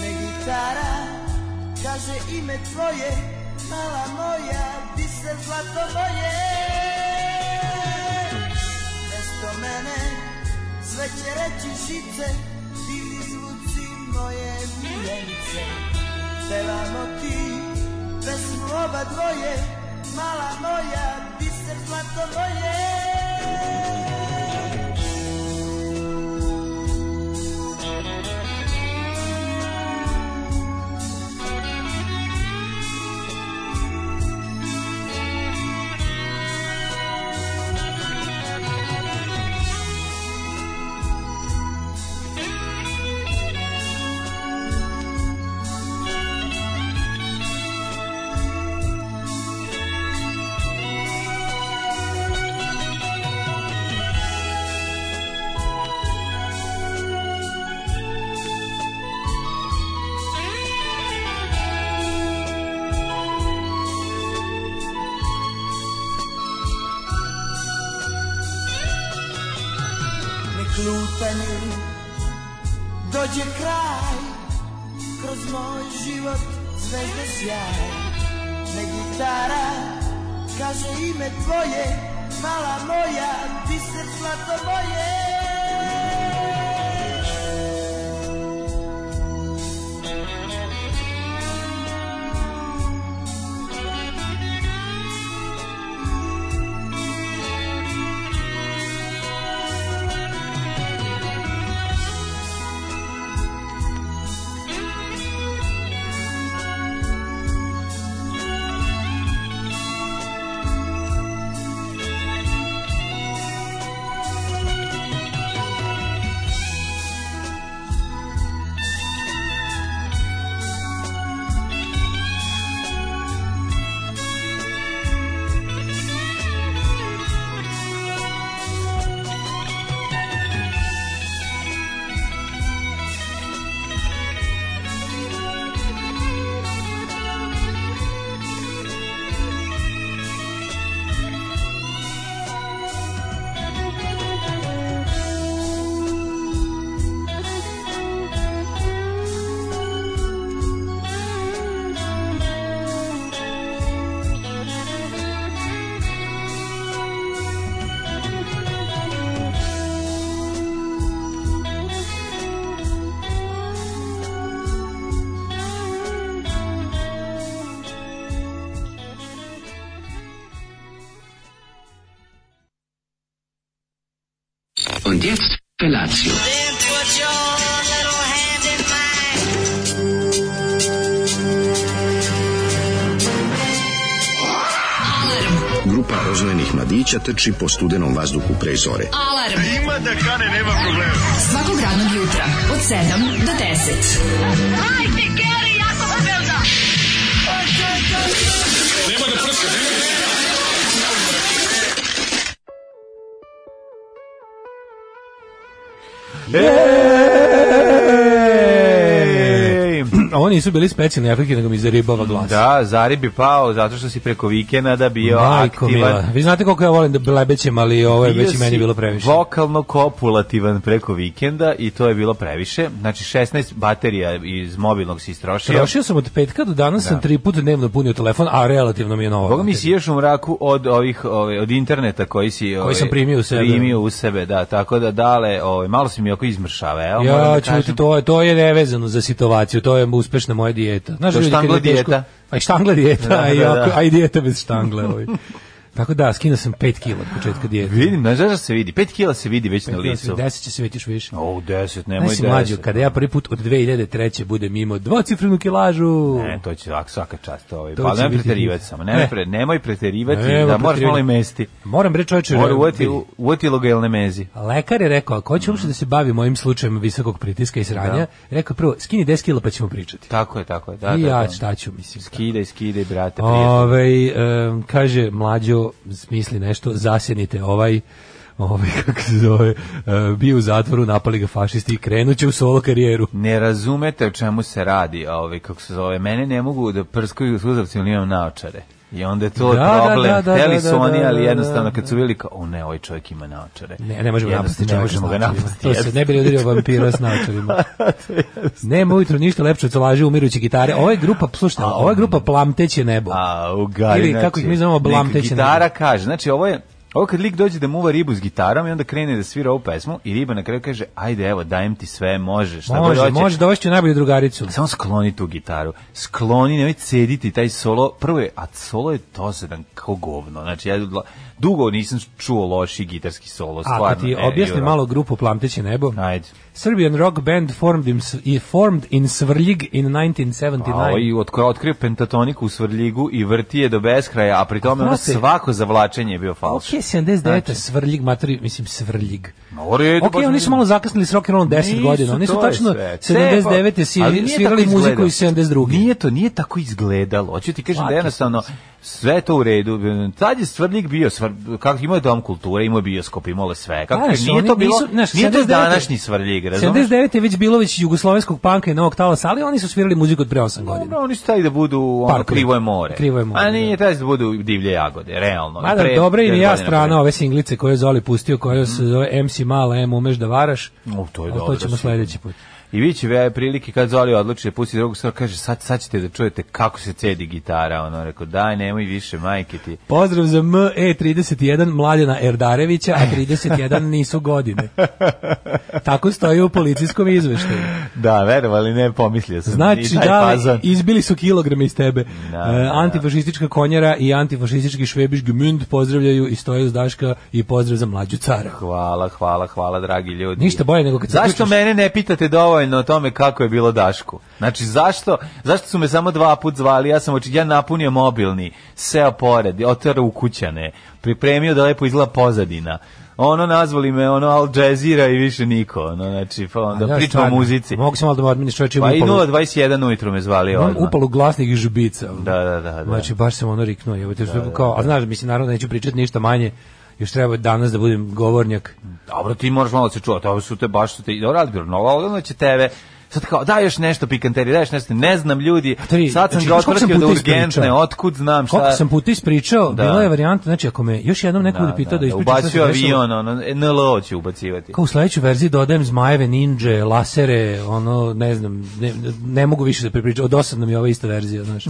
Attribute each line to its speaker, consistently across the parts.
Speaker 1: gitara Kaže ime tvoje, mala moja Di se zlato moje Mesto mene sve će reći žice Divni zvuci moje miljenice Pevamo ti pesmu oba dvoje Mala moja, di se zlato moje lutanju Dođe kraj Kroz moj život zvezde sjaj Ne gitara Kaže ime tvoje Mala moja Ti se zlato moje
Speaker 2: Und jetzt Felatio.
Speaker 3: Then put your little hand in mine.
Speaker 4: Grupa rozvojenih mladića trči po studenom vazduhu pre zore.
Speaker 5: Alarm. Ima da kane, nema problema. Svakog radnog jutra, od 7 do 10. Hajde, Geri, jako se velda!
Speaker 6: Ej!
Speaker 7: Oni nisu bili specijalni efekti, nego mi zaribava glas.
Speaker 6: Mm, Da, Zarib je pao zato što si preko vikenda bio
Speaker 7: Majko mila.
Speaker 6: aktivan.
Speaker 7: Vi znate koliko ja volim da blebećem, ali ovo je već i
Speaker 6: Bio
Speaker 7: meni
Speaker 6: si
Speaker 7: bilo previše.
Speaker 6: Vokalno kopulativan preko vikenda i to je bilo previše. Znači 16 baterija iz mobilnog si istrošio.
Speaker 7: Trošio sam od petka do danas, sam tri puta dnevno punio telefon, a relativno mi je novo.
Speaker 6: Boga mi si još u mraku od ovih ove, od interneta koji si ove,
Speaker 7: sam primio u sebe.
Speaker 6: Primio u sebe, da, tako da dale, ove, malo si mi oko izmršave, evo, moram
Speaker 7: Ja
Speaker 6: da
Speaker 7: ću ti
Speaker 6: kažem.
Speaker 7: to, je- to je nevezano za situaciju, to je uspešna moja dijeta. Znaš,
Speaker 6: To je
Speaker 7: ljudi, kad
Speaker 6: štangla
Speaker 7: je teško-
Speaker 6: dijeta.
Speaker 7: Pa i štangla dijeta,
Speaker 6: Da,
Speaker 7: a, i,
Speaker 6: da, da.
Speaker 7: ako- a i dijeta bez štangle. Ovaj. Tako da, skinuo sam 5 kila od početka dijeta.
Speaker 6: Vidim, znaš da se vidi, 5 kila se vidi već na licu.
Speaker 7: 10 će se već još više.
Speaker 6: O, 10, nemoj 10.
Speaker 7: Znaš si mlađo, kada ja prvi put od 2003. budem imao dvocifrenu kilažu.
Speaker 6: Ne, to će ovako svaka čast. Ovaj.
Speaker 7: To
Speaker 6: Pa
Speaker 7: će
Speaker 6: nemoj
Speaker 7: biti
Speaker 6: preterivati
Speaker 7: biti.
Speaker 6: samo. Nemoj,
Speaker 7: Ne.
Speaker 6: pre, nemoj preterivati
Speaker 7: Nemoj
Speaker 6: da moraš
Speaker 7: preterivati.
Speaker 6: malo i mesti.
Speaker 7: Moram reći čovječe,
Speaker 6: Mora
Speaker 7: vidi,
Speaker 6: uvati, uvati logelne mezi.
Speaker 7: lekar je rekao, ako hoće uopšte da se bavi mojim slučajem visokog pritiska i sranja, rekao prvo, skini 10 kila pa ćemo pričati.
Speaker 6: Tako je, tako je. Da,
Speaker 7: I
Speaker 6: da,
Speaker 7: ja
Speaker 6: da.
Speaker 7: šta ću, mislim.
Speaker 6: Skidaj, skidaj, brate, prijatelj.
Speaker 7: Ove, kaže, mlađo, smisli nešto, zasjenite ovaj, ovaj, kako se zove, e, bio u zatvoru, napali ga fašisti i krenuće u solo karijeru.
Speaker 6: Ne razumete o čemu se radi, a ovaj, kako se zove, mene ne mogu da prskaju suzavci ili imam naočare. I onda je to
Speaker 7: Da, da,
Speaker 6: problem.
Speaker 7: da, da,
Speaker 6: Hteli
Speaker 7: da,
Speaker 6: su
Speaker 7: da,
Speaker 6: oni,
Speaker 7: da,
Speaker 6: ali
Speaker 7: da,
Speaker 6: jednostavno
Speaker 7: da,
Speaker 6: kad su bili kao, o ne, ovaj čovjek ima naočare.
Speaker 7: Ne, ne možemo
Speaker 6: Jednostavno
Speaker 7: napasti čovjeka
Speaker 6: ne možemo
Speaker 7: s
Speaker 6: ga
Speaker 7: naočarima.
Speaker 6: napasti.
Speaker 7: To se ne bi udario vampira s naočarima. Nema ujutro ništa lepše od solaže umiruće gitare. Ovo je grupa, slušajte, ovo je grupa Plamteće nebo.
Speaker 6: A, u gari,
Speaker 7: Ili
Speaker 6: znači,
Speaker 7: kako ih mi zovemo,
Speaker 6: nek
Speaker 7: blamteće
Speaker 6: Gitara
Speaker 7: nebo.
Speaker 6: kaže, znači ovo je, ovo kad lik dođe da muva ribu s gitarom i onda krene da svira ovu pesmu i riba na kraju kaže, ajde evo, dajem ti sve, možeš. šta god
Speaker 7: Može,
Speaker 6: hoćeš.
Speaker 7: može dovesti najbolju drugaricu.
Speaker 6: Samo skloni tu gitaru. Skloni, nemoj cediti taj solo. Prvo je, a solo je dosadan kao govno. Znači, ja dla- dugo nisam čuo loši gitarski solo. Stvarno,
Speaker 7: Ako ti
Speaker 6: e,
Speaker 7: objasni
Speaker 6: Juro.
Speaker 7: malo grupu Plamteće nebo.
Speaker 6: Ajde.
Speaker 7: Serbian rock band formed in, i formed in Svrljig in
Speaker 6: A ovo
Speaker 7: 1979.
Speaker 6: i otkro, otkrio pentatoniku u Svrljigu i vrti je do beskraja, a pri tome ono
Speaker 7: Pa Znate-
Speaker 6: svako zavlačenje je bio
Speaker 7: Ok,
Speaker 6: falš.
Speaker 7: 79. Svrljig, matori, mislim Svrljig.
Speaker 6: Znači. Ma, u redu,
Speaker 7: ok,
Speaker 6: baš
Speaker 7: oni
Speaker 6: ne-
Speaker 7: su malo zakasnili s rock'n'rollom 10
Speaker 6: Nisu,
Speaker 7: godina. Oni su
Speaker 6: to je
Speaker 7: tačno
Speaker 6: sve. Cepa.
Speaker 7: 79.
Speaker 6: Ali
Speaker 7: svirali,
Speaker 6: nije
Speaker 7: svirali
Speaker 6: tako
Speaker 7: muziku
Speaker 6: izgledalo.
Speaker 7: iz 72.
Speaker 6: Nije to, nije tako izgledalo. Hoću ti kažem da
Speaker 7: Platio
Speaker 6: jednostavno sve je to u redu. Tad je Svrljig bio, svr, kako imao je dom kulture, imao je bioskop, imao je sve. Kako,
Speaker 7: Znaš,
Speaker 6: nije
Speaker 7: oni
Speaker 6: to bilo,
Speaker 7: nisu- znaš,
Speaker 6: nije to
Speaker 7: 79
Speaker 6: današnji Svrljig, razumiješ?
Speaker 7: 79. je već bilo već jugoslovenskog panka i novog talasa, ali oni su svirali muziku od pre 8 godina.
Speaker 6: Dobro, oni su taj da budu ono,
Speaker 7: Parkovi.
Speaker 6: krivo je more.
Speaker 7: Krivo je more,
Speaker 6: A nije
Speaker 7: da.
Speaker 6: taj da budu divlje jagode, realno.
Speaker 7: Mada
Speaker 6: Pre-
Speaker 7: dobra ili
Speaker 6: pet
Speaker 7: ja
Speaker 6: godina
Speaker 7: strana
Speaker 6: pre.
Speaker 7: ove singlice koje je Zoli pustio, koje se zove MC Mala, M umeš da varaš.
Speaker 6: U, to je
Speaker 7: ali
Speaker 6: dobro,
Speaker 7: to
Speaker 6: sigurno.
Speaker 7: ćemo sledeći put.
Speaker 6: I vi će ve prilike kad Zoli odluči da pusti drugu stvar, kaže sad, sad ćete da čujete kako se cedi gitara. Ono, rekao daj nemoj više majke ti.
Speaker 7: Pozdrav za ME31 Mladena Erdarevića, a 31 nisu godine. Tako stoji u policijskom izveštaju.
Speaker 6: Da, verovali ne, pomislio sam.
Speaker 7: Znači,
Speaker 6: I taj
Speaker 7: da,
Speaker 6: fazon.
Speaker 7: izbili su kilograme iz tebe.
Speaker 6: Da,
Speaker 7: E,
Speaker 6: da.
Speaker 7: antifašistička konjara i antifašistički švebiš Gmünd pozdravljaju i stoje uz Daška i pozdrav za mlađu cara.
Speaker 6: Hvala, hvala, hvala, dragi ljudi.
Speaker 7: Ništa bolje nego kad se
Speaker 6: Zašto
Speaker 7: uključiš-
Speaker 6: mene ne pitate dovoljno o tome kako je bilo Dašku? Znači, zašto, zašto su me samo dva put zvali? Ja sam oči, ja napunio mobilni, seo pored, otarao u kućane, pripremio da lepo izgleda pozadina. Ono, nazvali me, ono, Al Jazeera i više niko. Ono, znači, pa onda
Speaker 7: Ja
Speaker 6: pričamo o
Speaker 7: stvarno,
Speaker 6: muzici.
Speaker 7: Mogu se malo da me odminiš čovječe,
Speaker 6: Pa
Speaker 7: imam
Speaker 6: i
Speaker 7: upalu,
Speaker 6: 021 ujutru me zvali
Speaker 7: imam
Speaker 6: odmah.
Speaker 7: upalu glasnih žbica.
Speaker 6: Da, da, da. da.
Speaker 7: Znači, baš sam ono riknuo. Evo, te, kao, a znaš, mislim, naravno neću pričati ništa manje. Još treba danas da budem govornjak.
Speaker 6: Dobro, ti moraš malo da se čuvati, ovo su te baš su te, dobro, ali bilo, no, onda će tebe, sad kao, daj još nešto pikanterije, daj još nešto, ne znam ljudi,
Speaker 7: Tri,
Speaker 6: sad sam
Speaker 7: znači,
Speaker 6: ga
Speaker 7: znaš koliko sam
Speaker 6: otvrtio da
Speaker 7: puta
Speaker 6: urgentne,
Speaker 7: ispričao?
Speaker 6: otkud znam šta.
Speaker 7: Koliko sam puta ispričao,
Speaker 6: Da.
Speaker 7: bila je varijanta, znači ako me još jednom neko bude pitao da, ispričam šta se
Speaker 6: ubacio
Speaker 7: desilo,
Speaker 6: avion, ono, e, NLO će ubacivati.
Speaker 7: Kao u sledećoj verziji dodajem zmajeve, ninđe, lasere, ono, ne znam, ne, ne mogu više da prepričam, od osadna mi je ova ista verzija, znaš.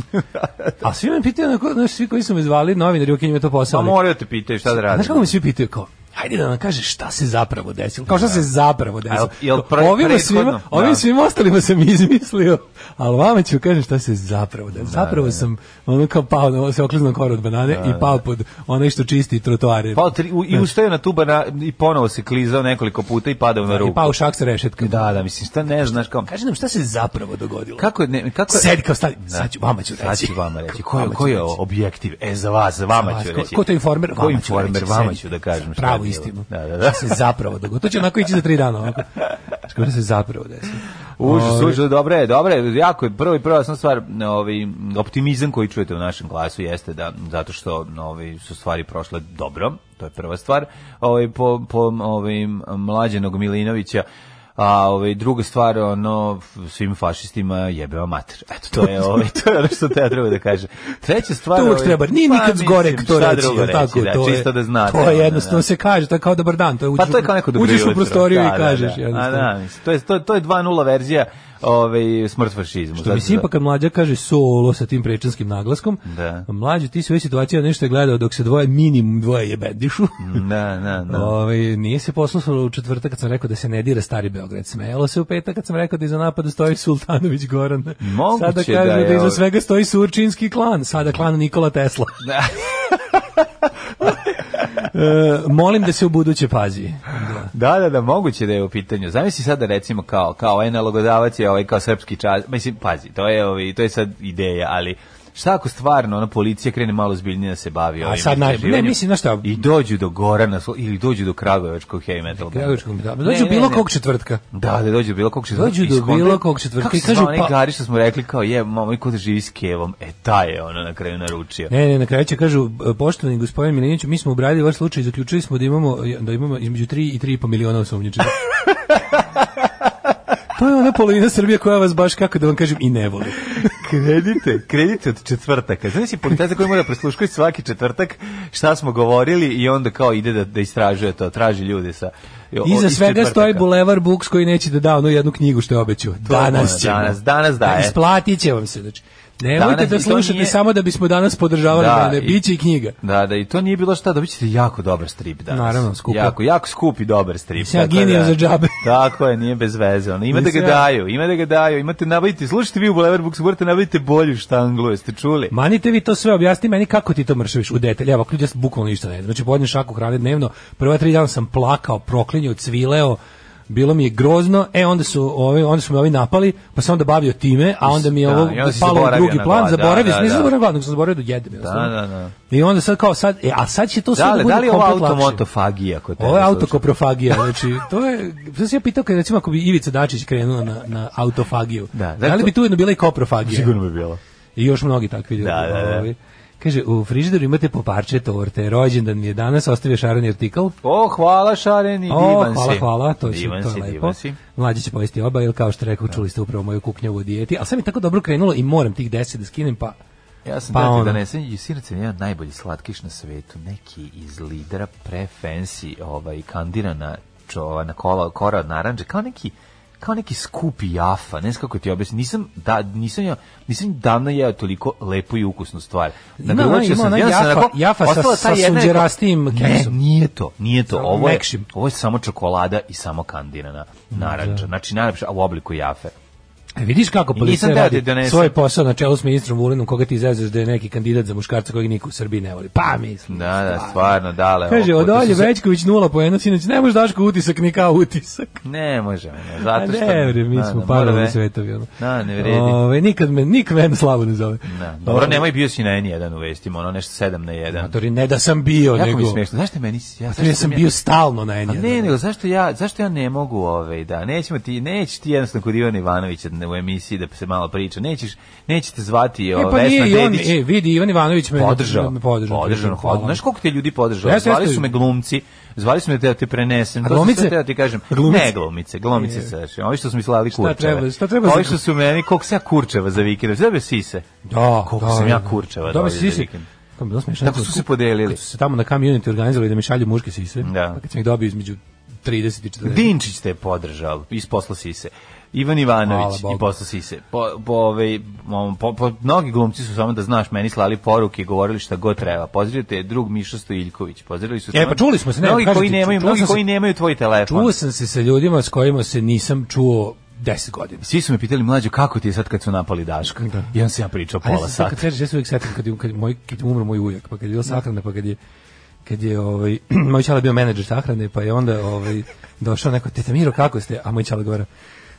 Speaker 7: A svi me pitaju, onako, znaš, svi koji su me zvali, novinari, ok, njima je to
Speaker 6: Pa
Speaker 7: posao. ali-
Speaker 6: moraju te pitaju šta da radiš.
Speaker 7: Znaš kako me svi pitaju, kao, hajde da nam kažeš šta se zapravo desilo. Kao šta se zapravo desilo.
Speaker 6: A jel pre-
Speaker 7: ovima, svima,
Speaker 6: prethodno?
Speaker 7: ovim
Speaker 6: Da.
Speaker 7: svima ostalima sam izmislio, ali vama ću kažem šta se zapravo desilo. Zapravo sam ono kao pao, na, se okliznuo koru od banane i pao pod onaj što čisti trotoare.
Speaker 6: Pa tri, u, i ustaju na tuba na, i ponovo se klizao nekoliko puta i padao na
Speaker 7: I
Speaker 6: ruku.
Speaker 7: pao u šak sa rešetka.
Speaker 6: Da, da, mislim, šta ne znaš, kao,
Speaker 7: Kaži nam šta se zapravo dogodilo.
Speaker 6: kako je, ne, kako je,
Speaker 7: Sedi kao stani, sad ću, vama ću
Speaker 6: Sad
Speaker 7: reći.
Speaker 6: ću vama reći. Ko
Speaker 7: Vama
Speaker 6: je,
Speaker 7: ću
Speaker 6: ko je
Speaker 7: reći.
Speaker 6: objektiv? E, za vas, za vama
Speaker 7: Vas,
Speaker 6: ću
Speaker 7: Pa ko-
Speaker 6: reći.
Speaker 7: Ko to je informer?
Speaker 6: Ko
Speaker 7: Vama ću
Speaker 6: informer?
Speaker 7: reći,
Speaker 6: Vama
Speaker 7: sedi.
Speaker 6: ću da kažem. šta je
Speaker 7: Pravu
Speaker 6: bilo.
Speaker 7: istinu.
Speaker 6: Da, da,
Speaker 7: Šta
Speaker 6: da.
Speaker 7: se zapravo dogodilo. To će onako ići za tri dana. Ovako. Znaš, Kako se zapravo desilo.
Speaker 6: Užas, užas, dobro je, dobro je, jako je, prvo i prva sam stvar, ne, ovaj, optimizam koji čujete u našem glasu jeste da, zato što ovaj, su stvari prošle dobro, to je prva stvar, ovaj, po, po ovaj, mlađenog Milinovića, a ovaj, druga stvar, ono, svim fašistima jebeva mater. Eto, to je, ovaj, to je ono što te ja treba da kažem. Treća stvar...
Speaker 7: To uvek
Speaker 6: ovaj,
Speaker 7: treba, nije
Speaker 6: pa,
Speaker 7: nikad zgore
Speaker 6: mislim,
Speaker 7: to
Speaker 6: šta
Speaker 7: reći,
Speaker 6: drugo
Speaker 7: jel tako,
Speaker 6: da,
Speaker 7: to je,
Speaker 6: čisto da znate.
Speaker 7: to je
Speaker 6: ono,
Speaker 7: jednostavno
Speaker 6: da.
Speaker 7: se kaže, to je kao dobar dan, to je uđeš,
Speaker 6: Pa to je kao neko dobro
Speaker 7: uđeš
Speaker 6: jutro.
Speaker 7: u prostoriju
Speaker 6: Da,
Speaker 7: i kažeš.
Speaker 6: Da, da. A,
Speaker 7: jednostavno.
Speaker 6: da, mislim, to je, to, to je 2.0 verzija ovaj, smrt fašizmu.
Speaker 7: Što mi
Speaker 6: Zato-
Speaker 7: simpa kad mlađa kaže solo sa tim prečanskim naglaskom,
Speaker 6: Da.
Speaker 7: mlađu ti si u ovoj situaciji nešto je gledao dok se dvoje, minimum dvoje jebendišu.
Speaker 6: Mm. Da, da, da.
Speaker 7: Ovaj nije se poslušalo u četvrtak kad sam rekao da se ne dira stari Beograd. Smejalo se u petak kad sam rekao da iza napada stoji Sultanović Goran.
Speaker 6: Moguće
Speaker 7: Sada
Speaker 6: da
Speaker 7: kažu
Speaker 6: je
Speaker 7: da, iza
Speaker 6: ovaj-
Speaker 7: svega stoji Surčinski klan, sada klan Nikola Tesla.
Speaker 6: Da.
Speaker 7: E, molim da se u buduće pazi. Da.
Speaker 6: Da, da, da, moguće da je u pitanju. Zamisli sada recimo kao kao ovaj nalogodavac je ovaj kao srpski čas. Mislim, pazi, to je ovaj to je sad ideja, ali Šta ako stvarno ona policija krene malo zbiljnije da se bavi ovim
Speaker 7: sad naj- ne,
Speaker 6: istraživanjem
Speaker 7: mislim, znaš šta?
Speaker 6: I dođu do Gorana slo- ili dođu do Kragujevačkog heavy metal. benda.
Speaker 7: Kragujevačkog metal.
Speaker 6: Ne,
Speaker 7: Dođu
Speaker 6: ne,
Speaker 7: bilo
Speaker 6: ne.
Speaker 7: kog četvrtka.
Speaker 6: Da, da dođu bilo kog četvrtka.
Speaker 7: Dođu do
Speaker 6: iz Honda.
Speaker 7: bilo kog četvrtka
Speaker 6: Kako
Speaker 7: i
Speaker 6: se
Speaker 7: kažu,
Speaker 6: zove onaj
Speaker 7: pa-
Speaker 6: Gari što smo rekli kao je, mamo, i ko da živi s Kevom. E, taj je ono na kraju naručio.
Speaker 7: Ne, ne, na kraju će kažu e, poštovani gospodin Milinić, mi smo obradili vaš slučaj i zaključili smo da imamo da imamo između 3 i 3,5 miliona osumnjičenih. to je ona polovina Srbije koja vas baš kako da vam kažem i ne voli.
Speaker 6: Kredite, kredite od četvrtaka. Znaš si policajac koji mora presluškati svaki četvrtak šta smo govorili i onda kao ide da, da istražuje to, traži ljude sa... o-
Speaker 7: Iza
Speaker 6: iz
Speaker 7: svega
Speaker 6: četvrtaka.
Speaker 7: stoji Bulevar Books koji neće da da onu jednu knjigu što je obećao. Danas
Speaker 6: ono,
Speaker 7: će.
Speaker 6: danas- danas
Speaker 7: da
Speaker 6: daje.
Speaker 7: Isplatit će vam se. Znači, nemojte
Speaker 6: Danas- i
Speaker 7: da
Speaker 6: to
Speaker 7: slušate
Speaker 6: nije-
Speaker 7: samo da bismo danas podržavali
Speaker 6: Da,
Speaker 7: da, mene.
Speaker 6: i-
Speaker 7: Biće i knjiga.
Speaker 6: Da, da, i to nije bilo šta, dobit ćete jako dobar strip danas.
Speaker 7: Naravno, skupo.
Speaker 6: Jako, jako skup i dobar strip.
Speaker 7: Mislim, ja
Speaker 6: tako da-
Speaker 7: ginio za džabe.
Speaker 6: Tako je, nije bez veze. Ono. Ima da ga
Speaker 7: Mislim, ja-
Speaker 6: daju, ima da ga daju, imate nabavite, slušajte vi u Boulevard Books, morate nabavite bolju štanglu, jeste čuli?
Speaker 7: Manite vi to sve, objasni meni kako ti to mršaviš u detalj. Evo, ključ, ja bukvalno ništa ne jedem. Znači, podnem šaku hrane dnevno, prva tri dana sam plakao, proklinjao, cvileo, bilo mi je grozno, e onda su ovi, onda su me ovi napali, pa sam onda bavio time, a onda mi je
Speaker 6: Da,
Speaker 7: ovo
Speaker 6: i onda si
Speaker 7: palo u
Speaker 6: zaboravio
Speaker 7: drugi
Speaker 6: na
Speaker 7: plan,
Speaker 6: glad, da,
Speaker 7: zaboravio
Speaker 6: da,
Speaker 7: sam, nisam
Speaker 6: da.
Speaker 7: zaboravio na glad, nego sam zaboravio da jedem.
Speaker 6: Da, da, da.
Speaker 7: I onda sad kao sad, e, a sad će to sve
Speaker 6: Da, li,
Speaker 7: da bude
Speaker 6: da li je ovo
Speaker 7: komplet lakše.
Speaker 6: automotofagija kod tebe?
Speaker 7: Ovo je
Speaker 6: slučajno?
Speaker 7: autokoprofagija, znači to je, sad sam ja pitao kad recimo ako bi Ivica Dačić krenula na, na autofagiju,
Speaker 6: Da,
Speaker 7: da,
Speaker 6: zato-
Speaker 7: li bi tu jedno bila i koprofagija?
Speaker 6: Sigurno bi bilo.
Speaker 7: I još mnogi takvi ljudi.
Speaker 6: Da, da, da.
Speaker 7: Ovaj. Kaže, u frižideru imate po parče torte, rođendan mi je danas, ostavio šarani artikl.
Speaker 6: O, hvala Šareni, divan
Speaker 7: O,
Speaker 6: si.
Speaker 7: hvala, hvala, to, je,
Speaker 6: divan
Speaker 7: to
Speaker 6: si,
Speaker 7: je lepo.
Speaker 6: divan si.
Speaker 7: Mlađi će povesti oba, jer kao što rekao, čuli ste upravo moju kuknjavu o dijeti, ali sad mi je tako dobro krenulo i moram tih 10 da skinem, pa
Speaker 6: Ja sam
Speaker 7: Pa
Speaker 6: pa da
Speaker 7: ono.
Speaker 6: ti donesem i sinac je jedan od najboljih slatkiš na svetu, neki iz lidera pre fancy, ovaj kandirana čova na kola kora od naranđe, kao neki kao neki skupi jafa, ne znam kako ti objasnim. Nisam da nisam ja nisam davno jeo toliko lepu i ukusnu stvar. Da
Speaker 7: Ima
Speaker 6: bi
Speaker 7: ona-
Speaker 6: uočio
Speaker 7: ima
Speaker 6: sam,
Speaker 7: ona
Speaker 6: ja sam
Speaker 7: jafa-
Speaker 6: onako,
Speaker 7: jafa sa-
Speaker 6: ostala ta
Speaker 7: sa
Speaker 6: jedna-
Speaker 7: sunđerastijim
Speaker 6: Ne,
Speaker 7: keksom.
Speaker 6: nije to, nije to.
Speaker 7: Sa
Speaker 6: Ovo je,
Speaker 7: mekšim.
Speaker 6: ovo je samo čokolada i samo kandirana naranđa. Znači najlepša a u obliku jafe.
Speaker 7: E, vidiš kako policija
Speaker 6: nisam teo
Speaker 7: radi
Speaker 6: ti donesem.
Speaker 7: svoj posao na čelu s ministrom Vulinom, koga ti izazveš da je neki kandidat za muškarca kojeg niko u Srbiji ne voli. Pa mislim.
Speaker 6: Da, da, stvarno, dale.
Speaker 7: Kaže,
Speaker 6: ovo- to su
Speaker 7: odolje
Speaker 6: sve-
Speaker 7: Većković nula po jedno, sinoć, ne možeš daško utisak ni kao utisak.
Speaker 6: Ne možemo, ne,
Speaker 7: A
Speaker 6: zato što...
Speaker 7: ne, bre, mi
Speaker 6: Da,
Speaker 7: smo
Speaker 6: da, mora
Speaker 7: parali
Speaker 6: ve-
Speaker 7: svetovi. Ono.
Speaker 6: Da, ne vredi.
Speaker 7: Ove, nikad me, nikad mene slabo ne zove.
Speaker 6: Da, dobro,
Speaker 7: Ove,
Speaker 6: nemoj bio si na N1 u vestima, ono nešto 7 na 1.
Speaker 7: Matori, ne da sam bio,
Speaker 6: Jako
Speaker 7: nego...
Speaker 6: mi je smiješno. Zašto je meni... Ja,
Speaker 7: Matori, ja
Speaker 6: zašto
Speaker 7: sam
Speaker 6: sam
Speaker 7: bio stalno na
Speaker 6: A
Speaker 7: N1.
Speaker 6: ne, nego zašto ja, zašto ja ne mogu ovaj da nećemo ti neće ti jednostavno kod Ivana Ivanovića u emisiji da se malo priča. Nećeš nećete zvati
Speaker 7: E,
Speaker 6: ovaj
Speaker 7: pa
Speaker 6: Vesna
Speaker 7: nije i on,
Speaker 6: Dedić.
Speaker 7: e, vidi, Ivan Ivanović me
Speaker 6: podržao.
Speaker 7: me podržao.
Speaker 6: Podržao.
Speaker 7: hvala.
Speaker 6: hvala. Znaš koliko te ljudi podržao?
Speaker 7: Jeste,
Speaker 6: Zvali
Speaker 7: jeste.
Speaker 6: su me glumci, zvali su me da te prenesem.
Speaker 7: A
Speaker 6: to sam
Speaker 7: glumice?
Speaker 6: sve teo ti kažem.
Speaker 7: Glumice?
Speaker 6: Ne glumice, glumice se. znači, Ovi što su mi slali kurčeve.
Speaker 7: treba- šta treba za-
Speaker 6: Ovi što su meni, koliko se ja kurčeva za vikend. Znaš da bi sise?
Speaker 7: Da,
Speaker 6: Koliko
Speaker 7: da,
Speaker 6: sam
Speaker 7: da.
Speaker 6: ja kurčeva
Speaker 7: Da,
Speaker 6: dobio
Speaker 7: mi
Speaker 6: za
Speaker 7: sisi.
Speaker 6: vikend.
Speaker 7: Kako je bilo smešno.
Speaker 6: Tako su se podelili.
Speaker 7: Kad su se tamo na community organizovali da mi šalju muške sise.
Speaker 6: Da.
Speaker 7: Pa kad sam ih dobio između 30 i 40.
Speaker 6: Dinčić te je podržao iz posla sise. Ivan
Speaker 7: Hvala
Speaker 6: Ivanović
Speaker 7: Bogu.
Speaker 6: i posla sise. Po, po, ovaj, mom- po, po, mnogi glumci su samo da znaš, meni slali poruke i govorili šta god treba. Pozdravio te je drug Miša Stojiljković. Pozdravili su
Speaker 7: E,
Speaker 6: samo-
Speaker 7: pa čuli smo se, ne,
Speaker 6: mnogi
Speaker 7: kažem
Speaker 6: koji
Speaker 7: ti,
Speaker 6: nemaju,
Speaker 7: čuo
Speaker 6: mnogi
Speaker 7: sam se-
Speaker 6: koji nemaju tvoj telefon.
Speaker 7: Čuo sam se sa ljudima s kojima se nisam čuo 10 godina.
Speaker 6: Svi su me pitali mlađo kako ti je sad kad su napali Daška.
Speaker 7: Da.
Speaker 6: I on se ja pričao
Speaker 7: A ja
Speaker 6: pola
Speaker 7: sam sad
Speaker 6: sata.
Speaker 7: kad sežeš, ja se uvijek setim kad, je- kad, je moj, kad je umro moj ujak, pa kad je bila sahrana, pa kad je kad je ovaj moj čale bio menadžer sahrane, pa je onda ovaj došao neko teta Miro kako ste, a moj čale govori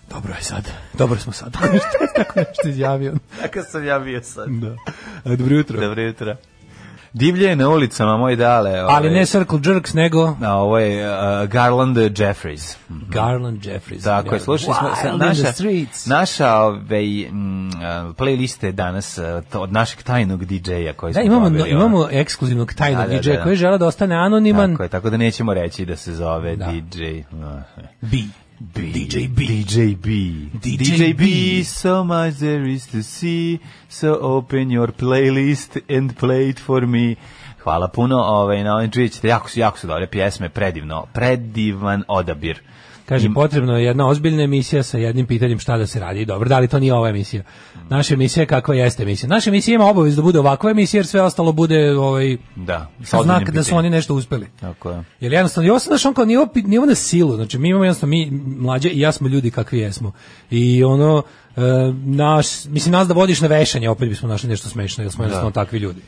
Speaker 7: Dobro je sad. Dobro smo sad. Šta je tako nešto izjavio?
Speaker 6: Kako sam ja bio sad.
Speaker 7: Da. E, Dobro jutro.
Speaker 6: Dobro jutro. Divlje je na ulicama, moj dale.
Speaker 7: Ali
Speaker 6: ovaj,
Speaker 7: ne Circle Jerks, nego
Speaker 6: A ovo je uh, Garland Jeffries. Hm,
Speaker 7: Garland Jeffries.
Speaker 6: Tako je, slušali smo sa-
Speaker 7: Wild in the
Speaker 6: naša,
Speaker 7: streets.
Speaker 6: naša ovaj, mm, a, playliste je danas a, to, od našeg tajnog DJ-a koji
Speaker 7: Da,
Speaker 6: smo
Speaker 7: imamo,
Speaker 6: dobili, ono.
Speaker 7: imamo ekskluzivnog tajnog
Speaker 6: Da, da,
Speaker 7: DJ-a
Speaker 6: da.
Speaker 7: koji žele da ostane anoniman.
Speaker 6: Tako je, tako da nećemo reći da se zove
Speaker 7: Da.
Speaker 6: DJ. Ah.
Speaker 7: B. DJ B.
Speaker 6: DJ B.
Speaker 7: DJ
Speaker 6: DJ
Speaker 7: B.
Speaker 6: B. So much there is to see, so open your playlist and play it for me. Hvala puno, ovaj, na ovim čujit ćete, jako su, jako su dobre pjesme, predivno, predivan odabir.
Speaker 7: Kaže,
Speaker 6: Im-
Speaker 7: potrebno je jedna ozbiljna emisija sa jednim pitanjem šta da se radi. Dobro, da li to nije ova emisija? Naša emisija je kakva jeste emisija? Naša emisija ima obavezu da bude ovakva emisija, jer sve ostalo bude ovaj,
Speaker 6: Da, sa ozbiljnim
Speaker 7: znak da su
Speaker 6: pitanjem.
Speaker 7: oni nešto uspeli.
Speaker 6: Tako je.
Speaker 7: Jer jednostavno, i ovo sam, znaš, on kao, nije, opet, nije ovo na silu, znači mi imamo jednostavno, mi mlađe i ja smo ljudi kakvi jesmo. I ono, e, naš, mislim, nas da vodiš na vešanje, opet bismo našli nešto smešno, jer smo jednostavno takvi ljudi.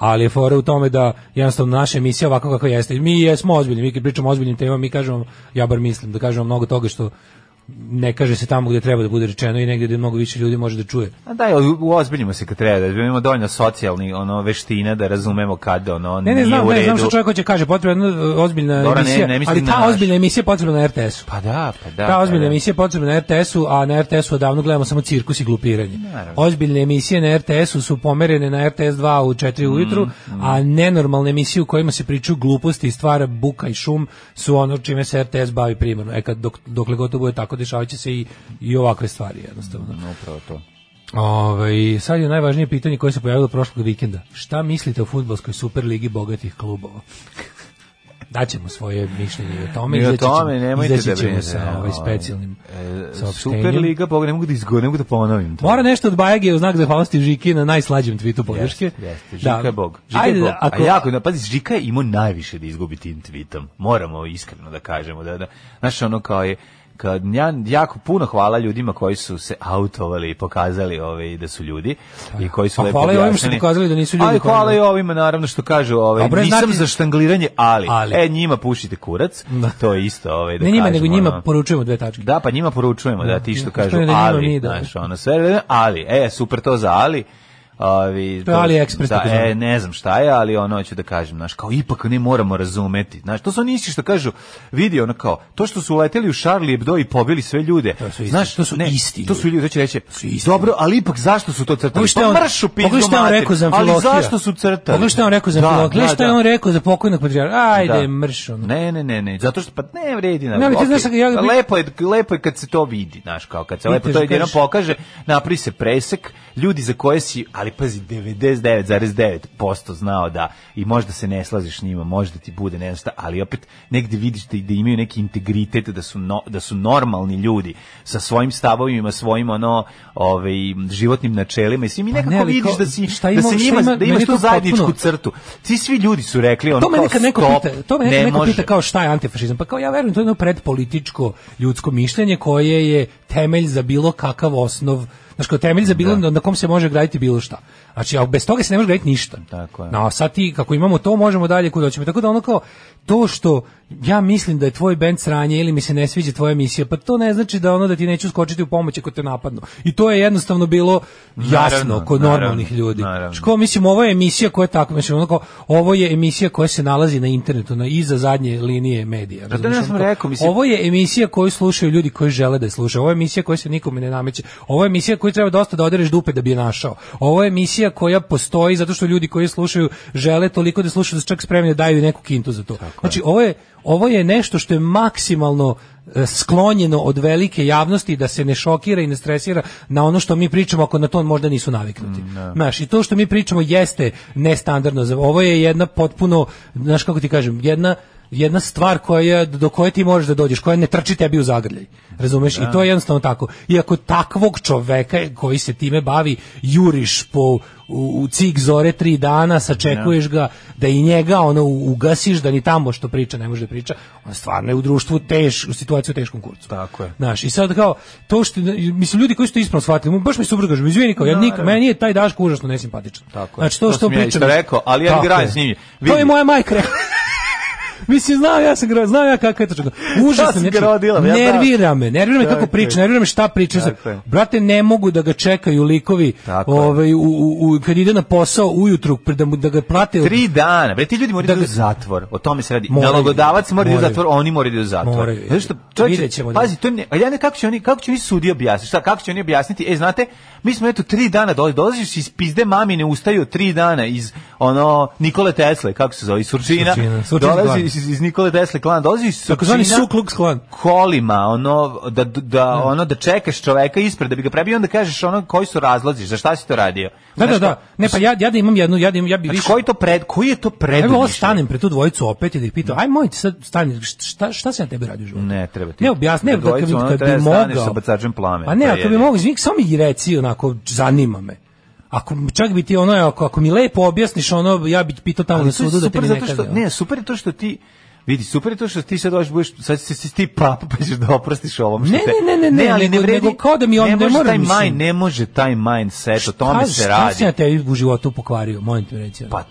Speaker 7: Ali je fora u tome da jednostavno naša emisija ovako kako jeste. Mi jesmo ozbiljni, mi kad pričamo o ozbiljnim temama, mi kažemo, ja bar mislim, da kažemo mnogo toga što ne kaže se tamo gdje treba da bude rečeno i negdje gdje mnogo više ljudi može da čuje.
Speaker 6: A da, uozbiljimo se kad treba, da imamo dovoljno socijalni ono, veština da razumemo kad ono
Speaker 7: Ne, ne
Speaker 6: nije
Speaker 7: znam,
Speaker 6: u
Speaker 7: ne
Speaker 6: redu.
Speaker 7: znam što čovjek hoće kaže, potrebna je ozbiljna
Speaker 6: Dobro, ne-
Speaker 7: emisija,
Speaker 6: ne mislim
Speaker 7: ali ta
Speaker 6: na naš.
Speaker 7: ozbiljna emisija je potrebna na RTS-u.
Speaker 6: Pa da, pa da.
Speaker 7: Ta ozbiljna
Speaker 6: pa da.
Speaker 7: emisija je potrebna na RTS-u, a na RTS-u odavno gledamo samo cirkus i glupiranje. Ozbiljne emisije na RTS-u su pomerene na RTS 2 u 4 ujutru,
Speaker 6: Mm,
Speaker 7: a nenormalne emisije u kojima se pričaju gluposti i stvara buka i šum su ono čime se RTS bavi primarno. E kad dok, dokle god to bude tako, dešavaće se i, i ovakve stvari jednostavno.
Speaker 6: No, upravo to.
Speaker 7: Ovaj, sad je najvažnije pitanje koje se pojavilo prošlog vikenda. Šta mislite o futbolskoj superligi bogatih klubova? Daćemo svoje mišljenje i o tome.
Speaker 6: Mi o
Speaker 7: izaći ćemo-
Speaker 6: tome nemojte
Speaker 7: izaći
Speaker 6: da
Speaker 7: ćemo
Speaker 6: brinete.
Speaker 7: sa ovaj, specijalnim
Speaker 6: E,
Speaker 7: saopštenjem.
Speaker 6: Superliga, Bog, ne mogu da izgo, ne mogu da ponovim to.
Speaker 7: Mora nešto od Bajage u znak zahvalnosti Žiki na najslađem tvitu podrške.
Speaker 6: Jeste, jeste, Žika je Bog. Žika
Speaker 7: Ajde,
Speaker 6: je Bog.
Speaker 7: Ako,
Speaker 6: A jako, da, pazi, Žika je imao najviše da izgubi tim tweetom. Moramo iskreno da kažemo. Da, da, znaš, ono kao je, kad ja jako puno hvala ljudima koji su se autovali i pokazali ove da su ljudi i koji su
Speaker 7: Pa
Speaker 6: lepo
Speaker 7: hvala i ovima što su
Speaker 6: objašnjeni.
Speaker 7: pokazali da nisu ljudi
Speaker 6: Ali
Speaker 7: koji-
Speaker 6: hvala i ovima naravno što kažu ovaj
Speaker 7: Pa bre,
Speaker 6: nisam
Speaker 7: znate-
Speaker 6: za štangliranje, ali,
Speaker 7: Ali.
Speaker 6: e njima pušite kurac. To je isto ovaj da
Speaker 7: ne njima,
Speaker 6: kažemo,
Speaker 7: nego njima
Speaker 6: ono.
Speaker 7: poručujemo dve tačke.
Speaker 6: Da, pa njima poručujemo da ti što
Speaker 7: da,
Speaker 6: kažu
Speaker 7: što je da njima
Speaker 6: ali,
Speaker 7: mi, da.
Speaker 6: znaš, ono sve, ali, e, super to za ali. Ovi,
Speaker 7: To je AliExpress
Speaker 6: da,
Speaker 7: tako
Speaker 6: e,
Speaker 7: zvani.
Speaker 6: ne znam šta je, ali ono hoću da kažem, znaš, kao ipak ne moramo razumeti. Znaš, to su oni isti što kažu, vidi ono kao, to što su uleteli u Charlie Hebdo i pobili sve ljude.
Speaker 7: To su isti,
Speaker 6: znaš,
Speaker 7: to su isti
Speaker 6: To su ljudi, to će reći,
Speaker 7: isti
Speaker 6: dobro, ali ipak zašto su to crtali?
Speaker 7: Pogledaj šta je
Speaker 6: Pa
Speaker 7: on-
Speaker 6: mršu pizdu
Speaker 7: pogledaj šta je on
Speaker 6: mater,
Speaker 7: rekao za
Speaker 6: ali
Speaker 7: Amfilohija.
Speaker 6: zašto su crtali?
Speaker 7: Pogledaj šta je on rekao za
Speaker 6: Da,
Speaker 7: Amfilohija. Gledaj
Speaker 6: da,
Speaker 7: šta je
Speaker 6: da.
Speaker 7: on rekao za pokojnog patrijarha. Ajde,
Speaker 6: Da.
Speaker 7: mrš ono.
Speaker 6: Ne, ne, ne, ne, zato što pa ne vredi na.
Speaker 7: Ne, ali ti
Speaker 6: okej.
Speaker 7: znaš, ja bi-
Speaker 6: lepo je lepo je kad se to vidi, znaš, kao kad se
Speaker 7: Vidite,
Speaker 6: lepo to
Speaker 7: kažeš-
Speaker 6: jedino pokaže, napravi se presek, ljudi za koje si, ali pazi 99,9% znao da i možda se ne slaziš s njima, možda ti bude ne znam šta, ali opet negde vidiš da, da imaju neki integritet, da su no- da su normalni ljudi sa svojim stavovima, svojim ono, ovaj životnim načelima i svim i
Speaker 7: Pa ne,
Speaker 6: nekako
Speaker 7: ali
Speaker 6: vidiš
Speaker 7: kao,
Speaker 6: da si
Speaker 7: šta
Speaker 6: da
Speaker 7: ima-
Speaker 6: se
Speaker 7: šta
Speaker 6: njima
Speaker 7: ima-
Speaker 6: da
Speaker 7: meni
Speaker 6: imaš
Speaker 7: je
Speaker 6: tu
Speaker 7: to potpuno-
Speaker 6: zajedničku crtu. Ti svi ljudi su rekli ono
Speaker 7: To me
Speaker 6: kao,
Speaker 7: nekad neko
Speaker 6: stop,
Speaker 7: pita, to me
Speaker 6: ne
Speaker 7: nekad neko
Speaker 6: može.
Speaker 7: pita kao šta je antifašizam, pa kao ja verujem to je jedno predpolitičko ljudsko mišljenje koje je temelj za bilo kakav osnov, znači kao temelj za bilo na kom se može graditi bilo šta. Znači a bez toga se ne može graditi ništa.
Speaker 6: Tako je.
Speaker 7: No, a sad ti kako imamo to možemo dalje kud hoćemo. Tako da ono kao to što ja mislim da je tvoj bend sranje ili mi se ne sviđa tvoja emisija, pa to ne znači da ono da ti neću skočiti u pomoć ako te napadnu. I to je jednostavno bilo jasno
Speaker 6: Naravno,
Speaker 7: kod
Speaker 6: naravno,
Speaker 7: normalnih ljudi.
Speaker 6: naravno.
Speaker 7: Znači, kao, mislim ovo je emisija koja je tako mislim onako ovo je emisija koja se nalazi na internetu na iza zadnje linije medija
Speaker 6: Pa da,
Speaker 7: razumeš,
Speaker 6: ja sam
Speaker 7: ono kao,
Speaker 6: rekao, mislim-
Speaker 7: ovo je emisija koju slušaju ljudi koji žele da je slušaju ovo je emisija koja se nikome ne nameće ovo je emisija koju treba dosta da odereš dupe da bi je našao ovo je emisija koja postoji zato što ljudi koji je slušaju žele toliko da je slušaju da su čak spremni da daju i neku kintu za to znači ovo je ovo je nešto što je maksimalno e, sklonjeno od velike javnosti da se ne šokira i ne stresira na ono što mi pričamo ako na to možda nisu naviknuti. Znaš, i to što mi pričamo jeste nestandardno. za- Ovo je jedna potpuno, znaš kako ti kažem, jedna jedna stvar koja je, do koje ti možeš da dođeš, koja ne trči tebi u zagrljaj. Razumeš? I to je jednostavno tako. Iako takvog čoveka koji se time bavi juriš po u, u cik zore tri dana, sačekuješ ga da i njega ono u- ugasiš, da ni tamo što priča ne može da priča, on stvarno je u društvu teš, u situaciju u teškom kurcu.
Speaker 6: Tako je.
Speaker 7: Znaš, i sad kao, to što, mislim, ljudi koji su to ispravno shvatili, mu baš mi super kažu, izvini kao, ja nikad, meni je taj Daško užasno nesimpatičan.
Speaker 6: Tako je.
Speaker 7: Znači, to,
Speaker 6: To
Speaker 7: što
Speaker 6: sam ja
Speaker 7: pričam...
Speaker 6: isto rekao, ali ja
Speaker 7: Tako
Speaker 6: igram
Speaker 7: je.
Speaker 6: s njim.
Speaker 7: To
Speaker 6: Vidi.
Speaker 7: je moja majka rekla. Mislim, znam ja sam gra, znam ja kako je to čudno.
Speaker 6: Ja sam
Speaker 7: Užasno,
Speaker 6: ga rodila, ja znam.
Speaker 7: nervira me, nervira me
Speaker 6: Tako
Speaker 7: kako
Speaker 6: je.
Speaker 7: priča, nervira me šta priča.
Speaker 6: Tako je.
Speaker 7: Brate, ne mogu da ga čekaju likovi,
Speaker 6: Tako je.
Speaker 7: ovaj, u, u, u- kad ide na posao ujutru, pre- da, mu- da ga plate...
Speaker 6: Tri dana, bre, ti ljudi moraju da,
Speaker 7: Da
Speaker 6: idu u
Speaker 7: ga-
Speaker 6: zatvor. O tome se radi.
Speaker 7: Moraju.
Speaker 6: Nalogodavac mora da idu u
Speaker 7: Moraju.
Speaker 6: zatvor, oni moraju da idu u zatvor.
Speaker 7: Moraju.
Speaker 6: Zato što čovječe,
Speaker 7: Vidjet ćemo da-
Speaker 6: pazi, to ne, a ja ne kako će oni, kako će oni sudi objasniti? Šta, kako će oni objasniti? E, znate, mi smo eto tri dana dolazi, dolaziš iz pizde mamine, ustaju tri dana iz ono Nikole Tesle, kako se zove, iz Surčina.
Speaker 7: Surčina, Surčinski
Speaker 6: Dolazi
Speaker 7: klan.
Speaker 6: iz, iz Nikole Tesle klana, dolazi iz Surčina.
Speaker 7: Tako zvani Su Klux Klan.
Speaker 6: kolima ono da da ono da čekaš čoveka ispred da bi ga prebio onda kažeš ono koji su razlozi za šta si to radio
Speaker 7: Da, da,
Speaker 6: Znaš
Speaker 7: da.
Speaker 6: kao-
Speaker 7: Ne, pa ja, ja da imam jednu, ja da imam, ja bi
Speaker 6: Znači,
Speaker 7: više...
Speaker 6: koji to pred, koji je to pred?
Speaker 7: Evo, ovo stanem pre tu dvojicu opet i da ih pitam, aj moj, sad stani, šta, šta se na tebi radi u životu?
Speaker 6: Ne, treba ti.
Speaker 7: Ne objasni, ne, da kad,
Speaker 6: Dvojicu,
Speaker 7: bi-
Speaker 6: ono,
Speaker 7: kad
Speaker 6: treba
Speaker 7: bi
Speaker 6: staneš
Speaker 7: mogao.
Speaker 6: sa bacačem plamena,
Speaker 7: Pa ne,
Speaker 6: to
Speaker 7: ako
Speaker 6: je.
Speaker 7: bi mogao, izvini, samo mi reci, onako, zanima me. Ako čak bi ti ono, ako, ako mi lepo objasniš ono, ja bi pitao tamo na
Speaker 6: Ali to je
Speaker 7: sudu da te
Speaker 6: super
Speaker 7: mi
Speaker 6: zato
Speaker 7: ne
Speaker 6: što,
Speaker 7: kaže.
Speaker 6: ne, super je to što ti, vidi, super je to što ti sad dođeš, budeš, sad si, si ti papa, pa ćeš da oprostiš ovom što
Speaker 7: Ne,
Speaker 6: te...
Speaker 7: ne, ne, ne,
Speaker 6: ali
Speaker 7: nego- nego kao da mi on-
Speaker 6: ne,
Speaker 7: ne
Speaker 6: može
Speaker 7: moram,
Speaker 6: taj
Speaker 7: mislim.
Speaker 6: mind, ne može taj mindset, o tome
Speaker 7: Šta-
Speaker 6: se
Speaker 7: Šta si
Speaker 6: radi.
Speaker 7: na tebi u životu pokvario, molim te mi reci. ono.
Speaker 6: Pa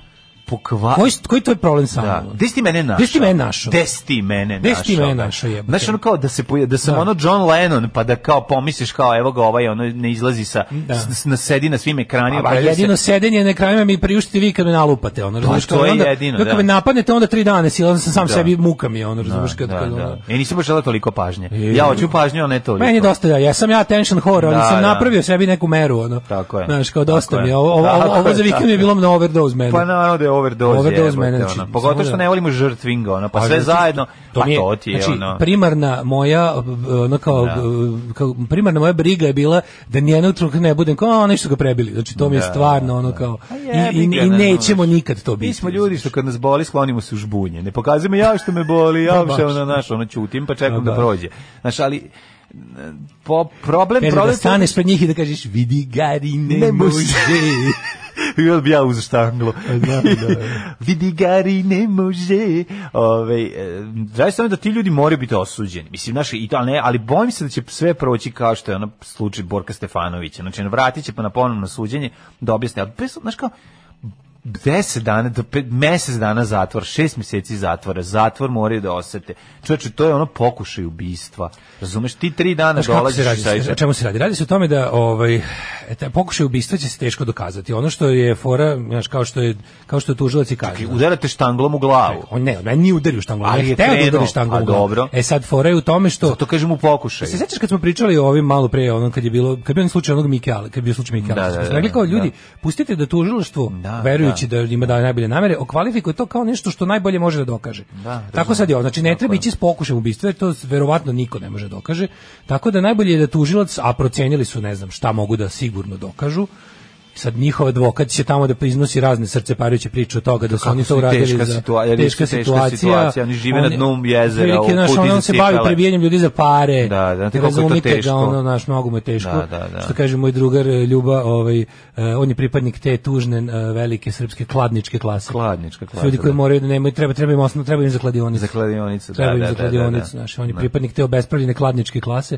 Speaker 6: pokva...
Speaker 7: Koji, koji to je problem sa
Speaker 6: Da.
Speaker 7: mnom? ono?
Speaker 6: Gde si ti mene našao?
Speaker 7: Gde si ti mene našao?
Speaker 6: Gde si ti mene našao?
Speaker 7: Gde si ti mene našao, jebote?
Speaker 6: Znaš, ono kao da, se, poja- da sam
Speaker 7: Da.
Speaker 6: ono John Lennon, pa da kao pomisliš kao evo ga ovaj, ono ne izlazi sa,
Speaker 7: Da.
Speaker 6: s, na sedi na svim ekranima.
Speaker 7: Pa
Speaker 6: pojavljuje se-
Speaker 7: jedino sedenje na ekranima mi priuštite vi kad me nalupate, ono, razumiješ?
Speaker 6: Pa to je
Speaker 7: onda,
Speaker 6: jedino,
Speaker 7: dok
Speaker 6: da.
Speaker 7: me napadnete, onda tri dane silazan sam sam
Speaker 6: Da.
Speaker 7: sebi muka mi, je, ono, razumiješ?
Speaker 6: Da,
Speaker 7: Kad,
Speaker 6: da,
Speaker 7: kad, ono,
Speaker 6: da. E, nisam baš želeo toliko pažnje. Ja hoću pažnju, a ne toliko.
Speaker 7: Meni je dosta da, ja sam ja tension horror, ali
Speaker 6: Da,
Speaker 7: sam
Speaker 6: da.
Speaker 7: napravio sebi neku meru, ono.
Speaker 6: Tako je.
Speaker 7: Znaš, kao dosta
Speaker 6: Tako
Speaker 7: mi, je,
Speaker 6: je.
Speaker 7: ovo, ovo,
Speaker 6: Tako
Speaker 7: ovo
Speaker 6: je,
Speaker 7: za vikend
Speaker 6: tako
Speaker 7: mi je bilo na overdose mene.
Speaker 6: Pa naravno da je overdose.
Speaker 7: Overdose
Speaker 6: jebote,
Speaker 7: mene, znači,
Speaker 6: ono. Pogotovo
Speaker 7: samo
Speaker 6: što
Speaker 7: da-
Speaker 6: ne volim žrtvinga, ono, pa
Speaker 7: Ali
Speaker 6: sve
Speaker 7: zato-
Speaker 6: zajedno, pa
Speaker 7: mi je-
Speaker 6: to ti je,
Speaker 7: znači,
Speaker 6: ono.
Speaker 7: primarna moja, b- ono kao,
Speaker 6: Da.
Speaker 7: b- kao, primarna moja briga je bila da nijednog trenutka ne budem kao, a, nešto ga prebili. Znači, to mi je
Speaker 6: Da,
Speaker 7: stvarno, ono kao,
Speaker 6: A
Speaker 7: i,
Speaker 6: jebi
Speaker 7: i,
Speaker 6: ga,
Speaker 7: i
Speaker 6: ne
Speaker 7: nećemo
Speaker 6: znaš.
Speaker 7: nikad to biti.
Speaker 6: Mi smo ljudi što kad nas boli sklonimo se u žbunje. Ne pokazujemo ja što me boli, ja
Speaker 7: Pa
Speaker 6: što
Speaker 7: baš.
Speaker 6: ono naš, ono ćutim pa čekam
Speaker 7: Pa
Speaker 6: da
Speaker 7: baš.
Speaker 6: prođe. Znaš, ali n- po, problem,
Speaker 7: Mene
Speaker 6: problem...
Speaker 7: da staneš pred njih i da kažeš, vidi gari, ne,
Speaker 6: Ne može.
Speaker 7: može.
Speaker 6: I bi ja uzeo štanglo.
Speaker 7: Znam, da, da.
Speaker 6: Vidi gari, ne može. Ove, e, Znači samo da ti ljudi moraju biti osuđeni. Mislim, naši, i to, ali, ne, ali bojim se da će sve proći kao što je ono slučaj Borka Stefanovića. Znači, ono, vratit će pa na ponovno suđenje da objasne. Ali, bez- znaš kao, 10 dana, do pe- mesec dana zatvor, šest mjeseci zatvora, zatvor moraju da osete. Čovječe, to je ono pokušaj ubistva. Razumeš, ti tri dana
Speaker 7: Znaš kako se
Speaker 6: dolaziš
Speaker 7: radi?
Speaker 6: i sajčeš.
Speaker 7: O čemu se radi? Radi se o tome da ovaj ta pokušaj ubistva će se teško dokazati. Ono što je fora, znaš, kao što je kao što je tužilac i kaže.
Speaker 6: Udarate štanglom u glavu.
Speaker 7: On ne, on meni nije udario štanglom.
Speaker 6: Ali
Speaker 7: Ali
Speaker 6: je
Speaker 7: je hteo da
Speaker 6: krenuo.
Speaker 7: udari štanglom.
Speaker 6: A,
Speaker 7: u glavu.
Speaker 6: dobro.
Speaker 7: E sad fora je u tome što
Speaker 6: To kažem u pokušaju.
Speaker 7: Se sećaš kad smo pričali o ovim malo pre, onom kad je bilo, kad je bio onaj slučaj onog Mike Ale, kad je bio slučaj Mike
Speaker 6: Da,
Speaker 7: Ale.
Speaker 6: da,
Speaker 7: Da,
Speaker 6: da,
Speaker 7: rekli kao
Speaker 6: da.
Speaker 7: ljudi, pustite da tužilaštvo,
Speaker 6: Da,
Speaker 7: verujući da, ima da najbolje namere, okvalifikuje to kao nešto što najbolje može da dokaže. Tako sad je ovo. Znači ne treba ići s pokušajem ubistva, jer to verovatno niko ne može da dokaže. Tako da najbolje je da tužilac, a procenili su ne znam šta mogu da sigurno dokažu, sad njihov advokat će tamo da iznosi razne srce parajuće priče o toga da su
Speaker 6: Kako
Speaker 7: oni
Speaker 6: su
Speaker 7: to uradili
Speaker 6: teška
Speaker 7: za
Speaker 6: situa- jer
Speaker 7: teška,
Speaker 6: su teška situacija, oni žive na dnu jezera,
Speaker 7: otprilike,
Speaker 6: u
Speaker 7: znaš,
Speaker 6: kuti
Speaker 7: ono,
Speaker 6: za
Speaker 7: on se bavi
Speaker 6: cipele.
Speaker 7: prebijanjem ljudi za pare
Speaker 6: Da, da, znate
Speaker 7: ne
Speaker 6: koliko je to
Speaker 7: razumite
Speaker 6: teško.
Speaker 7: ga, ono, naš, mnogo mu je teško.
Speaker 6: Da, da, da.
Speaker 7: Što kaže moj drugar e, Ljuba, ovaj, e, on je pripadnik te tužne e, velike srpske kladničke klase.
Speaker 6: Kladnička klasa,
Speaker 7: Ljudi koji
Speaker 6: da.
Speaker 7: moraju da nemaju, treba, treba im osnovno, treba im za kladionicu.
Speaker 6: Za kladionicu, da,
Speaker 7: Treba im
Speaker 6: da,
Speaker 7: za
Speaker 6: da, da,
Speaker 7: kladionicu,
Speaker 6: da.
Speaker 7: znaš, on je
Speaker 6: Da.
Speaker 7: pripadnik te obespravljene kladničke klase.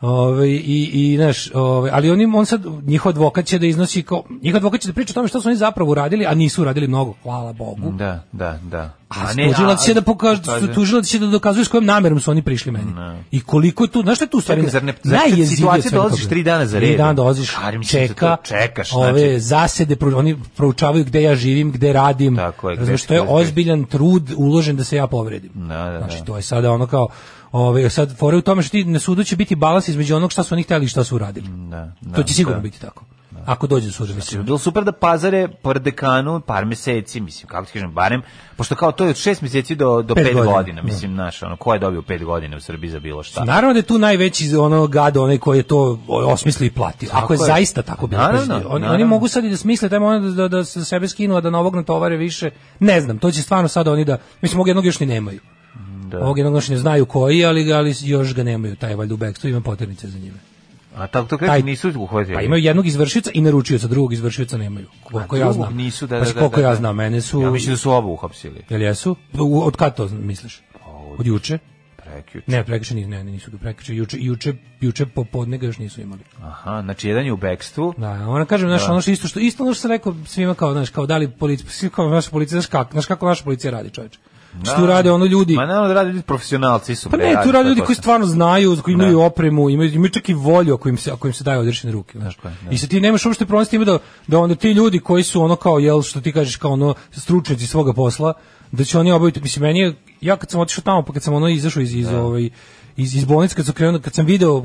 Speaker 7: Ovaj, i, i, znaš, ovaj, ali on, im- on sad, njihov advokat će da iznosi, kao, njihov advokat će da priča o tome što su oni zapravo uradili, a nisu uradili mnogo, hvala Bogu.
Speaker 6: Da, da, da.
Speaker 7: A, tužilac će da pokaže, su- tužilac će da dokazuje s kojom namerom su oni prišli meni. I koliko je tu, znaš šta je tu u stvari?
Speaker 6: Čekaj, zar ne- zar kad
Speaker 7: najjezivije
Speaker 6: situacija
Speaker 7: od svega
Speaker 6: dolaziš
Speaker 7: toga?
Speaker 6: tri dana za
Speaker 7: Tri
Speaker 6: redom?
Speaker 7: dana dolaziš,
Speaker 6: Ali mislim da
Speaker 7: čeka,
Speaker 6: to čekaš, znači-
Speaker 7: ove zasede, pru- oni proučavaju gde ja živim, gde radim.
Speaker 6: Tako je, gde
Speaker 7: Razumeš,
Speaker 6: si,
Speaker 7: to je
Speaker 6: gde si, gde si.
Speaker 7: ozbiljan trud uložen da se ja povredim.
Speaker 6: Da, da,
Speaker 7: znači,
Speaker 6: da.
Speaker 7: to je sada ono kao, ove, sad fore u tome što ti na sudu će biti balans između onog šta su oni hteli i šta su uradili.
Speaker 6: Da, da,
Speaker 7: to će sigurno
Speaker 6: da. Znači,
Speaker 7: biti tako. Ako dođe do suda, mislim.
Speaker 6: Bilo super da pazare par dekanu par meseci, mislim, kako ti kažem, barem, pošto kao to je od šest mjeseci do, do
Speaker 7: Pet
Speaker 6: pet, godina,
Speaker 7: godina,
Speaker 6: mislim, znaš, ono, ko je dobio pet godina u Srbiji za bilo šta?
Speaker 7: Naravno da je tu najveći ono gado onaj koji je to osmislio i platio. Ako
Speaker 6: Tako
Speaker 7: je
Speaker 6: je.
Speaker 7: zaista tako bilo.
Speaker 6: Naravno,
Speaker 7: pazi, oni, oni
Speaker 6: naravno.
Speaker 7: mogu sad i da smisle taj moment da, da se sebe skinu, a da na ovog natovare više. Ne znam, to će stvarno sada oni da... Mislim, ovog jednog još ni nemaju. Da. Ovog jednog još ne znaju koji, ali, ga- ali još ga nemaju. Taj valjda u backstreet ima poternice za njime.
Speaker 6: A tako to
Speaker 7: Taj-
Speaker 6: kaže, nisu uhvatili.
Speaker 7: Pa imaju jednog izvršioca i naručioca, drugog izvršioca nemaju. Koliko
Speaker 6: A
Speaker 7: ja
Speaker 6: drugog
Speaker 7: znam.
Speaker 6: Nisu, da,
Speaker 7: Pazi,
Speaker 6: da, da,
Speaker 7: koliko
Speaker 6: da,
Speaker 7: ja
Speaker 6: da.
Speaker 7: znam, mene su...
Speaker 6: Ja mislim da su oba uhapsili.
Speaker 7: Jel jesu? U- Od kad to misliš?
Speaker 6: Pa
Speaker 7: Od juče?
Speaker 6: Prekjuče.
Speaker 7: Ne, prekriče, ne, ne, nisu ga prekriče. Juče, juče, juče popodne ga još nisu imali.
Speaker 6: Aha, znači jedan je u bekstvu.
Speaker 7: Da, ona kažem, znaš, ono što isto što isto ono što sam rekao svima kao, znaš, kao da li policija, svi kao naša policija, znaš kako, znaš kako naša policija radi, čoveče. Što tu rade ono ljudi?
Speaker 6: Ma naravno da radi ljudi profesionalci su.
Speaker 7: Pa
Speaker 6: bre,
Speaker 7: ne, tu rade
Speaker 6: to
Speaker 7: ljudi
Speaker 6: to
Speaker 7: koji
Speaker 6: sam.
Speaker 7: stvarno znaju, koji imaju opremu, imaju, imaju čak i volju ako im se, ako im se daju odrešene ruke. Znaš.
Speaker 6: Tako je, da.
Speaker 7: I se ti nemaš uopšte problem s time da, da onda ti ljudi koji su ono kao, jel, što ti kažeš, kao ono stručnjaci svoga posla, da će oni obaviti, mislim, meni je, ja kad sam otišao tamo, pa kad sam ono izašao iz, iz, ovaj, iz, iz bolnice, kad, sam krenuo, kad sam video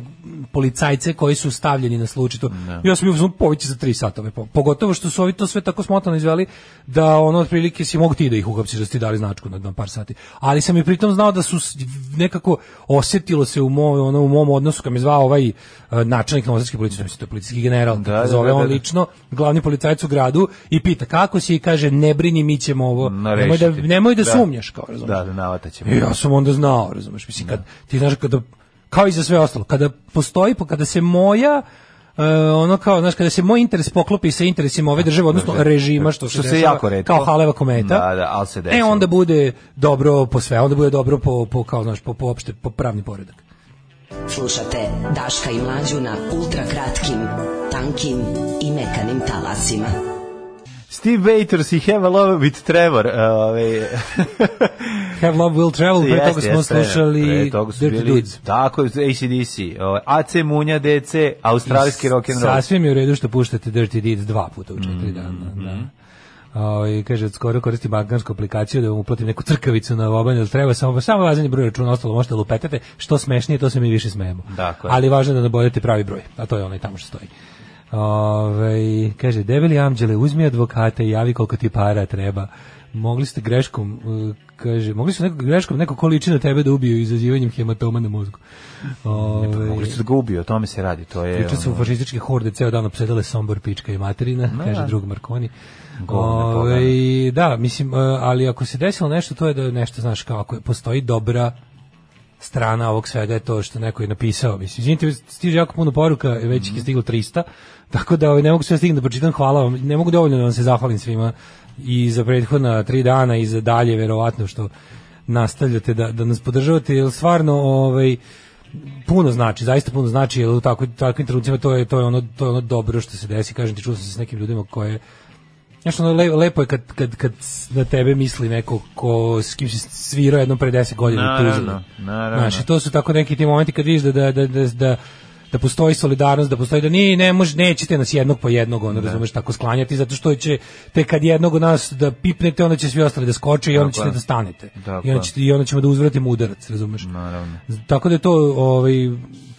Speaker 7: policajce koji su stavljeni na slučaj, to, ja sam bio uzmano povići za tri satove, pogotovo što su ovi to sve tako smotano izveli, da ono otprilike si mogu ti da ih uhapsiš, da su ti dali značku na, na par sati. Ali sam i pritom znao da su s- nekako osjetilo se u moj, ono, u mom odnosu kad me zvao ovaj e, načelnik novosadske policije, mislim, to je policijski general, da,
Speaker 6: da,
Speaker 7: zove
Speaker 6: da,
Speaker 7: on
Speaker 6: da.
Speaker 7: lično, glavni policajac u gradu i pita kako si i kaže ne brini mi ćemo ovo, nemoj da,
Speaker 6: Narešiti.
Speaker 7: nemoj da,
Speaker 6: Da.
Speaker 7: sumnjaš kao, razumiješ.
Speaker 6: Da, da navataćemo.
Speaker 7: I E, ja sam onda znao, razumeš, mislim, kad, ti znaš, kada, kao i za sve ostalo, kada postoji, pa kada se moja, e, ono kao, znaš, kada se moj interes poklopi sa interesima ove države, odnosno režima, što se,
Speaker 6: Što se
Speaker 7: dešava,
Speaker 6: jako retko.
Speaker 7: kao Haleva kometa,
Speaker 6: Da, da, ali se
Speaker 7: e,
Speaker 6: desilo.
Speaker 7: onda bude dobro po sve, onda bude dobro po, po kao, znaš, po, po opšte, po pravni poredak.
Speaker 2: Slušate Daška i Mlađu na ultrakratkim, tankim i mekanim talasima.
Speaker 6: Steve Waiters i Have a Love with Trevor. e, ovaj, Ove,
Speaker 7: Have Love Will Travel, pre toga smo
Speaker 6: pre
Speaker 7: slušali
Speaker 6: toga su
Speaker 7: Dirty
Speaker 6: bili-
Speaker 7: Dudes.
Speaker 6: Tako, je, ACDC. Ovaj, AC Munja DC, australijski rock'n'roll.
Speaker 7: Sasvim je u redu što puštate Dirty Deeds dva puta u
Speaker 6: Mhm,
Speaker 7: četiri dana. Da. O, i kaže, skoro koristi bankarsku aplikaciju da vam uplatim neku crkavicu na obanju, ali treba samo, samo važan je broj računa, ostalo možete lupetate, što smešnije, to se mi više smejemo.
Speaker 6: Tako je.
Speaker 7: Ali važno je da nabodete pravi broj, a to je onaj tamo što stoji. Ove, kaže, debeli amđele, uzmi advokata i javi koliko ti para treba. Mogli ste greškom, uh, kaže, mogli su nekog greškom, neko ko liči na tebe da ubiju izazivanjem hematoma na mozgu. Ove,
Speaker 6: pa Mogli su da ga ubiju, o tome se radi. To je,
Speaker 7: Juče su
Speaker 6: ono,
Speaker 7: fašističke horde ceo dan opsedale Sombor, Pička i Materina, kaže drug Markoni.
Speaker 6: Govno,
Speaker 7: Ove, da, mislim, e, ali ako se desilo nešto, to je da nešto, znaš, kao ako je- postoji dobra strana ovog svega je to što neko je napisao. Mislim, izvinite, stiže jako puno poruka, već ih je stiglo 300, tako da ovaj, ne mogu sve stignem da pročitam, hvala vam, ne mogu dovoljno da vam se zahvalim svima i za prethodna tri dana i za dalje, verovatno, što nastavljate da, da nas podržavate, jer stvarno, ovaj, puno znači, zaista puno znači, jer u tako, takvim trenucima to je, to, je ono, to je ono dobro što se desi, kažem ti, čuo sam se s nekim ljudima koje Znaš, ono, le, lepo je kad, kad, kad na tebe misli neko ko, s kim si svirao jednom pre 10 godina u Tuzli.
Speaker 6: Naravno, naravno.
Speaker 7: Znaš, i to su tako neki ti momenti kad vidiš da, da, da, da, da da postoji solidarnost, da postoji da ni ne može nećete nas jednog po jednog, ono razumeš tako sklanjati zato što će te kad jednog od nas da pipnete, onda će svi ostali da skoče i onda
Speaker 6: Tako
Speaker 7: ćete
Speaker 6: je.
Speaker 7: da stanete.
Speaker 6: Tako
Speaker 7: I onda
Speaker 6: je.
Speaker 7: ćete i onda ćemo da uzvratimo udarac, razumeš?
Speaker 6: ono, Naravno.
Speaker 7: Tako da je to ovaj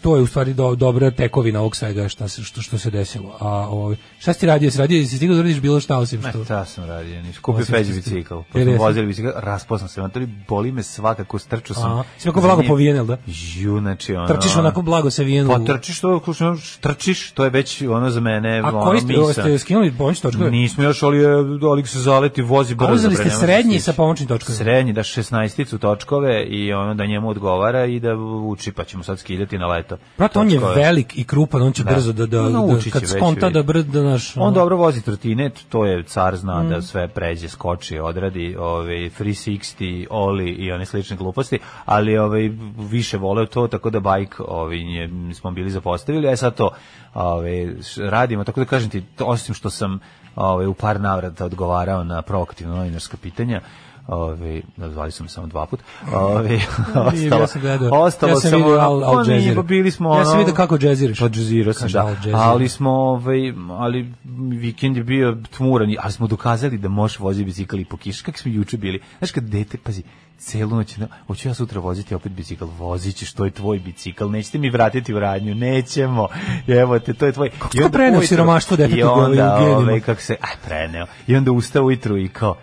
Speaker 7: to je u stvari do, dobra tekovina ovog svega šta se što što se desilo. A ovaj šta si ti radio? Si radio jesi stigao da uradiš bilo šta osim što?
Speaker 6: Ne, ta sam radio, niš. Kupio
Speaker 7: Osim
Speaker 6: peđi
Speaker 7: što ste-
Speaker 6: bicikl, pa
Speaker 7: Jel
Speaker 6: sam
Speaker 7: jesi?
Speaker 6: vozili bicikl, raspao sam se, na to li boli me svakako, strčao sam.
Speaker 7: Aha, si onako blago
Speaker 6: za njim.
Speaker 7: povijen, jel da?
Speaker 6: Ju, znači, ono...
Speaker 7: Trčiš onako blago se vijenu.
Speaker 6: Pa trčiš to, kušno, trčiš, to je već ono za mene,
Speaker 7: A
Speaker 6: ono,
Speaker 7: koji ste,
Speaker 6: misa.
Speaker 7: ste skinuli pomoć točkove?
Speaker 6: Nismo još, ali je- ali se zaleti, vozi brzo.
Speaker 7: uzeli
Speaker 6: bre,
Speaker 7: ste
Speaker 6: ne može
Speaker 7: srednji
Speaker 6: stići.
Speaker 7: sa pomoćnim točkovima?
Speaker 6: Srednji, da 16 točkove i ono da njemu odgovara i da uči, pa ćemo sad skidati na leto.
Speaker 7: Brate, on je
Speaker 6: točkove.
Speaker 7: velik i krupan, on će
Speaker 6: Da.
Speaker 7: brzo da, da, da
Speaker 6: Naučit će
Speaker 7: kad
Speaker 6: već,
Speaker 7: skonta
Speaker 6: vidi.
Speaker 7: da ono, brzo da naš...
Speaker 6: On dobro vozi trotinet, to je car zna
Speaker 7: Mm.
Speaker 6: da sve pređe, skoči, odradi, ovaj free 60, oli i one slične gluposti, ali ovaj više voleo to tako da bajk ovaj je, smo bili zapostavili, a sad to ovaj š- radimo, tako da kažem ti to, osim što sam ovaj u par navrata odgovarao na provokativna novinarska pitanja, Ove, nazvali su me samo dva put. Ove, ostalo,
Speaker 7: ja sam gledao.
Speaker 6: ostalo
Speaker 7: ja sam
Speaker 6: samo
Speaker 7: vidio
Speaker 6: ono-
Speaker 7: Al,
Speaker 6: Pa
Speaker 7: Al
Speaker 6: nije,
Speaker 7: Jazeera.
Speaker 6: pa bili smo
Speaker 7: Ja sam
Speaker 6: ono-
Speaker 7: vidio kako džeziraš.
Speaker 6: pa džezirao sam,
Speaker 7: Kaže,
Speaker 6: da.
Speaker 7: Al Jazeera.
Speaker 6: Ali smo, ovaj, ali vikend je bio tmuran, i- ali smo dokazali da možeš voziti bicikl i po kiši. Kako smo juče bili? Znaš kad dete, pazi, celu noć, na- hoću ja sutra voziti opet bicikl, vozit ćeš, to je tvoj bicikl, nećete mi vratiti u radnju, nećemo, evo te, to je tvoj. Kako
Speaker 7: ti to preneo siromaštvo detetu
Speaker 6: I
Speaker 7: u
Speaker 6: onda,
Speaker 7: genima?
Speaker 6: ovaj, kako se, aj, preneo. I onda ustao ujutru i kao,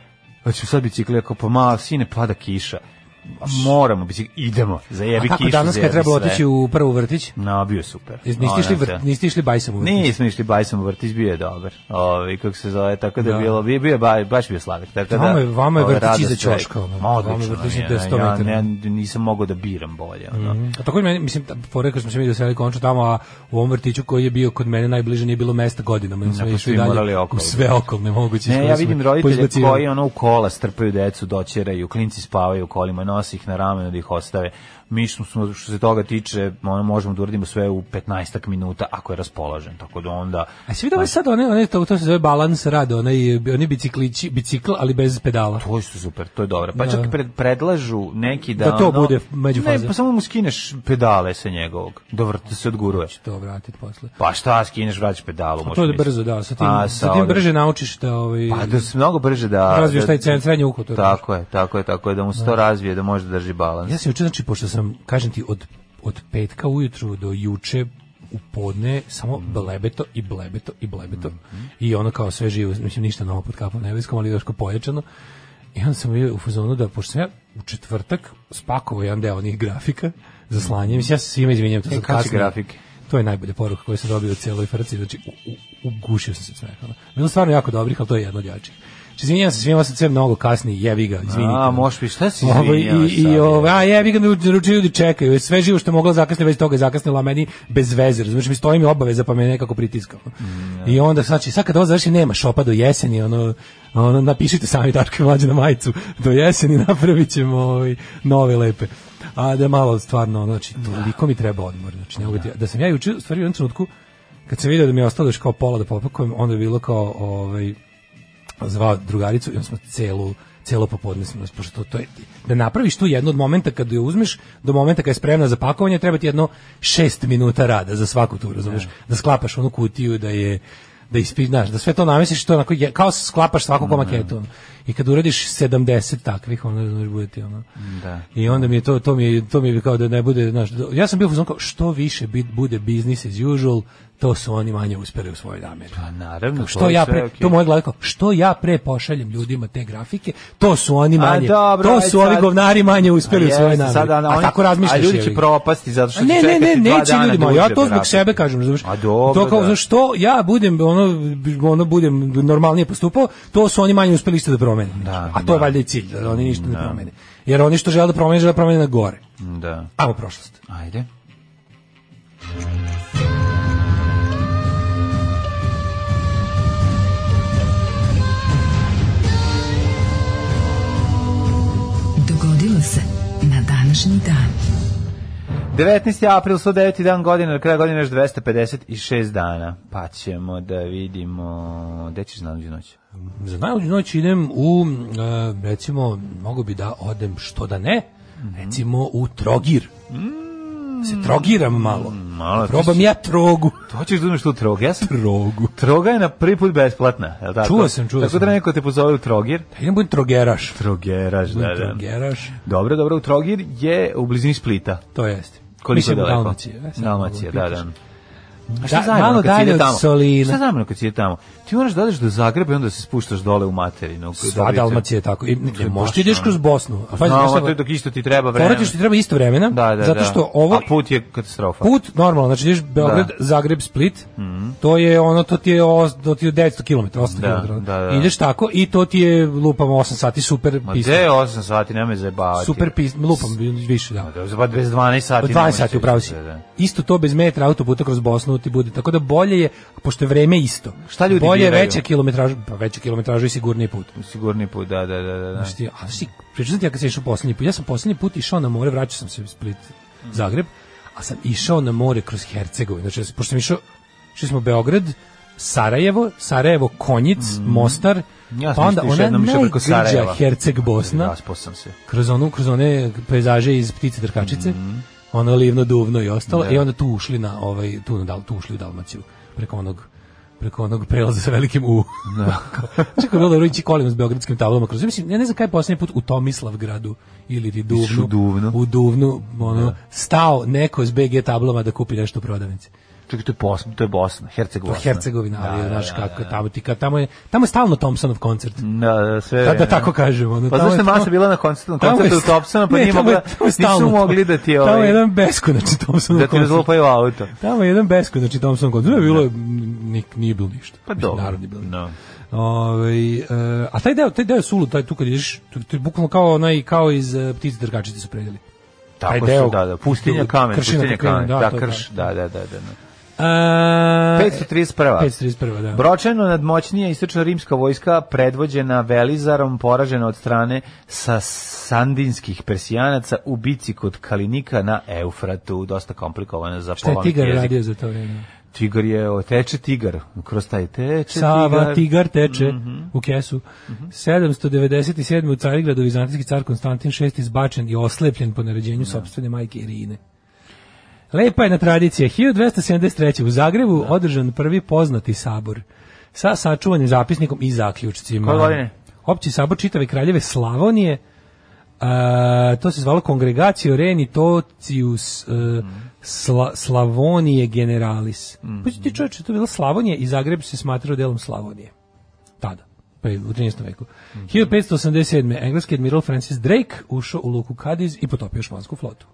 Speaker 6: hoću sad bicikl, ja kao, pa ma, sine, pada kiša. Moramo bicikl, idemo,
Speaker 7: A
Speaker 6: zajebi kišu,
Speaker 7: kako danas kad
Speaker 6: zajebi
Speaker 7: trebalo
Speaker 6: sve.
Speaker 7: otići u prvu vrtić?
Speaker 6: No, bio je super.
Speaker 7: Iz- Niste išli,
Speaker 6: Ono,
Speaker 7: vrt, niste išli bajsom u vrtić?
Speaker 6: Nismo išli bajsom u vrtić, bio je dobar. Ovaj kako se zove, tako da je bilo, bio bio je ba- baš bio sladak. Tako da
Speaker 7: Vama je- vama je
Speaker 6: ovaj,
Speaker 7: vrtić
Speaker 6: radost
Speaker 7: iza
Speaker 6: sve.
Speaker 7: ćoška, ono.
Speaker 6: Ma, odlično
Speaker 7: Vama je vrtić
Speaker 6: mi je,
Speaker 7: na
Speaker 6: ne,
Speaker 7: 100
Speaker 6: ja
Speaker 7: metara. Mhm.
Speaker 6: ne, nisam mogao da biram bolje, ono.
Speaker 7: A tako i meni, mislim, porekao smo se mi da seli končno tamo, a u ovom vrtiću koji je bio kod mene najbliže nije bilo mesta godinama. Ja,
Speaker 6: pa
Speaker 7: smo
Speaker 6: svi
Speaker 7: išli dalje.
Speaker 6: morali okolo.
Speaker 7: U sve okolne moguće.
Speaker 6: Ne,
Speaker 7: koje
Speaker 6: ja
Speaker 7: smo
Speaker 6: vidim roditelje
Speaker 7: poizbacivali.
Speaker 6: koji ono u kola strpaju decu, doćeraju, klinci spavaju u kolima, nose ih na ramenu da ih ostave. Mi smo, smo, što se toga tiče, ono, možemo da uradimo sve u 15 minuta ako je raspoložen, tako da onda...
Speaker 7: A si vidio
Speaker 6: Pa.
Speaker 7: ovaj sad one, one to, to se zove balans rada, onaj, oni biciklići, bicikl, ali bez pedala.
Speaker 6: To je isto super, to je dobro. Pa
Speaker 7: Da.
Speaker 6: čak i pred, predlažu neki da...
Speaker 7: Da to
Speaker 6: ono-
Speaker 7: bude međufaza.
Speaker 6: Ne, pa samo mu skineš pedale sa njegovog. Dobro, da se odguruje.
Speaker 7: To vratiti posle.
Speaker 6: Pa šta, skineš, vraćaš pedalu.
Speaker 7: Pa To
Speaker 6: možeš
Speaker 7: je
Speaker 6: misliti.
Speaker 7: brzo, da, sa tim,
Speaker 6: A,
Speaker 7: sa tim
Speaker 6: ovim-
Speaker 7: brže naučiš da... Ovaj,
Speaker 6: Pa da se mnogo brže da...
Speaker 7: Razviješ
Speaker 6: da-
Speaker 7: taj cen- srednje uho, to je
Speaker 6: Tako je, tako je, tako je, da mu se to razvije, da može da drži balans.
Speaker 7: Ja sam juče, znači, pošto sam, kažem ti, od, od petka ujutru do juče u podne samo
Speaker 6: Mm.
Speaker 7: blebeto i blebeto i blebeto
Speaker 6: Mm-hmm.
Speaker 7: i ono kao sve živo, mislim ništa novo pod kapom nebeskom, ali još kao pojačano i onda sam bio u fazonu da, pošto sam ja u četvrtak spakovao jedan deo onih grafika za slanje, mislim ja se svima izvinjam to
Speaker 6: E,
Speaker 7: sam
Speaker 6: kad si
Speaker 7: kasnije-
Speaker 6: grafike?
Speaker 7: to je najbolja poruka koju sam dobio od cijeloj frci, znači u, u, ugušio sam se od smeha. ono. Bilo je stvarno jako dobrih, ali to je jedno od jačih. Znači, izvinjam se svima, sad sve mnogo kasnije, jevi ga, ono. izvinite.
Speaker 6: A, možeš biti, šta si
Speaker 7: Ovo, Ovaj, i,
Speaker 6: izvinjao sad,
Speaker 7: i
Speaker 6: je?
Speaker 7: ovo, a jebi ga naručuju ljudi čekaju, sve živo što je mogla zakasniti, već toga je zakasnila, a meni bez veze, razumiješ, mi stoji mi obaveza, pa me nekako pritiskao. I onda, znači, sad kad ovo završi, nema šopa do jeseni, ono, ono napišite sami Daško i Mlađe na majicu, do jeseni napravit ćemo ovaj, nove lepe. A da malo stvarno, ono, znači, toliko mi treba odmor, znači, ne mogu ti- da sam ja juče, u stvari u jednom trenutku, kad sam vidio da mi je ostalo još kao pola da popakujem, onda je bilo kao, ovaj, zvao drugaricu i onda smo celu celo popodne smo pošto to, to je, da napraviš tu jedno od momenta kad je uzmeš do momenta kad je spremna za pakovanje treba ti jedno 6 minuta rada za svaku tu razumeš da sklapaš onu kutiju da je da ispi, znaš, da sve to namestiš to onako je, kao sklapaš svaku komaketu. ono. I kad uradiš 70 takvih, onda razumeš bude ti ono.
Speaker 6: Da.
Speaker 7: I onda mi je to to mi je, to mi je kao da ne bude, znaš, da- ja sam bio u fazonu kao što više bit, bude business as usual, to su oni manje uspeli u svojoj nameri.
Speaker 6: Pa naravno,
Speaker 7: Kao,
Speaker 6: to
Speaker 7: što
Speaker 6: je
Speaker 7: ja
Speaker 6: sve
Speaker 7: pre,
Speaker 6: okej.
Speaker 7: to moje glave kao, što ja pre pošaljem ljudima te grafike, to su oni
Speaker 6: A,
Speaker 7: manje,
Speaker 6: dobro,
Speaker 7: to
Speaker 6: aj
Speaker 7: su ovi
Speaker 6: sad-
Speaker 7: govnari manje uspeli u
Speaker 6: A
Speaker 7: svojoj
Speaker 6: Pa jeste,
Speaker 7: nameri.
Speaker 6: sad,
Speaker 7: a
Speaker 6: oni-
Speaker 7: tako
Speaker 6: A
Speaker 7: razmišljaš.
Speaker 6: ljudi će
Speaker 7: jebi ga.
Speaker 6: propasti zato što
Speaker 7: A ne,
Speaker 6: će
Speaker 7: ne,
Speaker 6: čekati
Speaker 7: ne,
Speaker 6: dva
Speaker 7: neće
Speaker 6: dana
Speaker 7: ljudi
Speaker 6: da
Speaker 7: moji, ja
Speaker 6: uđe
Speaker 7: to zbog
Speaker 6: grafika.
Speaker 7: sebe kažem, razumeš?
Speaker 6: A dobro,
Speaker 7: to kao,
Speaker 6: da.
Speaker 7: znaš, što ja budem, ono, ono, budem normalnije postupao, to su oni manje uspeli isto da promene.
Speaker 6: Da,
Speaker 7: a to je
Speaker 6: da.
Speaker 7: valjda i cilj, da oni ništa ne promene. Jer oni što žele da promene, žele da promene na gore.
Speaker 6: Da.
Speaker 7: Ajmo u prošlost.
Speaker 6: Ajde.
Speaker 5: Dogodilo se na današnji dan.
Speaker 6: 19. april, 109. dan godine, na kraju godine još 256 dana. Pa ćemo da vidimo... Gde ćeš na nođu noć?
Speaker 7: Za najluđu noć idem u, e, recimo, mogu bi da odem, što da ne,
Speaker 6: Mhm.
Speaker 7: recimo u Trogir. Se trogiram malo.
Speaker 6: Mm. malo,
Speaker 7: Probam ja trogu.
Speaker 6: To hoćeš da uzmeš tu trog? Ja sam...
Speaker 7: Trogu.
Speaker 6: Troga je na prvi put besplatna, je li tako?
Speaker 7: Čuo sam, čuo
Speaker 6: tako
Speaker 7: sam.
Speaker 6: Tako da neko te pozove u Trogir.
Speaker 7: Da idem budem trogeraš.
Speaker 6: Trogeraš, da,
Speaker 7: Budem
Speaker 6: da.
Speaker 7: trogeraš.
Speaker 6: Dobro, dobro, u Trogir je u blizini Splita.
Speaker 7: To jeste.
Speaker 6: Koliko
Speaker 7: Mislim,
Speaker 6: je daleko?
Speaker 7: Dalmacije. e, sad
Speaker 6: Dalmacije,
Speaker 7: mogu
Speaker 6: da,
Speaker 7: da
Speaker 6: da.
Speaker 7: pitaš.
Speaker 6: A šta
Speaker 7: Da,
Speaker 6: zajedno
Speaker 7: malo
Speaker 6: kad si ide
Speaker 7: dalje od
Speaker 6: tamo?
Speaker 7: Solina.
Speaker 6: Šta zajedno kad si ide tamo? Ti moraš da odeš do Zagreba i onda se spuštaš dole u materinu.
Speaker 7: Sva Dalmacija je tako. I,
Speaker 6: To je
Speaker 7: možeš ti
Speaker 6: baš
Speaker 7: ideš
Speaker 6: ono.
Speaker 7: kroz Bosnu. A
Speaker 6: Znamo,
Speaker 7: pazi, znaš šta-
Speaker 6: to je dok isto ti treba vremena.
Speaker 7: Forat ćeš ti treba isto vremena,
Speaker 6: Da, da,
Speaker 7: zato
Speaker 6: da.
Speaker 7: što ovo...
Speaker 6: A put je katastrofa.
Speaker 7: Put, normalno, znači ideš Beograd,
Speaker 6: Pa. Da. Mhm.
Speaker 7: Zagreb, Split, to je ono, to ti je, o, to ti je 900 km, 800
Speaker 6: Da,
Speaker 7: km.
Speaker 6: da, da.
Speaker 7: Ideš tako i to ti je, lupamo, 8 sati, super
Speaker 6: Ma
Speaker 7: pista.
Speaker 6: gde je ovaj 8 sati, nemoj zajebavati.
Speaker 7: Super pista, lupam, više, da.
Speaker 6: Pa da, Za bez 12 sati.
Speaker 7: Od
Speaker 6: nemoj
Speaker 7: 12 sati
Speaker 6: se-
Speaker 7: upravo si.
Speaker 6: Da, da.
Speaker 7: Isto to bez metra autoputa kroz Bosnu ti bude. Tako da bolje je, pošto je vreme isto.
Speaker 6: Šta ljudi
Speaker 7: Bolje je
Speaker 6: biraju?
Speaker 7: veća kilometraža, pa veća kilometraža i sigurniji put.
Speaker 6: Sigurni put, da, da, da, da. da.
Speaker 7: Znaš ti, a znaš ti, pričao sam ti ja kad sam išao poslednji put, ja sam poslednji put išao na more, vraćao sam se u Split,
Speaker 6: Mhm.
Speaker 7: Zagreb, a sam išao na more kroz Hercegovinu, znači, ja sam- pošto sam išao, išli smo u Beograd, Sarajevo, Sarajevo, Konjic, Mostar,
Speaker 6: Mhm. Ja
Speaker 7: pa
Speaker 6: sam
Speaker 7: onda
Speaker 6: isto išao
Speaker 7: ona
Speaker 6: jednom išao preko
Speaker 7: najgrđa
Speaker 6: Sarajeva.
Speaker 7: Herceg Bosna,
Speaker 6: Raspao sam se.
Speaker 7: kroz onu, kroz one pejzaže iz ptice trkačice, ono livno duvno i ostalo,
Speaker 6: Mhm. Da.
Speaker 7: i onda tu ušli na ovaj, tu, na, Dal- tu ušli u Dalmaciju, preko onog preko onog prelaza sa velikim U. Da. Čekaj, bilo dobro ići kolima s beogradskim tablama kroz. Mislim, ja ne znam kaj je posljednji put u Tomislavgradu ili ti Duvnu,
Speaker 6: u Duvnu.
Speaker 7: u Duvnu, ono, stao neko s BG tablama da kupi nešto u prodavnici.
Speaker 6: Čekaj, to je Bosna, to je Bosna, Herceg Bosna.
Speaker 7: Hercegovina, ali znaš kako je tamo ti, kad tamo je, tamo je stalno Thompsonov koncert.
Speaker 6: Da, da, sve.
Speaker 7: Da, da
Speaker 6: vreme.
Speaker 7: tako kažemo. ono,
Speaker 6: E, Pa
Speaker 7: tamo
Speaker 6: znaš da
Speaker 7: je-
Speaker 6: masa bila na koncertu, na
Speaker 7: Tamo je-
Speaker 6: koncertu u Topsona, pa
Speaker 7: Ne,
Speaker 6: nije
Speaker 7: tamo je-
Speaker 6: mogla,
Speaker 7: tamo je
Speaker 6: nisu
Speaker 7: stalno
Speaker 6: mogli da ti,
Speaker 7: Tamo je
Speaker 6: ovaj,
Speaker 7: jedan znači, beskonačni Thompsonov
Speaker 6: da ti
Speaker 7: koncert.
Speaker 6: razlupaju auto. Pa
Speaker 7: Tamo je jedan beskonačni Thompson koncert. Ne, bilo je, nik, nije bilo ništa.
Speaker 6: Pa
Speaker 7: Mislim,
Speaker 6: dobro.
Speaker 7: Naravno, nije bilo ništa.
Speaker 6: No.
Speaker 7: Ovaj, e, a taj deo, taj deo sulu, taj tu kad ideš, to, to je bukvalno kao onaj, kao iz e, ptice drkačice su predeli.
Speaker 6: Tako
Speaker 7: deo-
Speaker 6: su, da, da, pustinja kamen,
Speaker 7: kršina
Speaker 6: pustinja
Speaker 7: pod krivim,
Speaker 6: kamen,
Speaker 7: da,
Speaker 6: da,
Speaker 7: to je
Speaker 6: krš,
Speaker 7: to.
Speaker 6: da, da, da, da. da.
Speaker 7: A,
Speaker 6: 531.
Speaker 7: 531, da.
Speaker 6: Bročeno nadmoćnija istočna rimska vojska predvođena Velizarom poražena od strane sa sandinskih persijanaca u bici kod Kalinika na Eufratu, dosta komplikovana za
Speaker 7: Šta je
Speaker 6: polovnik
Speaker 7: Tigar
Speaker 6: jezik.
Speaker 7: radio za to vreme?
Speaker 6: Tigar je, o, teče tigar, kroz taj teče
Speaker 7: Sava,
Speaker 6: tigar.
Speaker 7: Tigar teče
Speaker 6: Mhm.
Speaker 7: u kesu. 797. u Carigradu vizantijski car Konstantin VI izbačen i oslepljen po naređenju sopstvene majke Irine. Lepa je na tradicija. 1273. u Zagrebu održan prvi poznati sabor sa sačuvanim zapisnikom i zaključcima.
Speaker 6: Koje godine?
Speaker 7: Opći sabor čitave kraljeve Slavonije a, to se zvalo Congregatio Renitocius e,
Speaker 6: Mhm.
Speaker 7: Sla- Slavonije Generalis. Mm. Pa ti čovječe, to je bila Slavonija i Zagreb se smatrao delom Slavonije. Tada, pa i u 13. veku. 1587. Engleski admiral Francis Drake ušao u luku Cadiz i potopio špansku flotu.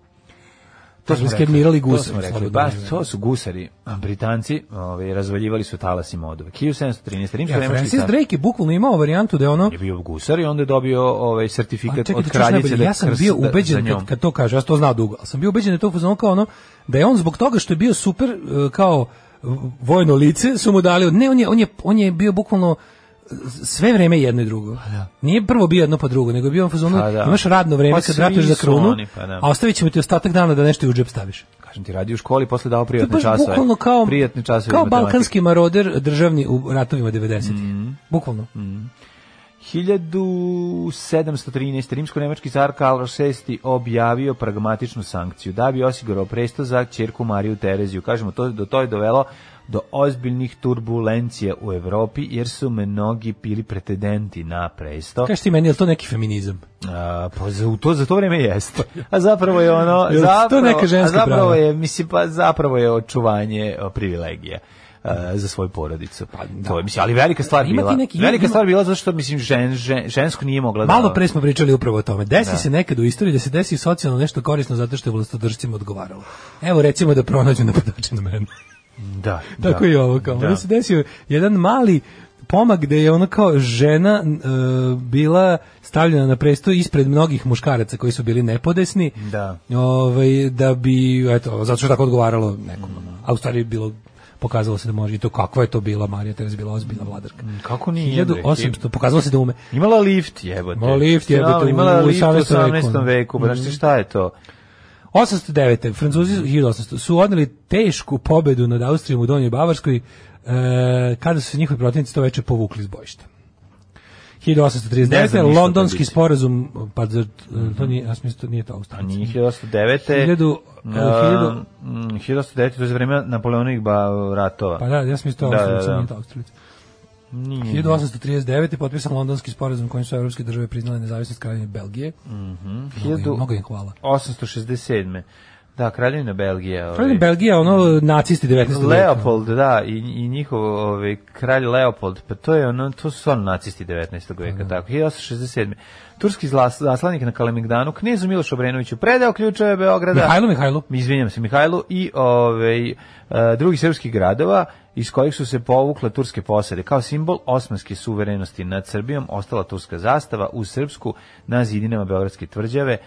Speaker 6: To smo
Speaker 7: Engleski
Speaker 6: rekli.
Speaker 7: admiral i
Speaker 6: To
Speaker 7: gusar,
Speaker 6: smo rekli.
Speaker 7: slobodno
Speaker 6: Baš
Speaker 7: vreme.
Speaker 6: to su gusari. A Britanci ovaj, razvaljivali su talasima od uvek. 1713. Rimsko
Speaker 7: Ja,
Speaker 6: nemački
Speaker 7: Francis
Speaker 6: car
Speaker 7: Drake je bukvalno imao varijantu da je ono
Speaker 6: je bio gusar i onda je dobio ovaj
Speaker 7: A
Speaker 6: sertifikat
Speaker 7: Pa, čekaj,
Speaker 6: od
Speaker 7: ti ćeš
Speaker 6: kraljice
Speaker 7: najbolje,
Speaker 6: da
Speaker 7: ja sam
Speaker 6: krst
Speaker 7: bio
Speaker 6: da- za
Speaker 7: ubeđen
Speaker 6: njom.
Speaker 7: kad, kad to kaže, ja sam to znao dugo, ali sam bio ubeđen da je to fuzon kao ono da je on zbog toga što je bio super e, kao e, vojno lice su mu dali, ne on je on je on je bio bukvalno e, sve vreme jedno i drugo. Nije prvo bio jedno pa drugo, nego je bio on fuzonu,
Speaker 6: Pa da.
Speaker 7: imaš radno vreme
Speaker 6: Pa
Speaker 7: kad
Speaker 6: svi
Speaker 7: ratuješ za
Speaker 6: su
Speaker 7: krunu,
Speaker 6: oni, pa da.
Speaker 7: a ostavit ćemo ti ostatak dana da nešto i u džep staviš.
Speaker 6: Kažem ti, radi u školi, posle dao
Speaker 7: To je
Speaker 6: prijatne
Speaker 7: baš
Speaker 6: časove.
Speaker 7: bukvalno kao,
Speaker 6: prijatne časove iz
Speaker 7: kao
Speaker 6: matematike. Mhm.
Speaker 7: balkanski maroder državni u ratovima 90-ih. Bukvalno.
Speaker 6: 1713. Rimsko-nemački car Karlo VI objavio pragmatičnu sankciju da bi osigurao presto za čerku Mariju Tereziju. Kažemo, to, do to je dovelo do ozbiljnih turbulencija u Evropi, jer su mnogi bili pretendenti na presto.
Speaker 7: Kaži ti meni, je li to neki feminizam?
Speaker 6: A, pa za, u to, za to vrijeme jeste. A zapravo je ono...
Speaker 7: Jel to
Speaker 6: zapravo,
Speaker 7: neka
Speaker 6: a
Speaker 7: ženska
Speaker 6: zapravo
Speaker 7: prava?
Speaker 6: je, mislim, pa zapravo je očuvanje o, privilegija a, za svoju porodicu. Pa, To je, mislim, ali velika stvar
Speaker 7: Ima ti
Speaker 6: bila.
Speaker 7: neki- ima-
Speaker 6: velika
Speaker 7: ima-
Speaker 6: stvar bila zato što mislim žen, žen, žensko nije mogla da-
Speaker 7: Malo pre smo pričali upravo o tome. Desi se nekad u istoriji da se desi socijalno nešto korisno zato što je vlastodržcima odgovaralo. Evo recimo da pronađu napadače na mene.
Speaker 6: Da.
Speaker 7: Tako
Speaker 6: da.
Speaker 7: i ovo kao.
Speaker 6: Da.
Speaker 7: Onda se desio jedan mali pomak gde je ona kao žena e, bila stavljena na presto ispred mnogih muškaraca koji su bili nepodesni.
Speaker 6: Da.
Speaker 7: Ovaj da bi eto zato što je tako odgovaralo nekom. ono. A u stvari je bilo pokazalo se da može i to kakva je to bila Marija Terezija bila ozbiljna vladarka.
Speaker 6: Mm, Kako nije? bre?
Speaker 7: 1800 pokazalo se da ume.
Speaker 6: Imala lift, jebote.
Speaker 7: Imala lift, jebote,
Speaker 6: Imala
Speaker 7: u
Speaker 6: lift u
Speaker 7: 18. veku.
Speaker 6: 18. veku. Braš ti šta je to?
Speaker 7: 809. Francuzi su- 1800 su odneli tešku pobedu nad Austrijom u Donjoj Bavarskoj e, kada su se njihovi protivnici to veče povukli iz bojišta.
Speaker 6: Ne
Speaker 7: 1839.
Speaker 6: znam ništa o toj
Speaker 7: Londonski
Speaker 6: bitci.
Speaker 7: sporazum, pa zar, e, to nije, ja sam mislio, to nije to
Speaker 6: A
Speaker 7: Austrija.
Speaker 6: nije 1809.
Speaker 7: Hiljadu-
Speaker 6: A,
Speaker 7: hiljadu-
Speaker 6: mm, 1809. To je za vreme Napoleonih ba, ratova.
Speaker 7: Pa da, ja sam mislio to
Speaker 6: Da,
Speaker 7: Austrija,
Speaker 6: da, Mhm. da.
Speaker 7: nije to Austrija. 1839. je potpisan londonski sporazum kojim su evropske države priznale nezavisnost kraljevine Belgije. Mnogo im- Mnogo im hvala.
Speaker 6: 1867. Da, kraljevina Belgija. ovaj.
Speaker 7: Kraljevina Belgija, ono, nacisti 19. veka.
Speaker 6: Leopold, da, i, i njihov ovaj, kralj Leopold, pa to je ono, to su stvarno nacisti 19. veka, tako, 1867. Turski zlas- zaslanik na Kalemegdanu, knezu Milošu Obrenoviću predao ključeve Beograda.
Speaker 7: Mihajlo, Mihajlo.
Speaker 6: izvinjam se Mihajlu i ovaj e, drugih srpskih gradova iz kojih su se povukle turske posade kao simbol osmanske suverenosti nad Srbijom ostala turska zastava u srpsku na zidinama beogradske tvrđave e,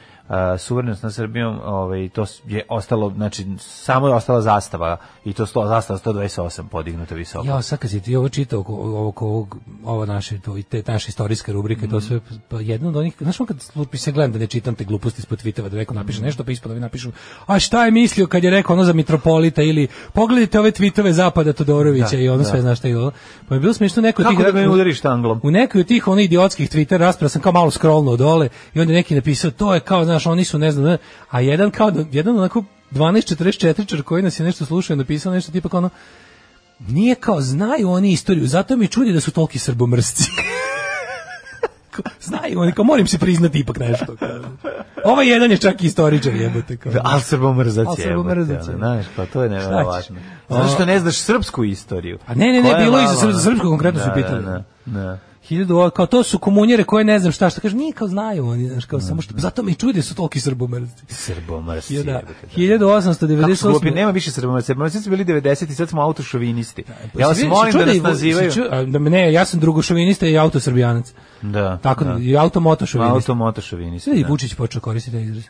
Speaker 6: suverenost nad Srbijom ovaj to s- je ostalo znači samo je ostala zastava i to sto, zastava 128 podignuta visoko
Speaker 7: Ja, sad kad si ti ovo čitao oko, ovo, oko ovog, ovo naše, to, i te naše istorijske rubrike,
Speaker 6: Mhm.
Speaker 7: to sve, pa jedno od onih, znaš on kad slupi se gledam da ne čitam te gluposti ispod tviteva, da neko
Speaker 6: Mhm.
Speaker 7: napiše nešto, pa ispod ovi napišu, a šta je mislio kad je rekao ono za mitropolita ili pogledajte ove tvitove Zapada Todorovića
Speaker 6: Da,
Speaker 7: i ono
Speaker 6: da.
Speaker 7: sve, znaš šta je ono. Pa je bilo smiješno neko
Speaker 6: Kako da ga ne udariš štanglom?
Speaker 7: u nekoj od tih onih idiotskih Twitter rasprava sam kao malo scrollnuo dole i onda je neki napisao to je kao znaš oni su ne znam ne, a jedan kao da- jedan onako 1244 koji nas je nešto slušao je napisao nešto tipa kao ono nije kao znaju oni istoriju zato mi čudi da su toliki srbomrsci Kao, znaju oni kao moram se priznati ipak nešto kao. ovaj jedan je čak i istoričar jebote kao
Speaker 6: Da, ali srbomrzac
Speaker 7: Al
Speaker 6: je.
Speaker 7: srbomrzac
Speaker 6: jebote,
Speaker 7: je.
Speaker 6: ono, Znaš, pa to je nevjerovatno. Zato što ne znaš srpsku istoriju.
Speaker 7: A ne, ne, ne,
Speaker 6: Koja je
Speaker 7: bilo je
Speaker 6: mala,
Speaker 7: za srp- za srpsku konkretno
Speaker 6: da,
Speaker 7: su pitali.
Speaker 6: Da, da, da.
Speaker 7: 1000 kao to su komunjere koje ne znam šta šta kaže nije kao znaju oni znaš kao samo što zato mi čudi da su toliki srbomrsci
Speaker 6: Srbomrsci.
Speaker 7: Hiljada-
Speaker 6: jebote, da. Kako su glupi,
Speaker 7: 1898.
Speaker 6: nema više srbomrzaca. Srbomrzaci su bili 90 i sad smo autošovinisti.
Speaker 7: Pa
Speaker 6: Ja vas
Speaker 7: si vidio- si
Speaker 6: molim
Speaker 7: čuo
Speaker 6: da nas
Speaker 7: i-
Speaker 6: nazivaju.
Speaker 7: si čuo- a, da me ne, ja sam drugošovinista i autosrbijanac.
Speaker 6: Da.
Speaker 7: Tako
Speaker 6: da.
Speaker 7: i automotošovinista.
Speaker 6: Automotošovinisti.
Speaker 7: Sve i
Speaker 6: da.
Speaker 7: Vučić počeo koristiti taj izraz.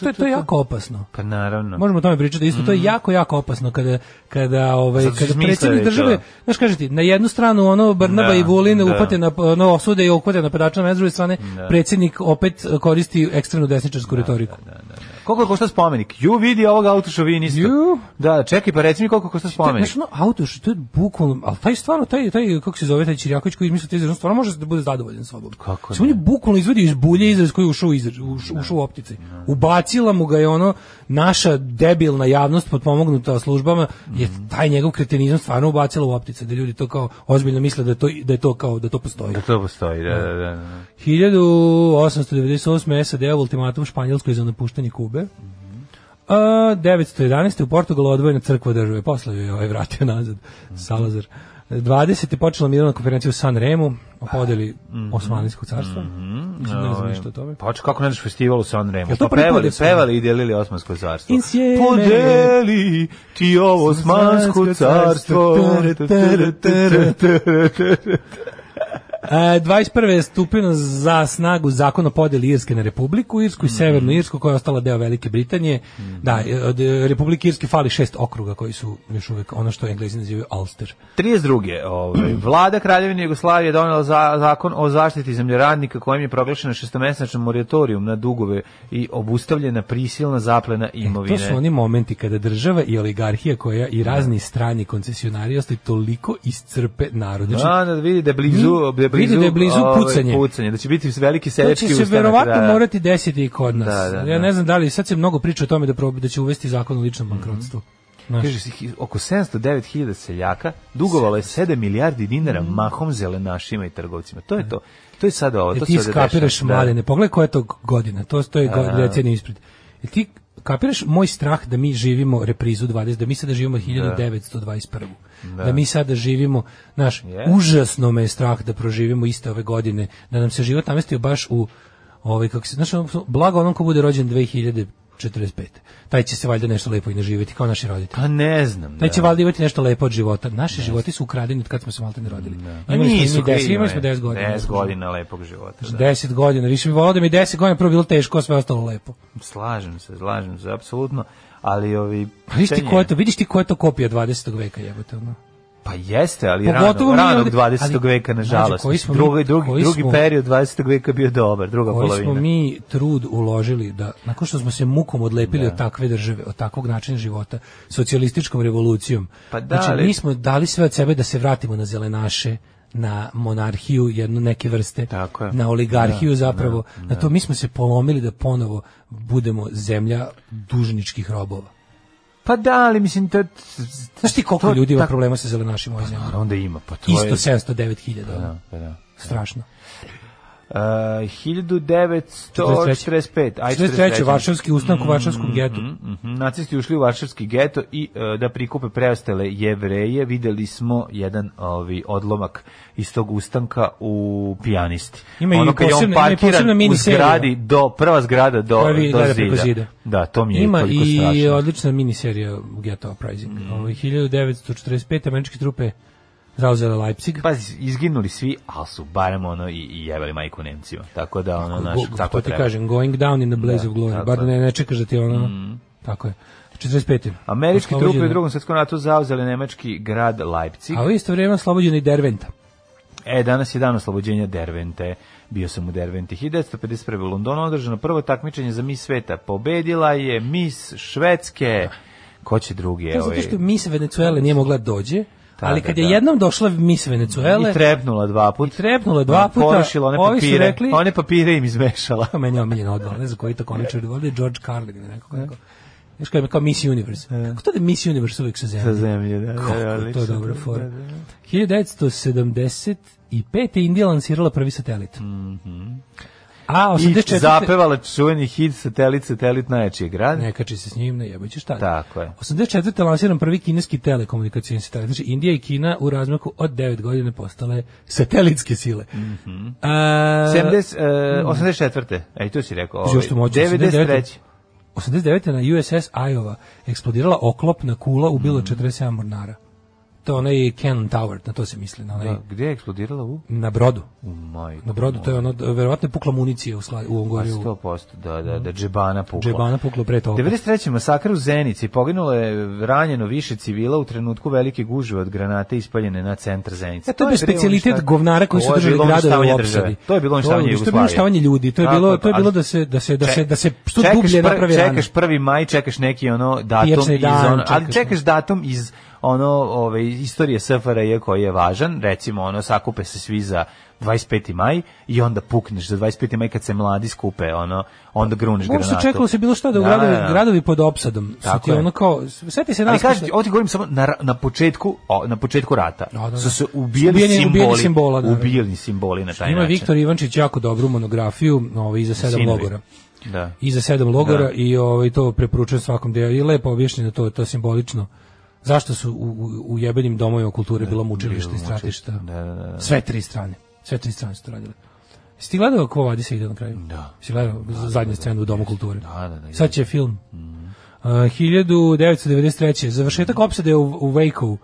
Speaker 7: To je to je jako opasno.
Speaker 6: Pa naravno.
Speaker 7: Možemo o tome pričati isto, to je jako jako opasno kada kada ovaj
Speaker 6: Mm. Zato što
Speaker 7: kada
Speaker 6: smisla
Speaker 7: predsjednik
Speaker 6: je to.
Speaker 7: države, znaš kažete, ti, na jednu stranu ono Brnaba
Speaker 6: Da,
Speaker 7: i Vulin
Speaker 6: da.
Speaker 7: upate na ono osude i upate napadača, na s druge strane predsjednik opet koristi ekstremnu desničarsku retoriku.
Speaker 6: Koliko je košta spomenik? Ju, vidi ovog autošovinista.
Speaker 7: Ju.
Speaker 6: Da, čekaj, pa reci mi koliko košta spomenik.
Speaker 7: Znaš, ono, auto što je bukvalno, ali taj stvarno, taj, taj, kako se zove, taj Čirjaković koji izmislio te izraz, on stvarno može da bude zadovoljan sobom.
Speaker 6: Kako
Speaker 7: Samo on
Speaker 6: ne?
Speaker 7: je bukvalno izvadio iz bulje izraz koji je ušao, u izraz, uš- ušao u optice. Ubacila mu ga je ono, naša debilna javnost potpomognuta službama, je
Speaker 6: Mhm.
Speaker 7: taj njegov kretenizam stvarno ubacila u optice, da ljudi to kao ozbiljno misle da je to, da je to kao, da to postoji.
Speaker 6: Da to postoji, da, da, da. da.
Speaker 7: 1898. SAD je ultimatum Španjolskoj za napuštanje Kube. A, 911. u Portugalu odvojena crkva od države. Posle ju je ovaj vratio nazad. Salazar. 20. je počela mirovna konferencija u San Remu o podeli Osmanijskog carstva. Mislim, ne znam
Speaker 6: Ovaj,
Speaker 7: ništa o tome.
Speaker 6: Pa oči, kako ne znaš festival u San Remo?
Speaker 7: Jel to
Speaker 6: Pa pevali,
Speaker 7: pripovijed sve?
Speaker 6: pevali i delili Osmansko carstvo.
Speaker 7: Insieme.
Speaker 6: Podeli ti ovo Osmansko carstvo.
Speaker 7: E, 21. je stupio na- za snagu zakon o podeli Irske na Republiku Irsku i Severnu Irsku koja je ostala deo Velike Britanije. Da, e, od e, Republike Irske fali šest okruga koji su još uvijek ono što Englezi nazivaju Ulster.
Speaker 6: 32. Ovaj, vlada Kraljevine Jugoslavije donela za, zakon o zaštiti zemljoradnika kojim je proglašena šestomesečna moratorijum na dugove i obustavljena prisilna zaplena imovine.
Speaker 7: E, To su oni momenti kada država i oligarhija koja i razni strani koncesionari ostaju toliko iscrpe narod. Znači,
Speaker 6: Da, da vidi da je blizu, da je blizu,
Speaker 7: Vidu da je blizu
Speaker 6: ovaj,
Speaker 7: pucanje.
Speaker 6: pucanje, da će biti veliki
Speaker 7: To
Speaker 6: seljački
Speaker 7: će se
Speaker 6: ustanak.
Speaker 7: verovatno
Speaker 6: da, da.
Speaker 7: morati desiti i kod nas.
Speaker 6: Da, da, da. Mhm.
Speaker 7: Ja ne znam da li, sad se mnogo priča o tome da, prob, da će uvesti zakon o ličnom bankrotstvu. Znaš.
Speaker 6: Kaže, si- oko 709.000 seljaka dugovalo je 7 milijardi dinara
Speaker 7: Mm.
Speaker 6: mahom zelenašima i trgovcima. To je to. To je sada ovo.
Speaker 7: Jer
Speaker 6: Pa To
Speaker 7: E, ti
Speaker 6: se ovde
Speaker 7: skapiraš
Speaker 6: dešava. Da.
Speaker 7: mlade, ne pogledaj koja je to godina, to, to je godina, decenija ispred. Jer ti kapiraš moj strah da mi živimo reprizu 20, da mi sada živimo 1921. Da, mi sada živimo, znaš,
Speaker 6: Yes.
Speaker 7: užasno me je strah da proživimo iste ove godine, da nam se život namestio baš u, ovaj, kako se, znaš, ono, blago onom ko bude rođen 2045. Taj će se valjda nešto lepo i naživjeti, kao naši roditelji.
Speaker 6: Pa ne znam.
Speaker 7: Taj će valjda imati nešto lepo od života. Naši životi su ukradeni od kad smo se malte ne rodili.
Speaker 6: A
Speaker 7: Imali smo
Speaker 6: nisu
Speaker 7: mi deset-
Speaker 6: krivi,
Speaker 7: imali smo 10 godina.
Speaker 6: 10 godina lepog života. Da.
Speaker 7: 10 godina, više bi volao da mi 10 godina prvo bilo teško, a sve ostalo lepo.
Speaker 6: Slažem se, slažem se, apsolutno. Ali ovi...
Speaker 7: Pa vidiš ti
Speaker 6: pitanje-
Speaker 7: ko je to, vidiš ti ko je to kopija 20. veka jebote, ono.
Speaker 6: Pa jeste, ali
Speaker 7: Pogotovo
Speaker 6: Pogotovo
Speaker 7: mi
Speaker 6: ranog
Speaker 7: ovde-
Speaker 6: 20.
Speaker 7: ali,
Speaker 6: veka,
Speaker 7: mlađe,
Speaker 6: nažalost.
Speaker 7: koji smo mi-
Speaker 6: drugi, drugi,
Speaker 7: koji
Speaker 6: drugi
Speaker 7: smo-
Speaker 6: period 20. veka bio dobar, druga
Speaker 7: Koji
Speaker 6: Pa polovina.
Speaker 7: smo mi trud uložili da, nakon što smo se mukom odlepili od takve države, od takvog načina života, socijalističkom revolucijom,
Speaker 6: Pa da,
Speaker 7: znači
Speaker 6: ali-
Speaker 7: mi smo dali sve od sebe da se vratimo na zelenaše, na monarhiju jednu neke vrste,
Speaker 6: Tako je.
Speaker 7: na oligarhiju zapravo, na to mi smo se polomili da ponovo budemo zemlja dužničkih robova.
Speaker 6: Pa da, ali mislim... To,
Speaker 7: Znaš ti koliko
Speaker 6: to-
Speaker 7: ljudi ima
Speaker 6: tako-
Speaker 7: problema sa zelenašima u ovoj zemlji?
Speaker 6: Onda ima, pa to je...
Speaker 7: Isto 709.000.
Speaker 6: Da,
Speaker 7: Da.
Speaker 6: pa da.
Speaker 7: Strašno.
Speaker 6: Uh, 1945. Aj,
Speaker 7: 43. Varšavski ustanak u Varšavskom getu.
Speaker 6: Mhm, Nacisti ušli u Varšavski geto i e, da prikupe preostale jevreje, videli smo jedan ovi odlomak iz tog ustanka u pijanisti.
Speaker 7: Ima i
Speaker 6: ono kad je on
Speaker 7: posebna- ima i
Speaker 6: parkiran
Speaker 7: posebna
Speaker 6: u
Speaker 7: mini serija.
Speaker 6: zgradi do prva zgrada do
Speaker 7: Koja vi-
Speaker 6: do
Speaker 7: gleda preko
Speaker 6: zida.
Speaker 7: zida.
Speaker 6: Da, to mi mm. je
Speaker 7: Ima
Speaker 6: toliko
Speaker 7: i
Speaker 6: strašno. Mm.
Speaker 7: odlična miniserija Geto Uprising. Ovaj, Ovo je 1945. američke trupe zauzele Leipzig.
Speaker 6: Pazi, izginuli svi, ali su barem ono i, i jebali majku Nemcima. Tako da ono naš
Speaker 7: Go-
Speaker 6: tako
Speaker 7: to ti
Speaker 6: treba.
Speaker 7: kažem, going down in the blaze of glory.
Speaker 6: tako
Speaker 7: Bar da
Speaker 6: je. Mm.
Speaker 7: ne, ne čekaš da ti ono... Tako je. 45.
Speaker 6: Američke trupe
Speaker 7: Oslobođeno-
Speaker 6: u Drugom svjetskom ratu zauzele nemački grad Leipzig.
Speaker 7: A u isto vrijeme oslobođeno i Derventa.
Speaker 6: E, danas je dan oslobođenja Dervente. Bio sam u Derventi. 1951. u Londonu održano prvo takmičenje za Miss Sveta. Pobedila je Miss Švedske. Ko će drugi?
Speaker 7: To je
Speaker 6: evo
Speaker 7: Pa zato
Speaker 6: je.
Speaker 7: što Miss Venezuele nije mogla dođe,
Speaker 6: Da,
Speaker 7: ali
Speaker 6: da,
Speaker 7: kad je
Speaker 6: da.
Speaker 7: jednom došla Miss Venezuele,
Speaker 6: I trepnula dva puta.
Speaker 7: trepnula je dva puta,
Speaker 6: Porušila one
Speaker 7: ovi su
Speaker 6: papire.
Speaker 7: rekli-
Speaker 6: One papire im izmešala.
Speaker 7: Pa meni je omiljen odbal, ne znam koji je to komičar, ovdje je George Carlin, ili neko kako. Znaš kao ima kao Miss Universe. Kako to da je Miss Universe uvijek sa
Speaker 6: E. Sa
Speaker 7: zemlje?
Speaker 6: zemlje. Da, da,
Speaker 7: Kako
Speaker 6: da,
Speaker 7: je to
Speaker 6: odlično.
Speaker 7: dobra
Speaker 6: Da,
Speaker 7: fora.
Speaker 6: da, da.
Speaker 7: 1975. je Indija lansirala prvi satelit. A,
Speaker 6: Mhm. I
Speaker 7: 84.
Speaker 6: zapevala čuveni hit satelit, satelit najjačije grad.
Speaker 7: Ne kači se s njim, ne jebaće šta.
Speaker 6: Tako je.
Speaker 7: 84. lansiran prvi kineski telekomunikacijni satelit. Znači, Indija i Kina u razmaku od 9 godina postale satelitske sile. Mm
Speaker 6: Mhm.
Speaker 7: -hmm. A,
Speaker 6: 70, e, 84. Ej, tu si rekao.
Speaker 7: Još što
Speaker 6: Ovaj.
Speaker 7: moći,
Speaker 6: 93.
Speaker 7: 89. na USS Iowa eksplodirala oklopna kula, ubilo
Speaker 6: Mhm.
Speaker 7: 47 mornara. To je onaj Cannon Tower, na to se misli, na, onaj,
Speaker 6: Da, gde je eksplodirala u?
Speaker 7: na brodu.
Speaker 6: U majku.
Speaker 7: Na brodu, to je ono, verovatno je pukla municija u, sla, u
Speaker 6: Pa
Speaker 7: Ongoriju.
Speaker 6: 100%, da, da, da, džebana pukla.
Speaker 7: Mm. Džebana pukla pre toga.
Speaker 6: 93. masakr u Zenici poginulo je ranjeno više civila u trenutku velike gužve od granate ispaljene na centar Zenice.
Speaker 7: E, to je bio
Speaker 6: bilo
Speaker 7: specijalitet
Speaker 6: uništa-
Speaker 7: govnara koji su
Speaker 6: ono Ovo je
Speaker 7: držali
Speaker 6: bilo
Speaker 7: gradove
Speaker 6: uništavanje
Speaker 7: u
Speaker 6: države.
Speaker 7: opsadi.
Speaker 6: To je bilo
Speaker 7: To
Speaker 6: uništavanje
Speaker 7: je bilo
Speaker 6: Jugoslavije.
Speaker 7: uništavanje ljudi, to je bilo,
Speaker 6: Tako,
Speaker 7: to je bilo
Speaker 6: ali
Speaker 7: da se da se da se
Speaker 6: ček-
Speaker 7: da se što
Speaker 6: čekaš
Speaker 7: dublje
Speaker 6: prvi-
Speaker 7: naprave rane.
Speaker 6: Čekaš 1. maj, čekaš neki ono datum
Speaker 7: Pijačni
Speaker 6: iz
Speaker 7: dan,
Speaker 6: ono, ali
Speaker 7: čekaš
Speaker 6: čekaš datum iz ono ove istorije SFRJ koji je važan, recimo ono sakupe se svi za 25. maj i onda pukneš za 25. maj kad se mladi skupe, ono onda gruniš
Speaker 7: Možda
Speaker 6: granatu.
Speaker 7: se čekalo se bilo šta da u
Speaker 6: Da,
Speaker 7: gradovi,
Speaker 6: da, da.
Speaker 7: gradovi pod opsadom. Su
Speaker 6: Tako
Speaker 7: ti
Speaker 6: je.
Speaker 7: ono kao, sveti se
Speaker 6: Ali
Speaker 7: nas.
Speaker 6: kažem ti, ovdje govorim samo na, ra- na početku, o, na početku rata.
Speaker 7: Da, da, da.
Speaker 6: Su se ubijeni
Speaker 7: Ubijeni-
Speaker 6: simboli.
Speaker 7: ubijeni simbola, da, da.
Speaker 6: ubijeni simboli na taj
Speaker 7: Ima
Speaker 6: način.
Speaker 7: Viktor Ivančić jako dobru monografiju, ovaj iza sedam
Speaker 6: Sinovi.
Speaker 7: logora.
Speaker 6: Da.
Speaker 7: iza sedam logora
Speaker 6: Da.
Speaker 7: i ovaj to preporučujem svakom delu i lepo objašnjeno to to simbolično zašto su u, u, u jebenim domovima kulture bila mučilišta i stratišta
Speaker 6: Da, da, da.
Speaker 7: sve tri strane sve tri strane su to radile Jesi ti gledao Quo Vadis ide na kraju? Da. Si gledao zadnju scenu u Domu kulture?
Speaker 6: Da, da, Mhm. da,
Speaker 7: Sad će film. Uh, 1993. Završetak
Speaker 6: Mhm.
Speaker 7: opsade u, u Waco. uh,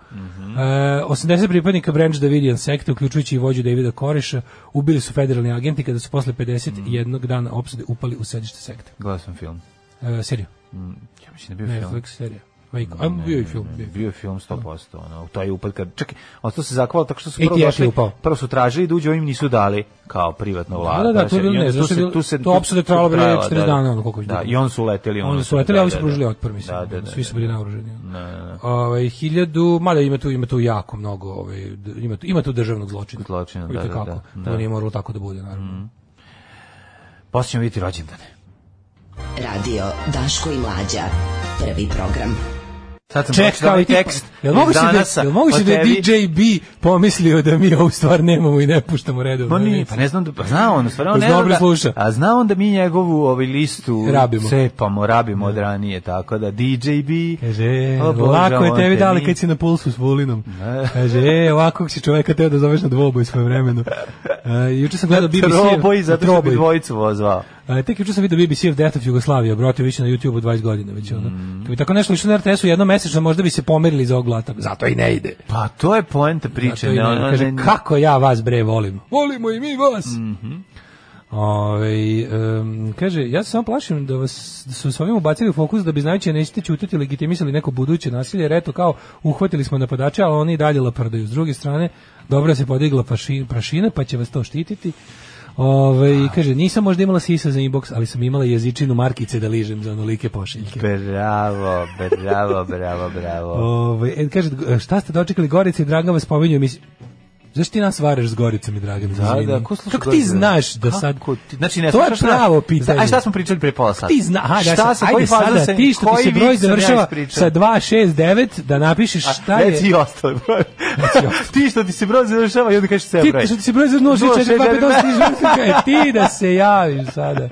Speaker 7: 80 pripadnika Branch Davidian sekte, uključujući i vođu Davida Koriša, ubili su federalni agenti kada su posle
Speaker 6: Mhm.
Speaker 7: 51 dana opsade upali u sedište sekte.
Speaker 6: Gledao sam film. Mm,
Speaker 7: Uh, seriju.
Speaker 6: Ja mislim da je bio film.
Speaker 7: Netflix serija. Majko, ajmo bio je film. bio je film.
Speaker 6: Bio je film 100%, ono, taj upad kad, čekaj, on to se zakvalo tako što su
Speaker 7: ATF
Speaker 6: prvo
Speaker 7: je
Speaker 6: došli,
Speaker 7: upao.
Speaker 6: prvo su tražili da uđu, ovim nisu dali kao privatno vlada.
Speaker 7: da, tu je bilo, ne, znaš šta je bilo, to opsada je trajala, bre, 14 dana, ono, koliko je
Speaker 6: Da,
Speaker 7: bilo.
Speaker 6: i on su leteli.
Speaker 7: Oni su leteli, ali su pružili otpor, mislim. ono, Svi su bili naoruženi. ono.
Speaker 6: Da, E, da, da.
Speaker 7: Ovaj 1000, mada ima tu ima tu jako mnogo, ovaj d- ima tu, ima tu državnog zločina.
Speaker 6: Zločina, da,
Speaker 7: Vidite
Speaker 6: da,
Speaker 7: kako.
Speaker 6: da,
Speaker 7: To
Speaker 6: da. Mm-hmm.
Speaker 7: nije moralo tako da bude, naravno.
Speaker 6: Poslije ćemo vidjeti rođendane.
Speaker 2: Radio Daško i Mlađa. Prvi program.
Speaker 6: Sad sam
Speaker 7: Ček,
Speaker 6: pročitao
Speaker 7: kao i ti-
Speaker 6: Znači, ovaj tekst.
Speaker 7: Jel
Speaker 6: iz
Speaker 7: moguće da,
Speaker 6: danasa
Speaker 7: jel moguće
Speaker 6: o
Speaker 7: da je
Speaker 6: tebi.
Speaker 7: DJ B pomislio da mi ovu stvar nemamo i ne puštamo redovno?
Speaker 6: Ma nije,
Speaker 7: emisiju?
Speaker 6: pa ne znam da, pa zna on, stvarno
Speaker 7: Pa
Speaker 6: ne
Speaker 7: zna,
Speaker 6: znam
Speaker 7: dobro
Speaker 6: da,
Speaker 7: sluša.
Speaker 6: a zna on da mi njegovu ovaj listu
Speaker 7: Rabimo.
Speaker 6: cepamo, rabimo od ranije, tako da DJ B,
Speaker 7: Kaže, "E,
Speaker 6: O Bože,
Speaker 7: lako je
Speaker 6: on
Speaker 7: tebi
Speaker 6: te
Speaker 7: dali
Speaker 6: ni-
Speaker 7: kad si na pulsu s Vulinom. Kaže, e, ovako si čoveka teo da zoveš na dvoboj svoje vremenu. Uh, juče sam gledao BBC.
Speaker 6: Troboj, zato što bi
Speaker 7: Troboj.
Speaker 6: dvojicu vozvao.
Speaker 7: A, tek juče sam vidio BBC of Death of Yugoslavia, brate, više na YouTubeu 20 godina već ono. Kad bi tako nešto išlo na RTS-u jednom mesečno, možda bi se pomerili za ovog glata. Zato i ne ide.
Speaker 6: Pa to je poenta priče.
Speaker 7: Zato i
Speaker 6: ne,
Speaker 7: ne ide.
Speaker 6: ono,
Speaker 7: Kaže,
Speaker 6: ne- Mhm.
Speaker 7: kako ja vas bre volim. Volimo i mi vas. Ovaj, em, kaže, ja se samo plašim da, vas, da su s ovim ubacili u fokus da bi znajući da nećete ćutati legitimisali neko buduće nasilje, jer eto kao uhvatili smo napadače, ali oni i dalje laprdaju. S druge strane, dobro se podigla paši- prašina, pa će vas to štititi. Ove, kaže, nisam možda imala sisa za inbox, ali sam imala jezičinu markice da ližem za onolike pošiljke.
Speaker 6: Bravo, bravo, bravo, bravo.
Speaker 7: Ove, e, kaže, šta ste dočekali Gorica i Dragan vas pominju, mislim, Zašto ti nas varaš s Goricom i Draganom?
Speaker 6: Da,
Speaker 7: izvini?
Speaker 6: da, ko sluša
Speaker 7: Kako ti
Speaker 6: Goricom?
Speaker 7: znaš da sad...
Speaker 6: Kako ti- znači, ne,
Speaker 7: to je
Speaker 6: slušaš nas-
Speaker 7: pravo pitanje. Pa
Speaker 6: Aj, šta smo pričali pre pola sata?
Speaker 7: Ti zna, aha, da,
Speaker 6: Šta
Speaker 7: šta
Speaker 6: se-
Speaker 7: se,
Speaker 6: koji
Speaker 7: ajde
Speaker 6: fazon
Speaker 7: sada,
Speaker 6: sam-
Speaker 7: ti što ti
Speaker 6: koji
Speaker 7: se broj
Speaker 6: vic sam ja
Speaker 7: završava
Speaker 6: ispričao?
Speaker 7: sa 269, da napišeš šta je...
Speaker 6: Reci i ostale broje. ti što ti se broj završava i onda kažeš sve
Speaker 7: ti
Speaker 6: broje.
Speaker 7: što ti se broj završava,
Speaker 6: Nula, šest,
Speaker 7: 4, 2, 5,
Speaker 6: devet,
Speaker 7: 8, E, ti da se javiš sada.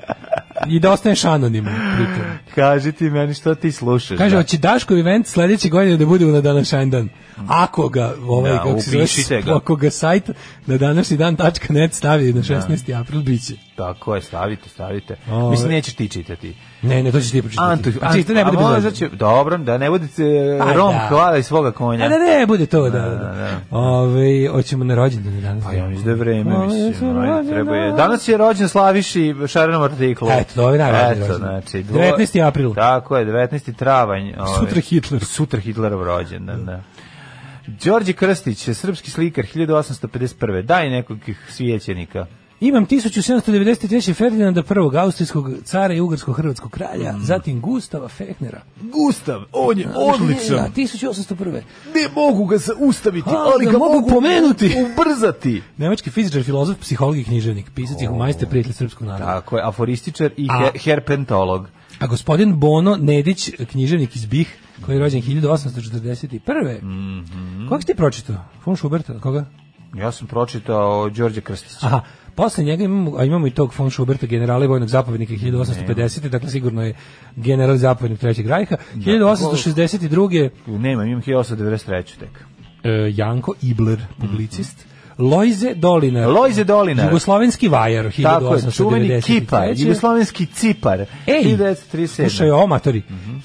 Speaker 7: I da ostaneš anoniman. pritom.
Speaker 6: Kaži ti meni što ti slušaš.
Speaker 7: Kaže,
Speaker 6: da.
Speaker 7: hoće Daškov event sledeće godine da bude na današnji dan. Ako ga, ovaj,
Speaker 6: Da,
Speaker 7: kako se zove,
Speaker 6: upišite ga.
Speaker 7: ako ga sajt na današnji dan.net stavi na 16. april, bit će.
Speaker 6: Tako je, stavite, stavite.
Speaker 7: Ove.
Speaker 6: Mislim, nećeš ti čitati.
Speaker 7: Ne, ne, to ćeš ti pročitati.
Speaker 6: Antu,
Speaker 7: Pa čita,
Speaker 6: Antu-
Speaker 7: ne bude
Speaker 6: a možda
Speaker 7: bezobrazno.
Speaker 6: će- dobro, da ne budete e,
Speaker 7: Aj,
Speaker 6: rom
Speaker 7: da.
Speaker 6: hvala i svoga konja.
Speaker 7: A da ne, bude to, da, da.
Speaker 6: da.
Speaker 7: Ove, hoćemo na rođendan danas.
Speaker 6: Pa ja mislim da je vreme,
Speaker 7: Ove,
Speaker 6: mislim.
Speaker 7: su
Speaker 6: ajde, Treba je.
Speaker 7: rođendan.
Speaker 6: Danas je rođen Slaviši Šarenom artiklu.
Speaker 7: Eto, to je najvažniji
Speaker 6: Eto,
Speaker 7: rođendan.
Speaker 6: znači,
Speaker 7: 19. april.
Speaker 6: Tako je, 19. travanj. ovaj,
Speaker 7: Sutra Hitler.
Speaker 6: Sutra Hitlerov rođendan, da. Đorđe Krstić, srpski slikar 1851. Daj nekog svijećenika.
Speaker 7: Imam 1793. Ferdinanda I, austrijskog cara i ugarsko-hrvatskog kralja,
Speaker 6: Mm.
Speaker 7: zatim Gustava Fehnera.
Speaker 6: Gustav, on je odličan.
Speaker 7: Da, 1801.
Speaker 6: Ne mogu ga zaustaviti,
Speaker 7: A,
Speaker 6: ali
Speaker 7: ga
Speaker 6: ga
Speaker 7: mogu
Speaker 6: mogu
Speaker 7: pomenuti.
Speaker 6: Ubrzati.
Speaker 7: Nemački fizičar, filozof, psiholog i književnik, pisac i humanista, prijatelj srpskog naroda.
Speaker 6: Tako je, aforističar i
Speaker 7: A-
Speaker 6: he- herpentolog.
Speaker 7: A gospodin Bono Nedić, književnik iz Bih, koji je rođen 1841. Mm
Speaker 6: Mhm.
Speaker 7: Koga si ti pročitao? Von Schuberta, koga?
Speaker 6: Ja sam pročitao Đorđe Krstića.
Speaker 7: Aha, posle njega imamo, a imamo i tog von Schuberta, generala i vojnog zapovjednika 1850. Dakle, sigurno je general i zapovjednik Trećeg rajha.
Speaker 6: Dakle,
Speaker 7: 1862.
Speaker 6: Nema, imam 1893. tek.
Speaker 7: e, Janko Ibler, publicist. Lojze Dolinar.
Speaker 6: Mhm. Lojze Dolinar.
Speaker 7: Jugoslovenski vajar, 1893.
Speaker 6: Tako je, čuveni kipar, jugoslovenski cipar.
Speaker 7: Ej,
Speaker 6: 1937.
Speaker 7: slušaj, ovo, matori.
Speaker 6: Mhm.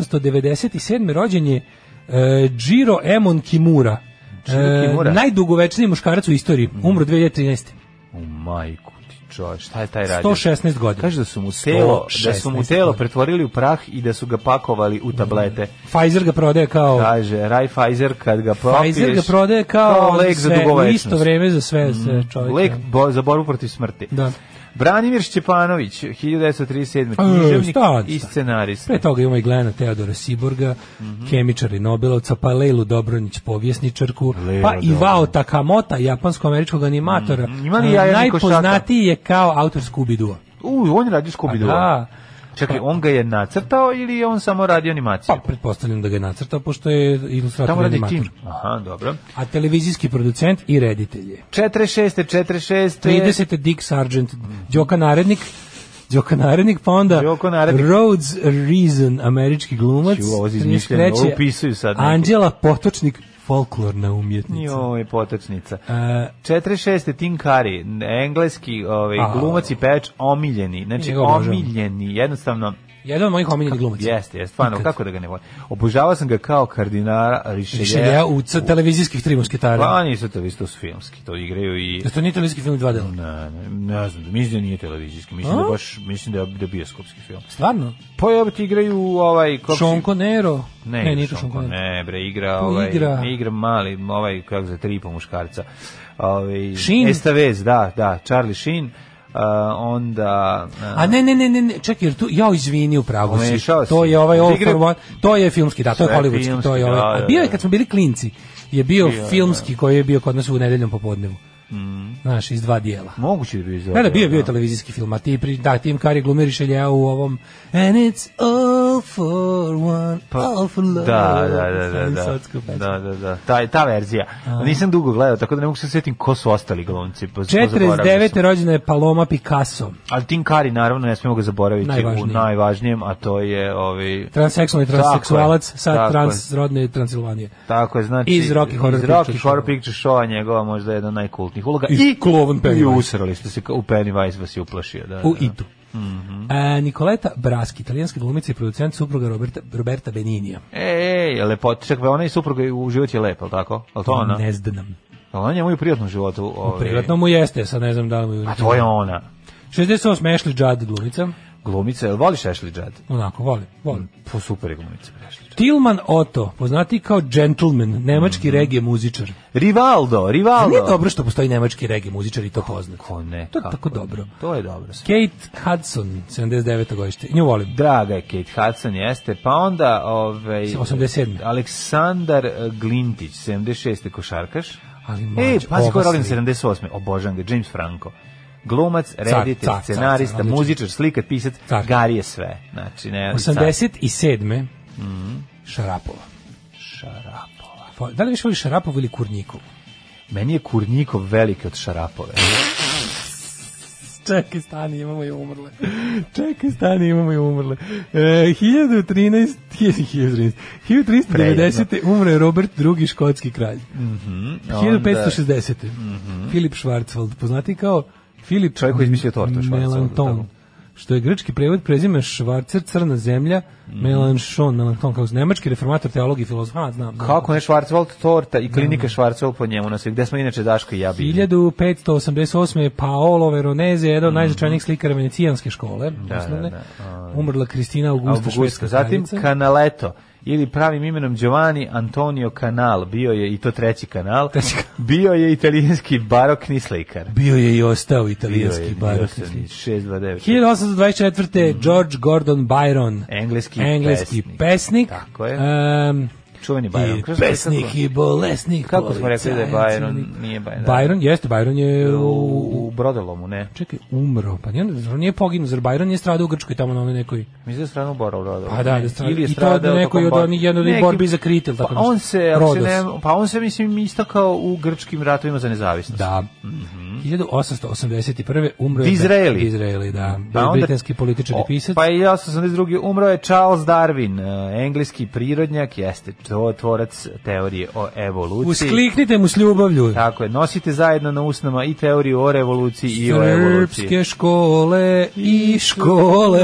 Speaker 7: 1897. rođen je e, Jiro Emon Kimura.
Speaker 6: Jiro Kimura. Mhm.
Speaker 7: E, najdugovečniji muškarac u istoriji. Umro 2013.
Speaker 6: U majku ti čovječ, šta je taj radio?
Speaker 7: 116 godina.
Speaker 6: Kaže da su mu telo, da su mu
Speaker 7: 116
Speaker 6: telo
Speaker 7: godina.
Speaker 6: pretvorili u prah i da su ga pakovali u tablete.
Speaker 7: Pfizer ga prodaje kao...
Speaker 6: Kaže, Raj Pfizer kad ga popiješ...
Speaker 7: Pfizer ga prodaje kao, ono
Speaker 6: lek za
Speaker 7: sve,
Speaker 6: dugovečnost. Mhm.
Speaker 7: Isto vreme za sve, sve čovjek.
Speaker 6: Lek bo, za borbu protiv smrti.
Speaker 7: Da.
Speaker 6: Branimir Šćepanović, 1937.
Speaker 7: E,
Speaker 6: književnik
Speaker 7: stad,
Speaker 6: i
Speaker 7: stad.
Speaker 6: scenarista.
Speaker 7: Pre toga imamo i Glena Teodora Siborga,
Speaker 6: Mhm.
Speaker 7: kemičar i Nobelovca, pa Lejlu Dobronić, povjesničarku,
Speaker 6: Lejla
Speaker 7: pa i Vao
Speaker 6: Dobronić.
Speaker 7: Takamota, japansko-američkog animatora.
Speaker 6: Mhm. Ima li jaja niko šaka?
Speaker 7: Najpoznatiji je kao autor Scooby-Doo.
Speaker 6: U, on je radio Scooby-Doo.
Speaker 7: Pa da.
Speaker 6: Čekaj, on ga je nacrtao ili je on samo radio
Speaker 7: Pa
Speaker 6: animaciju?
Speaker 7: pretpostavljam da ga je nacrtao, pošto je ilustrator
Speaker 6: Tamo
Speaker 7: i
Speaker 6: radi
Speaker 7: animator.
Speaker 6: tim. Aha, dobro.
Speaker 7: A televizijski producent i reditelj je.
Speaker 6: 46. 46.
Speaker 7: 30. Dick Sargent, Đoka Narednik, Đoka Narednik, pa onda
Speaker 6: Đoko Narednik.
Speaker 7: Rhodes Reason, američki glumac.
Speaker 6: Ču, ovo je izmišljeno, ovo
Speaker 7: 33.
Speaker 6: upisuju sad neki.
Speaker 7: Anđela Potočnik, folklorna umjetnica.
Speaker 6: Joj, potočnica.
Speaker 7: E,
Speaker 6: 46. Tim Curry, engleski ovaj,
Speaker 7: A.
Speaker 6: glumac i pevač omiljeni. Znači,
Speaker 7: Njega obožavam.
Speaker 6: omiljeni. Jednostavno,
Speaker 7: Jedan od mojih omiljenih glumaca.
Speaker 6: Jeste, jeste, stvarno, kako da ga ne volim. Obožavao sam ga kao kardinara Richelieu.
Speaker 7: Šelja u c- televizijskih tri musketara.
Speaker 6: Pa nisu to, vi to su filmski, to igraju i...
Speaker 7: Da to nije televizijski film u dva dela.
Speaker 6: Ne, ne, ne znam, mislim da nije televizijski, mislim
Speaker 7: A?
Speaker 6: da baš, mislim da je, da je bioskopski film.
Speaker 7: Stvarno?
Speaker 6: Pa ja ti igraju ovaj... kako se-
Speaker 7: Šonko Nero?
Speaker 6: Ne,
Speaker 7: ne
Speaker 6: ne,
Speaker 7: nije to
Speaker 6: Šonko,
Speaker 7: Šonko Nero.
Speaker 6: Ne, bre, igra,
Speaker 7: Ko
Speaker 6: ovaj,
Speaker 7: igra?
Speaker 6: ne igra mali, ovaj, kako za tri i po muškarca. Ovaj,
Speaker 7: Sheen?
Speaker 6: Estavez, da, da, Charlie Sheen. Uh, onda... Uh,
Speaker 7: A ne, ne, ne, ne, ne, čekaj, jer tu, ja izvini u pravu si.
Speaker 6: Pomešao si.
Speaker 7: To je ovaj All
Speaker 6: Igre-
Speaker 7: for One, to je filmski, da, to je
Speaker 6: Sve
Speaker 7: hollywoodski,
Speaker 6: filmski,
Speaker 7: to je
Speaker 6: da,
Speaker 7: ovaj.
Speaker 6: da,
Speaker 7: A bio je
Speaker 6: da.
Speaker 7: kad smo bili klinci, je bio filmski koji je bio kod nas u nedeljnom popodnevu.
Speaker 6: Mm.
Speaker 7: Znaš, iz dva dijela.
Speaker 6: moguće da bi izveo.
Speaker 7: Ne, da, bio je bio je televizijski film, a ti, pri, da, Tim Curry glumi Richelieu u ovom And it's all for one, all for
Speaker 6: Pa,
Speaker 7: love.
Speaker 6: Da, da, da, da, da.
Speaker 7: Sacko pesma.
Speaker 6: Da, da, da. Ta, ta verzija. Pa Nisam dugo gledao, tako da ne mogu se sjetiti ko su ostali glumci. pa- pozaboravio sam.
Speaker 7: 49. rođena je Paloma Picasso,
Speaker 6: Ali Tim Curry, naravno, ne smemo ga zaboraviti
Speaker 7: Najvažniji.
Speaker 6: u najvažnijem, a to je ovi...
Speaker 7: transseksualni
Speaker 6: Tako je,
Speaker 7: transseksualac
Speaker 6: tako
Speaker 7: sa
Speaker 6: je.
Speaker 7: transrodne Transilvanije.
Speaker 6: Tako je, znači...
Speaker 7: Iz Rocky Horror
Speaker 6: iz
Speaker 7: Picture
Speaker 6: Rocky Horror
Speaker 7: Showa.
Speaker 6: Picture Showa njegova možda jedna od najkultnih uloga.
Speaker 7: I klovan Pennywise.
Speaker 6: I usrali ste se, kao u Pennywise vas je uplašio. Da,
Speaker 7: u
Speaker 6: da. Mhm.
Speaker 7: Itu. e, Nikoleta Braski, italijanska glumica i producent supruga Roberta, Roberta Beninija.
Speaker 6: E, Ej, ej, lepota. Čekaj, pa ona i supruga i u životu je lepa, je li tako? Je li to ona?
Speaker 7: Pa Ne znam.
Speaker 6: Ali ona njemu i u privatnom životu. Ovi...
Speaker 7: U privatnom mu jeste, sad ne znam da li mu je...
Speaker 6: A Pa to je ona.
Speaker 7: 68. Ashley Judd glumica.
Speaker 6: Glumica, jel voliš Ashley Judd?
Speaker 7: Onako, volim, volim.
Speaker 6: Po super je glumica, bre, Ashley Judd.
Speaker 7: Tilman Otto, poznati kao gentleman, nemački
Speaker 6: Mhm.
Speaker 7: regije muzičar.
Speaker 6: Rivaldo, Rivaldo.
Speaker 7: Nije dobro što postoji nemački regije muzičar i to poznat.
Speaker 6: Ko ne,
Speaker 7: To je
Speaker 6: kako
Speaker 7: tako
Speaker 6: ne.
Speaker 7: dobro.
Speaker 6: To je dobro. sve.
Speaker 7: Kate Hudson, 79. godište. Nju volim.
Speaker 6: Draga je Kate Hudson jeste, pa onda ovaj
Speaker 7: 87..
Speaker 6: Aleksandar eh, Glintić, 76. košarkaš.
Speaker 7: Ali
Speaker 6: Ej, pazi
Speaker 7: mlađe,
Speaker 6: ko
Speaker 7: ova
Speaker 6: je rođen
Speaker 7: slika.
Speaker 6: 78. Obožan ga, James Franco. Glumac, reditelj,
Speaker 7: car, car,
Speaker 6: scenarista,
Speaker 7: car, odličan.
Speaker 6: muzičar, slikar, pisac,
Speaker 7: Car.
Speaker 6: Gari je sve. Znači, ne,
Speaker 7: 87.
Speaker 6: Mhm.
Speaker 7: Šarapova.
Speaker 6: Šarapova.
Speaker 7: Pa, Da li više voli Šarapovu ili Kurnikovu?
Speaker 6: Meni je Kurnikov veliki od Šarapove.
Speaker 7: E, Čekaj, stani, imamo i umrle. Čekaj, stani, imamo i umrle. E, 1013, 1013, 1390. umre Robert II. škotski kralj. Mm
Speaker 6: Mhm, onda- Mhm.
Speaker 7: 1560. Filip Schwarzwald, poznati kao Filip
Speaker 6: Čovjek koji je izmislio tortu, Schwarzwald, tako.
Speaker 7: Melanton. Što je grčki prevod prezime Švarcer, crna zemlja,
Speaker 6: Mhm.
Speaker 7: Melanchon, Melanton, kao nemački reformator, teolog i filozof. Ha, znam. znam.
Speaker 6: Kako ne Schwarzwald torta i klinika Schwarzwald po njemu na sve. Gde smo inače Daško i ja bili?
Speaker 7: 1588. je Paolo Veronese, jedan od najznačajnijih slikara venecijanske škole, osnovne.
Speaker 6: Mhm. da,
Speaker 7: umrla Kristina Augusta,
Speaker 6: Augusta.
Speaker 7: švedska
Speaker 6: Zatim
Speaker 7: kraljica.
Speaker 6: Canaletto ili pravim imenom Giovanni Antonio Canal, bio je i to treći kanal,
Speaker 7: Treći kanal.
Speaker 6: bio je italijanski barokni slikar.
Speaker 7: Bio je i ostao
Speaker 6: Bio je
Speaker 7: italijanski barokni
Speaker 6: Wilson,
Speaker 7: slikar.
Speaker 6: 629.
Speaker 7: 1824. George Gordon Byron,
Speaker 6: Engleski,
Speaker 7: engleski
Speaker 6: pesnik.
Speaker 7: pesnik.
Speaker 6: Tako je.
Speaker 7: Em,
Speaker 6: Čuveni Byron.
Speaker 7: I
Speaker 6: Kako se
Speaker 7: pesnik
Speaker 6: sad-
Speaker 7: i bolesnik.
Speaker 6: Kako smo rekli da je
Speaker 7: policajac,
Speaker 6: Byron, nije Byron. da.
Speaker 7: Byron, jeste, Byron je u...
Speaker 6: u, u Brodolomu, ne.
Speaker 7: Čekaj, umro. Pa nije, zar nije poginuo, zar Byron nije stradao u Grčkoj tamo na onoj nekoj...
Speaker 6: Mislim da je stradao u Brodolomu.
Speaker 7: Pa da, da stradao.
Speaker 6: Ili je
Speaker 7: I to
Speaker 6: stradao
Speaker 7: od nekoj
Speaker 6: tokom
Speaker 7: od
Speaker 6: bor-
Speaker 7: onih- jedne od onih
Speaker 6: Neki-
Speaker 7: borbi za Kritel, tako
Speaker 6: Pa
Speaker 7: nešto.
Speaker 6: on se, ako se
Speaker 7: Rodos.
Speaker 6: ne, pa on se mislim istakao u grčkim ratovima za nezavisnost.
Speaker 7: Da. Mhm. 1881. umro je...
Speaker 6: Disraeli.
Speaker 7: Disraeli, da.
Speaker 6: Pa onda-
Speaker 7: Britanski političar i
Speaker 6: O,
Speaker 7: pisac.
Speaker 6: Pa i 1882. umro je Charles Darwin, eh, engleski prirodnjak, jeste to- tvorac teorije o evoluciji.
Speaker 7: Uskliknite mu s ljubavlju.
Speaker 6: Tako je, nosite zajedno na usnama i teoriju o revoluciji i o evoluciji.
Speaker 7: Srpske škole i škole.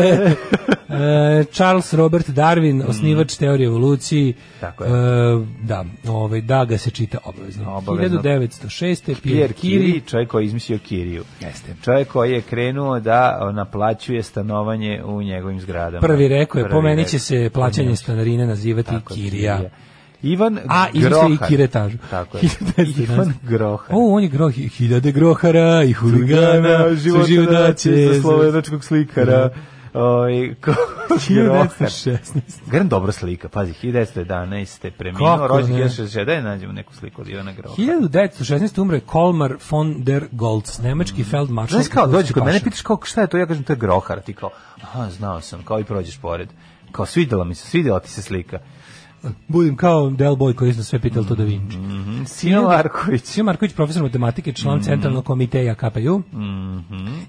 Speaker 7: E, Charles Robert Darwin, osnivač teorije evoluciji.
Speaker 6: Tako je.
Speaker 7: E, da, ovaj, da ga se čita obavezno.
Speaker 6: Obavezno.
Speaker 7: 1906.
Speaker 6: Pierre
Speaker 7: Pierre
Speaker 6: Curie,
Speaker 7: Kiri.
Speaker 6: čovjek koji je izmislio Kiriju.
Speaker 7: Jeste.
Speaker 6: Čovjek koji je krenuo da o, naplaćuje stanovanje u njegovim zgradama.
Speaker 7: Prvi rekao je,
Speaker 6: Prvi
Speaker 7: po meni
Speaker 6: rekao.
Speaker 7: će se plaćanje stanarine nazivati
Speaker 6: Tako je,
Speaker 7: Kirija.
Speaker 6: Ivan
Speaker 7: A, izmislio
Speaker 6: Grohar.
Speaker 7: i kiretažu.
Speaker 6: Tako je.
Speaker 7: 1911.
Speaker 6: Ivan Grohar.
Speaker 7: O, on je groh, hiljade grohara i huligana,
Speaker 6: Gana,
Speaker 7: su životaće.
Speaker 6: za slovenačkog slikara. Oj, ko... Grohar.
Speaker 7: 1916.
Speaker 6: Grn dobro slika, pazi, 1911. preminuo,
Speaker 7: Kako
Speaker 6: rođen
Speaker 7: ne?
Speaker 6: 1960, daj nađemo neku sliku od Ivana Grohara.
Speaker 7: 1916. umre Kolmar von der Goltz, nemački feldmaršal.
Speaker 6: Znaš kao, dođe
Speaker 7: Ruski
Speaker 6: kod mene,
Speaker 7: paša.
Speaker 6: pitaš kao šta je to, ja kažem to je Grohar, ti kao, aha, znao sam, kao i prođeš pored. Kao, svidjela mi se, svidjela ti se slika.
Speaker 7: Budem kao Del Boy koji nas sve pitali to da Vinci.
Speaker 6: Mm-hmm. Sino Larković.
Speaker 7: Sio Marković, profesor matematike,
Speaker 6: Mm-hmm.
Speaker 7: član Centralnog komiteja KPU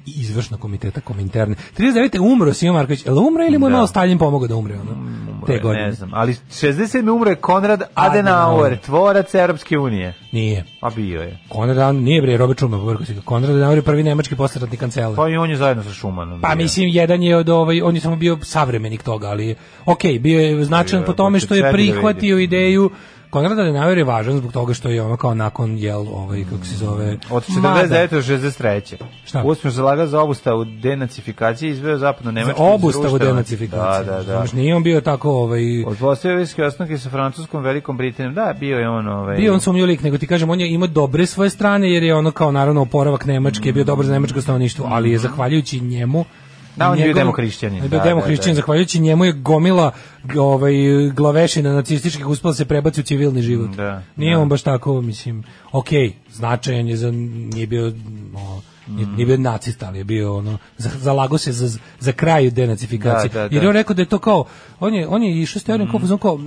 Speaker 7: i izvršnog komiteta Kominterne. 39. umro Sio Marković. Je li umro ili mu je malo Stalin pomogao da umre? Ono? te godine.
Speaker 6: Mm, Ne znam, ali 67. umro je Konrad Adenauer, tvorac Europske unije.
Speaker 7: Nije.
Speaker 6: A bio je.
Speaker 7: Konrad Adenauer, nije bre, Robert Schumann, povrko si ga. Konrad Adenauer je prvi nemački posredni kancelar.
Speaker 6: Pa i on je zajedno sa Šumanom.
Speaker 7: Pa
Speaker 6: bio.
Speaker 7: mislim, jedan je od ovaj, on je samo bio savremenik toga, ali ok, bio je značajan
Speaker 6: Bio je,
Speaker 7: po tome što
Speaker 6: hoće
Speaker 7: je
Speaker 6: sve da vidi.
Speaker 7: prihvatio ideju Konrad Adenauer je važan zbog toga što je ono kao nakon, jel, ovaj, kako se zove...
Speaker 6: Od
Speaker 7: Mada,
Speaker 6: 49. do 63.
Speaker 7: Šta?
Speaker 6: Uspješno zalagao za obustavu denacifikacije i izveo zapadno
Speaker 7: za
Speaker 6: nemačku
Speaker 7: obustavu denacifikacije.
Speaker 6: Da, da, da.
Speaker 7: Znaš, nije on bio tako, ovaj...
Speaker 6: Od postojeviske osnovke sa francuskom velikom Britanijom. Da, bio je on... Ovaj,
Speaker 7: Bio on sumnjiv lik, nego ti kažem, on je imao dobre svoje strane, jer je ono kao naravno oporavak Nemačke, je bio dobar za nemačko stanovništvo, ali je zahvaljujući njemu
Speaker 6: Mhm. Da, on je bio
Speaker 7: njegovom-
Speaker 6: demohrišćanin,
Speaker 7: On je bio
Speaker 6: da, da, da.
Speaker 7: demohrišćanin, zahvaljujući njemu je gomila g- ovaj, glavešina nacističkih uspela da se prebaci u civilni život.
Speaker 6: Da,
Speaker 7: nije
Speaker 6: da.
Speaker 7: on baš tako, mislim, okej, značajan je za, nije bio, no, nije,
Speaker 6: Mhm.
Speaker 7: nije bio nacista, ali je bio ono, za- zalago se za, za kraj denacifikacije.
Speaker 6: Da, da, da.
Speaker 7: Jer je on rekao da je to kao, on je, on je išao s teorijom kao, fazon kao,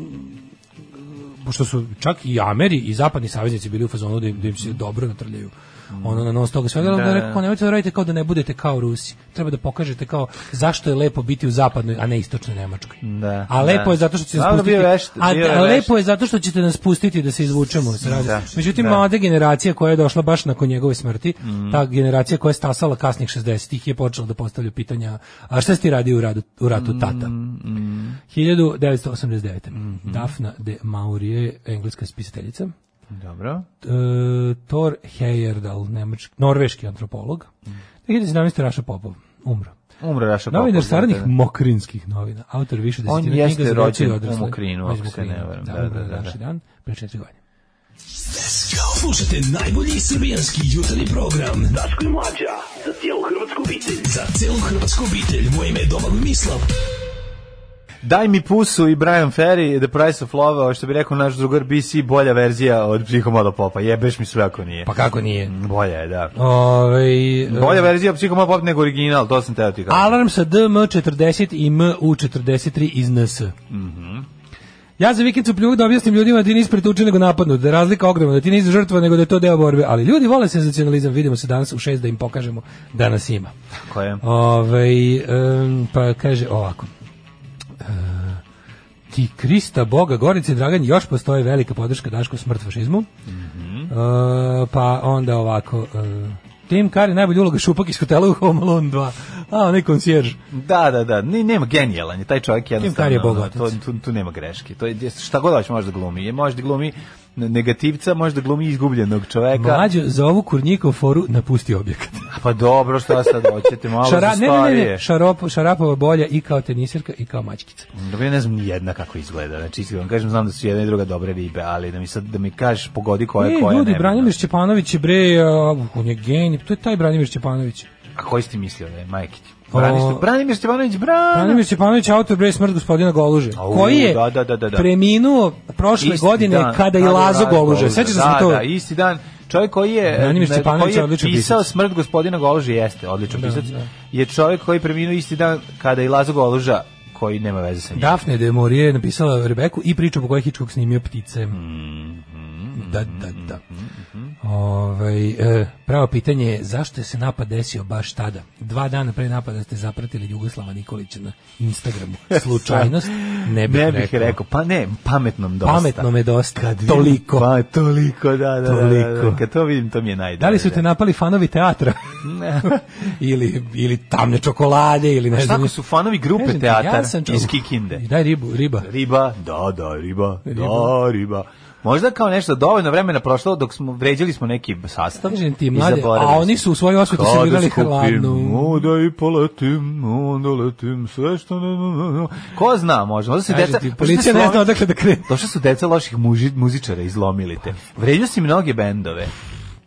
Speaker 7: pošto su čak i Ameri i zapadni saveznici bili u fazonu da im, da im se dobro natrljaju ono na nos toga svega, da,
Speaker 6: Da,
Speaker 7: da je
Speaker 6: da.
Speaker 7: rekao, kao, nemojte da radite kao da ne budete kao Rusi. Treba da pokažete kao zašto je lepo biti u zapadnoj, a ne istočnoj Nemačkoj.
Speaker 6: Da,
Speaker 7: a lepo
Speaker 6: da.
Speaker 7: je zato što ćete nas
Speaker 6: Dobro,
Speaker 7: pustiti.
Speaker 6: bio je vešt,
Speaker 7: a,
Speaker 6: bio je
Speaker 7: a
Speaker 6: vešt.
Speaker 7: lepo je zato što ćete nas pustiti da se izvučemo. se radi.
Speaker 6: Da,
Speaker 7: Međutim,
Speaker 6: da.
Speaker 7: mlada generacija koja je došla baš nakon njegove smrti,
Speaker 6: Mhm.
Speaker 7: ta generacija koja je stasala kasnih 60-ih je počela da postavlja pitanja, a šta si ti radio u, radu, u
Speaker 6: Mhm.
Speaker 7: ratu tata? 1989.
Speaker 6: Mhm.
Speaker 7: Dafna de Maurije, engleska spisateljica.
Speaker 6: Dobro.
Speaker 7: T- e, Thor Heyerdahl, nemački, norveški antropolog.
Speaker 6: Mhm.
Speaker 7: 2017. Raša Popov, umro.
Speaker 6: Umro Raša Popov.
Speaker 7: Novinar saradnik
Speaker 6: znate.
Speaker 7: Mokrinskih novina, autor više
Speaker 6: On
Speaker 7: desetina
Speaker 6: jeste
Speaker 7: knjiga za decu i
Speaker 6: rođen u
Speaker 7: odrasle.
Speaker 6: Mokrinu,
Speaker 7: On je iz
Speaker 6: ako se ne
Speaker 7: Mokrina,
Speaker 6: varam.
Speaker 7: Da,
Speaker 6: Da,
Speaker 7: umro je
Speaker 6: da, da,
Speaker 7: današnji
Speaker 6: da.
Speaker 7: dan, pre četiri godine.
Speaker 8: Slušajte najbolji srbijanski jutarnji program Daško i Mlađa za cijelu hrvatsku obitelj. Za cijelu hrvatsku obitelj. Moje ime je Domagoj Mislav.
Speaker 6: Daj mi pusu i Brian Ferry, The Price of Love, ovo što bi rekao naš drugar BC, bolja verzija od Psihomodo Popa. Jebeš mi sve ako nije.
Speaker 7: Pa kako nije?
Speaker 6: Bolja je, da.
Speaker 7: Ovaj, e,
Speaker 6: Bolja verzija Psihomodo Pop nego original, to sam teo ti kao.
Speaker 7: Alarm sa DM40 i MU43 iz NS.
Speaker 6: Mhm.
Speaker 7: Ja za vikend su pljuvak da objasnim ljudima da ti nisi pretučen nego napadnut, da je razlika ogromna, da ti nisi žrtva nego da je to deo borbe, ali ljudi vole senzacionalizam, vidimo se danas u šest da im pokažemo da nas ima.
Speaker 6: Ko je?
Speaker 7: Ovaj, em, pa kaže ovako. E, ti Krista, Boga, Gorice, Dragan, još postoji velika podrška Dašku smrt fašizmu.
Speaker 6: Mhm.
Speaker 7: E, pa onda ovako... e, Tim Kari najbolja uloga šupak iz hotela u Home Alone 2. A, onaj koncijerž.
Speaker 6: Da, da, da, ni, nema genijalan je, taj čovjek jednostavno,
Speaker 7: Tim Curry je
Speaker 6: ono,
Speaker 7: bogatac.
Speaker 6: to, tu, tu nema greške, to je, šta god hoće može da glumi, je, može da glumi negativca, može da glumi izgubljenog čoveka,
Speaker 7: Mlađo, za ovu kurnjikov foru napusti objekat.
Speaker 6: pa dobro, šta sad hoćete, malo
Speaker 7: Šara,
Speaker 6: za
Speaker 7: ne, ne, ne,
Speaker 6: starije.
Speaker 7: ne, šarop, šarapova bolja i kao tenisirka i kao mačkica.
Speaker 6: Dobro, ja ne znam ni jedna kako izgleda, znači iskreno vam kažem, znam da su jedna i druga dobre ribe, ali da mi sad, da mi kažeš pogodi koja je
Speaker 7: Ne,
Speaker 6: koja,
Speaker 7: E, ljudi,
Speaker 6: ne,
Speaker 7: Branimir Šćepanović je bre, a, on je genij, to je taj Branimir Šćepanović.
Speaker 6: A koji si ti mislio da je, majke ti?
Speaker 7: O-
Speaker 6: Branislav- Branimir Stevanović, Branimir!
Speaker 7: Branimir Stjepanović autor bre smrt gospodina Goluže,
Speaker 6: Au,
Speaker 7: koji je
Speaker 6: da, da, da, da, da.
Speaker 7: preminuo prošle
Speaker 6: Isti
Speaker 7: godine
Speaker 6: dan,
Speaker 7: kada i
Speaker 6: kada
Speaker 7: Lazo Goluže. Sećaš se
Speaker 6: da,
Speaker 7: za to?
Speaker 6: Da, isti dan. Čovjek koji je,
Speaker 7: Branimir
Speaker 6: na-
Speaker 7: Stjepanović
Speaker 6: koji
Speaker 7: je
Speaker 6: je
Speaker 7: odličan
Speaker 6: pisao
Speaker 7: pisac.
Speaker 6: smrt gospodina Goluže, jeste odličan pisac, je čovjek koji je preminuo isti dan kada i Lazo Goluža, koji nema veze sa njim.
Speaker 7: Dafne de Maurije je napisala Rebeku i priču po kojoj je Hitchcock snimio ptice.
Speaker 6: Mhm,
Speaker 7: Da, da, da. Ovaj, e, pravo pitanje je zašto je se napad desio baš tada? Dva dana pre napada ste zapratili Jugoslava Nikolića na Instagramu. Slučajnost? Ne bih,
Speaker 6: E, Ne bih rekao. pa ne, pametnom dosta.
Speaker 7: Pametno me dosta.
Speaker 6: Kad vidim-
Speaker 7: toliko.
Speaker 6: Pa, toliko, da, da, da, da,
Speaker 7: Toliko.
Speaker 6: da. Kad to vidim, to mi je najbolje.
Speaker 7: Da li su te napali fanovi teatra? ili, ili tamne čokolade, ili ne
Speaker 6: Znaš
Speaker 7: znam.
Speaker 6: kako su fanovi grupe
Speaker 7: Kažem ti,
Speaker 6: teatar
Speaker 7: ja sam čov-
Speaker 6: iz Kikinde?
Speaker 7: Daj ribu, riba.
Speaker 6: Riba, da, da, riba, da, riba. Možda kao nešto dovoljno vremena prošlo dok smo vređali smo neki sastav.
Speaker 7: Kažem ti,
Speaker 6: i
Speaker 7: mlade,
Speaker 6: zaboravili
Speaker 7: a oni
Speaker 6: smo.
Speaker 7: su u svojoj osvetu
Speaker 6: Kada
Speaker 7: servirali
Speaker 6: skupim,
Speaker 7: hladnu.
Speaker 6: Onda i poletim, onda letim, sve što ne, ne, ne, ne. Ko zna, možda. Možda se
Speaker 7: Kažem
Speaker 6: deca...
Speaker 7: ti,
Speaker 6: možda
Speaker 7: policija
Speaker 6: pa su
Speaker 7: ne
Speaker 6: ovi-
Speaker 7: zna odakle da krene.
Speaker 6: Došli su deca loših muži, muzičara, izlomili te. Vređao si mnoge bendove.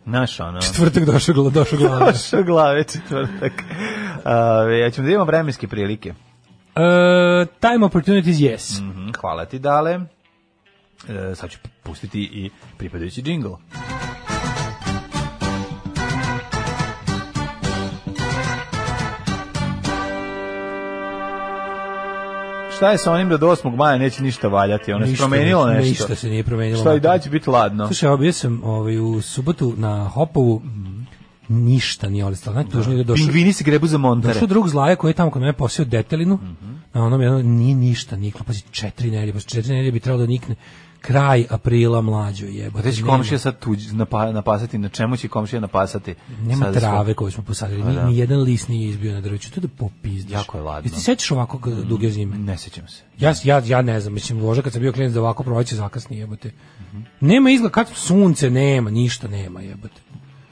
Speaker 6: Znaš, ono...
Speaker 7: Tvrtak došao, gla- došao glava.
Speaker 6: Došao glave četvrtak. Ove, ja ćemo da imamo vremenske prilike.
Speaker 7: Uh, time opportunities, yes.
Speaker 6: Mhm, hvala ti, Dale. E, sad ću pustiti i pripadajući džingl. Šta je sa onim da do 8. maja neće ništa valjati? Ono je
Speaker 7: Ništa
Speaker 6: promenilo
Speaker 7: nije-
Speaker 6: nešto.
Speaker 7: Ništa se nije promenilo.
Speaker 6: Šta i
Speaker 7: materijalno.
Speaker 6: dalje će biti ladno?
Speaker 7: Slušaj, evo bio sam ovaj, u subotu na Hopovu,
Speaker 6: Mhm.
Speaker 7: ništa nije olistalo. Najtužnije da je došao.
Speaker 6: Pingvini se grebu za montare. Mhm.
Speaker 7: Došao drug zlaja koji je tamo kod mene posio detelinu. na onom jednom, nije ništa niklo, pazi, četiri nedelje, pa četiri nedelje bi trebalo da nikne kraj aprila mlađo jebote.
Speaker 6: Da će
Speaker 7: nema-
Speaker 6: Pa komšija sad tuđ, napa, napasati, na čemu će komšija napasati?
Speaker 7: Nema
Speaker 6: Sad da su-
Speaker 7: trave koju smo posadili,
Speaker 6: Pa
Speaker 7: ni,
Speaker 6: da.
Speaker 7: ni jedan list nije izbio na drveću, to je da popizdiš.
Speaker 6: Jako je ladno. Mm.
Speaker 7: Jesi se sećaš ovako g- duge zime?
Speaker 6: Ne sećam se.
Speaker 7: Ja, ja, ja ne znam, mislim, loža kad sam bio klijent da ovako proleće zakasni jebote.
Speaker 6: Mhm.
Speaker 7: Nema izgled, kad sunce nema, ništa nema jebote.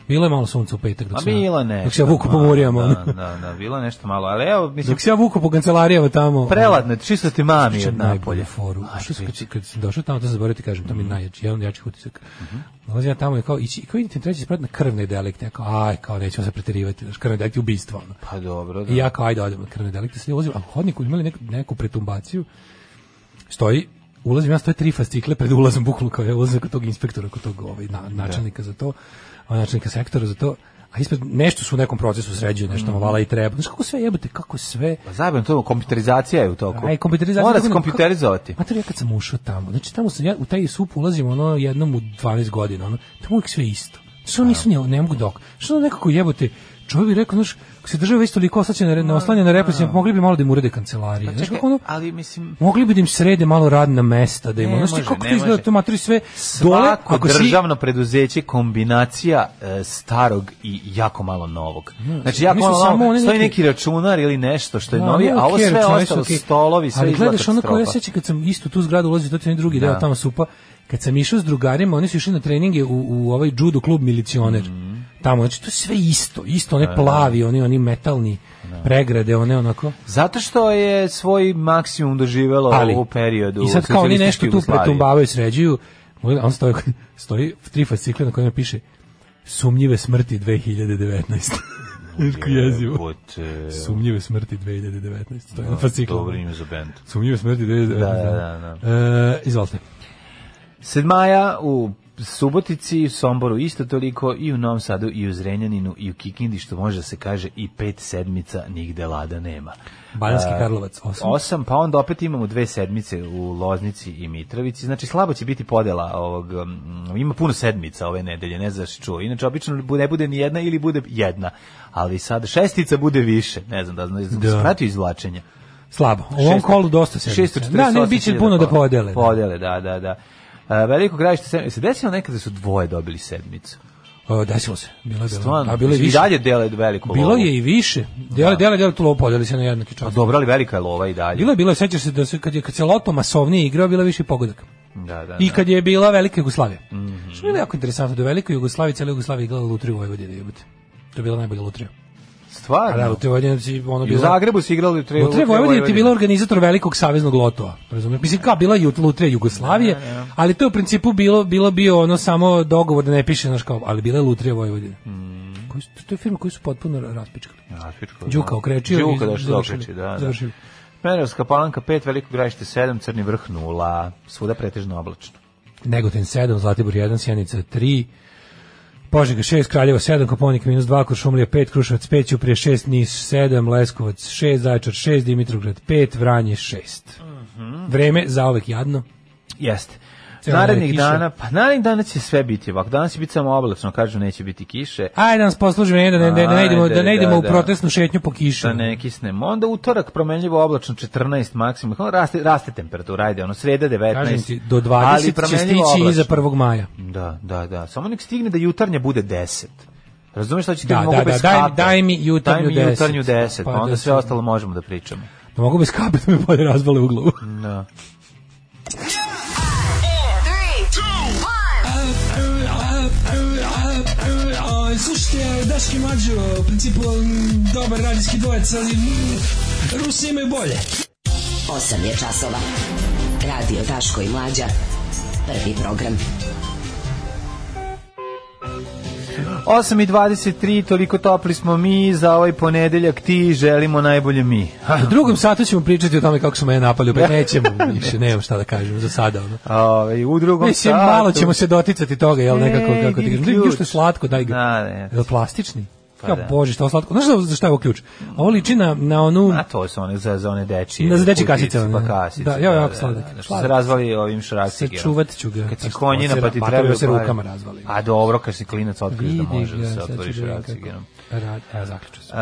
Speaker 7: Bilo je malo sunca u petak
Speaker 6: A
Speaker 7: dok, sam ja-
Speaker 6: Pa bilo nešto.
Speaker 7: dok se ja vuku po
Speaker 6: malo,
Speaker 7: morijama. ono.
Speaker 6: Da, da, da, bilo nešto malo. Ali evo, mislim,
Speaker 7: Dok se ja vuku po kancelarijama tamo.
Speaker 6: preladno, je, čisto ti mami
Speaker 7: Pričam
Speaker 6: od napolje.
Speaker 7: najbolju foru.
Speaker 6: A,
Speaker 7: Što sam, kad, kad sam došao tamo, to sam zaboravio ti kažem, to mi je najjači, jedan od jačih utisak. Nalazim ja tamo i kao, i, i kao idete treći sprat na krvne delikte, ja kao, aj, kao, nećemo se preterivati, znaš, krvne delikte, ubistva, ono.
Speaker 6: Pa dobro, da.
Speaker 7: I ja kao, ajde, odem na krvne delikte, sad ja ulazim, a u hodniku imali neku, neku pretumbaciju, stoji, ulazim, ja stoje tri fascikle pred ulazom, bukvalno kao ja ulazim kod tog inspektora, kod tog ovaj, na, načelnika za to, a, načelnika sektora za to, a ispred nešto su u nekom procesu sređuju, nešto mm. vala i treba. Znaš kako sve jebate, kako sve...
Speaker 6: Pa zajebem, to kompjuterizacija je u toku.
Speaker 7: Aj, kompjuterizacija.
Speaker 6: Mora
Speaker 7: tako
Speaker 6: se
Speaker 7: ne-
Speaker 6: kompjuterizovati.
Speaker 7: Mater, ja kad sam ušao tamo, znači tamo sam ja u taj sup ulazim ono jednom u 12 godina, ono, tamo uvijek sve isto. Što nisu ne, ne mogu dok. Što ono nekako jebote, čovjek bi rekao, znaš, ako se država već toliko ostaće na, re- na oslanje na represiju, mogli bi malo da im urede kancelarije. Znaš
Speaker 6: Pa Čekaj,
Speaker 7: kako ono,
Speaker 6: ali mislim,
Speaker 7: Mogli bi da im srede malo radna mesta, da im,
Speaker 6: Ne
Speaker 7: ono, znaš ti
Speaker 6: može,
Speaker 7: kako
Speaker 6: ne
Speaker 7: to izgleda,
Speaker 6: može.
Speaker 7: to matri sve dole,
Speaker 6: svako
Speaker 7: ako si,
Speaker 6: državno preduzeće je kombinacija e, starog i jako malo novog. Znači, jako
Speaker 7: mislim,
Speaker 6: malo
Speaker 7: samo
Speaker 6: novog,
Speaker 7: oni
Speaker 6: stoji
Speaker 7: neki-
Speaker 6: neki računar ili nešto što je
Speaker 7: Da,
Speaker 6: novije,
Speaker 7: ne,
Speaker 6: a ovo
Speaker 7: okej,
Speaker 6: sve
Speaker 7: računari su
Speaker 6: ostalo,
Speaker 7: okej.
Speaker 6: stolovi, sve
Speaker 7: Ali
Speaker 6: izgleda
Speaker 7: gledaš ono kao ja
Speaker 6: katastrofa.
Speaker 7: sećam kad sam istu tu zgradu ulazio, to je onaj drugi deo tamo supa, kad sam išao s drugarima, oni su išli na treninge u, u ovaj judo klub milicioner.
Speaker 6: Mhm.
Speaker 7: Tamo, znači to je sve isto, isto, one plavi, oni, oni metalni pregrade, one onako.
Speaker 6: Zato što je svoj maksimum doživelo
Speaker 7: Ali,
Speaker 6: Pa u periodu
Speaker 7: I sad kao oni nešto
Speaker 6: socijalističke
Speaker 7: tu
Speaker 6: Jugoslavije.
Speaker 7: pretumbavaju, sređuju, on stoji, stoji tri fascikle na kojima piše sumnjive smrti 2019. Kako jezivo.
Speaker 6: Jebote,
Speaker 7: Sumnjive smrti 2019. To je na fasciklu.
Speaker 6: Dobro ime za bend.
Speaker 7: Sumnjive smrti 2019.
Speaker 6: Da, da,
Speaker 7: E, izvolite.
Speaker 6: Sedmaja u Subotici, Somboru isto toliko i u Novom Sadu i u Zrenjaninu i u Kikindi što može da se kaže i pet sedmica nigde lada nema.
Speaker 7: Banjski
Speaker 6: E,
Speaker 7: Karlovac 8.
Speaker 6: Osam, pa onda opet imamo dve sedmice u Loznici i Mitrovici. Znači, slabo će biti podela ovog, mm, ima puno sedmica ove nedelje, ne znaš čuo. Inače, obično bu- ne bude ni jedna ili bude jedna. Ali sad šestica bude više, ne znam da znaš, da. pratio izvlačenja.
Speaker 7: Slabo. U ovom
Speaker 6: Šesto-
Speaker 7: kolu dosta se.
Speaker 6: 648
Speaker 7: Da, ne, bit će puno da
Speaker 6: hiljada pa-
Speaker 7: podele.
Speaker 6: Podele, da, da, da. E, veliko gravište sedmice. Se desilo nekada da su dvoje dobili sedmicu.
Speaker 7: O, E, desilo se. Bilo je, bilo.
Speaker 6: Stvarno,
Speaker 7: A bilo je
Speaker 6: i
Speaker 7: više.
Speaker 6: dalje dele veliku lovu.
Speaker 7: Bilo je i više. Dele, dele, dele tu lovu podeli se na jednaki
Speaker 6: Pa
Speaker 7: čas.
Speaker 6: dobro, ali velika je lova i dalje.
Speaker 7: Bilo je, bilo je, sećaš se da se, kad je, kad se loto masovnije igrao, bilo je više pogodaka.
Speaker 6: Da, da,
Speaker 7: I
Speaker 6: da. Mhm.
Speaker 7: kad je bila Velika Jugoslavija. Što je bilo jako interesantno, da je Velika Jugoslavija, cijela Jugoslavija igrala Lutriju Vojvodine, jebote. To je bila najbolja Lutrija. A da,
Speaker 6: Stvarno.
Speaker 7: Lutrija Vojvodine, znači, ono
Speaker 6: Pa I u
Speaker 7: bilo...
Speaker 6: Zagrebu su igrali u tri
Speaker 7: Lutrija Vojvodine ti je bila organizator velikog saveznog lotova, razumiješ? Mislim, kao bila je Lutrija Jugoslavije, ali to je u principu bilo, bilo bio ono samo dogovor da ne piše, znaš kao, ali bila je Lutrija Vojvodine.
Speaker 6: Mm.
Speaker 7: Koji su, to je firma koju su potpuno raspičkali. Đuka okrečio i
Speaker 6: Đuka došao da
Speaker 7: završili.
Speaker 6: okreči, da, da.
Speaker 7: Završili.
Speaker 6: Smerovska palanka 5, Veliko gravište 7, Crni vrh 0, svuda pretežno oblačno.
Speaker 7: Negotin 7, Zlatibor 1, Sjenica 3, Požega 6, Kraljevo 7, Koponik minus 2, Kuršumlija 5, Kruševac 5, Ćuprije 6, Nis 7, Leskovac 6, Zaječar 6, Dimitrovgrad 5, Vranje 6.
Speaker 6: Mhm.
Speaker 7: Vreme za uvek jadno.
Speaker 6: Jeste.
Speaker 7: Cijela
Speaker 6: Narednih
Speaker 7: nedelja kiša.
Speaker 6: dana, pa narednih dana će sve biti ovako. Danas će biti samo oblačno, kažu neće biti kiše.
Speaker 7: Ajde da nas posluži meni da ne, da, ne idemo, da ne
Speaker 6: Ajde,
Speaker 7: idemo
Speaker 6: da,
Speaker 7: u
Speaker 6: da.
Speaker 7: protestnu šetnju po kiši.
Speaker 6: Da ne kisnemo. Onda utorak promenljivo oblačno 14 maksimum. Ono Raste, raste temperatura, ajde, ono sreda 19.
Speaker 7: Kažem ti, do
Speaker 6: ali
Speaker 7: 20 će
Speaker 6: promenljivo
Speaker 7: stići pa-
Speaker 6: oblačno.
Speaker 7: iza 1. maja.
Speaker 6: Da, da, da. Samo nek stigne da jutarnja bude 10. Razumeš šta će ti
Speaker 7: Da,
Speaker 6: mogu
Speaker 7: da, da,
Speaker 6: bez
Speaker 7: daj-
Speaker 6: kape?
Speaker 7: daj mi jutarnju
Speaker 6: Daj mi
Speaker 7: 10.
Speaker 6: jutarnju 10, pa,
Speaker 7: Pa
Speaker 6: onda
Speaker 7: da
Speaker 6: sve
Speaker 7: se-
Speaker 6: ostalo možemo da pričamo.
Speaker 7: Da mogu bez kape da me bolje razbale u glavu.
Speaker 6: Da.
Speaker 8: Slušajte, Daški Mađo, u principu um, dobar radijski dvojec, ali mm, Rusi imaju bolje.
Speaker 2: 8 je časova. Radio Daško i Mlađa. Prvi program.
Speaker 6: 8 i 23, toliko topli smo mi, za ovaj ponedeljak ti želimo najbolje mi.
Speaker 7: U drugom satu ćemo pričati o tome kako su mene napali, opet nećemo više, nemam šta da kažem za sada. Ono.
Speaker 6: Ove, Ovaj, u drugom
Speaker 7: Mislim,
Speaker 6: satu.
Speaker 7: malo ćemo se doticati toga, jel nekako,
Speaker 6: Ej,
Speaker 7: kako ti
Speaker 6: vidi
Speaker 7: kažem. Vidim,
Speaker 6: ključ.
Speaker 7: što je slatko, daj ga.
Speaker 6: Da, ne.
Speaker 7: Jel plastični?
Speaker 6: Pa
Speaker 7: ja,
Speaker 6: da.
Speaker 7: bože, što je ovo slatko. Znaš za- za šta je ovo ključ? Ovo liči na, na onu...
Speaker 6: A Pa to su one za, za one dečije.
Speaker 7: Da, za dečje
Speaker 6: kutice,
Speaker 7: kasice, one,
Speaker 6: Pa
Speaker 7: da.
Speaker 6: kasice.
Speaker 7: Da, ja, jako sladak.
Speaker 6: Što se
Speaker 7: Sladak.
Speaker 6: razvali ovim šraksigerom.
Speaker 7: Sačuvat ću ga.
Speaker 6: Kad si
Speaker 7: Znaš,
Speaker 6: konjina,
Speaker 7: ovo se
Speaker 6: pa ti
Speaker 7: ra-
Speaker 6: treba...
Speaker 7: batom se
Speaker 6: pare.
Speaker 7: rukama razvali.
Speaker 6: A dobro, kad si klinac otkriš da
Speaker 7: Vidi
Speaker 6: može da
Speaker 7: ga,
Speaker 6: se
Speaker 7: sad ću
Speaker 6: otvoriš
Speaker 7: da vidim kako.
Speaker 6: šraksigerom.
Speaker 7: Rad, evo, zaključio sam.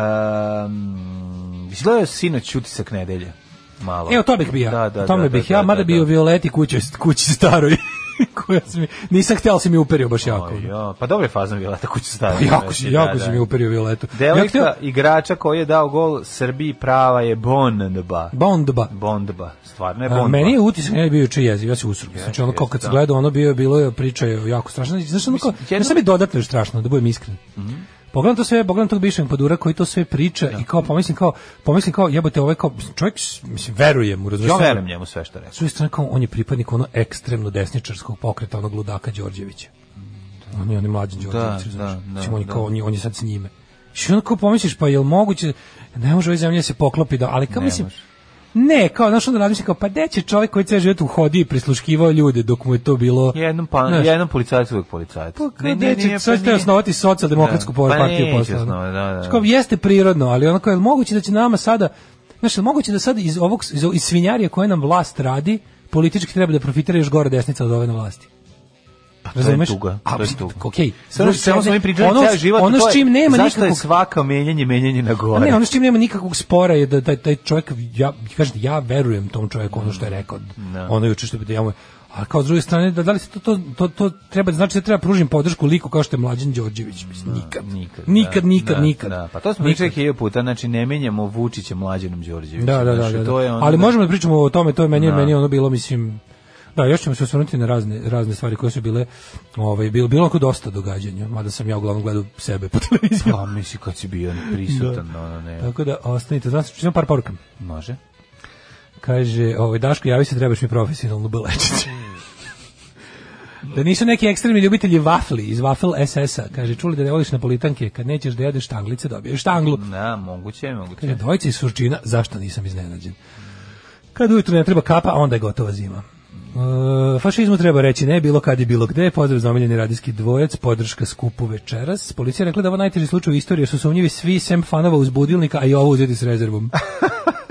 Speaker 6: Um, izgledao je sinoć utisak nedelje. malo.
Speaker 7: Evo, to bih bio.
Speaker 6: Da, da,
Speaker 7: E, o tome
Speaker 6: da,
Speaker 7: bih
Speaker 6: da,
Speaker 7: ja,
Speaker 6: da,
Speaker 7: mada
Speaker 6: da,
Speaker 7: bio
Speaker 6: da.
Speaker 7: Violeti kući, kući staroj. koja si mi, nisam htjela si mi uperio baš jako. ono.
Speaker 6: Oj, jo, pa dobro je fazan bila ta kuća stara.
Speaker 7: Jako, si, jako si mi uperio Violetu. Ja
Speaker 6: znači, Devojka
Speaker 7: htio-
Speaker 6: igrača koji je dao gol Srbiji prava je Bondba.
Speaker 7: Bondba.
Speaker 6: Bondba, stvarno je
Speaker 7: A,
Speaker 6: Bondba.
Speaker 7: meni je utisak ne bio čiji jezik, ja se usrum. Znači ono
Speaker 6: jeste,
Speaker 7: kao kad se
Speaker 6: da.
Speaker 7: gledao, ono bio bilo je priča je jako strašna. Znaš ono kao,
Speaker 6: jedno-
Speaker 7: znaš šta mi je dodatno još strašno, da budem iskren.
Speaker 6: Mhm.
Speaker 7: Pogledam to sve, pogledam tog bivšeg padura koji to sve priča i kao pomislim kao, pomislim kao jebote ovaj kao čovjek, s- mislim verujem mu, razumiješ?
Speaker 6: Ja verujem njemu sve što
Speaker 7: S
Speaker 6: reče.
Speaker 7: druge strane kao on je pripadnik ono ekstremno desničarskog pokreta onog ludaka Đorđevića. On je on je mlađi Đorđević,
Speaker 6: da,
Speaker 7: razumiješ?
Speaker 6: da,
Speaker 7: Mislim, on je
Speaker 6: da.
Speaker 7: kao on je, on je sad s njime. Što onako pomisliš pa jel moguće ne može ove zemlje da se poklopi da, ali kao
Speaker 6: Ne
Speaker 7: mislim
Speaker 6: može.
Speaker 7: ne, kao, znaš, onda razmišljam, kao, pa gde će čovjek koji cijel život uhodi i prisluškivao ljude dok mu je to bilo...
Speaker 6: Jednom pa
Speaker 7: Znaš,
Speaker 6: jednom policajac uvek policajac.
Speaker 7: Pa kao, gde će, sad ćete osnovati socijaldemokratsku
Speaker 6: Da,
Speaker 7: da,
Speaker 6: pa
Speaker 7: partiju
Speaker 6: neće
Speaker 7: posle, ono.
Speaker 6: osnovati, da, da,
Speaker 7: Znaš, kao,
Speaker 6: da.
Speaker 7: jeste prirodno, ali onako je li moguće da će nama sada... Znaš, je li moguće da sad iz, ovog, iz, iz svinjarija koje nam vlast radi, politički treba da profitira još gore desnica od ove na vlasti?
Speaker 6: je
Speaker 7: Razumeš?
Speaker 6: tuga,
Speaker 7: A,
Speaker 6: Pa to je
Speaker 7: mislim,
Speaker 6: tuga.
Speaker 7: Okej. S
Speaker 6: Sve ono
Speaker 7: druge
Speaker 6: što smo
Speaker 7: strane,
Speaker 6: mi pričali
Speaker 7: ono-
Speaker 6: ceo život,
Speaker 7: Ono
Speaker 6: to je
Speaker 7: s čim nema
Speaker 6: zašto je
Speaker 7: nikakvog
Speaker 6: svaka menjanje, menjanje na
Speaker 7: a
Speaker 6: gore.
Speaker 7: ne, ono s čim nema nikakvog spora je da taj, taj čovjek, ja, kažete, ja verujem tom čovjeku ono što je rekao, ono juče što bi ja mu- a kao s druge strane, da, da li se to, to, to, to treba, znači da treba pružim podršku liku kao što je Mlađan Đorđević, mislim, nikad, nikad, ono- nikad,
Speaker 6: da,
Speaker 7: nikad,
Speaker 6: da,
Speaker 7: nikad.
Speaker 6: Da, pa to smo
Speaker 7: Nikad.
Speaker 6: pričali hiljadu puta, znači ne menjamo Vučića mlađenom Đorđevićem.
Speaker 7: Da, da, da,
Speaker 6: Znači,
Speaker 7: da, da.
Speaker 6: To je ono
Speaker 7: ali
Speaker 6: da-
Speaker 7: možemo da pričamo o tome, to je meni,
Speaker 6: Da.
Speaker 7: meni ono bilo, mislim, Da, još ćemo se osvrnuti na razne, razne stvari koje su bile, ovaj, bilo, bilo onako dosta događanja, mada sam ja uglavnom gledao sebe po televiziji.
Speaker 6: Pa misli kad si bio prisutan, ono ne.
Speaker 7: Tako da, ostanite, znam se, čitam par poruka.
Speaker 6: Može.
Speaker 7: Kaže, ovaj Daško, javi se, trebaš mi profesionalnu belečicu. da nisu neki ekstremni ljubitelji vafli iz Wafel SS-a. Kaže, čuli da ne voliš napolitanke, kad nećeš da jedeš štanglice, dobiješ štanglu.
Speaker 6: Da, moguće je, moguće
Speaker 7: Kaže,
Speaker 6: je.
Speaker 7: dvojica iz Surčina, zašto nisam iznenađen? Kad ujutro ne treba kapa, a onda je gotova zima. E, fašizmu treba reći ne, bilo kad i bilo gde. Pozdrav za omiljeni radijski dvojec, podrška skupu večeras. Policija je rekla da je ovo najteži slučaj u istoriji, jer su sumnjivi svi sem fanova uz budilnika, a i ovo uzeti s rezervom.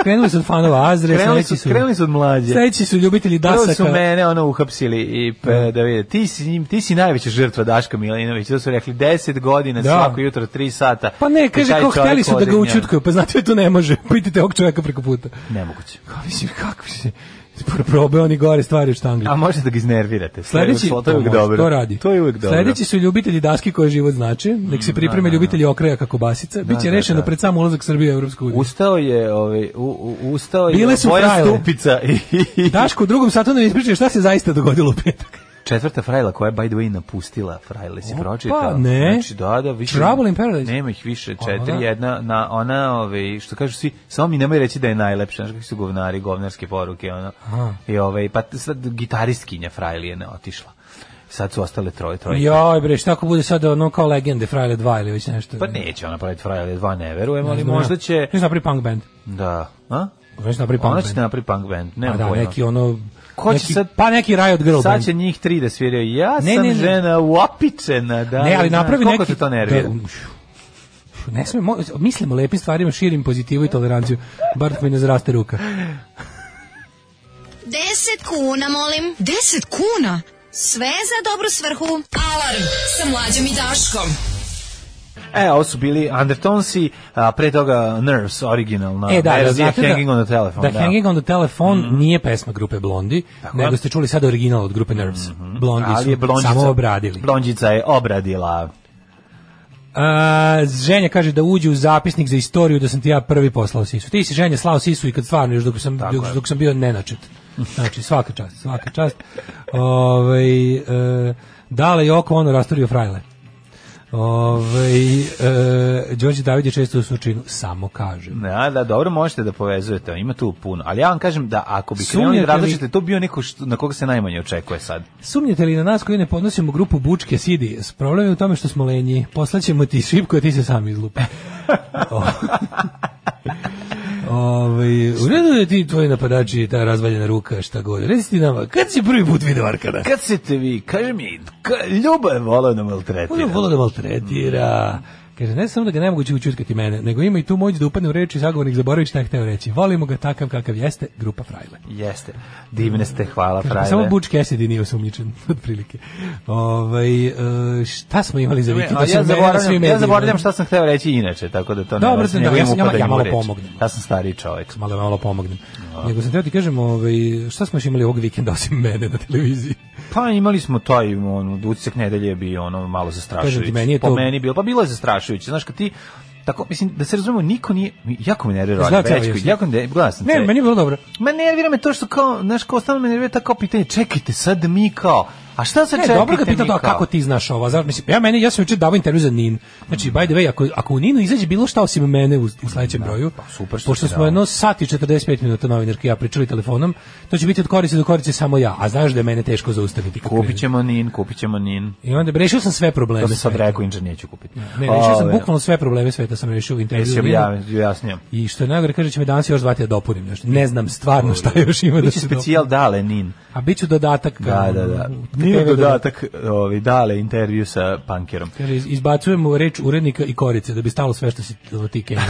Speaker 7: Krenuli su od fanova Azre,
Speaker 6: Krenuli
Speaker 7: sledeći
Speaker 6: su, krenuli su od mlađe.
Speaker 7: Sledeći su ljubitelji
Speaker 6: Prvo su
Speaker 7: dasaka.
Speaker 6: mene ono uhapsili i pa, da vidi, ti si, njim, ti si najveća žrtva Daška Milinovića, to su rekli 10 godina
Speaker 7: Da.
Speaker 6: svako jutro 3 sata.
Speaker 7: Pa ne,
Speaker 6: I
Speaker 7: kaže
Speaker 6: taj
Speaker 7: kao
Speaker 6: čovjek
Speaker 7: hteli su da
Speaker 6: ode
Speaker 7: ga
Speaker 6: njemu.
Speaker 7: učutkuju, pa znate to ne može. Pitite ovog čovjeka preko puta.
Speaker 6: Nemoguće.
Speaker 7: Kao mislim kako se pro- probe oni gore stvari od štangle.
Speaker 6: A možete da ga iznervirate.
Speaker 7: Sledeći,
Speaker 6: to je uvijek
Speaker 7: može,
Speaker 6: dobro.
Speaker 7: to radi.
Speaker 6: To je uvijek dobro. Mm,
Speaker 7: Sledeći su ljubitelji daski koje život znači, nek se pripreme ljubitelji okraja kako basica, biće
Speaker 6: da,
Speaker 7: rešeno
Speaker 6: da.
Speaker 7: pred sam ulazak Srbije u Evropsku uniju.
Speaker 6: Ustao je, ovaj, u, u, ustao je
Speaker 7: Bile su
Speaker 6: Bojan
Speaker 7: frajle.
Speaker 6: Stupica i, i
Speaker 7: Daško u drugom satu nam ispričaj šta se zaista dogodilo u petak.
Speaker 6: četvrta frajla koja je by the way napustila frajle si
Speaker 7: Opa,
Speaker 6: pročitao.
Speaker 7: ne.
Speaker 6: Znači da, da, više.
Speaker 7: Trouble in Paradise.
Speaker 6: Nema ih više,
Speaker 7: A,
Speaker 6: četiri,
Speaker 7: da.
Speaker 6: jedna, na, ona, ovaj, što kažu svi, samo mi nemoj reći da je najlepša, znaš kakvi su govnari, govnarske poruke, ono.
Speaker 7: Aha.
Speaker 6: I ovaj, pa sad gitaristkinja frajlije ne otišla. Sad su ostale troje, troje.
Speaker 7: Joj bre, šta ako bude sad ono kao legende Frajle 2 ili već nešto.
Speaker 6: Pa neće ona praviti frajlije dva, ne verujem,
Speaker 7: Ne
Speaker 6: ali
Speaker 7: znam,
Speaker 6: možda
Speaker 7: ja.
Speaker 6: će,
Speaker 7: Znaš napravi punk band.
Speaker 6: da, a?
Speaker 7: Znaš napravi punk
Speaker 6: Ona
Speaker 7: band.
Speaker 6: će napravi punk band, nema
Speaker 7: Pa da,
Speaker 6: pojma.
Speaker 7: neki ono...
Speaker 6: Ko će
Speaker 7: neki,
Speaker 6: sad-
Speaker 7: Pa neki Riot Girl
Speaker 6: Sad
Speaker 7: band.
Speaker 6: će njih tri da sviraju. Ja
Speaker 7: Ne,
Speaker 6: sam
Speaker 7: ne, ne.
Speaker 6: žena uopičena. Da,
Speaker 7: ne, ali
Speaker 6: znaš,
Speaker 7: napravi neki...
Speaker 6: Koliko te to nervira?
Speaker 7: Da, um, šu. ne smem, mo- mislim o lepim stvarima, širim pozitivu i toleranciju. Bar dok mi ne zraste ruka.
Speaker 5: 10 kuna, molim. 10 kuna? Sve za dobru svrhu. Alarm sa mlađom i Daškom.
Speaker 6: E, ovo su bili Undertonesi, a pre toga Nerves, originalna
Speaker 7: E, da, da,
Speaker 6: verzija
Speaker 7: znate da,
Speaker 6: Hanging on the Telephone. Mhm.
Speaker 7: da, Hanging on the Telephone nije pesma grupe Blondi,
Speaker 6: je. Mhm.
Speaker 7: nego ste čuli sad original od grupe Nerves. Blondi
Speaker 6: Ali je
Speaker 7: su
Speaker 6: blondžica,
Speaker 7: samo obradili.
Speaker 6: Blondžica je obradila.
Speaker 7: A, ženja kaže da uđe u zapisnik za istoriju da sam ti ja prvi poslao sisu. Ti si ženja slao sisu i kad stvarno još dok sam, dok,
Speaker 6: je.
Speaker 7: dok sam bio nenačet. Znači svaka čast, svaka čast. Ovaj e, dale i oko ono rastorio frajle. Ovaj e, Đorđe David je često u sučinu, samo kažem.
Speaker 6: Da, da, dobro, možete da povezujete, ima tu puno. Ali ja vam kažem da ako bi krenuli
Speaker 7: Sumnjate
Speaker 6: da
Speaker 7: li-
Speaker 6: različite, to bio neko što, na koga se najmanje očekuje sad.
Speaker 7: Sumnjate li na nas koji ne podnosimo grupu Bučke Sidi? Problem je u tome što smo lenji. Poslaćemo ti šipku, a ti se sam izlupa. Ovaj, u redu je ti tvoji napadači, ta razvaljena ruka, šta god. Reci ti nama, kad si prvi put video Arkada?
Speaker 6: Kad se te vi, kaži mi, ka, ljubav je vola da maltretira.
Speaker 7: On je volao da maltretira. Mm. Kaže, ne samo da ga nemoguće učutkati mene, nego ima i tu moć da upadne u reči zagovornik Zaboravić šta je hteo reći. Volimo ga takav kakav jeste, grupa Frajle.
Speaker 6: Jeste. Divne ste, hvala,
Speaker 7: Kaže, pa
Speaker 6: Frajle.
Speaker 7: samo Butch Cassidy nije osumnjičen, otprilike. Ovaj, e, šta smo imali za
Speaker 6: Ne,
Speaker 7: vikend?
Speaker 6: a
Speaker 7: Osim
Speaker 6: ja
Speaker 7: mene, svi
Speaker 6: zaboravljam,
Speaker 7: mediji,
Speaker 6: ja zaboravljam šta sam hteo reći inače, tako da to ne
Speaker 7: Dobro,
Speaker 6: vas-
Speaker 7: da,
Speaker 6: nego
Speaker 7: ja
Speaker 6: imam
Speaker 7: sam- ja-
Speaker 6: upada
Speaker 7: ja
Speaker 6: i
Speaker 7: malo
Speaker 6: moju reč.
Speaker 7: pomognem.
Speaker 6: Ja sam stariji čovjek.
Speaker 7: malo malo pomognem. Nego sam teo ti kažem, ovaj, šta smo još imali ovog vikenda osim mene na televiziji?
Speaker 6: Pa imali smo taj on utisak nedelje je bio ono malo zastrašujući.
Speaker 7: Kažem ti, meni je
Speaker 6: po
Speaker 7: to-
Speaker 6: meni bilo, pa bilo je zastrašujuće. Znaš kad ti tako mislim da se razumemo niko nije jako me nervira
Speaker 7: Znam te,
Speaker 6: Radi Bečković,
Speaker 7: objasni.
Speaker 6: jako ne glasan.
Speaker 7: Ne, meni je bilo dobro.
Speaker 6: Ma nervira me to što kao, znaš, kao stalno me nervira ta kao pitanje, čekajte sad mi kao, a šta se
Speaker 7: Ne,
Speaker 6: čekajte
Speaker 7: dobro ga pitam
Speaker 6: mi
Speaker 7: to, a
Speaker 6: kao?
Speaker 7: kako ti znaš ovo. Zar, mislim, ja, meni, ja sam juče davao intervju za NIN. Znači, by the way, ako, ako u NINu izađe bilo šta osim mene u, u sledećem broju,
Speaker 6: pa super što
Speaker 7: pošto
Speaker 6: si
Speaker 7: smo
Speaker 6: dao.
Speaker 7: jedno sat i 45 minuta novinarke i ja pričali telefonom, to će biti od korice do korice samo ja, a znaš da je mene teško zaustaviti. kad
Speaker 6: Kupit
Speaker 7: krenem.
Speaker 6: ćemo nin, kupit ćemo nin.
Speaker 7: I onda bi rešio sam sve probleme.
Speaker 6: To sam sad
Speaker 7: sveta.
Speaker 6: rekao, inče neću kupiti.
Speaker 7: Ne, rešio sam
Speaker 6: Ove,
Speaker 7: bukvalno sve probleme sveta sam rešio u intervju.
Speaker 6: Jesi
Speaker 7: za NIN.
Speaker 6: objavio, jasnio.
Speaker 7: I što je najgore, kaže će me danas još zvati da dopunim nešto. Ne znam stvarno šta još ima da
Speaker 6: Biće
Speaker 7: se dopuni.
Speaker 6: specijal dale nin.
Speaker 7: A bit ću dodatak. ono,
Speaker 6: Da,
Speaker 7: kao,
Speaker 6: da, da.
Speaker 7: u-
Speaker 6: Nije
Speaker 7: TV
Speaker 6: dodatak ovaj, dale intervju sa punkerom.
Speaker 7: Kaže, iz- izbacujemo reč urednika i korice da bi stalo sve što si ti Kenja.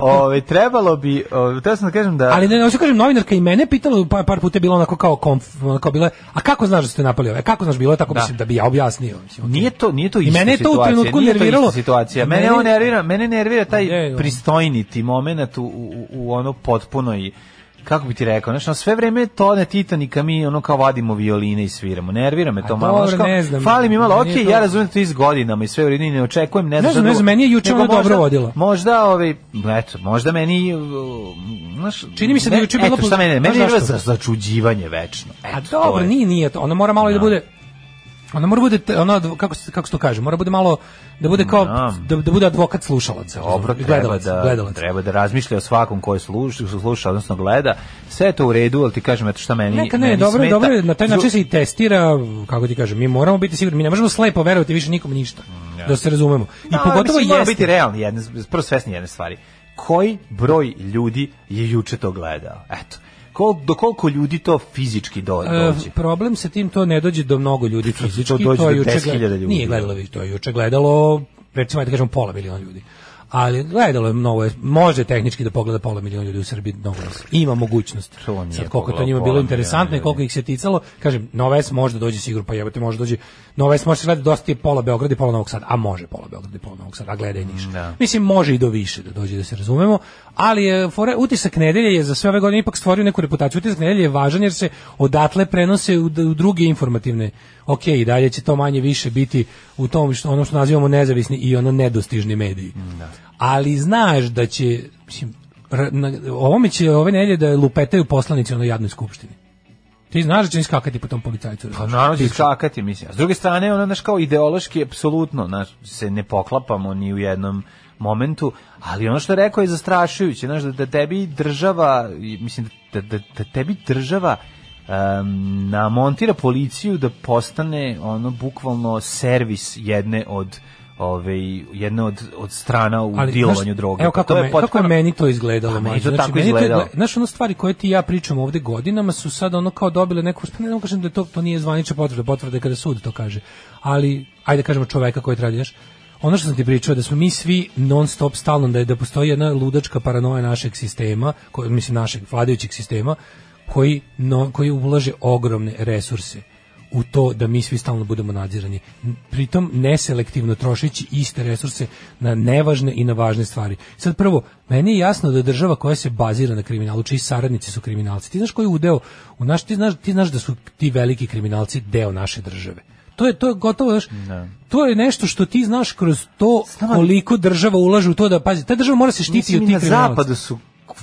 Speaker 6: Ove, trebalo bi, ove, teo sam da kažem da...
Speaker 7: Ali ne, hoću kažem, novinarka i mene pitala, pa, par puta je bilo onako kao, konf, onako bilo, je, a kako znaš da ste napali ove? Kako znaš bilo je tako,
Speaker 6: Da.
Speaker 7: mislim, da bi ja objasnio. Mislim, okej.
Speaker 6: Nije to, nije to
Speaker 7: I
Speaker 6: ista
Speaker 7: mene je to u
Speaker 6: situacija,
Speaker 7: trenutku
Speaker 6: nije to ista
Speaker 7: nerviralo.
Speaker 6: situacija. Mene,
Speaker 7: Mene-
Speaker 6: on nervira, mene nervira taj
Speaker 7: Gde je on?
Speaker 6: pristojniti moment u, u, u ono potpuno i kako bi ti rekao, znači ono, sve vreme to na Titanika mi ono kao vadimo violine i sviramo. Nervira me to
Speaker 7: A
Speaker 6: malo.
Speaker 7: dobro,
Speaker 6: znaš kao,
Speaker 7: ne znam,
Speaker 6: Fali mi malo,
Speaker 7: meni
Speaker 6: okej,
Speaker 7: je to-
Speaker 6: ja razumem to iz godinama i sve u redu i ne očekujem, ne,
Speaker 7: Ne znam,
Speaker 6: šta
Speaker 7: ne
Speaker 6: drugo.
Speaker 7: znam, meni je juče
Speaker 6: Nego
Speaker 7: ona dobro
Speaker 6: možda-
Speaker 7: vodila.
Speaker 6: Možda, ovaj, eto, možda meni, uh, znaš,
Speaker 7: Čini mi se da je juče
Speaker 6: eto,
Speaker 7: bilo-
Speaker 6: šta mene,
Speaker 7: znaš
Speaker 6: meni je bilo
Speaker 7: zašto?
Speaker 6: za začuđivanje večno.
Speaker 7: A
Speaker 6: Eto, E, to
Speaker 7: dobro,
Speaker 6: je.
Speaker 7: nije, nije to. Ona mora malo i da bude Ona mora bude te- ona advo- kako se kako se to kaže, mora bude malo da bude kao
Speaker 6: Da.
Speaker 7: da, da bude advokat slušalaca,
Speaker 6: Pa
Speaker 7: ono,
Speaker 6: Dobro,
Speaker 7: razumeš,
Speaker 6: treba
Speaker 7: gledalaca,
Speaker 6: da,
Speaker 7: gledalaca.
Speaker 6: treba da razmišlja o svakom koji sluša, sluša, odnosno gleda. Sve je to u redu, ali ti kažem, eto šta meni,
Speaker 7: Neka ne,
Speaker 6: meni
Speaker 7: dobro,
Speaker 6: smeta.
Speaker 7: dobro, je, na taj
Speaker 6: Zvu-
Speaker 7: način se i testira, kako ti kažem, mi moramo biti sigurni, mi ne možemo slepo verovati više nikom ništa, da se razumemo. I
Speaker 6: Mm, Da,
Speaker 7: pogotovo
Speaker 6: mislim, mora
Speaker 7: jeste.
Speaker 6: biti realni, jedne, prvo svesni jedne stvari. Koji broj ljudi je juče to gledao? Eto. Kol, do koliko ljudi to fizički do,
Speaker 7: E,
Speaker 6: dođe?
Speaker 7: problem sa tim to ne dođe do mnogo ljudi fizički, to,
Speaker 6: dođe
Speaker 7: je
Speaker 6: do
Speaker 7: juče
Speaker 6: 10.000
Speaker 7: gled-
Speaker 6: ljudi.
Speaker 7: Nije gledalo vi to je juče gledalo recimo ajde kažemo pola miliona ljudi. Ali gledalo je mnogo, može tehnički da pogleda pola miliona ljudi u Srbiji, mnogo nas. Ima mogućnost.
Speaker 6: To nije
Speaker 7: Sad koliko je to
Speaker 6: pogledalo
Speaker 7: njima
Speaker 6: pola
Speaker 7: bilo
Speaker 6: miliona
Speaker 7: interesantno i
Speaker 6: ljudi.
Speaker 7: koliko ih se ticalo, kažem, Nova S može da dođe sigurno, pa jebote može da dođe. Nova S može se gleda dosta je pola Beograda i pola Novog Sada, a može pola Beograda i pola Novog Sada, a gleda i Niš.
Speaker 6: Da.
Speaker 7: Mislim, može i do više da dođe, da se razumemo, ali je, fora, utisak nedelje je za sve ove godine ipak stvorio neku reputaciju. Utisak nedelje je važan jer se odatle prenose u, d- u druge informativne. Ok, i dalje će to manje više biti u tom što, ono što nazivamo nezavisni i ono nedostižni mediji. Ali znaš da će, mislim, r- na, ovome će ove nedelje da lupetaju poslanici ono jadnoj skupštini. Ti znaš da će iskakati po tom policajcu.
Speaker 6: Pa
Speaker 7: razumeš?
Speaker 6: naravno će
Speaker 7: Bivšem.
Speaker 6: skakati, mislim. A s druge strane, ono, znaš, kao ideološki, apsolutno, znaš, se ne poklapamo ni u jednom momentu, ali ono što je rekao je zastrašujuće, znaš, da, da tebi država, i, mislim, da, da, da tebi država em, namontira policiju da postane, ono, bukvalno servis jedne od ove jedne od od strana u dilovanju
Speaker 7: znaš,
Speaker 6: droge.
Speaker 7: Evo
Speaker 6: Pa
Speaker 7: kako,
Speaker 6: to
Speaker 7: me,
Speaker 6: je
Speaker 7: kako
Speaker 6: potpuno-
Speaker 7: je meni to izgledalo.
Speaker 6: Pa, meni
Speaker 7: mlađe.
Speaker 6: to tako
Speaker 7: meni je
Speaker 6: izgledalo.
Speaker 7: izgled- Znaš, ono stvari koje ti i ja pričamo ovde godinama su sad ono kao dobile neku, pa ne mogu kažem da to, to nije zvanična potvrda, potvrda je kada sud to kaže. Ali, ajde kažemo čoveka koji tradiš, ono što sam ti pričao je da smo mi svi non stop stalno, da, je, da postoji jedna ludačka paranoja našeg sistema, koji, mislim našeg vladajućeg sistema, koji, no, koji ulaže ogromne resurse u to da mi svi stalno budemo nadzirani. Pritom neselektivno trošeći iste resurse na nevažne i na važne stvari. Sad prvo, meni je jasno da država koja se bazira na kriminalu, čiji saradnici su kriminalci. Ti znaš koji je udeo u naš, ti znaš, ti znaš da su ti veliki kriminalci deo naše države. To je to je gotovo, znaš, to je nešto što ti znaš kroz to
Speaker 6: Znam,
Speaker 7: koliko država ulaže u to da pazi. Ta država mora se štititi
Speaker 6: Mislim,
Speaker 7: od
Speaker 6: i
Speaker 7: tih
Speaker 6: na
Speaker 7: kriminalaca.
Speaker 6: zapadu su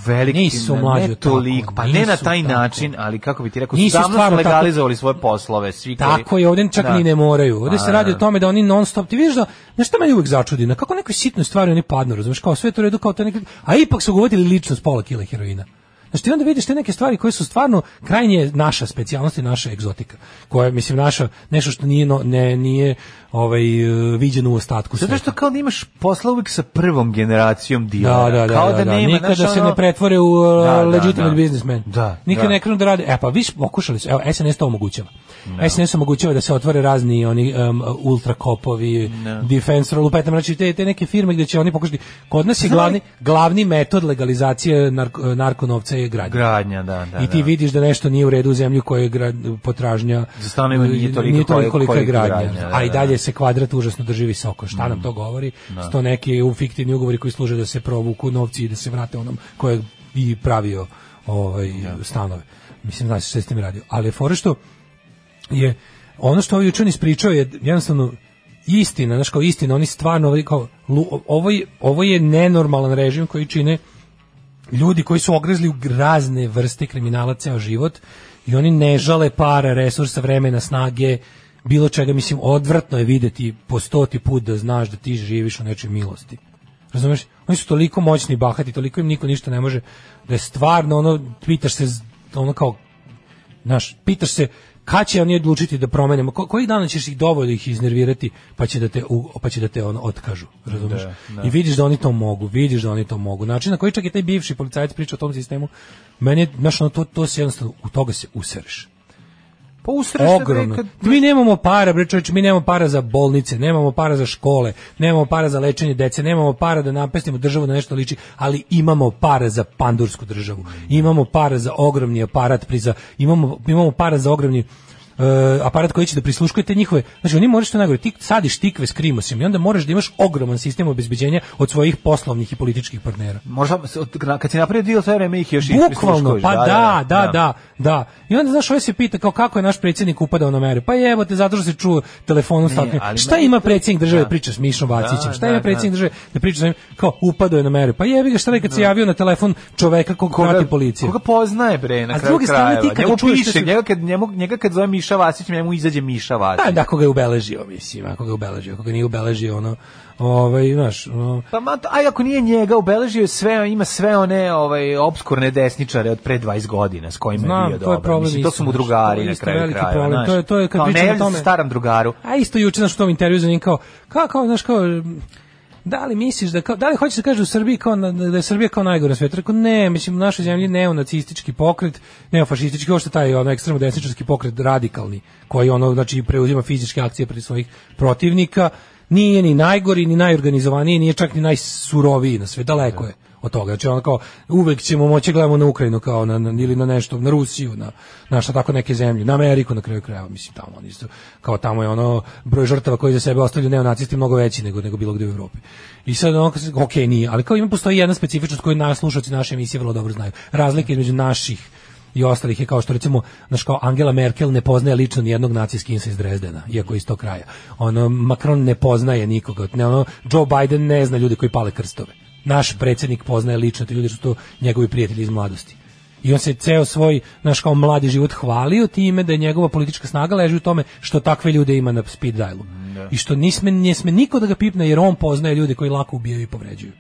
Speaker 6: veliki,
Speaker 7: Nisu,
Speaker 6: ne-
Speaker 7: mlađo,
Speaker 6: ne
Speaker 7: tako,
Speaker 6: toliko, pa ne na
Speaker 7: nisu
Speaker 6: taj
Speaker 7: tako.
Speaker 6: način, ali kako bi ti rekao,
Speaker 7: Nisu
Speaker 6: nisu davno su
Speaker 7: stvarno tako-
Speaker 6: legalizovali svoje poslove, svi koji...
Speaker 7: Tako je, ovdje čak
Speaker 6: Da.
Speaker 7: ni ne moraju. Ovdje se
Speaker 6: A,
Speaker 7: radi o
Speaker 6: da.
Speaker 7: tome da oni non stop, ti vidiš da, znaš šta meni uvek začudi, na kako nekoj sitnoj stvari oni padnu, razumeš, kao sve je to u redu, kao to neki, a ipak su uvodili ličnost pola kila heroina. Znači ti onda vidiš te neke stvari koje su stvarno krajnje naša specijalnost i naša egzotika, koja je mislim naša nešto što nije no- ne nije ovaj e, viđeno u ostatku
Speaker 6: Zato što kao da imaš posla uvijek sa prvom generacijom
Speaker 7: Da,
Speaker 6: dilera.
Speaker 7: da, da,
Speaker 6: kao
Speaker 7: da,
Speaker 6: da,
Speaker 7: da,
Speaker 6: nema,
Speaker 7: nikada
Speaker 6: znaš,
Speaker 7: se
Speaker 6: ono-
Speaker 7: ne pretvore u uh,
Speaker 6: Da, da,
Speaker 7: legitimate
Speaker 6: da.
Speaker 7: businessmen.
Speaker 6: Da,
Speaker 7: Nikada
Speaker 6: da.
Speaker 7: ne krenu da rade. E pa vi pokušali su, evo SNS to omogućava. SNS omogućava da se otvore razni oni um, ultra kopovi, defense roll, pa znači te, te neke firme gdje će oni pokušati. Kod nas je glavni glavni metod legalizacije narko, narkonovca je gradnja.
Speaker 6: Gradnja, da, da.
Speaker 7: I ti
Speaker 6: da.
Speaker 7: vidiš da nešto nije u redu u zemlju koje je gra- potražnja
Speaker 6: Za stanovima nije toliko koliko-
Speaker 7: kolika je
Speaker 6: koliko je
Speaker 7: gradnja,
Speaker 6: gradnja, da,
Speaker 7: a i
Speaker 6: da, Mm.
Speaker 7: dalje se kvadrat užasno drži visoko. Šta nam to govori? Sto neki u- fiktivni ugovori koji služe da se provuku novci i da se vrate onom koji je i pravio ovaj, stanove. Mislim, znaš što je s tim radio. Ali je fora što je ono što ovaj učen ispričao je jednostavno istina, znaš kao istina, oni stvarno ovaj kao, lu- ovo, je, ovo je nenormalan režim koji čine ljudi koji su ogrezli u razne vrste kriminala ceo život i oni ne žale para, resursa, vremena, snage, bilo čega, mislim, odvratno je videti po stoti put da znaš da ti živiš u nečoj milosti. Razumeš? Oni su toliko moćni i bahati, toliko im niko ništa ne može, da je stvarno ono, pitaš se, z- ono kao, znaš, pitaš se kad će oni odlučiti da promenimo, ko, koji dana ćeš ih dovoljno ih iznervirati, pa će da te, u- pa će da te ono, otkažu, razumiješ? I vidiš da oni to mogu, vidiš da oni to mogu. Način na koji čak i taj bivši policajac priča o tom sistemu, meni je, znaš, ono, to, to se jednostavno, u toga se usereš.
Speaker 6: Pa usreš se
Speaker 7: Ogromno.
Speaker 6: kad-
Speaker 7: Mi nemamo para, bre čoveče, mi nemamo para za bolnice, nemamo para za škole, nemamo para za lečenje dece, nemamo para da napestimo državu na nešto liči, ali imamo para za pandursku državu. Imamo para za ogromni aparat pri za imamo imamo para za ogromni e, aparat koji će da prisluškuje te njihove. Znači oni moraš što najgore, ti sadiš tikve s krimosim i onda moraš da imaš ogroman sistem obezbeđenja od svojih poslovnih i političkih partnera.
Speaker 6: Možda, se od- kad si napravio deal, sve vreme ih još i
Speaker 7: Bukvalno,
Speaker 6: prisluškuješ,
Speaker 7: pa da, da, da, da. I onda, znaš, ovaj se pita kao kako je naš predsjednik upadao na mere. Pa jebote, zato što se čuo telefonom statnje.
Speaker 6: ali
Speaker 7: Šta
Speaker 6: meni
Speaker 7: ima
Speaker 6: to-
Speaker 7: predsjednik države
Speaker 6: Da.
Speaker 7: da. priča s Mišom Vacićem?
Speaker 6: Da,
Speaker 7: Šta
Speaker 6: da,
Speaker 7: ima predsjednik
Speaker 6: da.
Speaker 7: države da priča s njim? Kao, upadao je na mere. Pa jebi ga, šta da je kad se javio na telefon čoveka kog prati policija?
Speaker 6: Koga poznaje bre na
Speaker 7: A s
Speaker 6: kraju
Speaker 7: druge strane,
Speaker 6: krajeva.
Speaker 7: ti kada
Speaker 6: njemu
Speaker 7: čuješ
Speaker 6: piše,
Speaker 7: da su-
Speaker 6: njega kad njemu njega kad zove Miša Vasić, njemu izađe Miša Vasić.
Speaker 7: Pa, Da, da, koga je ubeležio, mislim, ako ga je ubeležio, ako ga nije ubeležio, ono, ovaj, znaš, ono,
Speaker 6: Pa ma, aj ako nije njega, obeležio je sve, ima sve one ovaj obskurne desničare od pre 20 godina s kojima je
Speaker 7: Znam,
Speaker 6: bio
Speaker 7: to je
Speaker 6: dobar.
Speaker 7: problem
Speaker 6: Mislim, to
Speaker 7: isto,
Speaker 6: su mu
Speaker 7: znaš,
Speaker 6: drugari
Speaker 7: to je
Speaker 6: na
Speaker 7: isto
Speaker 6: kraju
Speaker 7: veliki
Speaker 6: krajeva.
Speaker 7: problem.
Speaker 6: znaš.
Speaker 7: To je- to je kad
Speaker 6: Kao, ne
Speaker 7: pričam o
Speaker 6: javlja se
Speaker 7: tome.
Speaker 6: starom drugaru.
Speaker 7: A isto juče znaš, u tom intervju za njim kao, kao, kao, znaš, kao, da li misliš da kao, da li hoćeš da kažeš u Srbiji kao na- da je Srbija kao najgore na svijetu? Rekao ne, mislim u našoj zemlji neonacistički pokret, neofašistički, ovo što taj ono ekstremno desničarski pokret radikalni, koji ono znači preuzima fizičke akcije protiv svojih protivnika, nije ni najgori, ni najorganizovaniji, nije čak ni najsuroviji na sve, daleko je od toga. Znači ono kao uvek ćemo moći gledamo na Ukrajinu kao na, na- ili na nešto, na Rusiju, na na šta tako neke zemlje, na Ameriku na kraju krajeva, mislim tamo oni su kao tamo je ono broj žrtava koji za sebe ostavljaju neonacisti mnogo veći nego nego bilo gde u Evropi. I sad ono kao se- okej, nije, ali kao ima postoji jedna specifičnost koju nas slušaoci naše emisije vrlo dobro znaju. Razlike između naših i ostalih je kao što recimo naš kao Angela Merkel ne poznaje lično nijednog nacijskinca iz Drezdena, iako je iz tog kraja. Ono Macron ne poznaje nikoga, ne ono Joe Biden ne zna ljude koji pale krstove. Naš predsjednik poznaje lično te ljude jer su to njegovi prijatelji iz mladosti. I on se ceo svoj, naš kao mladi život hvalio time da je njegova politička snaga leži u tome što takve ljude ima na speed dialu. I što nisme, nije sme niko da ga pipne jer on poznaje ljude koji lako ubijaju i povređuju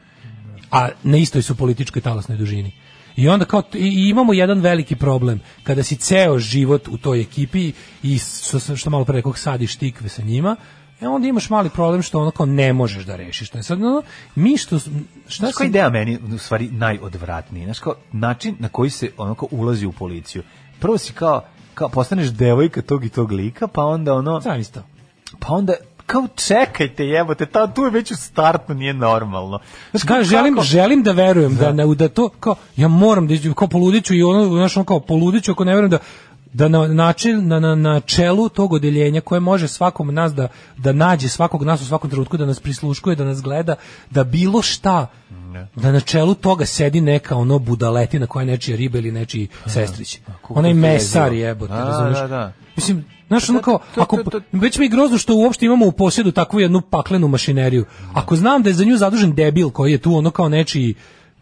Speaker 7: a na istoj su političkoj talasnoj dužini. I onda kao t- i- i imamo jedan veliki problem kada si ceo život u toj ekipi i s- što, sam- što malo pre rekoh sadiš tikve sa njima, e onda imaš mali problem što ono kao ne možeš da rešiš. To je sad ono, mi što s- šta
Speaker 6: Znaš koja
Speaker 7: se
Speaker 6: ideja meni u stvari najodvratniji? Znaš kao način na koji se onako ulazi u policiju. Prvo si kao kao postaneš devojka tog i tog lika, pa onda ono
Speaker 7: Zamisli to.
Speaker 6: pa onda kao čekajte jebote, ta tu je već u startu nije normalno. Znaš,
Speaker 7: Da, želim,
Speaker 6: kako-
Speaker 7: želim da verujem da, da, da to kao ja moram da iđem, kao poludiću i ono znaš ono kao poludiću ako ne verujem da da na način na, na, na čelu tog odeljenja koje može svakom od nas da da nađe svakog nas u svakom trenutku da nas prisluškuje da nas gleda da bilo šta da na čelu toga sedi neka ono budaletina koja je nečija riba ili nečiji sestrić
Speaker 6: kako
Speaker 7: onaj
Speaker 6: to je
Speaker 7: mesar
Speaker 6: jezivo.
Speaker 7: jebote
Speaker 6: Da,
Speaker 7: razumeš
Speaker 6: da, da.
Speaker 7: mislim znaš ono kao
Speaker 6: to-
Speaker 7: ako
Speaker 6: to- to-
Speaker 7: već mi je grozno što uopšte imamo u posjedu takvu jednu paklenu mašineriju. Ako znam da je za nju zadužen debil koji je tu ono kao nečiji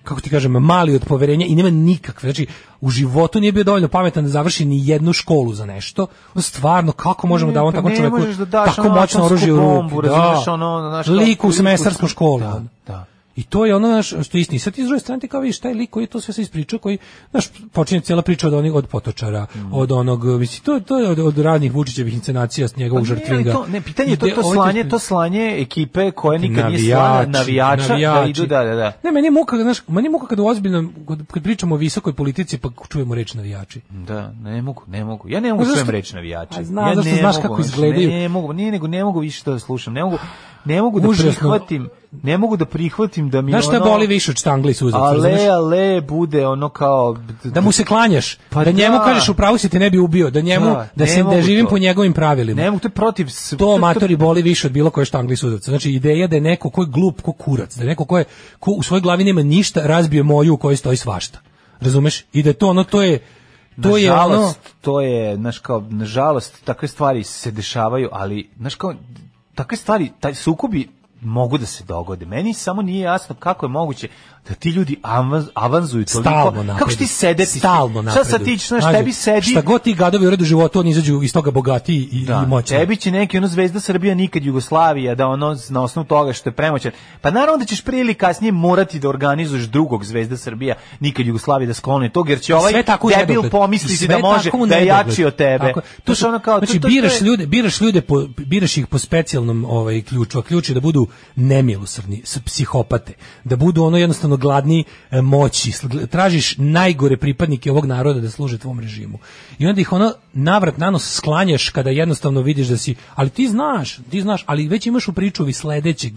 Speaker 7: kako ti kažem, mali od poverenja i nema nikakve. Znači, u životu nije bio dovoljno pametan da završi ni jednu školu za nešto. On Stvarno, kako možemo
Speaker 6: Ne,
Speaker 7: da on
Speaker 6: pa
Speaker 7: tako
Speaker 6: ne
Speaker 7: čoveku
Speaker 6: možeš da daš
Speaker 7: tako
Speaker 6: ono
Speaker 7: moćno
Speaker 6: atomsku
Speaker 7: oružje u ruku?
Speaker 6: bombu, razumeš, ono, znaš, kao-
Speaker 7: Lik u semestarskom školi.
Speaker 6: Da,
Speaker 7: ono.
Speaker 6: da.
Speaker 7: I to je ono naš što je istina. Sad ti s druge strane ti kao vidiš taj lik koji je to sve se ispričao, koji znaš počinje cijela priča od onih od potočara,
Speaker 6: Mm.
Speaker 7: od onog mislim to to je od, od raznih Vučićevih inscenacija s njegovog
Speaker 6: Ne, Pa ali
Speaker 7: žrtvinga.
Speaker 6: to, ne, pitanje je to,
Speaker 7: Ide-
Speaker 6: to
Speaker 7: ovaj
Speaker 6: slanje,
Speaker 7: ti-
Speaker 6: to slanje ekipe koje nikad nije slana,
Speaker 7: Navijači,
Speaker 6: navijača, da
Speaker 7: navijači.
Speaker 6: idu, da, da, da.
Speaker 7: Ne, meni je muka, znaš, meni je muka kad u ozbiljnom, kad- kad pričamo o visokoj politici, pa čujemo reč navijači.
Speaker 6: Da, ne mogu, ne mogu. Ja ne mogu
Speaker 7: A Pa zašto-
Speaker 6: čujem reč navijača.
Speaker 7: A znam,
Speaker 6: ja
Speaker 7: zašto
Speaker 6: ne
Speaker 7: znaš
Speaker 6: mogu,
Speaker 7: kako
Speaker 6: znači,
Speaker 7: izgledaju.
Speaker 6: Ne, mogu, ne, nego ne mogu više to da slušam. Ne mogu, ne mogu da
Speaker 7: Užasno.
Speaker 6: prihvatim, ne mogu da prihvatim da mi
Speaker 7: Znaš šta
Speaker 6: ono-
Speaker 7: boli više od štangli i suzaca, razumeš?
Speaker 6: Ale, ale, bude ono kao...
Speaker 7: da mu se klanjaš,
Speaker 6: Pa
Speaker 7: da njemu
Speaker 6: da.
Speaker 7: kažeš u pravu si te ne bi ubio, da njemu
Speaker 6: Da,
Speaker 7: da,
Speaker 6: ne
Speaker 7: se
Speaker 6: mogu
Speaker 7: da živim
Speaker 6: to.
Speaker 7: po njegovim pravilima.
Speaker 6: Ne mogu, to je protiv... s-
Speaker 7: to matori boli više od bilo koje štangli sudavca. Znači ideja da je neko ko je glup, ko kurac, da je neko ko, je, ko u svojoj glavi nema ništa, razbio moju u kojoj stoji svašta. Razumeš? I da je to ono, to je, to je ono,
Speaker 6: nažalost, to je, znaš kao, nažalost, takve stvari se dešavaju, ali, znaš kao, takve stvari, taj sukobi mogu da se dogode. Meni samo nije jasno kako je moguće da ti ljudi avanz, avanzuju toliko.
Speaker 7: stalno napreduju.
Speaker 6: Kako će ti sedeti?
Speaker 7: Stalno napreduju.
Speaker 6: Šta sad ti, ćeš, znaš,
Speaker 7: Mlađe,
Speaker 6: tebi sedi...
Speaker 7: Šta god ti gadovi urede u životu, oni izađu iz toga bogatiji i,
Speaker 6: Da,
Speaker 7: i moćni.
Speaker 6: tebi će neki ono zvezda Srbija nikad Jugoslavija da ono na osnovu toga što je premoćan. Pa naravno da ćeš prije ili kasnije morati da organizuješ drugog zvezda Srbija nikad Jugoslavija da skloni tog jer će ovaj
Speaker 7: sve tako u
Speaker 6: debil
Speaker 7: nedogled. I
Speaker 6: pomisliti
Speaker 7: sve
Speaker 6: da može
Speaker 7: tako u
Speaker 6: da je
Speaker 7: nedogled.
Speaker 6: jači od tebe.
Speaker 7: Tako je. To
Speaker 6: Znaš,
Speaker 7: su,
Speaker 6: ono kao, to-
Speaker 7: znači
Speaker 6: to- to
Speaker 7: biraš
Speaker 6: je-
Speaker 7: ljude, biraš ljude po, biraš ih po specijalnom ovaj ključu, a ključ je da budu nemilosrdni, s- psihopate, da budu ono jednostavno gladni e, moći. Sl- gl- Tražiš najgore pripadnike ovog naroda da služe tvom režimu. I onda ih ono navrat nanos sklanjaš kada jednostavno vidiš da si, ali ti znaš, ti znaš, ali već imaš u pričuvi sledećeg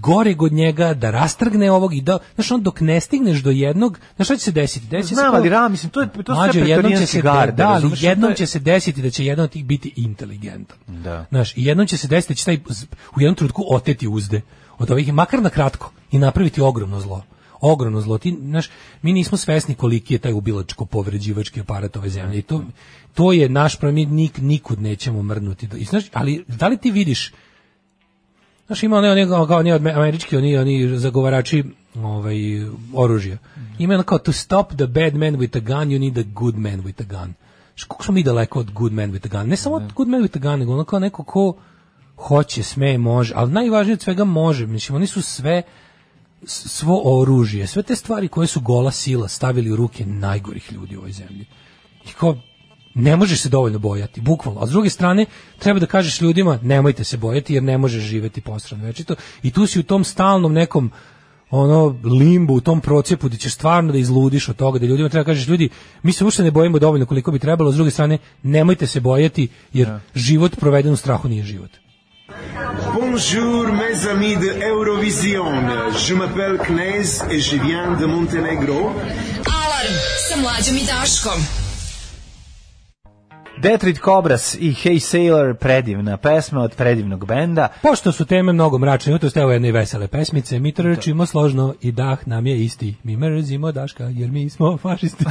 Speaker 7: gore od njega, da rastrgne ovog i da, znaš, on dok ne stigneš do jednog, znaš šta će se desiti? Desit će se
Speaker 6: Znam,
Speaker 7: kao-
Speaker 6: ali ra, mislim, to je to su
Speaker 7: Mlađe,
Speaker 6: sve
Speaker 7: jednom će
Speaker 6: pretorijanske
Speaker 7: se
Speaker 6: garde.
Speaker 7: da, ali
Speaker 6: razumeš, to
Speaker 7: jednom
Speaker 6: je-
Speaker 7: će se desiti da će jedan od tih biti inteligentan.
Speaker 6: Da.
Speaker 7: Znaš, i jednom će se desiti da će taj z- u jednom trenutku oteti uzde od ovih, makar na kratko, i napraviti ogromno zlo. Ogromno zlo. Ti, znaš, mi nismo svesni koliki je taj ubilačko povređivački aparat ove zemlje. I to, to je naš problem, mi nik, nikud nećemo mrnuti. I, znaš, ali da li ti vidiš Znaš, ima onaj, onaj, kao oni odme- američki, oni, oni zagovarači ovaj, oružja. Ima ono kao, to stop the bad man with a gun, you need a good man with a gun. Znaš, kako smo mi daleko od good man with a gun? Ne samo od good man with a gun, nego ono kao neko ko hoće, sme, može, ali najvažnije od svega može. Mislim, oni su sve, s- svo oružje, sve te stvari koje su gola sila stavili u ruke najgorih ljudi u ovoj zemlji. I kao, ne možeš se dovoljno bojati, bukvalno. A s druge strane, treba da kažeš ljudima, nemojte se bojati jer ne možeš živeti postran večito. I tu si u tom stalnom nekom ono limbu, u tom procepu gde ćeš stvarno da izludiš od toga, da ljudima treba kažeš ljudi, mi se uopšte ne bojimo dovoljno koliko bi trebalo, a s druge strane, nemojte se bojati jer život proveden u strahu nije život.
Speaker 9: Bonjour mes amis de Eurovision. Je m'appelle Knez et je viens de Montenegro.
Speaker 5: Alarm sa mlađom i Daškom.
Speaker 6: Detroit Cobras i Hey Sailor, predivna pesma od predivnog benda.
Speaker 7: Pošto su teme mnogo mračne, jutro ste evo jedne vesele pesmice, mi trčimo složno i dah nam je isti. Mi mrzimo Daška jer mi smo fašisti.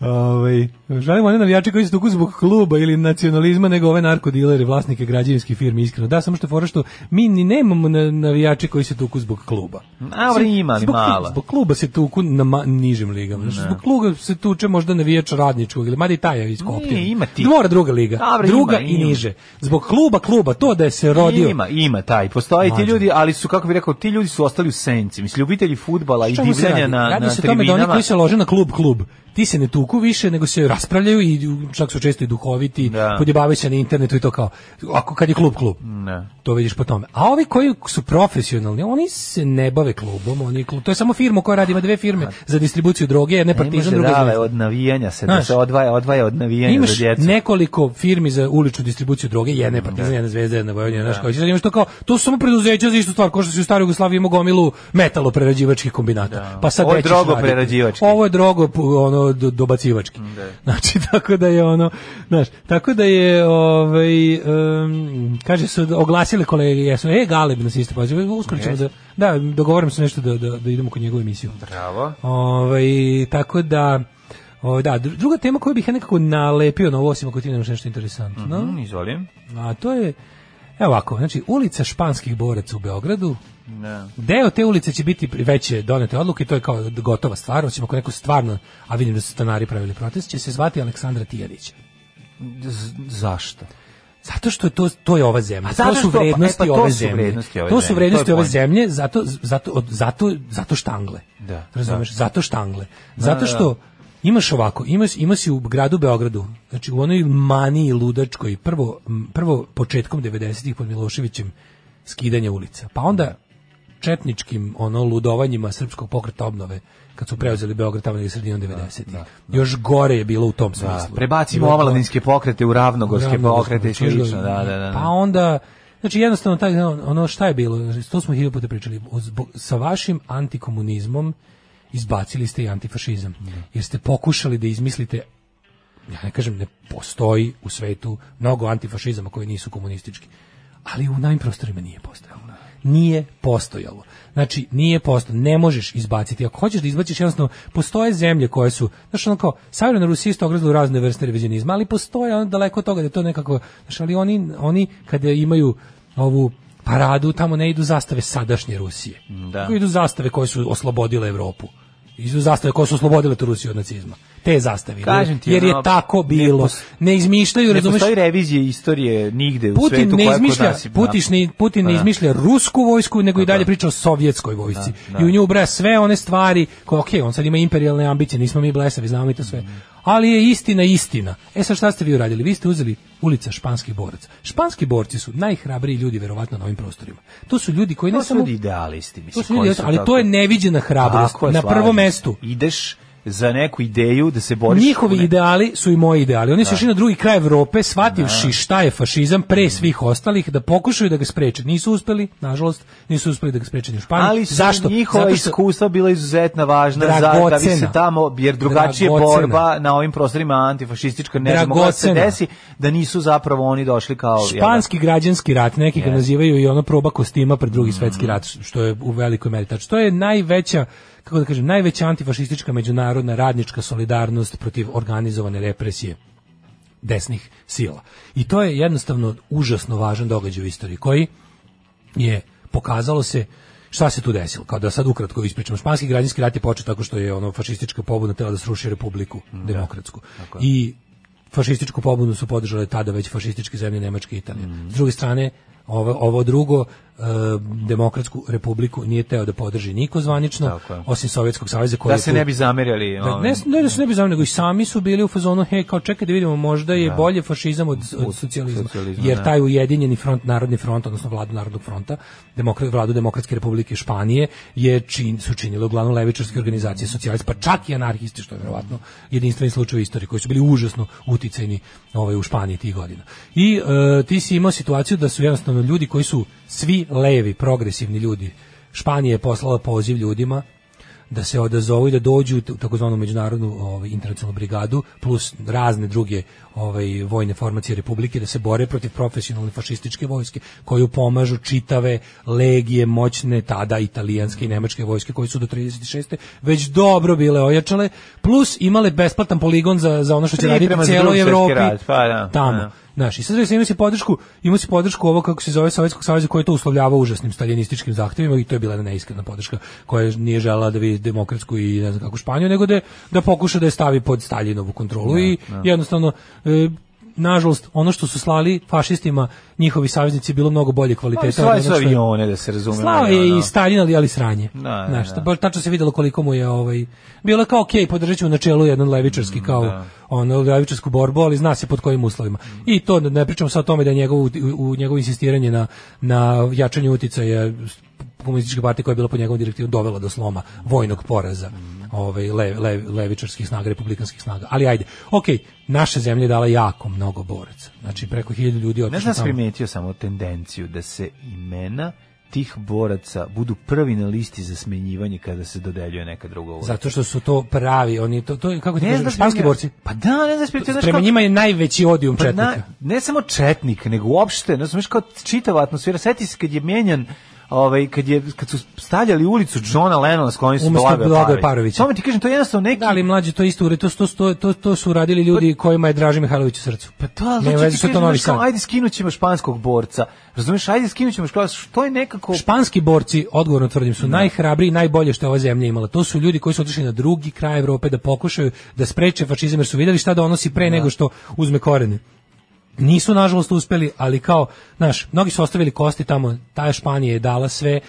Speaker 7: Ovaj, žalimo one navijače koji se tuku zbog kluba ili nacionalizma, nego ove narkodilere, vlasnike građevinskih firmi, iskreno. Da, samo što je fora što mi ni nemamo na- navijače koji se tuku zbog kluba.
Speaker 6: A, dobro, ima, ali
Speaker 7: Zbog-
Speaker 6: malo.
Speaker 7: Zbog kluba se tuku na ma- nižim ligama. Znaš, Zbog kluba se tuče možda navijač radničkog ili mada i taj je iskopio.
Speaker 6: Nije, ima ti.
Speaker 7: Mora druga liga.
Speaker 6: Dobro,
Speaker 7: druga
Speaker 6: ima,
Speaker 7: i
Speaker 6: ima.
Speaker 7: niže. Zbog kluba, kluba, to da je se rodio.
Speaker 6: Ima, ima taj. Postoje ti
Speaker 7: Mlađe.
Speaker 6: ljudi, ali su kako bih rekao, ti ljudi su ostali u senci. Mislim ljubitelji fudbala i
Speaker 7: Čemu se
Speaker 6: divljanja
Speaker 7: radi?
Speaker 6: na
Speaker 7: radi
Speaker 6: na
Speaker 7: se o tome da oni
Speaker 6: tribinama.
Speaker 7: koji se lože na klub klub ti se ne tuku više nego se raspravljaju i čak su često i duhoviti
Speaker 6: Da. Mm.
Speaker 7: podjebavaju se na internetu i to kao ako kad je klub klub
Speaker 6: Ne.
Speaker 7: to vidiš po tome a ovi koji su profesionalni oni se ne bave klubom oni klub, to je samo firma koja radi ima dve firme za distribuciju droge jedna je
Speaker 6: Ne može
Speaker 7: partizan druga je
Speaker 6: dale,
Speaker 7: Zvezda.
Speaker 6: od navijanja se, da
Speaker 7: Znaš,
Speaker 6: se odvaja, odvaja od navijanja
Speaker 7: imaš
Speaker 6: za djecu.
Speaker 7: nekoliko firmi za uličnu distribuciju droge, jedna je Partizan, jedna Zvezda, jedna Vojvodina, znaš kao. i sad imaš to kao, to su samo preduzeća za istu stvar, kao što si u staroj Jugoslaviji imao gomilu metaloprerađivačkih kombinata. Pa sad
Speaker 6: Ovo je
Speaker 7: gde ćeš raditi?
Speaker 6: drogoprerađivački.
Speaker 7: Ovo je drogo pu- ono do- dobacivački. Znači tako da je ono, znaš, tako da je ovaj em, kaže su oglasile kolege, jesu, e Galeb nas isto poziva, uskoro ćemo da da dogovorim se nešto da da, da idemo kod njegovu emisiju.
Speaker 6: Bravo.
Speaker 7: Ovaj tako da ovaj da dru- druga tema koju bih ja nekako nalepio na ovo osim ako ti nemaš nešto interesantno.
Speaker 6: Mm, izvolim.
Speaker 7: A to je Evo ovako, znači ulica španskih boraca u Beogradu.
Speaker 6: Da.
Speaker 7: Deo te ulice će biti pri- veće donete odluke, to je kao gotova stvar, osim ako neko stvarno, a vidim da su stanari pravili protest, će se zvati Aleksandra Tijanića.
Speaker 6: Z- zašto?
Speaker 7: Zato što je to to je ova zemlja.
Speaker 6: A zato
Speaker 7: To su
Speaker 6: što-
Speaker 7: vrednosti
Speaker 6: e, pa to
Speaker 7: ove
Speaker 6: su
Speaker 7: zemlje.
Speaker 6: vrednosti ove
Speaker 7: to su
Speaker 6: zemlje,
Speaker 7: vrednosti
Speaker 6: to je
Speaker 7: ove
Speaker 6: point.
Speaker 7: zemlje, zato zato od- zato zato štangle.
Speaker 6: Da,
Speaker 7: Razumeš? Zato štangle. Zato što imaš ovako, imaš ima si u gradu Beogradu, znači u onoj maniji ludačkoj, prvo m, prvo početkom 90-ih pod Miloševićem skidanje ulica. Pa onda četničkim ono ludovanjima srpskog pokreta obnove kad su preuzeli Beograd tamo negde sredinom 90-ih. Još gore je bilo u tom smislu.
Speaker 6: Prebacimo
Speaker 7: Bilo to-
Speaker 6: omladinske pokrete u ravnogorske
Speaker 7: Ravnogorske
Speaker 6: pokrete i
Speaker 7: pokrete,
Speaker 6: slično, da,
Speaker 7: čuješ
Speaker 6: da, da.
Speaker 7: Pa onda Znači jednostavno taj ono šta je bilo, to smo hiljadu puta pričali, zbog- sa vašim antikomunizmom izbacili ste i antifašizam. Jer ste pokušali da izmislite ja ne kažem ne postoji u svetu mnogo antifašizama koji nisu komunistički. Ali u najim prostorima nije postojalo. Nije postojalo. Znači, nije postojalo. Ne možeš izbaciti. Ako hoćeš da izbaciš, jednostavno, postoje zemlje koje su, znaš, ono kao, savremena Rusija isto ograzila u razne vrste revizionizma, ali postoje ono daleko od toga da je to nekako, znaš, ali oni, oni kada imaju ovu paradu, tamo ne idu zastave sadašnje Rusije.
Speaker 6: Da.
Speaker 7: Nego idu zastave koje su oslobodile Evropu. Idu zastave koje su oslobodile tu Rusiju od nacizma. Te zastave idu,
Speaker 6: Kažem ti,
Speaker 7: jer je
Speaker 6: ono,
Speaker 7: tako
Speaker 6: ne
Speaker 7: bilo.
Speaker 6: pos-
Speaker 7: Ne izmišljaju,
Speaker 6: Ne
Speaker 7: razumeš?
Speaker 6: postoji revizije istorije nigde u
Speaker 7: Putin
Speaker 6: svetu
Speaker 7: ne
Speaker 6: koja kod
Speaker 7: izmišlja,
Speaker 6: nas je-
Speaker 7: Putiš ne, Putin
Speaker 6: Pa
Speaker 7: ne
Speaker 6: da.
Speaker 7: izmišlja rusku vojsku, nego i dalje priča o sovjetskoj vojsci.
Speaker 6: Da, da.
Speaker 7: I u nju ubraja sve one stvari koje, ok, on sad ima imperialne ambicije, nismo mi blesavi, znamo i to
Speaker 6: Mhm.
Speaker 7: sve. Ali je istina istina. E sad šta ste vi uradili? Vi ste uzeli ulica španskih boraca. Španski borci su najhrabriji ljudi verovatno na ovim prostorima. To su ljudi koji
Speaker 6: To
Speaker 7: ne
Speaker 6: su
Speaker 7: samo...
Speaker 6: ljudi idealisti, mislim.
Speaker 7: To su
Speaker 6: koji
Speaker 7: ljudi, ali
Speaker 6: tako-
Speaker 7: to je neviđena hrabrost.
Speaker 6: Tako je,
Speaker 7: Na prvom
Speaker 6: slažem se.
Speaker 7: mestu.
Speaker 6: Ideš za neku ideju da se boriš.
Speaker 7: Njihovi
Speaker 6: u ne-
Speaker 7: ideali su i moji ideali. Oni su išli na drugi kraj Evrope, shvativši šta je fašizam pre svih ostalih, da pokušaju da ga spreče. Nisu uspeli, nažalost, nisu uspeli da ga spreče ni u Španiji.
Speaker 6: Ali su
Speaker 7: Zašto?
Speaker 6: njihova
Speaker 7: Zato što-
Speaker 6: iskustva bila izuzetno važna za da bi se
Speaker 7: Dragocena.
Speaker 6: tamo, jer drugačije
Speaker 7: Dragocena.
Speaker 6: borba na ovim prostorima antifašistička ne bi mogla da se
Speaker 7: Dragocena.
Speaker 6: desi, da nisu zapravo oni došli kao... jel da,
Speaker 7: Španski građanski rat, neki ga nazivaju i ono proba kostima pred
Speaker 6: Mm.
Speaker 7: drugi svetski rat, što je u velikoj meri tačno. To je najveća kako da kažem, najveća antifašistička međunarodna radnička solidarnost protiv organizovane represije desnih sila. I to je jednostavno užasno važan događaj u istoriji koji je pokazalo se šta se tu desilo. Kao da sad ukratko ispričam, španski građanski rat je počeo tako što je ono fašistička pobuna tela da sruši republiku demokratsku. I fašističku pobunu su podržale tada već fašističke zemlje Nemačke i Italije.
Speaker 6: Mhm.
Speaker 7: S druge strane, ovo, ovo drugo e, demokratsku republiku nije teo da podrži niko zvanično,
Speaker 6: Tako je.
Speaker 7: osim Sovjetskog saveza koji
Speaker 6: da
Speaker 7: je
Speaker 6: se
Speaker 7: tu-
Speaker 6: ne bi zamerjali.
Speaker 7: da,
Speaker 6: ovim.
Speaker 7: Pa ne, ne da se ne bi zamljeno, nego i sami su bili u fazonu, hej, kao čekaj da vidimo, možda je bolje fašizam od, od socijalizma,
Speaker 6: socijalizma,
Speaker 7: jer
Speaker 6: da.
Speaker 7: taj ujedinjeni front, narodni front, odnosno vladu Narodnog fronta, demokra, vladu Demokratske republike Španije, je čin, su činile uglavnom levičarske organizacije, socijalisti, pa čak i anarhisti, što je verovatno jedinstveni slučaj u istoriji, koji su bili užasno uticajni ovaj, u Španiji tih godina. I e, ti si imao situaciju da su jednostavno ljudi koji su svi levi, progresivni ljudi, Španija je poslala poziv ljudima da se odazovu i da dođu u takozvanu međunarodnu ovaj, internacionalnu brigadu plus razne druge ovaj, vojne formacije Republike da se bore protiv profesionalne fašističke vojske koju pomažu čitave legije moćne tada italijanske i nemačke vojske koje su do 36. već dobro bile ojačale plus imale besplatan poligon za, za ono što će raditi
Speaker 6: Priprema za
Speaker 7: cijeloj
Speaker 6: Drugi svjetski
Speaker 7: Evropi
Speaker 6: rat, pa da,
Speaker 7: tamo.
Speaker 6: da.
Speaker 7: Znaš, i sad recimo ima si podršku, ima si podršku ovo kako se zove Sovjetskog saveza koji je to uslovljavao užasnim staljinističkim zahtevima i to je bila jedna neiskrena podrška koja nije želela da vidi demokratsku i ne znam kakvu Španiju, nego da, je- da pokuša da je stavi pod Staljinovu kontrolu i jednostavno e, nažalost ono što su slali fašistima njihovi saveznici je bilo mnogo bolje kvaliteta
Speaker 6: Pa, Slali
Speaker 7: od
Speaker 6: su
Speaker 7: onog što je-
Speaker 6: avione, da se razumemo.
Speaker 7: Slao je i Stalin, ali, ali sranje.
Speaker 6: ono. Da,
Speaker 7: Znaš,
Speaker 6: da.
Speaker 7: to baš tačno se videlo koliko mu je ovaj, bilo je kao, ok, podržat ću u načelu jedan levičarski
Speaker 6: Mm,
Speaker 7: kao ono, levičarsku borbu, ali zna se pod kojim uslovima.
Speaker 6: Mm.
Speaker 7: I to, ne pričamo sad o tome da je njegov, u, u njegovo insistiranje na, na jačanju uticaja komunističke partije koja je bila po njegovom direktivu dovela do sloma vojnog poraza
Speaker 6: Mm.
Speaker 7: ovaj, le, le, levičarskih snaga, republikanskih snaga. Ali ajde, ok, naša zemlja je dala jako mnogo boraca. Znači, preko hiljadu ljudi je
Speaker 6: Ne
Speaker 7: otišlo
Speaker 6: znam, da si
Speaker 7: tamo.
Speaker 6: primetio samo tendenciju da se imena tih boraca budu prvi na listi za smenjivanje kada se dodeljuje neka druga uloga.
Speaker 7: Zato što su to pravi, oni to, to je, kako ti
Speaker 6: Ne
Speaker 7: kažem,
Speaker 6: znam
Speaker 7: španski
Speaker 6: da-
Speaker 7: borci.
Speaker 6: Pa da, ne znam, primetio, znaš
Speaker 7: Prema
Speaker 6: kako-
Speaker 7: njima je najveći odijum
Speaker 6: Pa na-
Speaker 7: četnika.
Speaker 6: ne samo četnik, nego uopšte, ne znaš kao čitava atmosfera. Sjeti se kad je mijenjan Ovaj kad je kad su stavljali ulicu Johna Lennona s kojim su
Speaker 7: Umesto
Speaker 6: Blagoje
Speaker 7: Blagoja
Speaker 6: Parovića.
Speaker 7: Parovića.
Speaker 6: Samo ti kažem to je jednostavno neki
Speaker 7: Da, ali mlađe, to je isto, ure- to, to, to, to, to su radili ljudi kojima je Draži Mihajlović u srcu.
Speaker 6: Pa to, ali
Speaker 7: Nema
Speaker 6: hoću ti
Speaker 7: veze što je to
Speaker 6: kažem,
Speaker 7: Novi
Speaker 6: znaš kao,
Speaker 7: Sad.
Speaker 6: Ajde skinućemo španskog borca. Razumeš, ajde skinućemo škola, što je nekako
Speaker 7: Španski borci, odgovorno tvrdim, su najhrabriji i najbolje što je ova zemlja imala. To su ljudi koji su otišli na drugi kraj ono Evrope da pokušaju da spreče fašizam jer su vidjeli šta da onosi pre nego što uzme korene. nisu nažalost uspeli, ali kao, znaš, mnogi su ostavili kosti tamo, ta Španija je dala sve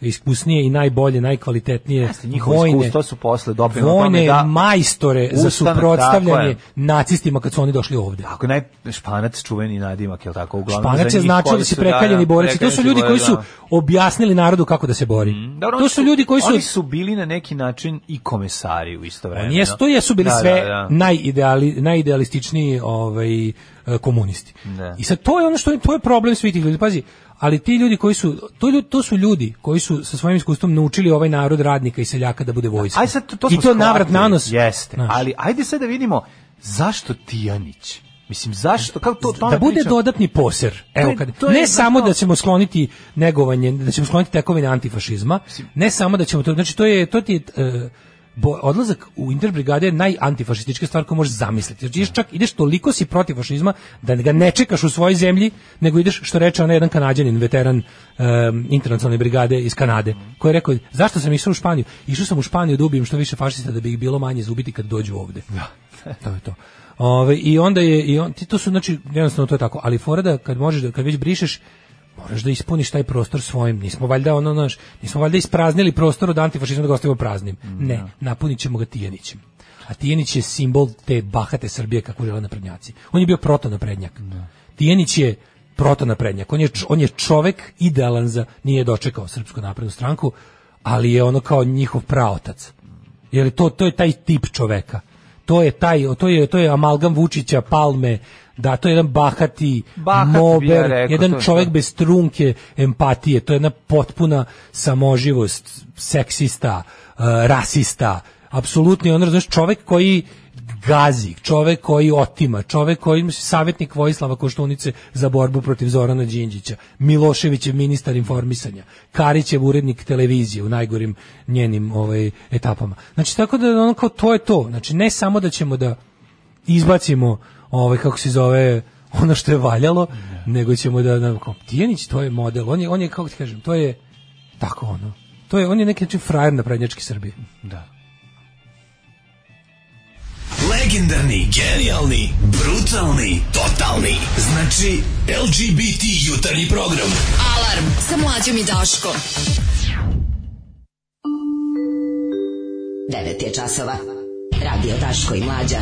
Speaker 7: najiskusnije i najbolje, najkvalitetnije
Speaker 6: Jeste, njihovo iskustvo su posle doprinelo
Speaker 7: vojne
Speaker 6: tome da-
Speaker 7: majstore za
Speaker 6: Ustanu, tako
Speaker 7: suprotstavljanje
Speaker 6: je.
Speaker 7: nacistima kad su oni došli ovde.
Speaker 6: Ako naj španac čuveni nadimak, je li tako? Uglavnom, za
Speaker 7: Španac je
Speaker 6: njih
Speaker 7: značio
Speaker 6: koji
Speaker 7: da si
Speaker 6: su, da,
Speaker 7: prekaljeni
Speaker 6: da,
Speaker 7: borac i to su
Speaker 6: prekaljeni
Speaker 7: ljudi koji su
Speaker 6: borac,
Speaker 7: objasnili narodu kako da se bori.
Speaker 6: Dobro,
Speaker 7: To
Speaker 6: Mm, oni
Speaker 7: su ljudi koji
Speaker 6: Oni
Speaker 7: su
Speaker 6: su bili na neki način i komesari u isto vreme.
Speaker 7: Oni jesu, to jesu bili sve najideali, najidealističniji ovaj, e, komunisti.
Speaker 6: Da.
Speaker 7: I sad to je ono što je, to je problem svih tih ljudi. Pazi, ali ti ljudi koji su, to, ljudi, to su ljudi koji su sa svojim iskustvom naučili ovaj narod radnika i seljaka da bude vojska.
Speaker 6: Aj sad, to, to
Speaker 7: I
Speaker 6: smo
Speaker 7: to navrat
Speaker 6: shvatili,
Speaker 7: na nos.
Speaker 6: Jeste,
Speaker 7: Znaš.
Speaker 6: ali ajde sad da vidimo zašto Tijanić? Mislim, zašto? Kako to, o tome
Speaker 7: da bude
Speaker 6: pričam?
Speaker 7: dodatni poser. Evo
Speaker 6: je-
Speaker 7: kad
Speaker 6: to je
Speaker 7: ne samo
Speaker 6: zato-
Speaker 7: da ćemo skloniti negovanje, da ćemo skloniti tekovine antifašizma, ne samo da ćemo to, znači to je to ti je, e, bo- odlazak u interbrigade je najantifašistička stvar koju možeš zamisliti. Znači, ideš čak ideš toliko si protiv fašizma da ga ne čekaš u svojoj zemlji, nego ideš što reče onaj jedan kanadjanin veteran em, internacionalne brigade iz Kanade, koji je rekao zašto sam išao u Španiju? Išao sam u Španiju da ubijem što više fašista da bi ih bilo manje zubiti kad dođu ovde. to je to. Ove, I onda je, i on, ti to su, znači, jednostavno to je tako, ali fora da kad možeš, da, kad već brišeš, moraš da ispuniš taj prostor svojim. Nismo valjda ono, naš, nismo valjda ispraznili prostor od antifašizma da ga ostavimo praznim.
Speaker 6: Mm,
Speaker 7: Ne, napunit ćemo ga Tijanićem. A Tijanić je simbol te bahate Srbije kako žele naprednjaci. On je bio protonaprednjak. Tijanić je protonaprednjak. On je, č- on je čovek idealan za, nije dočekao Srpsku naprednu stranku, ali je ono kao njihov praotac. Jer to, to je taj tip čoveka. To je taj, to je, to je amalgam Vučića, Palme, da to je jedan bahati,
Speaker 6: Bahat bi ja
Speaker 7: mober,
Speaker 6: rekao, to
Speaker 7: jedan
Speaker 6: je
Speaker 7: čovek
Speaker 6: to.
Speaker 7: bez trunke empatije, to je jedna potpuna samoživost, seksista, e, rasista, apsolutni on razumeš čovek koji gazi, čovek koji otima, čovek koji je savjetnik Vojislava Koštunice za borbu protiv Zorana Đinđića, Milošević je ministar informisanja, Karićev urednik televizije u najgorim njenim ovaj, etapama. Znači, tako da ono kao to je to. Znači, ne samo da ćemo da izbacimo ovaj kako se zove ono što je valjalo, nego ćemo da nam kao Tijanić to je model. On je on je kako ti kažem, to je tako ono. To je on je neki način frajer na prednjački Srbije.
Speaker 6: Da.
Speaker 8: Legendarni, genijalni, brutalni, totalni. Znači, LGBT jutarnji program.
Speaker 5: Alarm sa mlađom i Daškom.
Speaker 2: 9 je časova. Radio Daško i Mlađa.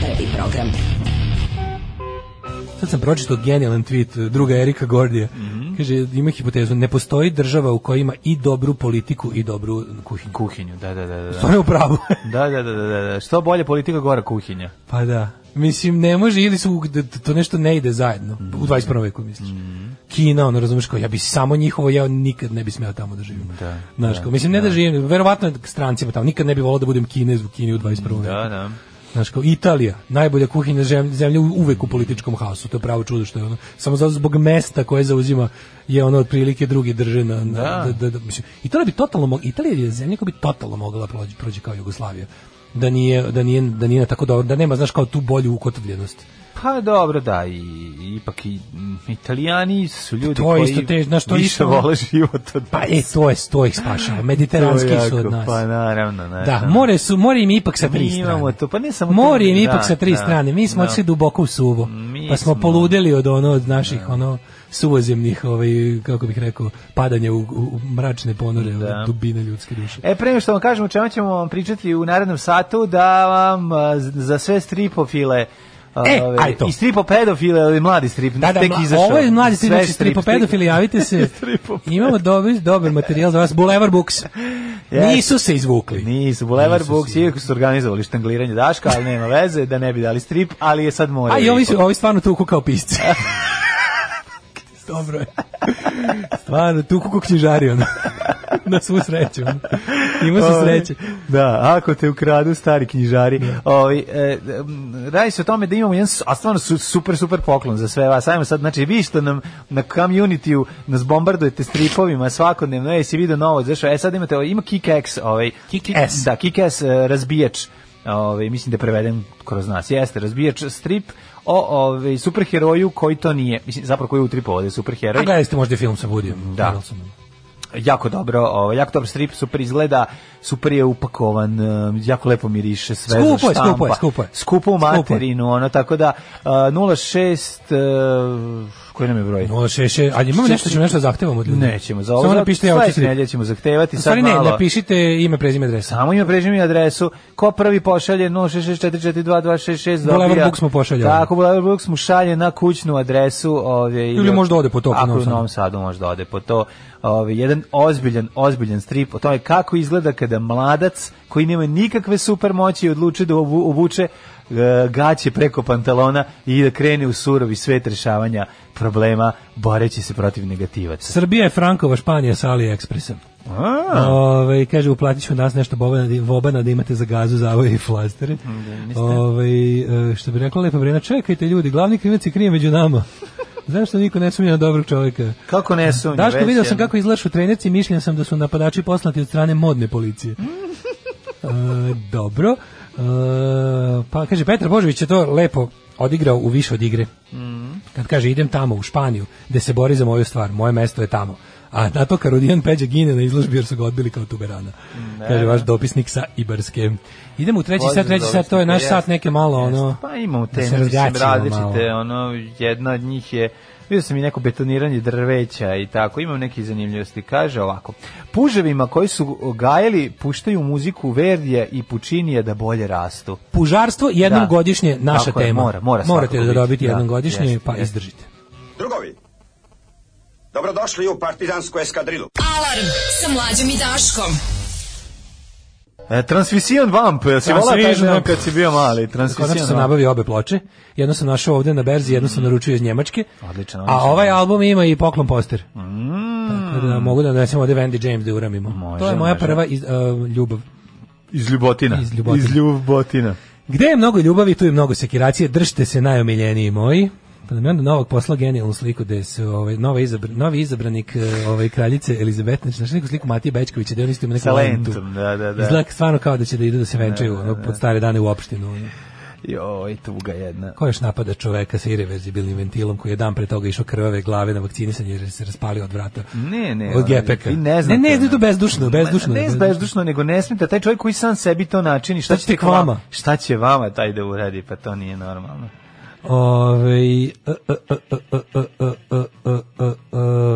Speaker 2: Prvi program.
Speaker 7: Sad sam pročitao genijalan tweet eh, druga Erika Gordija. Kaže, ima hipotezu, ne postoji država u kojoj ima i dobru politiku i dobru kuhinju.
Speaker 6: Kuhinju, da, da, da. da.
Speaker 7: To je u pravu.
Speaker 6: Da, da, da, da, da, da. Što bolje politika gora kuhinja.
Speaker 7: pa da. Mislim, ne može, ili su, da to nešto ne ide zajedno.
Speaker 6: Mhm.
Speaker 7: U 21. veku, misliš. Kina, ono, razumiješ, kao, ja bi samo njihovo, ja nikad ne bi smeo tamo da živim.
Speaker 6: Da,
Speaker 7: Znaš, kao, mislim, ne da, živim, verovatno je strancima tamo, nikad ne bi volao da budem Kinez u Kini u 21. veku.
Speaker 6: Da, da.
Speaker 7: Znaš, kao Italija, najbolja kuhinja žem- zemlje u- uvek u političkom haosu, to je pravo čudo što je ono, samo zato zbog mesta koje zauzima je ono otprilike drugi drže na, na
Speaker 6: Da.
Speaker 7: da, da, da, mislim, Italija bi totalno mog, Italija je zemlja koja bi totalno mogla prođi, prođi kao Jugoslavija da nije, da nije, da nije na tako dobro, da nema, znaš, kao tu bolju ukotvljenost.
Speaker 6: Pa dobro, da, i, ipak i mm, italijani su ljudi
Speaker 7: To je
Speaker 6: koji
Speaker 7: isto te- znaš, to je
Speaker 6: više
Speaker 7: isto-
Speaker 6: vole život od
Speaker 7: Pa e, to je, to ih spašava, mediteranski
Speaker 6: To je
Speaker 7: su
Speaker 6: jako,
Speaker 7: od nas.
Speaker 6: Pa naravno,
Speaker 7: Da,
Speaker 6: naravno.
Speaker 7: more, su, more im je ipak sa tri
Speaker 6: Mi
Speaker 7: strane.
Speaker 6: imamo to, pa ne samo
Speaker 7: More
Speaker 6: to,
Speaker 7: im je
Speaker 6: da,
Speaker 7: ipak sa tri
Speaker 6: da,
Speaker 7: strane. Mi smo
Speaker 6: da.
Speaker 7: otišli duboko u suvo.
Speaker 6: Mi
Speaker 7: pa smo,
Speaker 6: smo.
Speaker 7: poludeli od ono od naših ono suvozemnih, ovaj kako bih rekao, padanja u, u- u mračne ponore,
Speaker 6: Da.
Speaker 7: od dubine ljudske duše.
Speaker 6: E, pre nego što vam kažem o čemu ćemo vam pričati u narednom satu, da vam a, z- za sve stripofile
Speaker 7: E,
Speaker 6: ove,
Speaker 7: aj to.
Speaker 6: I stripopedofile, ali mladi strip,
Speaker 7: Da, da,
Speaker 6: tek
Speaker 7: mla-
Speaker 6: izašao.
Speaker 7: ovo je mlađi
Speaker 6: Sve
Speaker 7: strip, znači stripopedofili, javite se.
Speaker 6: Stripopedofili.
Speaker 7: Imamo dobar, dobar materijal za vas, Boulevard Books.
Speaker 6: Yes.
Speaker 7: Nisu se izvukli.
Speaker 6: Nisu, Boulevard
Speaker 7: Nisu
Speaker 6: Books,
Speaker 7: se.
Speaker 6: iako su organizovali štangliranje Daška, ali nema veze, da ne bi dali strip, ali je sad more.
Speaker 7: A i ovi, su, ovi stvarno tuku kao pisci. Dobro je. Stvarno, tuku kao knjižari, ono. Na svu sreću. ono. Ima su sreće.
Speaker 6: Ovaj, Da, ako te ukradu stari knjižari. Ovi, e, m, radi se o tome da imamo jedan, su- a stvarno su, super, super poklon za sve vas. Ajmo sad, znači, vi što nam na community-u nas bombardujete stripovima svakodnevno, e, si vidio novo, zašto, e, sad imate, ovaj, ima Kick-X, ovaj,
Speaker 7: Kick-Ass.
Speaker 6: da, Kick-Ass e, razbijač, ovaj, mislim da je preveden kroz nas, jeste, razbijač strip, o ovaj superheroju koji to nije, mislim zapravo koji je utripovao da je
Speaker 7: A
Speaker 6: superheroj.
Speaker 7: gledali ste možda i film sa Ono, Woodijom.
Speaker 6: Da.
Speaker 7: Harrelsonom.
Speaker 6: jako dobro, ovaj jako dobar strip, super izgleda, super je upakovan, eh, jako lepo miriše, sve
Speaker 7: Skupo je,
Speaker 6: za štampa.
Speaker 7: skupo je, skupo je.
Speaker 6: Skupo u
Speaker 7: Skupo je.
Speaker 6: materinu, ono tako da eh, 06 eh, koji nam je broj?
Speaker 7: No, ono, še, še, ali imamo nešto, ćemo nešto da zahtevamo od ljudi.
Speaker 6: Nećemo za ovo.
Speaker 7: Samo napišite ja
Speaker 6: sledeće
Speaker 7: hoću
Speaker 6: nedelje ćemo zahtevati
Speaker 7: U
Speaker 6: sad
Speaker 7: stvari ne,
Speaker 6: malo.
Speaker 7: napišite ime, prezime, adresa.
Speaker 6: Samo ime prezime i adresu. Ko prvi pošalje 066442266 dobija.
Speaker 7: Boulevard Books mu pošalje ovo.
Speaker 6: Tako, Boulevard Books mu šalje na kućnu adresu. Ovdje,
Speaker 7: Ili možda ode po to, po
Speaker 6: Ako
Speaker 7: Novom
Speaker 6: je u Novom Sadu možda ode po to. Ovaj jedan ozbiljan, ozbiljan strip o tome kako izgleda kada mladac koji nema nikakve supermoći odluči da ovu- obuče e, gaće preko pantalona i da krene u surovi svet rešavanja problema boreći se protiv negativaca.
Speaker 7: Srbija je Frankova, Španija sa AliExpressa.
Speaker 6: A,
Speaker 7: Ove, kaže, uplatit ću nas nešto bobana, da- vobana da imate za gazu, zavoje i flastere. Ove, e, što bi rekla lepa vrena, čekajte ljudi, glavni krivac je krije među nama. Zašto niko ne sumnja na dobrog čovjeka?
Speaker 6: kako ne sumnje?
Speaker 7: Daško,
Speaker 6: već
Speaker 7: video
Speaker 6: je-
Speaker 7: sam kako izgledaš u trenerci i mišljen sam da su napadači poslati od strane modne policije. E, dobro. E, pa kaže, Petar Božović je to lepo odigrao u više od igre.
Speaker 6: Mhm.
Speaker 7: Kad kaže, idem tamo u Španiju, gde se bori za moju stvar, moje mesto je tamo. A na to Karudijan Peđa gine na izložbi jer su ga odbili kao tuberana. kaže, vaš dopisnik sa Ibarske. Idemo u treći
Speaker 6: Pozdrav
Speaker 7: sat, treći
Speaker 6: za
Speaker 7: sat, to je naš
Speaker 6: dopisnike,
Speaker 7: sat neke malo ono...
Speaker 6: Jeste, Pa imamo
Speaker 7: da
Speaker 6: te,
Speaker 7: se
Speaker 6: mislim,
Speaker 7: razgaćimo
Speaker 6: različite,
Speaker 7: malo.
Speaker 6: ono, jedna od njih je, vidio sam i neko betoniranje drveća i tako, imam neke zanimljivosti, kaže ovako, puževima koji su gajeli puštaju muziku Verdija i Pučinija da bolje rastu.
Speaker 7: Pužarstvo jednom
Speaker 6: Da.
Speaker 7: godišnje naša
Speaker 6: Tako je,
Speaker 7: tema.
Speaker 6: mora- mora
Speaker 7: Morate
Speaker 6: svakako
Speaker 7: da
Speaker 6: biti,
Speaker 7: dobiti
Speaker 6: da,
Speaker 7: jednom godišnje,
Speaker 6: jeste,
Speaker 7: pa
Speaker 6: jeste.
Speaker 7: izdržite.
Speaker 10: Drugovi, dobrodošli u partizansku eskadrilu.
Speaker 5: Alarm sa mlađom i Daškom.
Speaker 6: E, Transvision Vamp, jel si volao taj
Speaker 7: Transvision
Speaker 6: dan
Speaker 7: Vamp.
Speaker 6: kad si ono bio mali? Transvision
Speaker 7: Konačno sam
Speaker 6: Vamp.
Speaker 7: nabavio obe ploče. Jednu sam našao ovde na berzi, jednu sam naručio iz Njemačke.
Speaker 6: Mhm. Odlično,
Speaker 7: A
Speaker 6: odlično.
Speaker 7: ovaj album ima i poklon poster. Tako da mogu da donesem ovde Wendy James da uramimo.
Speaker 6: Može,
Speaker 7: to je moja
Speaker 6: može.
Speaker 7: prva iz, uh, ljubav.
Speaker 6: Iz Ljubotina.
Speaker 7: Iz Ljubotina.
Speaker 6: Iz Ljubotina.
Speaker 7: Gde je mnogo ljubavi, tu je mnogo sekiracije. Držite se najomiljeniji moji. Pa da mi onda novog posla genijalnu sliku gde se ovaj, nova izabr, novi izabranik eh, ovaj, kraljice Elizabete, znači neku sliku Matije Bečkovića, da on isto ima neku
Speaker 6: Sa
Speaker 7: lentu.
Speaker 6: lentom, da, da, da.
Speaker 7: Izgleda stvarno kao da će da idu da se venčaju ono, pod stare dane u opštinu. ono.
Speaker 6: Joj, tuga jedna.
Speaker 7: Ko još napada čoveka sa irreverzibilnim ventilom koji je dan pre toga išao krvave glave na vakcinisanje jer se raspalio od vrata?
Speaker 6: Ne, ne.
Speaker 7: Od
Speaker 6: ono,
Speaker 7: gepeka.
Speaker 6: vi ne, znate,
Speaker 7: ne, ne, ne, to
Speaker 6: ono.
Speaker 7: bezdušno,
Speaker 6: Ma,
Speaker 7: bezdušno.
Speaker 6: Ne bezdušno, nego ne smijete. Taj čovjek koji sam sebi to načini. Šta,
Speaker 7: Šta će
Speaker 6: ćete
Speaker 7: tek vama?
Speaker 6: Šta će vama taj da uradi? Pa to nije normalno.
Speaker 7: Ovaj, e, e, e, e, e, e, e, e, e,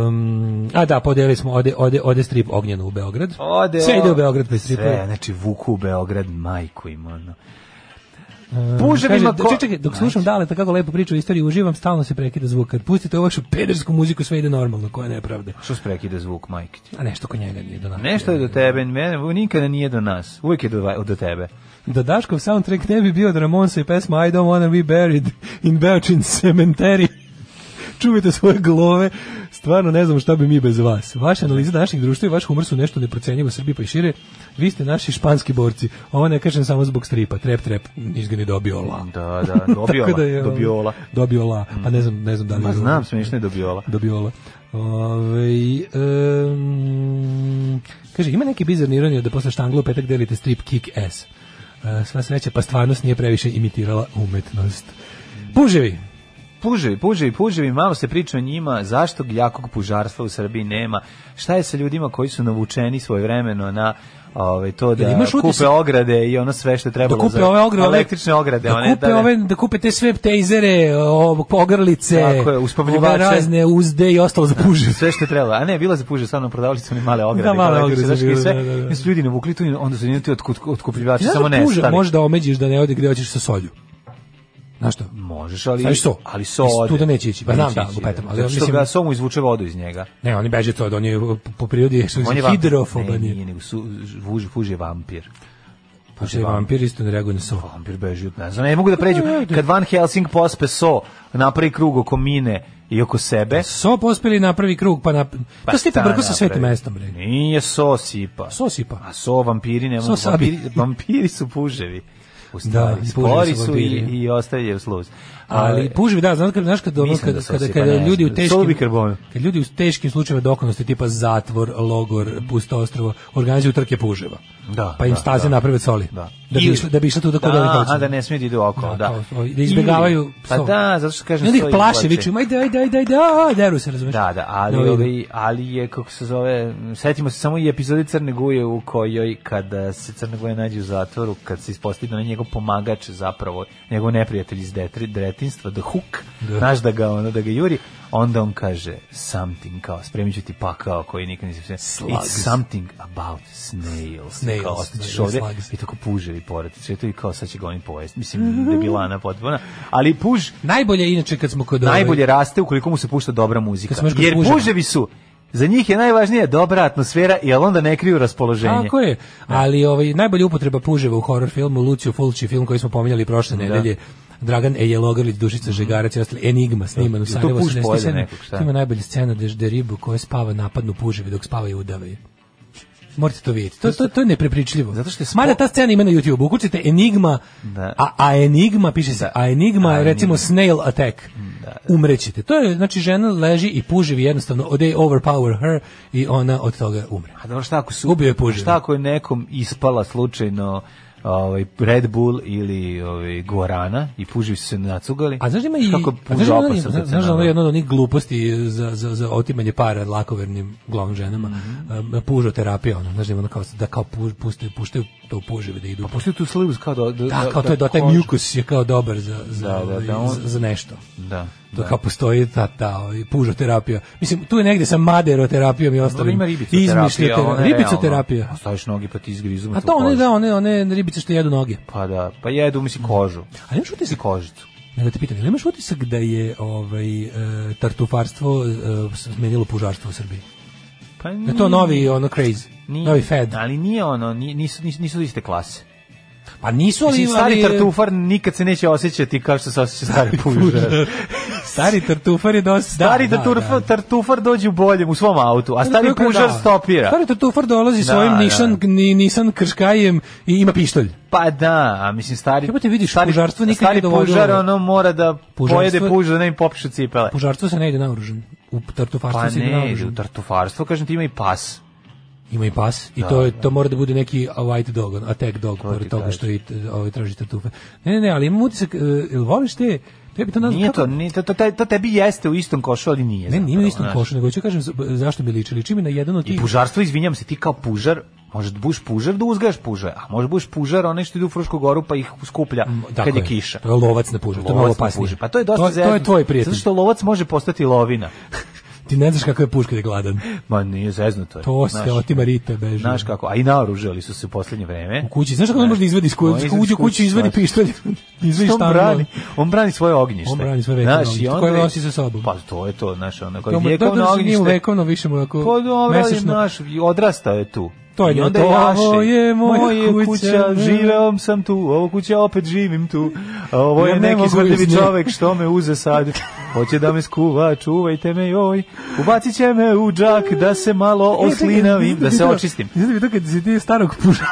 Speaker 7: um, a da, podelili smo ode, ode, ode strip Ognjenu u Beograd.
Speaker 6: Ode,
Speaker 7: Sve
Speaker 6: o-
Speaker 7: ide u Beograd pa strip.
Speaker 6: Sve, znači vuku u Beograd, majku im ono. Puževima ko...
Speaker 7: E,
Speaker 6: Znači-
Speaker 7: čekaj, čekaj, dok slušam dale kako lepo priča o istoriji, uživam, stalno se prekida zvuk. Kad pustite ovu vašu pedersku muziku, sve ide normalno, koja je nepravda.
Speaker 6: Što se prekida zvuk, majke ti?
Speaker 7: A nešto kod njega nije do nas.
Speaker 6: Nešto je do tebe, mene, nikada nije do nas. Uvijek je do, va- do tebe.
Speaker 7: Da Daškov soundtrack ne bi bio od Ramonsa i pesma I don't wanna be buried in Belchin cemetery. Čuvajte svoje glove. Stvarno ne znam šta bi mi bez vas. Vaše analize naših društva i vaš humor su nešto neprocenjivo u Srbiji pa i šire. Vi ste naši španski borci. Ovo ne kažem samo zbog stripa. Trep, trep, nisi ga ni dobio la.
Speaker 6: Da, da, dobiola, dobiola.
Speaker 7: Dobiola. ono- Pa ne znam, ne znam da li
Speaker 6: Ma
Speaker 7: je-
Speaker 6: znam, smiješno je dobiola.
Speaker 7: Dobiola. Ovaj, em, kaže, ima neki bizarni ironiju da posle štangla u petak delite strip kick ass. E, sva sreća, pa stvarnost nije previše imitirala umetnost. Puževi!
Speaker 6: Puževi, puževi, puževi, malo se priča o njima, zašto jakog pužarstva u Srbiji nema, šta je sa ljudima koji su navučeni svojevremeno na ovaj, to da
Speaker 7: Jel imaš
Speaker 6: kupe
Speaker 7: utisak-
Speaker 6: ograde i ono sve što je
Speaker 7: Da
Speaker 6: trebalo
Speaker 7: kupe
Speaker 6: za
Speaker 7: ove ograde,
Speaker 6: električne ograde.
Speaker 7: da
Speaker 6: one,
Speaker 7: kupe ove, da kupe te sve tejzere, o- ogrlice,
Speaker 6: Tako je, uspavljivače.
Speaker 7: ove razne uzde i ostalo za puževi.
Speaker 6: sve što je trebalo. A ne, bila za puže samo prodavali su one male ograde.
Speaker 7: Da, male
Speaker 6: kao
Speaker 7: ograde su
Speaker 6: električne,
Speaker 7: bile,
Speaker 6: znaš, i
Speaker 7: da, da, da.
Speaker 6: i su ljudi navukli tu i onda su jedni ti otkud, otkupljivači
Speaker 7: Znaš
Speaker 6: samo
Speaker 7: da puža
Speaker 6: nestali.
Speaker 7: možeš da omeđiš da ne ode gde hoćeš sa solju. Znaš što?
Speaker 6: Možeš, ali,
Speaker 7: Znaš so?
Speaker 6: ali so
Speaker 7: Mislim,
Speaker 6: ode.
Speaker 7: tu da neće ići. Pa
Speaker 6: Neće
Speaker 7: znam da,
Speaker 6: ići,
Speaker 7: lupetam, ali
Speaker 6: zato što
Speaker 7: mislim-
Speaker 6: ga so mu izvuče vodu iz njega.
Speaker 7: Ne, oni beže to, on je po- po prirodi što
Speaker 6: On je
Speaker 7: je
Speaker 6: vampir. Ne,
Speaker 7: hidrofoban. je.
Speaker 6: nije, nego su, vuž, vuž je vampir.
Speaker 7: Puže Pa je vampir isto ne reaguje na so.
Speaker 6: Vampir beži od nas. Ne mogu da pređu. Kad Van Helsing pospe so, napravi krug oko mine i oko sebe.
Speaker 7: So pospeli na prvi krug, pa na...
Speaker 6: pa
Speaker 7: to ste
Speaker 6: šta
Speaker 7: brko sa svetim
Speaker 6: napravi?
Speaker 7: mestom, bre.
Speaker 6: Nije so sipa.
Speaker 7: So pa. sipa.
Speaker 6: A so vampiri ne mogu.
Speaker 7: So sabi.
Speaker 6: vampiri, vampiri su puževi. U stvari,
Speaker 7: puževi
Speaker 6: spori
Speaker 7: su
Speaker 6: su i,
Speaker 7: vampiri.
Speaker 6: i ostavljaju sluz.
Speaker 7: Ali puževi, da, znaš kad znaš kad ono
Speaker 6: Mislim
Speaker 7: kad
Speaker 6: da sam
Speaker 7: kada
Speaker 6: se, pa
Speaker 7: kada
Speaker 6: ne
Speaker 7: ljudi u
Speaker 6: znam. Solo
Speaker 7: teškim
Speaker 6: bikarbonu.
Speaker 7: kad ljudi u teškim slučajevima dokonosti tipa zatvor, logor, pusto ostrvo organizuju trke puževa.
Speaker 6: Da,
Speaker 7: pa im
Speaker 6: da,
Speaker 7: staze
Speaker 6: da.
Speaker 7: naprave od soli.
Speaker 6: Da.
Speaker 7: Da bi
Speaker 6: Ili-
Speaker 7: išli da bi išli tu da kod
Speaker 6: Da,
Speaker 7: ovih
Speaker 6: a,
Speaker 7: hoće.
Speaker 6: da ne smiju da idu okolo, da.
Speaker 7: kao, ovi- da izbegavaju.
Speaker 6: Ili- pa
Speaker 7: psov.
Speaker 6: da, zato što kažem,
Speaker 7: I onda ih
Speaker 6: psovi
Speaker 7: plaše,
Speaker 6: uvlače.
Speaker 7: viču, aj daj, daj, daj, daj, deru se, razumeš?
Speaker 6: Da, da, ali,
Speaker 7: ovi-
Speaker 6: ovaj, ali je, kako se zove, setimo se samo i epizode Crne Guje u kojoj kada se Crne Guje nađe u zatvoru, kad se ispostavi da on je njegov pomagač zapravo, njegov neprijatelj iz detri, dretinstva, The Hook,
Speaker 7: Da.
Speaker 6: znaš da ga, ono, da ga juri, onda on kaže something, kao spremit ću ti pakao koji nikad nisi sve. It's something about snails.
Speaker 7: Snails,
Speaker 6: kao, ostaćeš
Speaker 7: da,
Speaker 6: ovde
Speaker 7: slugs.
Speaker 6: i tako puževi pored. Sve to i kao sad će ga oni pojesti. Mislim, debilana potpuna. Ali puž,
Speaker 7: Najbolje je inače kad smo kod ove-
Speaker 6: najbolje raste ukoliko mu se pušta dobra muzika.
Speaker 7: Ovaj- Kad smo još kod
Speaker 6: Jer
Speaker 7: puževa.
Speaker 6: puževi su, za njih je najvažnija dobra atmosfera, jer onda ne kriju raspoloženje.
Speaker 7: Tako je, ali ovaj, najbolja upotreba puževa u horror filmu, Lucio Fulci, film koji smo pominjali prošle nedelje, Dragan Ejelogrlić,
Speaker 6: Mhm.
Speaker 7: Dušica Žegarac i ostali, Enigma sniman u
Speaker 6: Jel to
Speaker 7: Sarajevo
Speaker 6: puž
Speaker 7: 87.
Speaker 6: pojede nekog, šta?
Speaker 7: Tu Ima najbolja scena gde gde ribu koja spava napadnu puževi dok spava i udave je. Morate to vidjeti. To, to, to je neprepričljivo.
Speaker 6: Zato što je spo-
Speaker 7: Mada ta scena ima na YouTube. Ukucite Enigma,
Speaker 6: Da.
Speaker 7: a, a Enigma, piše se, a Enigma,
Speaker 6: A
Speaker 7: je, recimo
Speaker 6: Enigma.
Speaker 7: Snail Attack. Umrećete. To je, znači, žena leži i puževi jednostavno, they overpower her i ona od toga umre.
Speaker 6: A dobro, šta ako su...
Speaker 7: Ubio je puževi.
Speaker 6: Šta ako je nekom ispala slučajno ovaj Red Bull ili ovaj Guarana i puževi su se nacugali.
Speaker 7: A znaš da ima i
Speaker 6: Kako
Speaker 7: a znaš
Speaker 6: puža
Speaker 7: da ima-
Speaker 6: opasno
Speaker 7: znaš-
Speaker 6: srce
Speaker 7: znaš da ono
Speaker 6: naravno?
Speaker 7: je jedna od onih gluposti za, za, za otimanje para lakovernim glavnim ženama,
Speaker 6: Mhm.
Speaker 7: em, pužoterapija, ono, znaš da ima ono kao da kao puž, puštaju, puštaju to puževe da idu.
Speaker 6: Pa pusti tu slivus kao da... Da,
Speaker 7: Da, kao to je da taj
Speaker 6: koža-
Speaker 7: mjukus je kao dobar za, za,
Speaker 6: Da, da, da,
Speaker 7: ovaj,
Speaker 6: on-
Speaker 7: za- za nešto.
Speaker 6: Da.
Speaker 7: To kao postoji ta, ta ovaj, pužoterapija. Mislim, tu je negde sa maderoterapijom i
Speaker 6: Dobro,
Speaker 7: ostalim.
Speaker 6: ima ono
Speaker 7: izmišljoterapija.
Speaker 6: ribicoterapija. ona je
Speaker 7: Ribicoterapija.
Speaker 6: realno. Staviš nogi pa ti izgrizu.
Speaker 7: A to one, da, one, one ribice što jedu noge.
Speaker 6: Pa da, pa jedu, mislim, kožu.
Speaker 7: Ali imaš utisak,
Speaker 6: Kožicu.
Speaker 7: Ne da te pitam, jel imaš utisak da je ovaj, e, tartufarstvo e, smenilo pužarstvo u Srbiji?
Speaker 6: Pa
Speaker 7: Da je to novi ono crazy,
Speaker 6: Nije,
Speaker 7: novi fed.
Speaker 6: Ali nije ono, nije- nisu, nisu, nisu iste klase.
Speaker 7: Pa nisu ali...
Speaker 6: Mislim, stari
Speaker 7: ali-
Speaker 6: tartufar nikad se neće osjećati kao što se osjeća stari pužar.
Speaker 7: stari tartufar je dosta...
Speaker 6: stari
Speaker 7: da,
Speaker 6: tartufar,
Speaker 7: da, da.
Speaker 6: tartufar dođe u boljem u svom autu, a stari
Speaker 7: Tartufar,
Speaker 6: pužar
Speaker 7: da.
Speaker 6: stopira.
Speaker 7: Stari tartufar dolazi
Speaker 6: Da,
Speaker 7: svojim
Speaker 6: da.
Speaker 7: Nissan, ni, Nissan krškajem i ima pištolj.
Speaker 6: Pa da, a mislim stari...
Speaker 7: Kako ti vidiš,
Speaker 6: stari,
Speaker 7: pužarstvo nikad
Speaker 6: Stari
Speaker 7: nije dovoljilo.
Speaker 6: pužar ono mora da
Speaker 7: Pužarstvo-
Speaker 6: pojede pužar da ne im popiše cipele.
Speaker 7: Pužarstvo se ne ide naoružan. U tartufarstvu
Speaker 6: Pa
Speaker 7: se ide
Speaker 6: ne, ide u
Speaker 7: naoružan.
Speaker 6: tartufarstvo, kažem ti ima i pas.
Speaker 7: Ima i pas i to je to mora da bude neki white dog, on, attack dog pored
Speaker 6: ti
Speaker 7: toga
Speaker 6: kažem.
Speaker 7: što i e, ovaj traži tartufe. Ne, ne, ne, ali imam utisak, e, jel voliš te, tebi to nazva,
Speaker 6: Nije
Speaker 7: kako-
Speaker 6: to, nije, to, to, taj- to tebi jeste u istom košu, ali nije.
Speaker 7: Ne,
Speaker 6: zapravo,
Speaker 7: nije u istom
Speaker 6: znaš.
Speaker 7: košu, nego ću kažem za- zašto mi liči. Liči mi na jedan od
Speaker 6: I
Speaker 7: tih...
Speaker 6: pužarstvo, izvinjam se, ti kao pužar, možeš da budeš pužar da uzgajaš puže, a možeš da budeš pužar onaj što ide u Frušku goru pa ih skuplja kad je, kiša.
Speaker 7: To Mm, je lovac na pužu, to je malo
Speaker 6: Lovac na
Speaker 7: opasnije.
Speaker 6: puže. Pa to je dosta
Speaker 7: to, to je
Speaker 6: zeznuto.
Speaker 7: tvoj prijatelj.
Speaker 6: Zato što lovac može postati lovina.
Speaker 7: Ti ne znaš kako je puš kad je gladan.
Speaker 6: Ma nije zezno to je.
Speaker 7: To
Speaker 6: znaš.
Speaker 7: se otima Rita beži.
Speaker 6: Znaš kako, a i naoružali su se u poslednje vreme.
Speaker 7: U kući, znaš kako on može da izvadi iz
Speaker 6: On
Speaker 7: kuće,
Speaker 6: izvadi iz
Speaker 7: uđe u kuću,
Speaker 6: kuće,
Speaker 7: izvadi
Speaker 6: znaš.
Speaker 7: pištolj, izvadi
Speaker 6: Što on
Speaker 7: šta
Speaker 6: brani? On brani svoje ognjište.
Speaker 7: On brani svoje vekovno
Speaker 6: Znaš, i
Speaker 7: ognjište,
Speaker 6: onda
Speaker 7: koje
Speaker 6: je-
Speaker 7: nosi sa sobom.
Speaker 6: Pa to je to, znaš, ono, kao
Speaker 7: To mu-
Speaker 6: vekovno
Speaker 7: dobro, nije
Speaker 6: ognjište.
Speaker 7: mu vekovno, više mu onako
Speaker 6: Pa dobro,
Speaker 7: mesečno.
Speaker 6: znaš, i odrastao je tu.
Speaker 7: To je
Speaker 6: I onda
Speaker 7: to.
Speaker 6: jaše.
Speaker 7: Ovo je moja
Speaker 6: Moja
Speaker 7: kuća,
Speaker 6: kuća,
Speaker 7: ne.
Speaker 6: živeo sam tu, ovo kuća opet živim tu. A Ovo
Speaker 7: Ja
Speaker 6: je
Speaker 7: ne mogu
Speaker 6: neki
Speaker 7: iz
Speaker 6: smrljivi
Speaker 7: nje.
Speaker 6: čovek što me uze sad. Hoće da me skuva, čuvajte me joj. Ubacit će me u džak da se malo oslinavim, da se očistim.
Speaker 7: Znaš mi to kad si ti starog puža.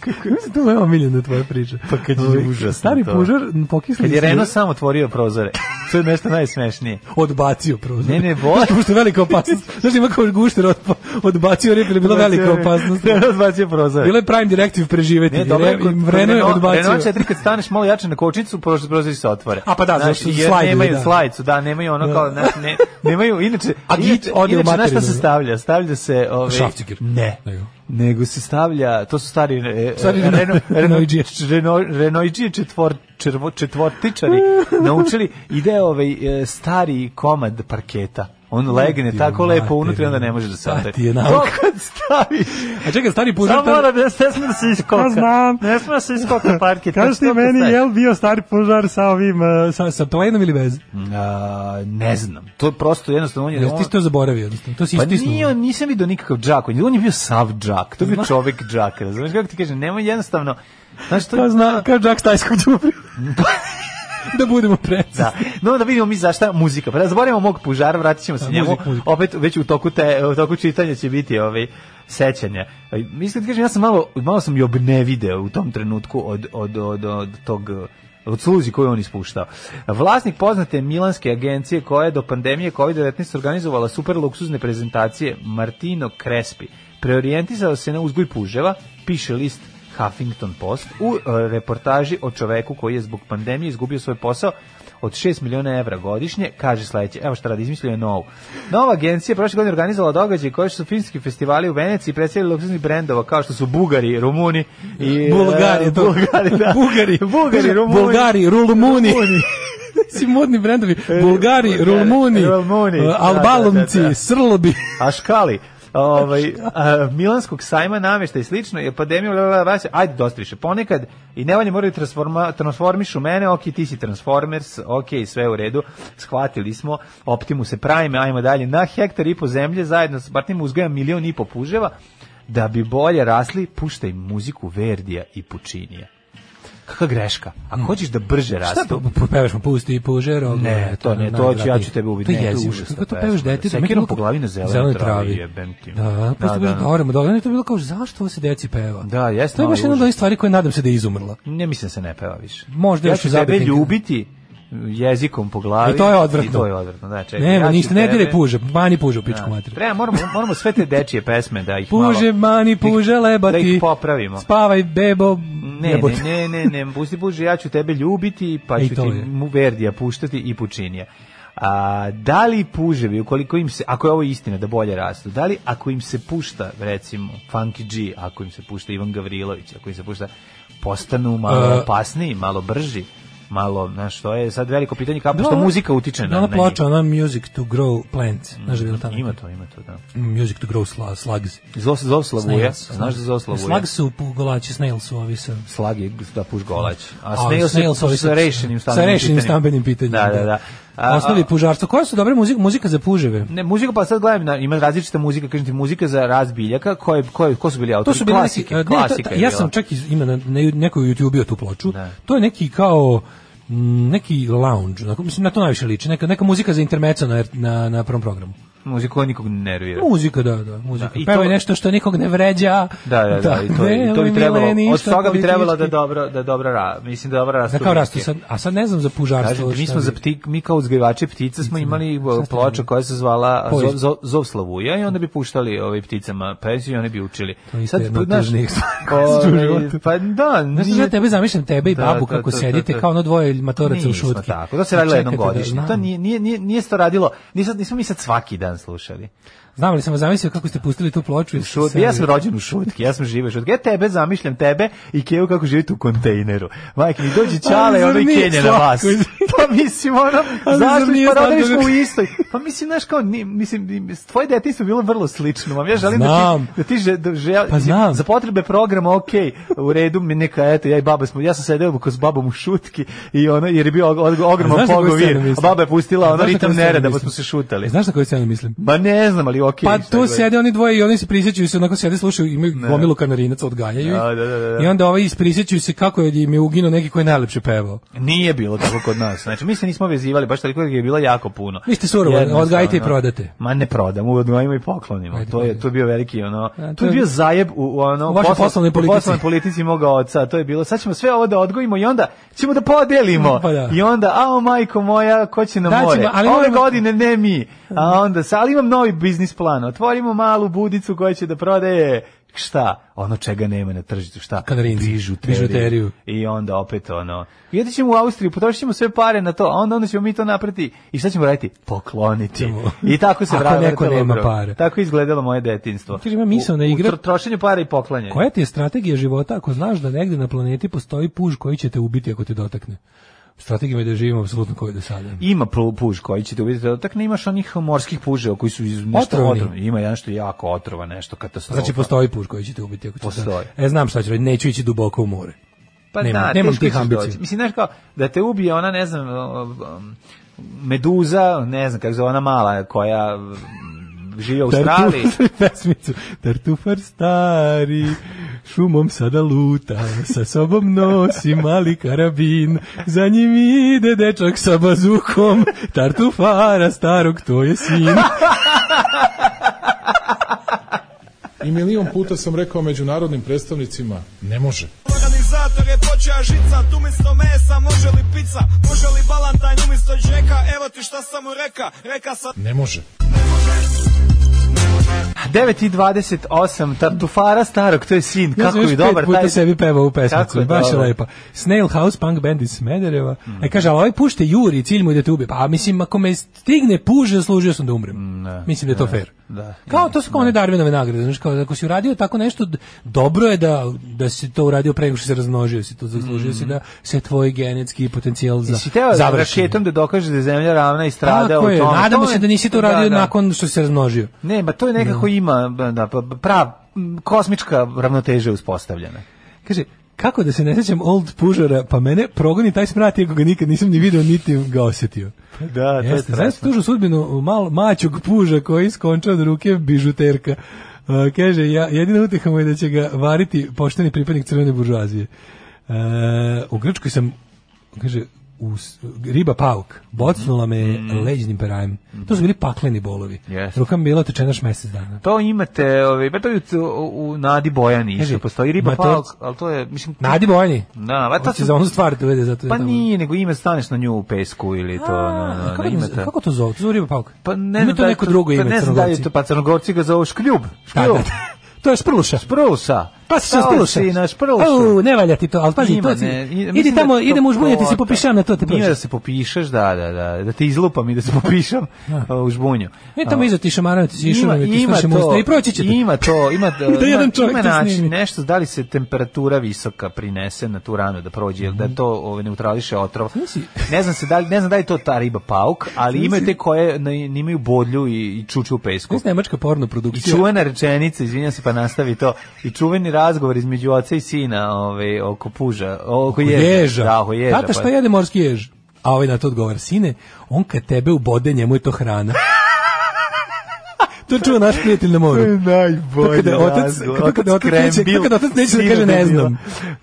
Speaker 7: Kako je to moja omiljena tvoja priča? Pa
Speaker 6: kad je užasno
Speaker 7: Stari
Speaker 6: to.
Speaker 7: pužar m, pokisli
Speaker 6: Kad je
Speaker 7: snijeg,
Speaker 6: Reno sam otvorio prozore. To je nešto najsmešnije.
Speaker 7: odbacio prozor.
Speaker 6: Ne, ne, voli.
Speaker 7: Znaš, Pošto je velika opasnost. Znaš ima kao gušter otpa- odbacio rep, jer je bila velika opasnost.
Speaker 6: Reno odbacio prozore.
Speaker 7: Bilo je prime directive preživeti.
Speaker 6: Ne,
Speaker 7: Ne,
Speaker 6: dobro, je kod
Speaker 7: Vreno je
Speaker 6: Renault-
Speaker 7: odbacio.
Speaker 6: Renault 4 kad staneš malo jače na kočnicu, prosto prozori se otvore.
Speaker 7: A pa da, zato što su
Speaker 6: jer
Speaker 7: slajdovi,
Speaker 6: nemaju
Speaker 7: da.
Speaker 6: slajdicu, da, nemaju ono kao, znaš, ne, nemaju, inače,
Speaker 7: A git
Speaker 6: inače,
Speaker 7: ode u
Speaker 6: inače, znaš šta
Speaker 7: materinu.
Speaker 6: se stavlja? Stavlja se... Ove,
Speaker 7: Šrafciger.
Speaker 6: Ne.
Speaker 7: Nego.
Speaker 6: Nego se stavlja, to su stari e,
Speaker 7: Stari
Speaker 6: e, Reno-
Speaker 7: Renoidžije.
Speaker 6: Reno- Renoidžije četvor, červo- četvortičari naučili, ide ovaj e, stari komad parketa. On legne
Speaker 7: ti
Speaker 6: tako lepo
Speaker 7: materinu.
Speaker 6: unutra, onda ne može da se
Speaker 7: Ta
Speaker 6: otvori.
Speaker 7: ti je nauka.
Speaker 6: To kad staviš,
Speaker 7: A čekaj, stari pužar...
Speaker 6: Samo
Speaker 7: tada-
Speaker 6: mora da ne smije da se iskoka.
Speaker 7: Ja znam.
Speaker 6: Ne smije da se iskoka parket.
Speaker 7: Kažeš ti
Speaker 6: Što
Speaker 7: meni,
Speaker 6: postaje?
Speaker 7: jel bio stari pužar sa ovim, uh, sa, sa plenom ili bez?
Speaker 6: Mm, A, ne znam. To je prosto jednostavno on je... ono-
Speaker 7: Jel ti si to zaboravio, jednostavno? To si
Speaker 6: Pa
Speaker 7: istisnuo.
Speaker 6: nije, on, nisam vidio nikakav džak, on je- on je bio sav džak, to je bio čovek džak, razumiješ kako ti kažem, nemoj jednostavno, znaš to...
Speaker 7: Kao Pa zna, kao Jack Stajskog džubrija. da budemo preci.
Speaker 6: Da. No da vidimo mi zašta muzika. Pa da zaboravimo mog pužara, vratit ćemo se
Speaker 7: Da,
Speaker 6: njemu.
Speaker 7: muzik, muzik.
Speaker 6: Opet već u toku, te, u toku čitanja će biti ovaj, sećanja. Aj, Mislim da ti kažem, ja sam malo, malo sam i obnevideo u tom trenutku od, od, od, od tog od sluzi koju on ispuštao. Vlasnik poznate milanske agencije koja je do pandemije COVID-19 organizovala super luksuzne prezentacije Martino Crespi. Preorijentisao se na uzgoj puževa, piše list Huffington Post u e, reportaži o čoveku koji je zbog pandemije izgubio svoj posao od 6 miliona evra godišnje, kaže sledeće, evo šta radi, izmislio je novu. Nova agencija je prošle godine organizovala događaj koji su filmski festivali u Veneciji predstavili luksuznih brendova kao što su Bugari, Rumuni i...
Speaker 7: Bulgari,
Speaker 6: e,
Speaker 7: to.
Speaker 6: Bulgari, da.
Speaker 7: Bugari,
Speaker 6: Bugari, Rumuni.
Speaker 7: Bulgari, Rulmuni. Si modni brendovi. Bulgari, Rulmuni,
Speaker 6: E,
Speaker 7: E,
Speaker 6: Rulmuni, da,
Speaker 7: Albalomci,
Speaker 6: da, da, da.
Speaker 7: Srlobi.
Speaker 6: A škali. Ovaj a, Milanskog sajma namešta i slično je pandemija bla, bla, bla, vas- ajde dosta više. Ponekad i nevalje moraju transforma transformišu mene, ok, ti si Transformers, ok, sve u redu. Shvatili smo Optimuse Prime, ajmo dalje na hektar i po zemlje zajedno sa partnerima uzgajam milion i po puževa da bi bolje rasli, puštaj muziku Verdija i Pučinija. Kakva greška. Ako hoćeš da brže rastu,
Speaker 7: Šta to pevaš mu pusti pužero?
Speaker 6: ne, to ne, to ću, ja ću tebe ubiti.
Speaker 7: ovaj, ono To je
Speaker 6: Ne, to je
Speaker 7: jezivo.
Speaker 6: užasna
Speaker 7: Kako to
Speaker 6: pesma,
Speaker 7: pevaš
Speaker 6: bre.
Speaker 7: detetu?
Speaker 6: Sekirom
Speaker 7: Meni
Speaker 6: po
Speaker 7: bilo-
Speaker 6: glavi na zelenoj travi, jebem ti. ono.
Speaker 7: Da,
Speaker 6: Da,
Speaker 7: prosto da,
Speaker 6: da.
Speaker 7: da. Oremo, dobro, meni je to bilo kao zašto se deci peva?
Speaker 6: Da, jeste
Speaker 7: To je
Speaker 6: malo
Speaker 7: baš jedna od
Speaker 6: užas.
Speaker 7: onih stvari koje nadam se da je izumrla.
Speaker 6: Ne mislim da se ne peva više.
Speaker 7: Možda
Speaker 6: ja
Speaker 7: još
Speaker 6: ću
Speaker 7: i
Speaker 6: tebe
Speaker 7: zabiti.
Speaker 6: ljubiti jezikom po glavi.
Speaker 7: I to je odvratno.
Speaker 6: I to je odvratno, da, čekaj.
Speaker 7: Nema,
Speaker 6: E, ću
Speaker 7: ništa, ne
Speaker 6: tebe-
Speaker 7: dire puže, mani puže u pičku
Speaker 6: Da.
Speaker 7: materiju.
Speaker 6: Treba, moramo, moramo sve te dečije pesme da ih malo...
Speaker 7: Puže, mani, puže, lebati.
Speaker 6: da ih popravimo.
Speaker 7: Spavaj, bebo,
Speaker 6: Ne,
Speaker 7: jebote.
Speaker 6: ne, ne, ne, ne, pusti puži, ja ću tebe ljubiti, pa
Speaker 7: E,
Speaker 6: ću
Speaker 7: to
Speaker 6: ti
Speaker 7: je.
Speaker 6: mu Verdija puštati i Pučinija. A, da li puževi, ukoliko im se, ako je ovo istina da bolje rastu, da li ako im se pušta, recimo, Funky G, ako im se pušta Ivan Gavrilović, ako im se pušta, postanu malo
Speaker 7: E.
Speaker 6: opasniji, malo brži, malo, znaš, to je sad veliko pitanje kako što
Speaker 7: Da, ona-
Speaker 6: muzika utiče na,
Speaker 7: da,
Speaker 6: na
Speaker 7: ona
Speaker 6: njih. Mm,
Speaker 7: ploča, ona Ono Music to Grow Plants. Znaš da je bilo tamo? Mm,
Speaker 6: Ima to, ima to, da.
Speaker 7: Music to Grow sla, Slugs.
Speaker 6: Zov, zov Slavuja,
Speaker 7: Snails. ono.
Speaker 6: znaš da zov Slavuja?
Speaker 7: Slugs su pu- golači, Snails su ovi sa...
Speaker 6: slag je da puš golać. A
Speaker 7: A,
Speaker 6: snail
Speaker 7: Snails
Speaker 6: se
Speaker 7: ovi
Speaker 6: sa rešenim stambenim
Speaker 7: Sa rešenim
Speaker 6: pitanjem.
Speaker 7: stambenim pitanjem.
Speaker 6: Da, da, da. A,
Speaker 7: Osnovi
Speaker 6: a-
Speaker 7: pužarstva. Koja su dobre muzika, muzika za puževe?
Speaker 6: Ne, muzika pa sad gledam, na, ima različita muzika, kažem ti, muzika za razbiljaka, koje, koje, ko su bili
Speaker 7: To
Speaker 6: autori?
Speaker 7: su bile
Speaker 6: klasike,
Speaker 7: neki, ne,
Speaker 6: klasika
Speaker 7: to-
Speaker 6: je
Speaker 7: ja
Speaker 6: bila.
Speaker 7: sam čak iz, ima na, na nekoj YouTube-u tu ploču.
Speaker 6: Da.
Speaker 7: To je neki kao mm, neki lounge, onako, mislim na to najviše liči, neka, neka muzika za intermeco na, na, na prvom programu.
Speaker 6: Muziku koja nikog ne nervira.
Speaker 7: Muzika, da, da, muzika.
Speaker 6: Da, i
Speaker 7: Da, Pevaj
Speaker 6: to-
Speaker 7: nešto što nikog ne vređa.
Speaker 6: Da, da, da, i to, i to
Speaker 7: nemoj,
Speaker 6: bi trebalo,
Speaker 7: Mileni,
Speaker 6: od
Speaker 7: šta
Speaker 6: toga bi trebalo da
Speaker 7: politički.
Speaker 6: dobro, da dobro ra, mislim da dobro rastu.
Speaker 7: Da kao rastu
Speaker 6: muzike.
Speaker 7: sad, a sad ne znam za pužarstvo.
Speaker 6: Kažem, ti, mi
Speaker 7: Pa šta
Speaker 6: smo
Speaker 7: bi-
Speaker 6: za pti, mi kao uzgajivači ptica smo imali
Speaker 7: Šta ste
Speaker 6: ploču
Speaker 7: imali?
Speaker 6: koja se zvala
Speaker 7: Poezd.
Speaker 6: Zov, Zov, Zov Slavuja i onda bi puštali ovaj pticama pesmi i oni bi učili. pa
Speaker 7: To je isto jedna od
Speaker 6: znaš,
Speaker 7: tužnijih stvari koje su u
Speaker 6: ovaj,
Speaker 7: životu.
Speaker 6: Pa da,
Speaker 7: Znaš što
Speaker 6: nije-
Speaker 7: ja tebe zamišljam, tebe i
Speaker 6: Da,
Speaker 7: babu
Speaker 6: to,
Speaker 7: kako
Speaker 6: to, to,
Speaker 7: sedite
Speaker 6: to.
Speaker 7: kao ono dvoje matoraca u
Speaker 6: Nismo
Speaker 7: šutki.
Speaker 6: Tako, to se radilo
Speaker 7: A
Speaker 6: jednom
Speaker 7: čekajte da-
Speaker 6: godišnje.
Speaker 7: znam.
Speaker 6: to nije, nije, nije, nije se to radilo, nismo, nismo mi sad svaki dan slušali.
Speaker 7: Znam li sam vas zamislio kako ste pustili tu ploču? i
Speaker 6: Šut,
Speaker 7: sve-
Speaker 6: ja sam rođen u šutki, ja sam živio u šutki. Ja tebe zamišljam, tebe i Kevu kako živite u kontejneru. Majke, mi dođe
Speaker 7: Ali
Speaker 6: Čale i
Speaker 7: zar
Speaker 6: ono i
Speaker 7: nije
Speaker 6: Kenja na vas.
Speaker 7: slatko?
Speaker 6: Pa mislim, ono,
Speaker 7: Ali zar
Speaker 6: zašto
Speaker 7: nije
Speaker 6: pa rodili
Speaker 7: slatko?
Speaker 6: smo u istoj. Pa mislim, znaš, kao, ni, mislim, tvoje detinjstvo je bilo vrlo slično. Mam. Ja želim
Speaker 7: Znam.
Speaker 6: da ti, da ti že, da žel,
Speaker 7: Pa znam.
Speaker 6: za potrebe programa, ok, u redu, mi neka, eto, ja i baba smo, ja sam sedeo ko s babom u šutki i ono, jer je bio og- og-
Speaker 7: A
Speaker 6: ogroman
Speaker 7: znaš na koju
Speaker 6: pogovir.
Speaker 7: scenu mislim?
Speaker 6: A baba je pustila ono
Speaker 7: Znaš na
Speaker 6: ritam
Speaker 7: koju scenu
Speaker 6: nereda, pa
Speaker 7: mislim?
Speaker 6: smo se šutali.
Speaker 7: Znaš na koju scenu mislim?
Speaker 6: Ma ne znam, ali ok.
Speaker 7: Pa tu sede oni dvoje i oni se prisjećaju se, onako sede, slušaju, imaju gomilu kanarinaca, odgajaju. ih.
Speaker 6: Da, da, da, da.
Speaker 7: I onda ovaj prisjećaju se kako je im je uginuo neki koji je najlepše pevao.
Speaker 6: Nije bilo tako kod nas. Znači, mi se nismo vezivali, baš toliko je bilo jako puno.
Speaker 7: Vi ste surovo,
Speaker 6: Jednostavno.
Speaker 7: odgajite i prodate.
Speaker 6: Ma ne prodam, odgajimo i poklonimo.
Speaker 7: Ajde,
Speaker 6: to, je,
Speaker 7: prodaj.
Speaker 6: to je bio veliki, ono,
Speaker 7: A, to
Speaker 6: to je
Speaker 7: je-
Speaker 6: bio zajeb u, u ono,
Speaker 7: U vašoj
Speaker 6: posla-
Speaker 7: poslovnoj
Speaker 6: u
Speaker 7: politici.
Speaker 6: poslovnoj politici moga oca. To je bilo, sad ćemo sve ovo da odgojimo i onda ćemo da podelimo.
Speaker 7: Pa da.
Speaker 6: I onda, a majko moja, ko će na
Speaker 7: Da,
Speaker 6: more?
Speaker 7: ćemo, ali
Speaker 6: Ove
Speaker 7: moramo-
Speaker 6: godine ne mi. A onda, sa, ali imam novi biznis plan. Otvorimo malu budicu koja će da prodaje šta? Ono čega nema na tržištu, šta?
Speaker 7: Kanarinci.
Speaker 6: Bižuteriju.
Speaker 7: Bižuteriju.
Speaker 6: I onda opet ono, jedit ćemo u Austriju, potrošit ćemo sve pare na to, a onda, onda ćemo mi to napraviti. I šta ćemo raditi? Pokloniti.
Speaker 7: Ćemo.
Speaker 6: I tako se
Speaker 7: Ako
Speaker 6: vratilo.
Speaker 7: neko nema pare.
Speaker 6: Tako je izgledalo moje detinstvo.
Speaker 7: Kaže, ima misaona igra-
Speaker 6: trošenje para i poklanjanje.
Speaker 7: Koja ti je strategija života ako znaš da negde na planeti postoji puž koji će te ubiti ako te dotakne? Strategija mi je da živimo apsolutno kao i do sada.
Speaker 6: Ima pu- puž koji ćete uvidjeti, ali tak ne imaš onih morskih puževa koji su iz nešto
Speaker 7: Otrovni.
Speaker 6: otrovni. Ima jedan što je jako otrova, nešto katastrofa.
Speaker 7: Znači postoji puž koji će te ubiti ako te
Speaker 6: Postoji.
Speaker 7: E znam šta ću raditi, neću ići duboko u more. nemam- nemam
Speaker 6: Pa teško
Speaker 7: tih
Speaker 6: ćeš
Speaker 7: ambicija.
Speaker 6: doći. Mislim, znaš kao, da te ubije ona, ne znam, um, meduza, ne znam kako se zove, ona mala koja um, živi u Australiji.
Speaker 7: Tartufar, pesmicu. Tartufar stari, šumom sada luta, sa sobom nosi mali karabin, za njim ide dečak sa bazukom, tartufara starog, to je sin.
Speaker 11: I milion puta sam rekao međunarodnim predstavnicima, ne može.
Speaker 1: Organizator je počeo žica, tu mjesto mesa, može li
Speaker 12: Danica, može li balantajn umjesto džeka? Evo ti šta sam mu reka, reka sam...
Speaker 11: Ne može.
Speaker 6: 9.28, Tartufara starog, to je sin,
Speaker 7: Ja
Speaker 6: kako
Speaker 7: sam još
Speaker 6: je
Speaker 7: pet
Speaker 6: dobar
Speaker 7: puta
Speaker 6: taj...
Speaker 7: sebi pevao u
Speaker 6: Kako
Speaker 7: pesmicu,
Speaker 6: je
Speaker 7: baš je
Speaker 6: dobar. Mm.
Speaker 7: lepa. Snail House Punk Band iz Smedereva. E kaže, ali ovaj pušte Juri, cilj mu je da te ubije. Pa mislim, ako me stigne puž, zaslužio sam da umrem. mislim da je to fair.
Speaker 6: Mm, Da.
Speaker 7: Kao to su kao one Darwinove nagrade, znaš, kao ako si uradio tako nešto, d- dobro je da, da si to uradio pre nego što si se razmnožio, si to zaslužio si da se tvoj genetski potencijal za,
Speaker 6: Si Mhm. teo da
Speaker 7: završi.
Speaker 6: raketom da dokaže da je zemlja ravna i strada
Speaker 7: Tako
Speaker 6: u
Speaker 7: je,
Speaker 6: tome.
Speaker 7: nadamo
Speaker 6: To
Speaker 7: se
Speaker 6: je-
Speaker 7: da nisi to
Speaker 6: da,
Speaker 7: uradio
Speaker 6: da.
Speaker 7: nakon što si se razmnožio.
Speaker 6: Ne, ba to je nekako ima, ba, da, pa prav, m, kosmička ravnoteža je uspostavljena.
Speaker 7: Kaže, kako da se ne sećam old pužara, pa mene progoni taj smrat, iako ga nikad nisam ni video, niti ga osjetio.
Speaker 6: Da, to je
Speaker 7: Jeste, znaš
Speaker 6: strašno.
Speaker 7: tužu sudbinu mal, maćog puža koji skonča od ruke bižuterka. A, kaže, ja, jedina uteha mu je da će ga variti pošteni pripadnik crvene buržuazije. E, u Grčkoj sam, kaže, u, s- riba pauk, bocnula me leđnim perajem. To su bili pakleni bolovi.
Speaker 6: Mhm. Jeste.
Speaker 7: Ruka mi bila otečena još mjesec dana.
Speaker 6: To imate, ovaj, pa to je u, u, u Nadi Bojani
Speaker 7: Kaže,
Speaker 6: isto, postoji riba
Speaker 7: ma to-
Speaker 6: pauk, ali to je, mislim...
Speaker 7: Nadi Bojani?
Speaker 6: Da, ba to
Speaker 7: Hoće
Speaker 6: su-
Speaker 7: za onu stvar da uvede, zato je
Speaker 6: Pa
Speaker 7: tamo.
Speaker 6: nije, nego ime staneš na nju u pesku ili to, na, na,
Speaker 7: kako,
Speaker 6: na,
Speaker 7: to-
Speaker 6: ime ta-
Speaker 7: kako to zove? To zove riba pauk?
Speaker 6: Pa ne
Speaker 7: Ima
Speaker 6: znam
Speaker 7: to
Speaker 6: da je
Speaker 7: neko drugo ime
Speaker 6: pa ne znam da li je
Speaker 7: crnogorci.
Speaker 6: to, pa crnogorci ga zovu škljub.
Speaker 7: Da,
Speaker 6: Škljub.
Speaker 7: da, da. To je šprluša.
Speaker 6: Šprluša.
Speaker 7: Pa si se
Speaker 6: Stao
Speaker 7: spruša.
Speaker 6: si na šprlušu.
Speaker 7: Au, ne valja ti to, ali pazi, to ti- idi tamo, idemo užbunjati se, popišem na to, te
Speaker 6: Nije
Speaker 7: prođe.
Speaker 6: da se popišeš, da, da, da, da te izlupam i da se popišem a, u žbunju.
Speaker 7: Ne E, tamo
Speaker 6: A,
Speaker 7: iza ti šamaraju, ti si išao, ti
Speaker 6: ima
Speaker 7: skršim usta i proći će ti.
Speaker 6: Ima to, ima, da,
Speaker 7: Da jedan čovjek
Speaker 6: ima
Speaker 7: to
Speaker 6: način,
Speaker 7: snimi.
Speaker 6: nešto, da li se temperatura visoka prinese na tu ranu da prođe, jel
Speaker 7: Mhm.
Speaker 6: da to ove, neutrališe otrov. Ne znam, se da li, ne znam da li je to ta riba pauk, ali
Speaker 7: Znaš
Speaker 6: imaju
Speaker 7: si-
Speaker 6: te koje na- imaju bodlju i, i čuču u pesku.
Speaker 7: To je nemačka porno
Speaker 6: I
Speaker 7: produkcija.
Speaker 6: čuvena rečenica, izvinjam se pa nastavi to, i čuveni razgovor između oca i sina ove, oko puža, oko,
Speaker 7: Oko
Speaker 6: ježa.
Speaker 7: ježa.
Speaker 6: Da, oko ježa.
Speaker 7: Tata,
Speaker 6: pa-
Speaker 7: šta jede morski jež? A ovaj na to odgovara, sine, on kad tebe ubode, njemu je to hrana. to čuo naš prijatelj na moru.
Speaker 6: To je najbolji
Speaker 7: To kada otac,
Speaker 6: razgovor.
Speaker 7: to kada otac,
Speaker 6: Otac
Speaker 7: neće, to
Speaker 6: krembil,
Speaker 7: kada otac neće da
Speaker 6: sine
Speaker 7: kaže ne
Speaker 6: debila.
Speaker 7: znam.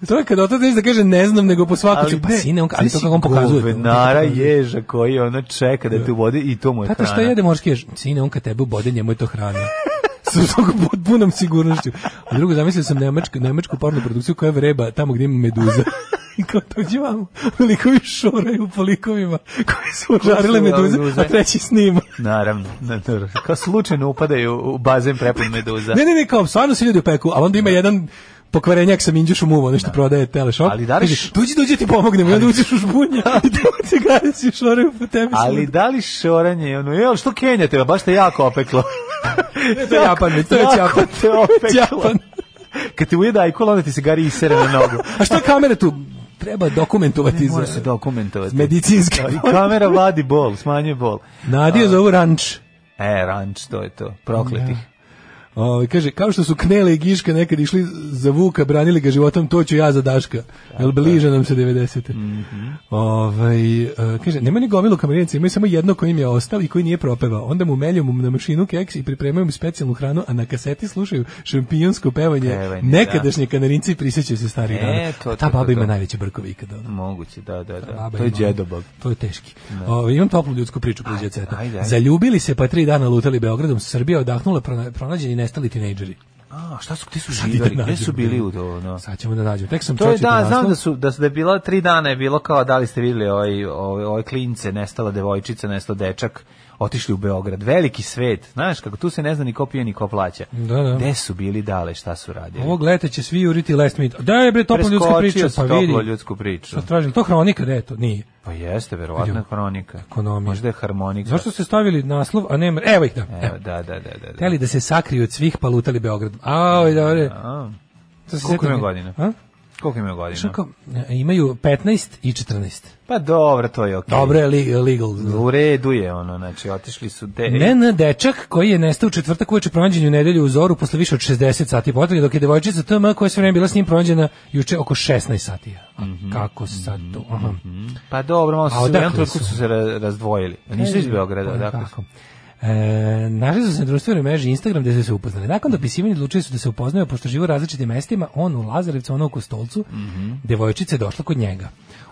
Speaker 7: To je kada otac neće da kaže ne znam, nego po svaku ću, pa
Speaker 6: ne,
Speaker 7: sine, on, ali to
Speaker 6: znaš,
Speaker 7: kako on pokazuje. to.
Speaker 6: Guvernara ježa koji ono čeka da te uvodi i to mu je
Speaker 7: Tata,
Speaker 6: hrana.
Speaker 7: šta jede morski jež? Sine, on kad tebe ubode, njemu je to hrana. Sa tog pod punom sigurnošću. A drugo, zamislio sam nemačku, nemačku pornu produkciju koja vreba tamo gdje ima meduza. I kao dođe vamo, likovi šoraju po likovima koji su ožarile
Speaker 6: su
Speaker 7: meduze,
Speaker 6: meduze.
Speaker 7: a treći snima.
Speaker 6: Naravno, naravno. Kao slučajno upadaju u bazen prepun meduza.
Speaker 7: Ne, ne, ne, kao, stvarno se ljudi opeku, ali onda ima jedan pokvarenjak sa minđušom uvo, nešto prodaje teleshop.
Speaker 6: Ali da li
Speaker 7: Kaže,
Speaker 6: š-
Speaker 7: Dođi, dođi, ti pomognem, i onda uđeš u žbunja i tamo ti gledaju šoraju po tebi.
Speaker 6: Ali da li šoranje, ono, jel, što kenjate, baš te jako opeklo.
Speaker 7: to je Japan, to je
Speaker 6: Jako
Speaker 7: Japan.
Speaker 6: te opeklo.
Speaker 7: Japan.
Speaker 6: Kad ti ujeda ajkul, onda ti se gari isere na nogu.
Speaker 7: A što kamere tu? Treba dokumentovati.
Speaker 6: Ne mora
Speaker 7: za-
Speaker 6: se dokumentovati.
Speaker 7: Medicinski.
Speaker 6: Da, I kamera vadi bol, smanjuje bol.
Speaker 7: Nadio za ovu ranč.
Speaker 6: E, ranč, to je to. Prokletih.
Speaker 7: O, Ovaj, kaže, kao što su Knele i Giška nekad išli za Vuka, branili ga životom, to ću ja za Daška. Jel bliže nam se 90.
Speaker 6: Mhm.
Speaker 7: Ovaj, e, kaže, nema ni gomilu kamerinaca, imaju samo jedno koji im je ostao i koji nije propevao. Onda mu melju mu na mašinu keks i pripremaju mu specijalnu hranu, a na kaseti slušaju šampionsko pevanje.
Speaker 6: Pevanje,
Speaker 7: Nekadašnje kanarinci i prisjećaju se starih
Speaker 6: E,
Speaker 7: dana.
Speaker 6: to,
Speaker 7: A Ta
Speaker 6: to, to,
Speaker 7: baba ima
Speaker 6: to.
Speaker 7: najveće brkovi ikada. ono.
Speaker 6: Moguće, da, da, da.
Speaker 7: Baba
Speaker 6: To je
Speaker 7: ima-
Speaker 6: djedobab.
Speaker 7: To je teški. Ovaj, imam toplu ljudsku priču kroz Jet Seta.
Speaker 6: ajde, ajde.
Speaker 7: Zaljubili se pa tri dana lutali Beogradom, Srbija odahnula, prona- pronađeni nestali tinejdžeri.
Speaker 6: A, šta su, gde su
Speaker 7: Sad i da
Speaker 6: živjeli? Gde
Speaker 7: nađemo,
Speaker 6: su bili
Speaker 7: da.
Speaker 6: u to, no?
Speaker 7: Sad ćemo da nađemo. Tek sam
Speaker 6: To je
Speaker 7: pročitao
Speaker 6: da, znam
Speaker 7: naslov.
Speaker 6: da su da su da je bilo tri dana je bilo kao da li ste vidjeli ovaj ovaj ovaj klince, nestala devojčica, nestao dečak, otišli u Beograd, veliki svet. Znaš kako tu se ne zna ni ko pije ni ko plaća.
Speaker 7: Da, da.
Speaker 6: Gde su bili dale, šta su radili?
Speaker 7: Ovog leta će svi uriti last meet. Da je bre topla ljudska
Speaker 6: Preskočio
Speaker 7: priča,
Speaker 6: si
Speaker 7: pa
Speaker 6: toplu
Speaker 7: vidi.
Speaker 6: ljudsku priču.
Speaker 7: Šta tražim? To hronika, da je to? Nije.
Speaker 6: Pa jeste verovatno je hronika.
Speaker 7: Ekonomija.
Speaker 6: Možda je harmonika.
Speaker 7: Zašto ste stavili naslov, a nema... Evo ih da.
Speaker 6: Evo, da, da, da, da. da.
Speaker 7: Teli da se sakriju od svih, pa lutali Beogradom. Aoj, dobre.
Speaker 6: A,
Speaker 7: To se
Speaker 6: koliko
Speaker 7: sjetim.
Speaker 6: ima godina?
Speaker 7: A?
Speaker 6: Koliko ima godina?
Speaker 7: Što kao, e, imaju 15 i 14.
Speaker 6: Pa dobro, to je okej.
Speaker 7: Dobro je li- legal.
Speaker 6: U redu je ono, znači otišli su te...
Speaker 7: Nen dečak koji je nestao u četvrtak uveče pronađen je u nedelju u zoru posle više od 60 sati potrage, dok je devojčica TM koja je sve vreme bila s njim pronađena juče oko 16 sati. A
Speaker 6: Mhm.
Speaker 7: kako sad to? Aha.
Speaker 6: Pa dobro, malo su
Speaker 7: A
Speaker 6: se u
Speaker 7: odakle
Speaker 6: jednom trenutku
Speaker 7: su?
Speaker 6: su se ra- razdvojili. Nisu iz Beograda,
Speaker 7: Pa,
Speaker 6: odakle su?
Speaker 7: kako? E, našli su se na društvenoj mreži Instagram gde su se upoznali. Nakon
Speaker 6: Mhm.
Speaker 7: dopisivanja odlučili su da se upoznaju pošto žive u različitim mestima, on u Lazarevcu, ona u Kostolcu,
Speaker 6: Mhm.
Speaker 7: devojčica je došla kod njega.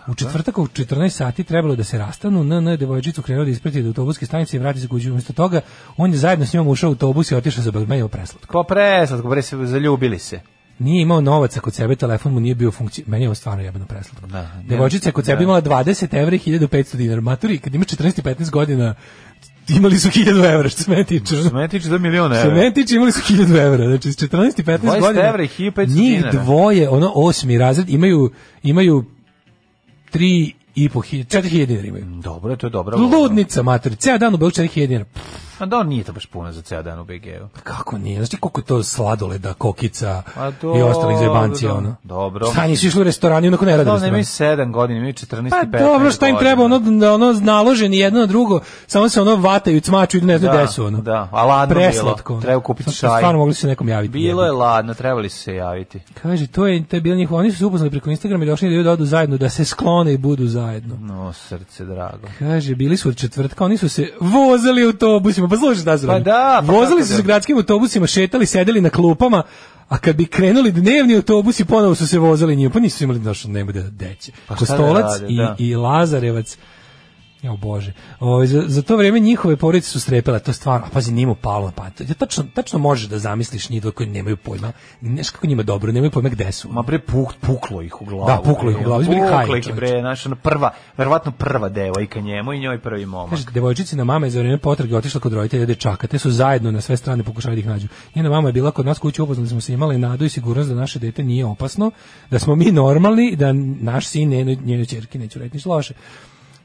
Speaker 7: U četvrtak u 14 sati trebalo je da se rastanu, NN je devojčicu krenuo da isprati do autobuske stanice i vrati se kući. Umesto toga, on je zajedno s njom ušao u autobus i otišao za Belmejo preslatko.
Speaker 6: Pa preslatko, bre se zaljubili se.
Speaker 7: nije imao novaca kod sebe, telefon mu nije bio u funkciji. Meni je ovo stvarno jebeno preslatko.
Speaker 6: Da,
Speaker 7: Devojčica je kod sebe
Speaker 6: Da.
Speaker 7: imala 20 evra i 1500 dinara. Maturi, kad imaš 14 i 15 godina, imali su 1000 evra, što se mene tiče.
Speaker 6: Što se mene tiče za milion evra.
Speaker 7: Što se mene tiče, imali su 1000 evra. Znači, s 14 i 15
Speaker 6: 20
Speaker 7: godina.
Speaker 6: evra i 1500
Speaker 7: Njih
Speaker 6: dinara.
Speaker 7: dvoje, ono osmi razred, imaju, imaju 3 i po hiljada, 4000 dinara imaju.
Speaker 6: Dobro, to je dobro.
Speaker 7: Ludnica, maturi, ceo dan u Beogradu 4000 dinara. Pff,
Speaker 6: A da, nije to baš puno za ceo dan u BG-u.
Speaker 7: Kako nije? Znaš ti koliko je to sladoleda, kokica
Speaker 6: Pa
Speaker 7: i
Speaker 6: dobro,
Speaker 7: ostalih zajebancija, ono?
Speaker 6: Dobro.
Speaker 7: Šta nisu išli u restoran i onako ne rade
Speaker 6: Da,
Speaker 7: u
Speaker 6: ne imaju
Speaker 7: restoranu?
Speaker 6: 7 godina, imaju 14 i 15
Speaker 7: Pa dobro, šta im
Speaker 6: godina.
Speaker 7: treba, ono, da ono naloženi jedno na drugo, samo se ono vataju i cmaču i ne znaju
Speaker 6: Da,
Speaker 7: gde su, ono.
Speaker 6: da, a ladno bilo.
Speaker 7: Preslatko. ono.
Speaker 6: Treba kupiti
Speaker 7: Sad su
Speaker 6: čaj.
Speaker 7: Stvarno mogli su se nekom javiti.
Speaker 6: Bilo je ladno, trebali su se javiti.
Speaker 7: Kaže, to je, to je bilo njihovo, oni su se upoznali preko Instagrama i došli da idu da odu zajedno, da se sklone i budu zajedno.
Speaker 6: No, srce drago.
Speaker 7: Kaže, bili su od četvrtka, oni su se vozali autobusima, pa slušaj šta su
Speaker 6: Pa
Speaker 7: radili.
Speaker 6: da, pa
Speaker 7: vozali
Speaker 6: kako
Speaker 7: su se
Speaker 6: da.
Speaker 7: gradskim autobusima, šetali, sedeli na klupama, a kad bi krenuli dnevni autobusi, ponovo su se vozali njima, pa nisu imali došlo, nema da deće.
Speaker 6: Pa šta da
Speaker 7: Kostolac
Speaker 6: rade,
Speaker 7: i,
Speaker 6: da.
Speaker 7: i Lazarevac, Jo bože. O, za, za to vrijeme njihove porodice su strepele, to stvarno. A pazi, nije mu palo na pamet. Ja tačno tačno možeš da zamisliš njih dvoje koji nemaju pojma. Znaš kako njima dobro, nemaju pojma gde su.
Speaker 6: Ma bre, puk, puklo ih u glavu.
Speaker 7: Da, puklo ih u glavu, izbili haj,
Speaker 6: Puklo ih,
Speaker 7: čoveče.
Speaker 6: bre, znaš, ono prva, verovatno prva devojka njemu i njoj prvi momak.
Speaker 7: Kaže, devojčici na mama je za vrijeme potrage otišla kod roditelja dečaka, te su zajedno na sve strane pokušali da ih nađu. Njena mama je bila kod nas kući, upoznali smo se, imali nadu i sigurnost da naše dete nije opasno, da smo mi normalni, da naš sin, njenoj, njenoj čerki, neću reći ništa loše.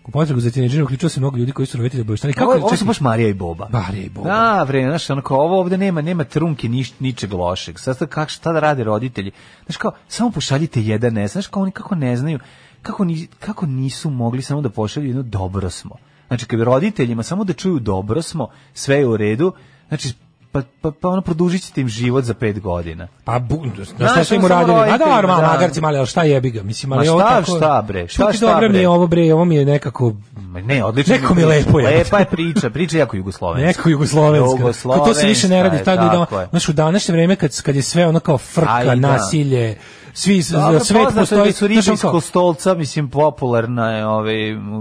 Speaker 7: U potragu za tineđerom uključio se mnogo ljudi koji su roditelji obaveštani. Kako
Speaker 6: Kako ovo, ovo su
Speaker 7: čekaj,
Speaker 6: baš Marija i Boba.
Speaker 7: Marija i Boba.
Speaker 6: Da, bre, znaš, onako, ovo ovde nema, nema trunke niš, ničeg lošeg. Sad sad kak, šta da rade roditelji? Znaš, kao, samo pošaljite jedan ne, znaš, kao oni kako ne znaju, kako, ni, kako nisu mogli samo da pošalju jedno dobro smo. Znači, kad roditeljima samo da čuju dobro smo, sve je u redu, znači, pa, pa, pa ono, produžit ćete im život za pet godina.
Speaker 7: Pa bu, da
Speaker 6: Znaš,
Speaker 7: šta su im
Speaker 6: samo
Speaker 7: uradili? A
Speaker 6: roditeljima,
Speaker 7: da,
Speaker 6: da.
Speaker 7: magarci mali, ali šta jebi ga? Mislim, ali
Speaker 6: Ma
Speaker 7: ovo
Speaker 6: šta,
Speaker 7: tako,
Speaker 6: šta, bre, šta,
Speaker 7: Čuti,
Speaker 6: šta,
Speaker 7: dobro mi
Speaker 6: bre?
Speaker 7: je ovo bre, ovo mi je nekako
Speaker 6: Ma Ne, odlično.
Speaker 7: Neko mi lepo je.
Speaker 6: Lepa je priča, priča je jako jugoslovenska.
Speaker 7: Pa Neko jugoslovenska. Kao to se više ne radi
Speaker 6: Jugoslovenska
Speaker 7: tad ni
Speaker 6: je,
Speaker 7: da.
Speaker 6: tako je.
Speaker 7: Znaš, u današnje vreme kad, kad je sve ono kao frka,
Speaker 6: Aj, da.
Speaker 7: nasilje, svi,
Speaker 6: Dobro,
Speaker 7: svet
Speaker 6: poznato je
Speaker 7: postoji.
Speaker 6: Da su
Speaker 7: znaš,
Speaker 6: ribe
Speaker 7: ono
Speaker 6: iz
Speaker 7: kao-
Speaker 6: kostolca, mislim, popularna je, ovaj,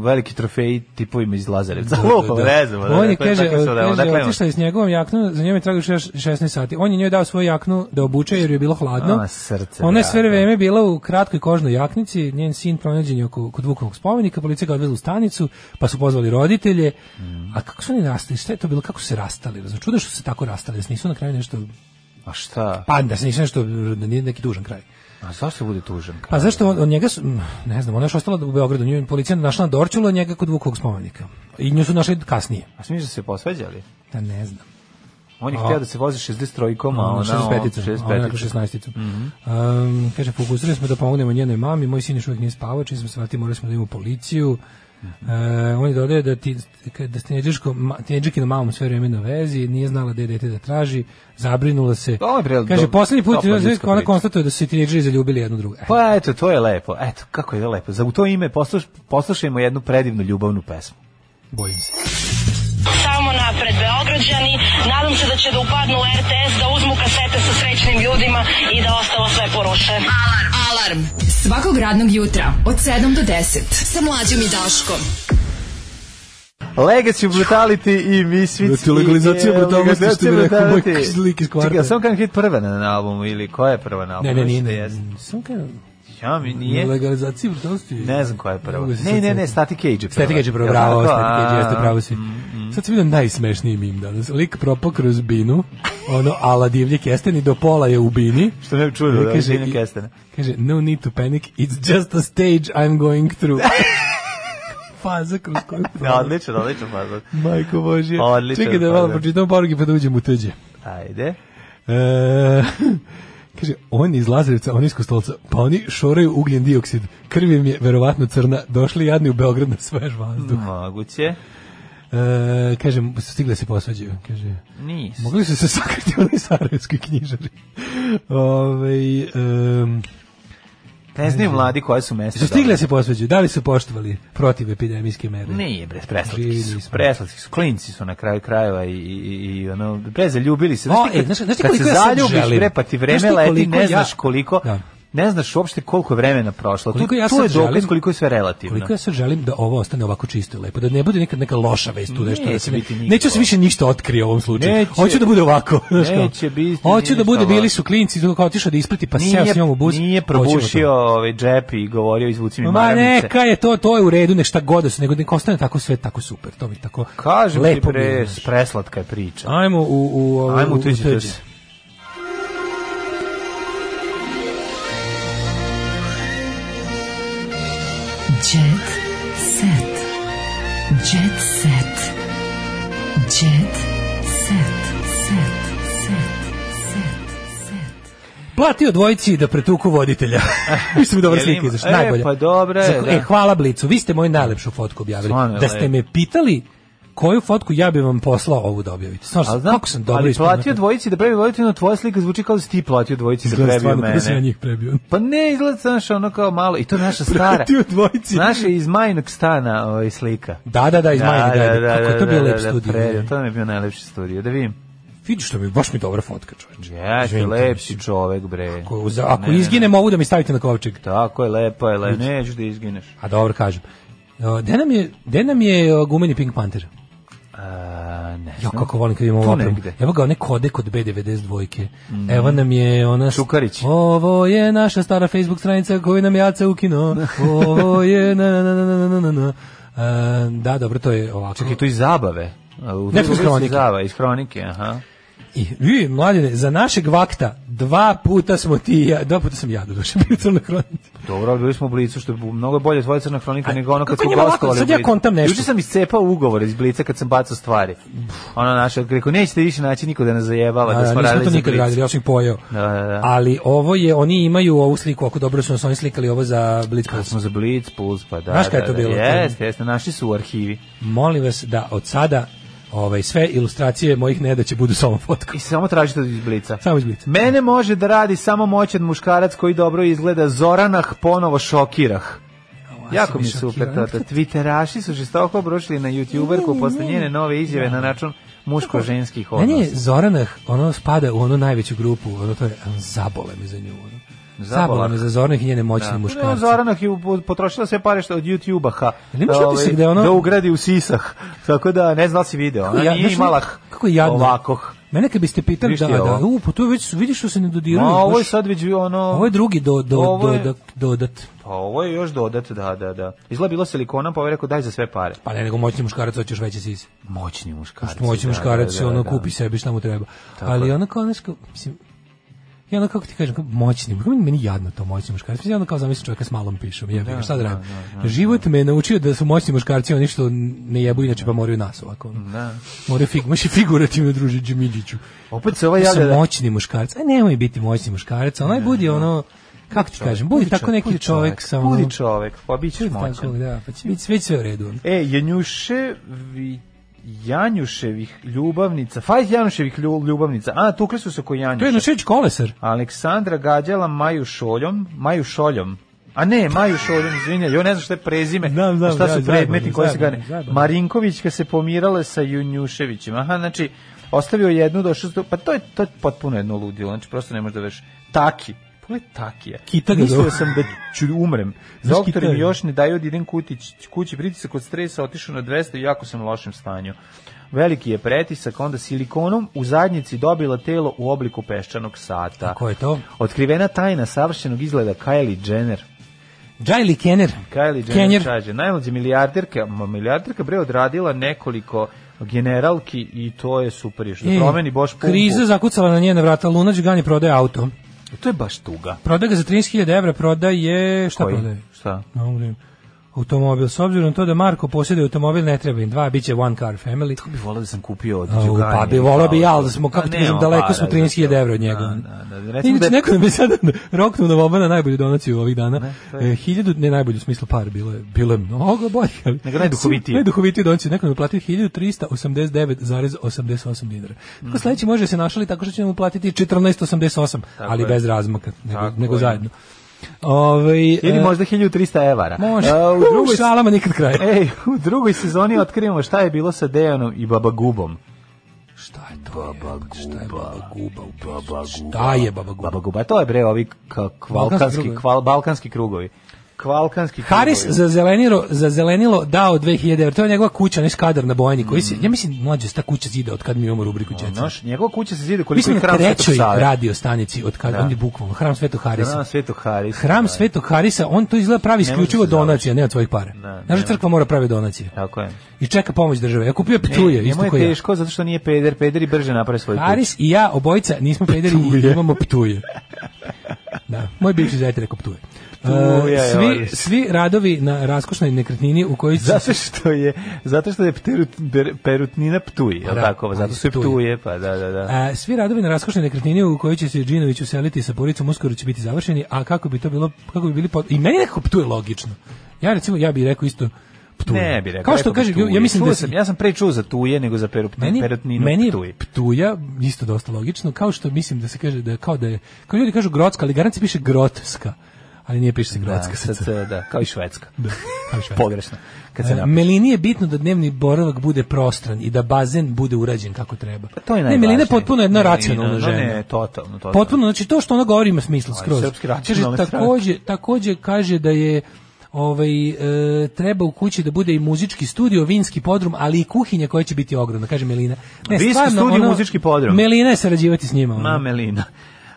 Speaker 6: veliki trofeji tipovima iz Lazarevca.
Speaker 7: Da, da,
Speaker 6: Lupam,
Speaker 7: da.
Speaker 6: ne znam.
Speaker 7: On je,
Speaker 6: dakle,
Speaker 7: kaže,
Speaker 6: takvi su, da,
Speaker 7: kaže
Speaker 6: odakle
Speaker 7: otišla je s njegovom jaknom, za njom je tragao šeš- 16 sati. On je njoj dao svoju jaknu da obuče jer je bilo hladno.
Speaker 6: A, srce
Speaker 7: Ona je sve
Speaker 6: drago.
Speaker 7: vreme bila u kratkoj kožnoj jaknici, njen sin pronađen je oko, kod Vukovog spomenika, policija ga odvezla u stanicu, pa su pozvali roditelje. A kako su oni rastali? Šta je to bilo? Kako su se rastali? Znači, čudo što su se tako rastali, da se nisu na kraju nešto...
Speaker 6: A šta?
Speaker 7: Pa da se nisu nešto, da nije neki dužan kraj.
Speaker 6: A zašto bude tužan?
Speaker 7: Pa zašto on, od njega su, mm, ne znam, ona je još ostala u Beogradu, nju je policija našla na Dorčulu, a njega kod Vukovog spomenika. I nju su našli kasnije.
Speaker 6: A smiš da se posveđali?
Speaker 7: Da ne znam.
Speaker 6: On je
Speaker 7: A. Ono,
Speaker 6: htio da se vozi 63-kom, a
Speaker 7: Pa Ona
Speaker 6: ona... ono, Mhm.
Speaker 7: 65-ica, ona je rekla
Speaker 6: 65
Speaker 7: 16-icu. Um, kaže, pokusili smo da pomognemo njenoj mami, moj sin još uvijek nije spavao, čim smo se vratili, morali smo da idemo u policiju. Uh, on je dodaje da, ti, da ste tineđerkinom mamom sve vreme na vezi, nije znala gde je dete da traži, zabrinula se.
Speaker 6: Ovo je pre-
Speaker 7: Kaže,
Speaker 6: do-
Speaker 7: poslednji put
Speaker 6: topla ljudska
Speaker 7: ona
Speaker 6: priča.
Speaker 7: konstatuje da su se tineđeri zaljubili jedno drugo. E,
Speaker 6: Pa eto, to je lepo. Eto, kako je lepo. Za, u to ime posluš, poslušajmo jednu predivnu ljubavnu pesmu.
Speaker 7: bojim se.
Speaker 5: Samo napred Beograđani, nadam se da će da upadnu u RTS, da uzmu kasete sa srećnim ljudima i da ostalo sve poruše. Alarm!
Speaker 13: Alarm. Svakog radnog jutra od 7 do 10. Sa mlađom i Daškom.
Speaker 6: Legacy Brutality i Misfits.
Speaker 7: Brate, legalizacija
Speaker 6: i, e,
Speaker 7: brutalnosti,
Speaker 6: legalizacija
Speaker 7: što bi rekao moj
Speaker 6: brutality.
Speaker 7: lik iz kvarta.
Speaker 6: Čekaj, samo kažem hit prva na, na albumu ili koja je prva na albumu?
Speaker 7: Ne, ne, nije.
Speaker 6: Mislim da
Speaker 7: Ne,
Speaker 6: jeste.
Speaker 7: samo kao-
Speaker 6: Ja mi nije.
Speaker 7: Legalizaciji brutalnosti.
Speaker 6: Ne znam koja je prva.
Speaker 7: mogu se
Speaker 6: Ne, ne,
Speaker 7: sad
Speaker 6: ne, Static Age je prva.
Speaker 7: Static Age je prvo,
Speaker 6: Jel
Speaker 7: bravo,
Speaker 6: tako?
Speaker 7: Static Age jeste
Speaker 6: A, mm,
Speaker 7: pravo si. Sad sam vidio najsmešniji mim danas. Lik propao kroz binu, ono, ala divlje kesteni, do pola je u bini.
Speaker 6: Što ne bi čudo, da,
Speaker 7: Kaže,
Speaker 6: Žine
Speaker 7: i-
Speaker 6: Kestena.
Speaker 7: Kaže, no need to panic, it's just a stage I'm going through. Faza kroz koju
Speaker 6: Da,
Speaker 7: prolazi.
Speaker 6: odlično, odlično, pa.
Speaker 7: Majko Božje.
Speaker 6: Odličan
Speaker 7: Čekaj da malo
Speaker 6: fazon.
Speaker 7: pročitam poruke pa da uđem u tuđe.
Speaker 6: Ajde.
Speaker 7: E, kaže, on iz Lazarevca, on iz Kostolca, pa oni šoraju ugljen dioksid. Krv im je verovatno crna, došli jadni u Beograd na svež vazduh.
Speaker 6: Moguće.
Speaker 7: E, kaže, stigle se posvađaju. Kaže,
Speaker 6: Nis.
Speaker 7: mogli su se sakriti oni sarajevski knjižari. Ove, um,
Speaker 6: Ne znaju mladi koja su mesta.
Speaker 7: su stigle se posvađaju, da li su poštovali protiv epidemijske mere?
Speaker 6: Nije, bre, preslatki
Speaker 7: Živjeli
Speaker 6: su,
Speaker 7: smo.
Speaker 6: preslatki su, klinci su na kraju krajeva i, i, i- i ono, bre, zaljubili se. Znaš
Speaker 7: O,
Speaker 6: ti kad,
Speaker 7: e, znaš- znaš ti
Speaker 6: kad se
Speaker 7: koliko ja sad
Speaker 6: zaljubiš,
Speaker 7: želim?
Speaker 6: bre, pa ti vreme
Speaker 7: Znaš ti
Speaker 6: leti,
Speaker 7: koliko
Speaker 6: ne
Speaker 7: ja-
Speaker 6: znaš koliko,
Speaker 7: Da.
Speaker 6: ne znaš uopšte koliko je vremena prošlo.
Speaker 7: Koliko
Speaker 6: tu,
Speaker 7: ja
Speaker 6: tu
Speaker 7: sad
Speaker 6: je dokaz
Speaker 7: želim-
Speaker 6: koliko je sve relativno.
Speaker 7: Koliko ja sad želim da ovo ostane ovako čisto i lepo, da ne bude nikad neka loša vest tu nešto.
Speaker 6: Neće
Speaker 7: da se ne-
Speaker 6: biti nikako.
Speaker 7: Neće se više ništa otkrije u ovom slučaju.
Speaker 6: Neće.
Speaker 7: Hoću da bude ovako. znaš kao.
Speaker 6: Neće biti
Speaker 7: Hoću da
Speaker 6: ništa
Speaker 7: bude, bili
Speaker 6: ovako.
Speaker 7: su klinci, tu kao otišao da isprati, pa
Speaker 6: nije,
Speaker 7: seo s njom u bus.
Speaker 6: nije
Speaker 7: hoćemo to.
Speaker 6: probušio ovaj džep i govorio izvuci mi
Speaker 7: Ma
Speaker 6: maramice.
Speaker 7: neka je to, to je u redu, nešta god da su, nego neka ostane tako sve tako super, to mi je tako
Speaker 6: Kažem ti
Speaker 7: lepo
Speaker 6: pre,
Speaker 7: bilo, znaš.
Speaker 6: preslatka je priča.
Speaker 7: Ajmo u, u, u,
Speaker 6: Ajmo u tuđi
Speaker 7: tuđe.
Speaker 6: tuđi.
Speaker 13: Jet set. Jet set. Jet set. Set.
Speaker 7: Platio dvojici da pretuku voditelja. Mislim dobra
Speaker 6: Jel
Speaker 7: slika
Speaker 6: ima?
Speaker 7: izašla,
Speaker 6: E,
Speaker 7: najbolja.
Speaker 6: pa dobra je,
Speaker 7: Zahva- e,
Speaker 6: da.
Speaker 7: hvala Blicu, vi ste moju najlepšu fotku objavili.
Speaker 6: Stvarno je
Speaker 7: Da ste
Speaker 6: lepo.
Speaker 7: me pitali koju fotku ja bi vam poslao ovu da objavite. Stvarno,
Speaker 6: Ali
Speaker 7: sam-
Speaker 6: znam,
Speaker 7: kako sam dobro
Speaker 6: ali
Speaker 7: ispunio.
Speaker 6: platio dvojici da prebio voditelj, no tvoja slika zvuči kao da si ti platio dvojici da
Speaker 7: Izgleda
Speaker 6: prebio
Speaker 7: stvarno
Speaker 6: mene.
Speaker 7: kako sam ja njih prebio.
Speaker 6: Pa ne, izgleda znaš ono kao malo, i to je naša stara.
Speaker 7: Platio dvojici.
Speaker 6: Naša iz majnog stana ovaj, slika.
Speaker 7: Da, da, da, iz Majnog, da, da, kako je to bio lep studio.
Speaker 6: predivno, to nam je bio najlepši studio, da vidim.
Speaker 7: Vidiš što mi, baš mi dobra fotka, čoveče.
Speaker 6: Jeste,
Speaker 7: Izvinite,
Speaker 6: lep si čovek, bre.
Speaker 7: Ako, za- ako
Speaker 6: Ne, ne,
Speaker 7: izgine, mogu da mi stavite na kovčeg.
Speaker 6: Tako je, lepo je, lepo.
Speaker 7: Vidiš.
Speaker 6: Neću da izgineš.
Speaker 7: A dobro kažem. O, Gde nam je, gde nam je o, gumeni Pink Panther?
Speaker 6: A, ne
Speaker 7: Jo,
Speaker 6: znam.
Speaker 7: kako volim kad imamo
Speaker 6: Tu
Speaker 7: ovu opremu.
Speaker 6: negde.
Speaker 7: Evo ga, one kode kod B92 dvojke.
Speaker 6: Mhm.
Speaker 7: Evo nam je ona...
Speaker 6: Šukarić.
Speaker 7: Ovo je naša stara Facebook stranica koju nam je Aca ukinuo. Ovo je... Na, na, na, na, na, na, na. E, da, dobro, to je ovako.
Speaker 6: Čekaj, to iz zabave. A, u
Speaker 7: Ne,
Speaker 6: drugoj
Speaker 7: iz hronike.
Speaker 6: iz Zabave, iz hronike, aha.
Speaker 7: I, vi, mladine, za našeg vakta dva puta smo ti i ja, dva puta sam ja doduše bio u crnoj hronici.
Speaker 6: Dobro, ali bili smo u Blicu, što je mnogo bolje tvoja crna hronika nego ono kad
Speaker 7: kako
Speaker 6: smo
Speaker 7: njima ovako?
Speaker 6: gostovali. u
Speaker 7: Sad ja
Speaker 6: Blicu.
Speaker 7: kontam nešto.
Speaker 6: Juče sam iscepao ugovor iz Blica kad sam bacao stvari. Ono naše, rekao, nećete više naći niko da nas zajebava, Pa da,
Speaker 7: Da,
Speaker 6: smo
Speaker 7: nismo
Speaker 6: radili
Speaker 7: to
Speaker 6: za
Speaker 7: nikad
Speaker 6: Blic.
Speaker 7: radili, ja sam ih pojeo.
Speaker 6: Da, da, da.
Speaker 7: Ali ovo je, oni imaju ovu sliku, ako dobro su nas oni slikali ovo za Blitz Pulse.
Speaker 6: Pa smo za Blitz Puls, pa da.
Speaker 7: Znaš kaj je
Speaker 6: da,
Speaker 7: to
Speaker 6: da,
Speaker 7: bilo?
Speaker 6: Jeste, jeste, naši su u arhivi.
Speaker 7: Molim vas da od sada ovaj, sve ilustracije mojih nedaće budu samo fotkom.
Speaker 6: I samo tražite iz Blica.
Speaker 7: Samo iz Blica.
Speaker 6: Mene može da radi samo moćan muškarac koji dobro izgleda Zoranah ponovo šokirah. Jako mi je super to. to. Twitteraši su žestoko obrušili na YouTuberku posle njene nove izjave na račun muško-ženskih
Speaker 7: Meni je
Speaker 6: odnosa.
Speaker 7: Zoranah, ono spada u onu najveću grupu, ono to je ono, zabole me za nju. Ono. Zabole
Speaker 6: Zabolah.
Speaker 7: me za Zoranah i njene moćne
Speaker 6: Da.
Speaker 7: muškarce.
Speaker 6: No, Zoranah je upo- potrošila sve pare što od YouTubea ha. Ovaj,
Speaker 7: Ali imaš utisak da je ono-
Speaker 6: da ugradi u sisah. Tako da ne znam da li si video. Ona
Speaker 7: ja-
Speaker 6: nije
Speaker 7: znaš,
Speaker 6: imala
Speaker 7: kako je jadno.
Speaker 6: ovakoh.
Speaker 7: Mene kad biste pitali
Speaker 6: Viš
Speaker 7: da,
Speaker 6: ti
Speaker 7: da,
Speaker 6: ovo?
Speaker 7: u, pa tu već su- vidiš što se ne dodiruju.
Speaker 6: Ma, ovo je
Speaker 7: baš-
Speaker 6: sad već ono...
Speaker 7: ovo je drugi do, do,
Speaker 6: Ovo je-
Speaker 7: do- do- dodat.
Speaker 6: Pa ovo je još dodat, da, da, da. Izgleda bilo silikona, pa ovaj rekao daj za sve pare.
Speaker 7: Pa ne, nego moćni muškarac hoćeš veće sise.
Speaker 6: Moćni muškarac.
Speaker 7: Moćni
Speaker 6: da,
Speaker 7: muškarac
Speaker 6: da, da,
Speaker 7: ono
Speaker 6: da.
Speaker 7: kupi sebi šta mu treba.
Speaker 6: Tako
Speaker 7: Ali
Speaker 6: je.
Speaker 7: ono kao nešto, mislim, i ono kako ti kažem, kao moćni, kako mi- meni jadno to moćni muškarac. Mislim, ono kao zamislim čovjeka s malom pišom, jebi ga, šta da radim. Život me je naučio da su moćni muškarci oni što ne jebu, inače pa moraju nas ovako. ono.
Speaker 6: Da.
Speaker 7: Moraju fig, možeš i figurativno druže Đemiđiću.
Speaker 6: Opet se ovaj
Speaker 7: Ja
Speaker 6: javlja
Speaker 7: sam
Speaker 6: da-
Speaker 7: moćni muškarac. Aj nemoj biti moćni muškarac, onaj budi ono kako ti kažem, budi tako neki čovjek sa ono-
Speaker 6: Budi čovek, pa bit ćeš
Speaker 7: Budi tako,
Speaker 6: moćan.
Speaker 7: da, pa će biti sve- sve u redu. ono.
Speaker 6: E, Janjuševi... Janjuševih ljubavnica, fajt Janjuševih lju- ljubavnica, a tukli su se oko
Speaker 7: To je
Speaker 6: Janjuša.
Speaker 7: Jednošević Kolesar.
Speaker 6: Aleksandra gađala Maju Šoljom, Maju Šoljom, a ne, Maju Šoljom, izvinja, jo ne znam šta je prezime,
Speaker 7: Znam, znam,
Speaker 6: a šta
Speaker 7: da,
Speaker 6: su
Speaker 7: zajebano,
Speaker 6: predmeti koji se
Speaker 7: zajebano,
Speaker 6: gane.
Speaker 7: zajebano.
Speaker 6: Marinkovićka se pomirala sa Junjuševićem, aha, znači, ostavio jednu, došao, s dru- pa to je, to je potpuno jedno ludilo, znači, prosto ne možeš da veš, taki, Pogledaj Takija.
Speaker 7: Kita ga
Speaker 6: Mislio
Speaker 7: zove.
Speaker 6: sam da ću umrem.
Speaker 7: Znaš,
Speaker 6: Doktori
Speaker 7: kita
Speaker 6: mi
Speaker 7: je.
Speaker 6: još ne daju da idem kutić, kući pritisak od stresa, otišao na 200 i u jako sam lošem stanju. Veliki je pretisak, onda silikonom u zadnjici dobila telo u obliku peščanog sata.
Speaker 7: Ko je to?
Speaker 6: Otkrivena tajna savršenog izgleda Kylie Jenner.
Speaker 7: Jaili Kenner.
Speaker 6: Kylie Jenner
Speaker 7: Kenjer.
Speaker 6: čađe. Najmlađa milijarderka, ma, milijarderka bre odradila nekoliko generalki i to je super. je Što
Speaker 7: E,
Speaker 6: promeni boš pumpu.
Speaker 7: Kriza zakucala na njena vrata, Lunač Gani prodaje auto.
Speaker 6: To je baš tuga.
Speaker 7: Prodaje ga za 13.000 evra, prodaje... Šta
Speaker 6: Koji?
Speaker 7: prodaje?
Speaker 6: Šta?
Speaker 7: Ne mogu da vidim. Automobil. S obzirom na to da Marko posjeduje automobil, ne treba im dva, bit će one car family.
Speaker 6: Kako bi volao da sam kupio od
Speaker 7: Au,
Speaker 6: Đugani?
Speaker 7: pa bi volao bi ja, ali da smo,
Speaker 6: Pa
Speaker 7: kako ti
Speaker 6: nema
Speaker 7: kažem, daleko
Speaker 6: para
Speaker 7: smo
Speaker 6: za
Speaker 7: 13.000
Speaker 6: to.
Speaker 7: evra od njega.
Speaker 6: Da, da, da. Recimo
Speaker 7: Inače,
Speaker 6: da je-
Speaker 7: neko nam je sad roknuo na voba na najbolju donaciju ovih dana.
Speaker 6: to je-
Speaker 7: E, hiljadu, ne najbolju u smislu par, bilo je, bilo je mnogo bolje. ali-
Speaker 6: Nego najduhovitije.
Speaker 7: Najduhovitije donaciju. Neko nam je platio 1389,88 dinara.
Speaker 6: Mm.
Speaker 7: Tako sledeći može da se našali tako što će nam uplatiti 1488,
Speaker 6: Tako
Speaker 7: ali
Speaker 6: je.
Speaker 7: bez razmaka, nego,
Speaker 6: Tako
Speaker 7: nego
Speaker 6: je.
Speaker 7: zajedno. Ovaj,
Speaker 6: Ili
Speaker 7: e,
Speaker 6: možda 1300 evara.
Speaker 7: Može.
Speaker 6: A, u, drugoj, E,
Speaker 7: U šalama nikad kraja.
Speaker 6: ej, u drugoj sezoni otkrivamo šta je bilo sa Dejanom i Babagubom.
Speaker 7: Šta je to? Baba guba. Šta je baba guba? u pizu?
Speaker 6: Baba guba.
Speaker 7: Šta je baba guba?
Speaker 6: Baba guba, to je bre ovi k- kvalkanski,
Speaker 7: krugovi.
Speaker 6: kval, balkanski krugovi. Kvalkanski krugovi.
Speaker 7: Haris za zelenilo, za zelenilo dao 2000 evra. To je njegova kuća, onaj skadar na Bojani. Koji se,
Speaker 6: Mm.
Speaker 7: ja mislim, mlađe, ta kuća zida od kad mi imamo rubriku Jet Set.
Speaker 6: Znaš, njegova kuća se zide
Speaker 7: Mi
Speaker 6: koliko
Speaker 7: smo
Speaker 6: je
Speaker 7: na
Speaker 6: hram Svetog
Speaker 7: trećoj
Speaker 6: Save.
Speaker 7: radio stanici od kad
Speaker 6: Da.
Speaker 7: on je bukvalno Hram Svetog Harisa.
Speaker 6: Hram Svetog Harisa.
Speaker 7: Hram Svetog Harisa, on to izgleda pravi
Speaker 6: Ne može
Speaker 7: isključivo
Speaker 6: se
Speaker 7: donacija, ne od svojih para.
Speaker 6: Da,
Speaker 7: Znaš,
Speaker 6: nema.
Speaker 7: da crkva mora pravi donacije.
Speaker 6: Tako je.
Speaker 7: I čeka pomoć države. Ja kupio
Speaker 6: E,
Speaker 7: Petruje,
Speaker 6: njemu
Speaker 7: isto
Speaker 6: je
Speaker 7: koji ja.
Speaker 6: teško zato što nije peder, peder i brže napravi svoj kuću.
Speaker 7: Haris i ja obojica nismo pederi i imamo ptuje. Da, moj bivši zajte rekao ptuje. E,
Speaker 6: Ptuje je
Speaker 7: svi,
Speaker 6: odlično.
Speaker 7: svi radovi na raskošnoj nekretnini u kojoj se
Speaker 6: Zato što je zato što je Pterut, per, perutnina Ptuj, je li
Speaker 7: Da,
Speaker 6: tako?
Speaker 7: ali
Speaker 6: Zato su i
Speaker 7: Ptuj.
Speaker 6: Ptuje, pa da, da, da.
Speaker 7: E, svi radovi na raskošnoj nekretnini u kojoj će se Džinović useliti sa Poricom uskoro će biti završeni, a kako bi to bilo, kako bi bili pot... i meni nekako ptuje logično. Ja recimo ja bih rekao isto ptuje.
Speaker 6: Ne bi rekao.
Speaker 7: Kao što
Speaker 6: rekao bi
Speaker 7: kaže, ja
Speaker 6: Ptuje.
Speaker 7: mislim
Speaker 6: Čuo
Speaker 7: da
Speaker 6: sam, ja sam pre čuo za tuje nego za perut,
Speaker 7: meni,
Speaker 6: perutninu
Speaker 7: meni
Speaker 6: Ptuj.
Speaker 7: je ptuja isto dosta logično, kao što mislim da se kaže da je- kao da je, kao ljudi kažu grotska, ali garant se piše grotska, ali nije piše se grotska.
Speaker 6: Da, sad, se- da, kao i švedska.
Speaker 7: Da, kao i švedska.
Speaker 6: Pogrešno. Kad se
Speaker 7: E,
Speaker 6: napiše.
Speaker 7: Melini je bitno da dnevni boravak bude prostran i da bazen bude urađen kako treba.
Speaker 6: Pa To je
Speaker 7: ne,
Speaker 6: najvažnije.
Speaker 7: Melina je potpuno jedna
Speaker 6: Melina,
Speaker 7: racionalna
Speaker 6: no
Speaker 7: žena.
Speaker 6: Ne, totalno, totalno.
Speaker 7: Potpuno, znači to što ona govori ima smisla
Speaker 6: Ovaj,
Speaker 7: skroz.
Speaker 6: srpski
Speaker 7: Kaže,
Speaker 6: racionalne
Speaker 7: takođe, takođe kaže da je ovaj, e, treba u kući da bude i muzički studio, vinski podrum, ali i kuhinja koja će biti ogromna, kaže Melina. ono,
Speaker 6: Vinski studio, muzički podrum.
Speaker 7: Melina je sarađivati s njima. ono.
Speaker 6: Ma Melina.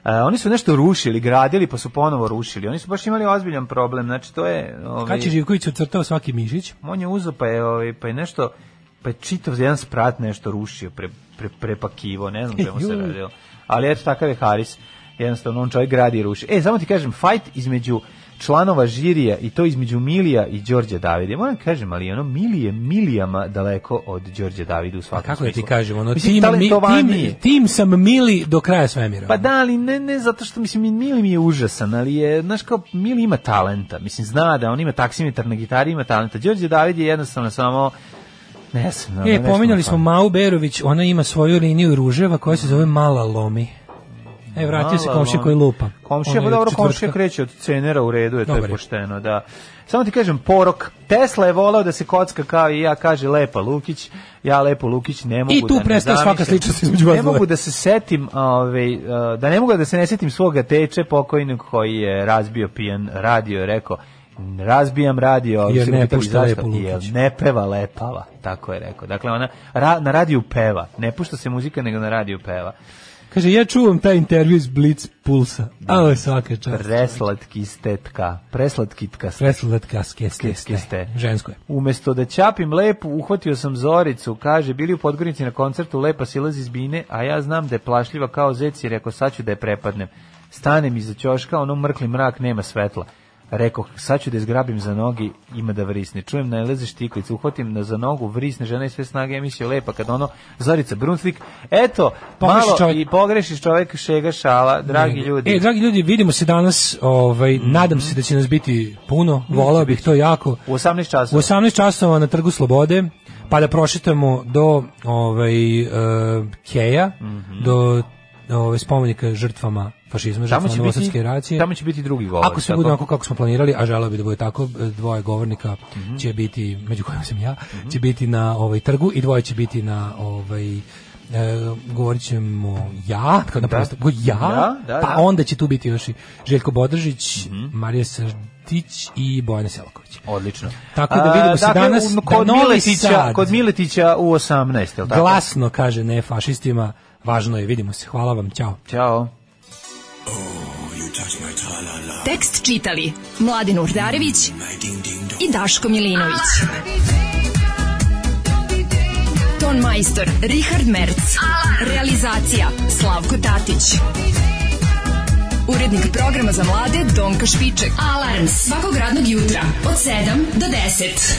Speaker 6: E, oni su nešto rušili, gradili, pa su ponovo rušili. Oni su baš imali ozbiljan problem. Znači, to je... Ovaj,
Speaker 7: Kad će Živković ucrtao svaki mišić?
Speaker 6: On je uzeo pa je, ovaj, pa je nešto, pa je čitav jedan sprat nešto rušio, pre, pre, prepakivo, ne znam čemu se
Speaker 7: Ju.
Speaker 6: radilo. Ali eto, takav je Haris. Jednostavno, on čovjek gradi i ruši. E, samo ti kažem, fajt između članova žirija i to između Milija i Đorđa Davida. Moram kažem, ali ono Milije milijama daleko od Đorđa Davida u svakom
Speaker 7: Kako da ti
Speaker 6: smislu.
Speaker 7: kažem, ono,
Speaker 6: Pa, Mislim,
Speaker 7: tim, mi,
Speaker 6: talentovaniji
Speaker 7: tim,
Speaker 6: je.
Speaker 7: tim sam mili do kraja svemira. ono.
Speaker 6: Pa da, ali ne, ne, zato što, mislim, Mili mi je užasan, ali je, znaš, kao, Mili ima talenta, mislim, zna da on ima taksimetar na gitari, ima talenta. Đorđe David je jednostavno samo, ne znam, ono,
Speaker 7: E,
Speaker 6: nešto
Speaker 7: pominjali
Speaker 6: mu
Speaker 7: smo
Speaker 6: fali.
Speaker 7: Mau Berović, ona ima svoju liniju ruževa koja se zove Mala Lomi. E, vratio se
Speaker 6: Mala
Speaker 7: komšija
Speaker 6: lom-
Speaker 7: koji lupa.
Speaker 6: Komšija,
Speaker 7: Ono
Speaker 6: pa
Speaker 7: je
Speaker 6: dobro,
Speaker 7: četvrtka.
Speaker 6: komšija kreće od cenera u redu, je to je
Speaker 7: Dobar je.
Speaker 6: pošteno, da. Samo ti kažem, porok. Tesla je volao da se kocka kao i ja, kaže Lepa Lukić, ja Lepo Lukić ne mogu
Speaker 7: I tu
Speaker 6: da ne
Speaker 7: prestaje svaka
Speaker 6: zamišljam.
Speaker 7: sličnost između vas
Speaker 6: Ne
Speaker 7: dvoje.
Speaker 6: mogu da se setim, ovaj, eh, da ne mogu da se ne setim svoga teče pokojnog koji je razbio pijan radio, je rekao, razbijam radio, ali
Speaker 7: Jer
Speaker 6: se
Speaker 7: ne
Speaker 6: pitali
Speaker 7: pušta
Speaker 6: zašto,
Speaker 7: Lepu
Speaker 6: jer
Speaker 7: Lukić.
Speaker 6: ne peva lepava, tako je rekao. Dakle, ona ra, na radiju peva, ne pušta se muzika, nego na radiju peva.
Speaker 7: Kaže, ja čuvam taj intervju iz Blitz Pulsa. A, svaka čast.
Speaker 6: Preslatki stetka, preslatkitka ste.
Speaker 7: Preslatka skeste.
Speaker 6: Keske ste.
Speaker 7: Žensko je.
Speaker 6: Umesto da ćapim lepu, uhvatio sam Zoricu, kaže, bili u Podgorici na koncertu, lepa silazi iz bine, a ja znam da je plašljiva kao zec i rekao, sad ću da je prepadnem. Stanem iza ćoška, ono mrkli mrak, nema svetla. Rekao, sad ću da je zgrabim za nogi, ima da vrisne. Čujem, najleze štiklicu, uhvatim na za nogu, vrisne žena i sve snage, ja mislio lepa, kad ono, Zorica Brunslik, eto,
Speaker 7: Pogreši
Speaker 6: malo
Speaker 7: čovek.
Speaker 6: i pogrešiš čovek, šega šala, dragi ljudi. Mhm.
Speaker 7: E, dragi ljudi, vidimo se danas, ovaj, nadam se da će nas biti puno, volao bih to jako.
Speaker 6: u 18
Speaker 7: U
Speaker 6: časova.
Speaker 7: 18 časova na Trgu Slobode, pa da prošetamo do ovaj, e, Keja, do ovaj, spomenika žrtvama fašizma,
Speaker 6: Mhm. Tamo
Speaker 7: žrtvama
Speaker 6: će,
Speaker 7: novosadske
Speaker 6: biti,
Speaker 7: racije.
Speaker 6: tamo će biti drugi govor.
Speaker 7: Ako sve bude onako kako smo planirali, a želeo bi da bude tako, dvoje govornika
Speaker 6: Mhm.
Speaker 7: će biti, među kojima sam ja, će biti na ovaj trgu i dvoje će biti na ovaj e, govorit ćemo ja, kao na prostoru, go- ja,
Speaker 6: Da, da,
Speaker 7: pa
Speaker 6: da. Mhm.
Speaker 7: onda će tu biti još i Željko Bodržić, Marija Srdić i Bojana Selaković.
Speaker 6: Odlično.
Speaker 7: Tako da vidimo
Speaker 6: A,
Speaker 7: se
Speaker 6: dakle,
Speaker 7: danas
Speaker 6: u-
Speaker 7: da
Speaker 6: kod
Speaker 7: Novi
Speaker 6: Miletića,
Speaker 7: Sad-
Speaker 6: kod Miletića u 18, je li tako?
Speaker 7: Glasno kaže ne fašistima, važno je, vidimo se, hvala vam, ćao.
Speaker 6: Ćao.
Speaker 13: Tekst čitali Mladin Urdarević i Daško Milinović. Ton majstor Richard Merc. Realizacija Slavko Tatić. Urednik programa za mlade Donka Špiček. Alarms svakog radnog jutra od 7 do 10.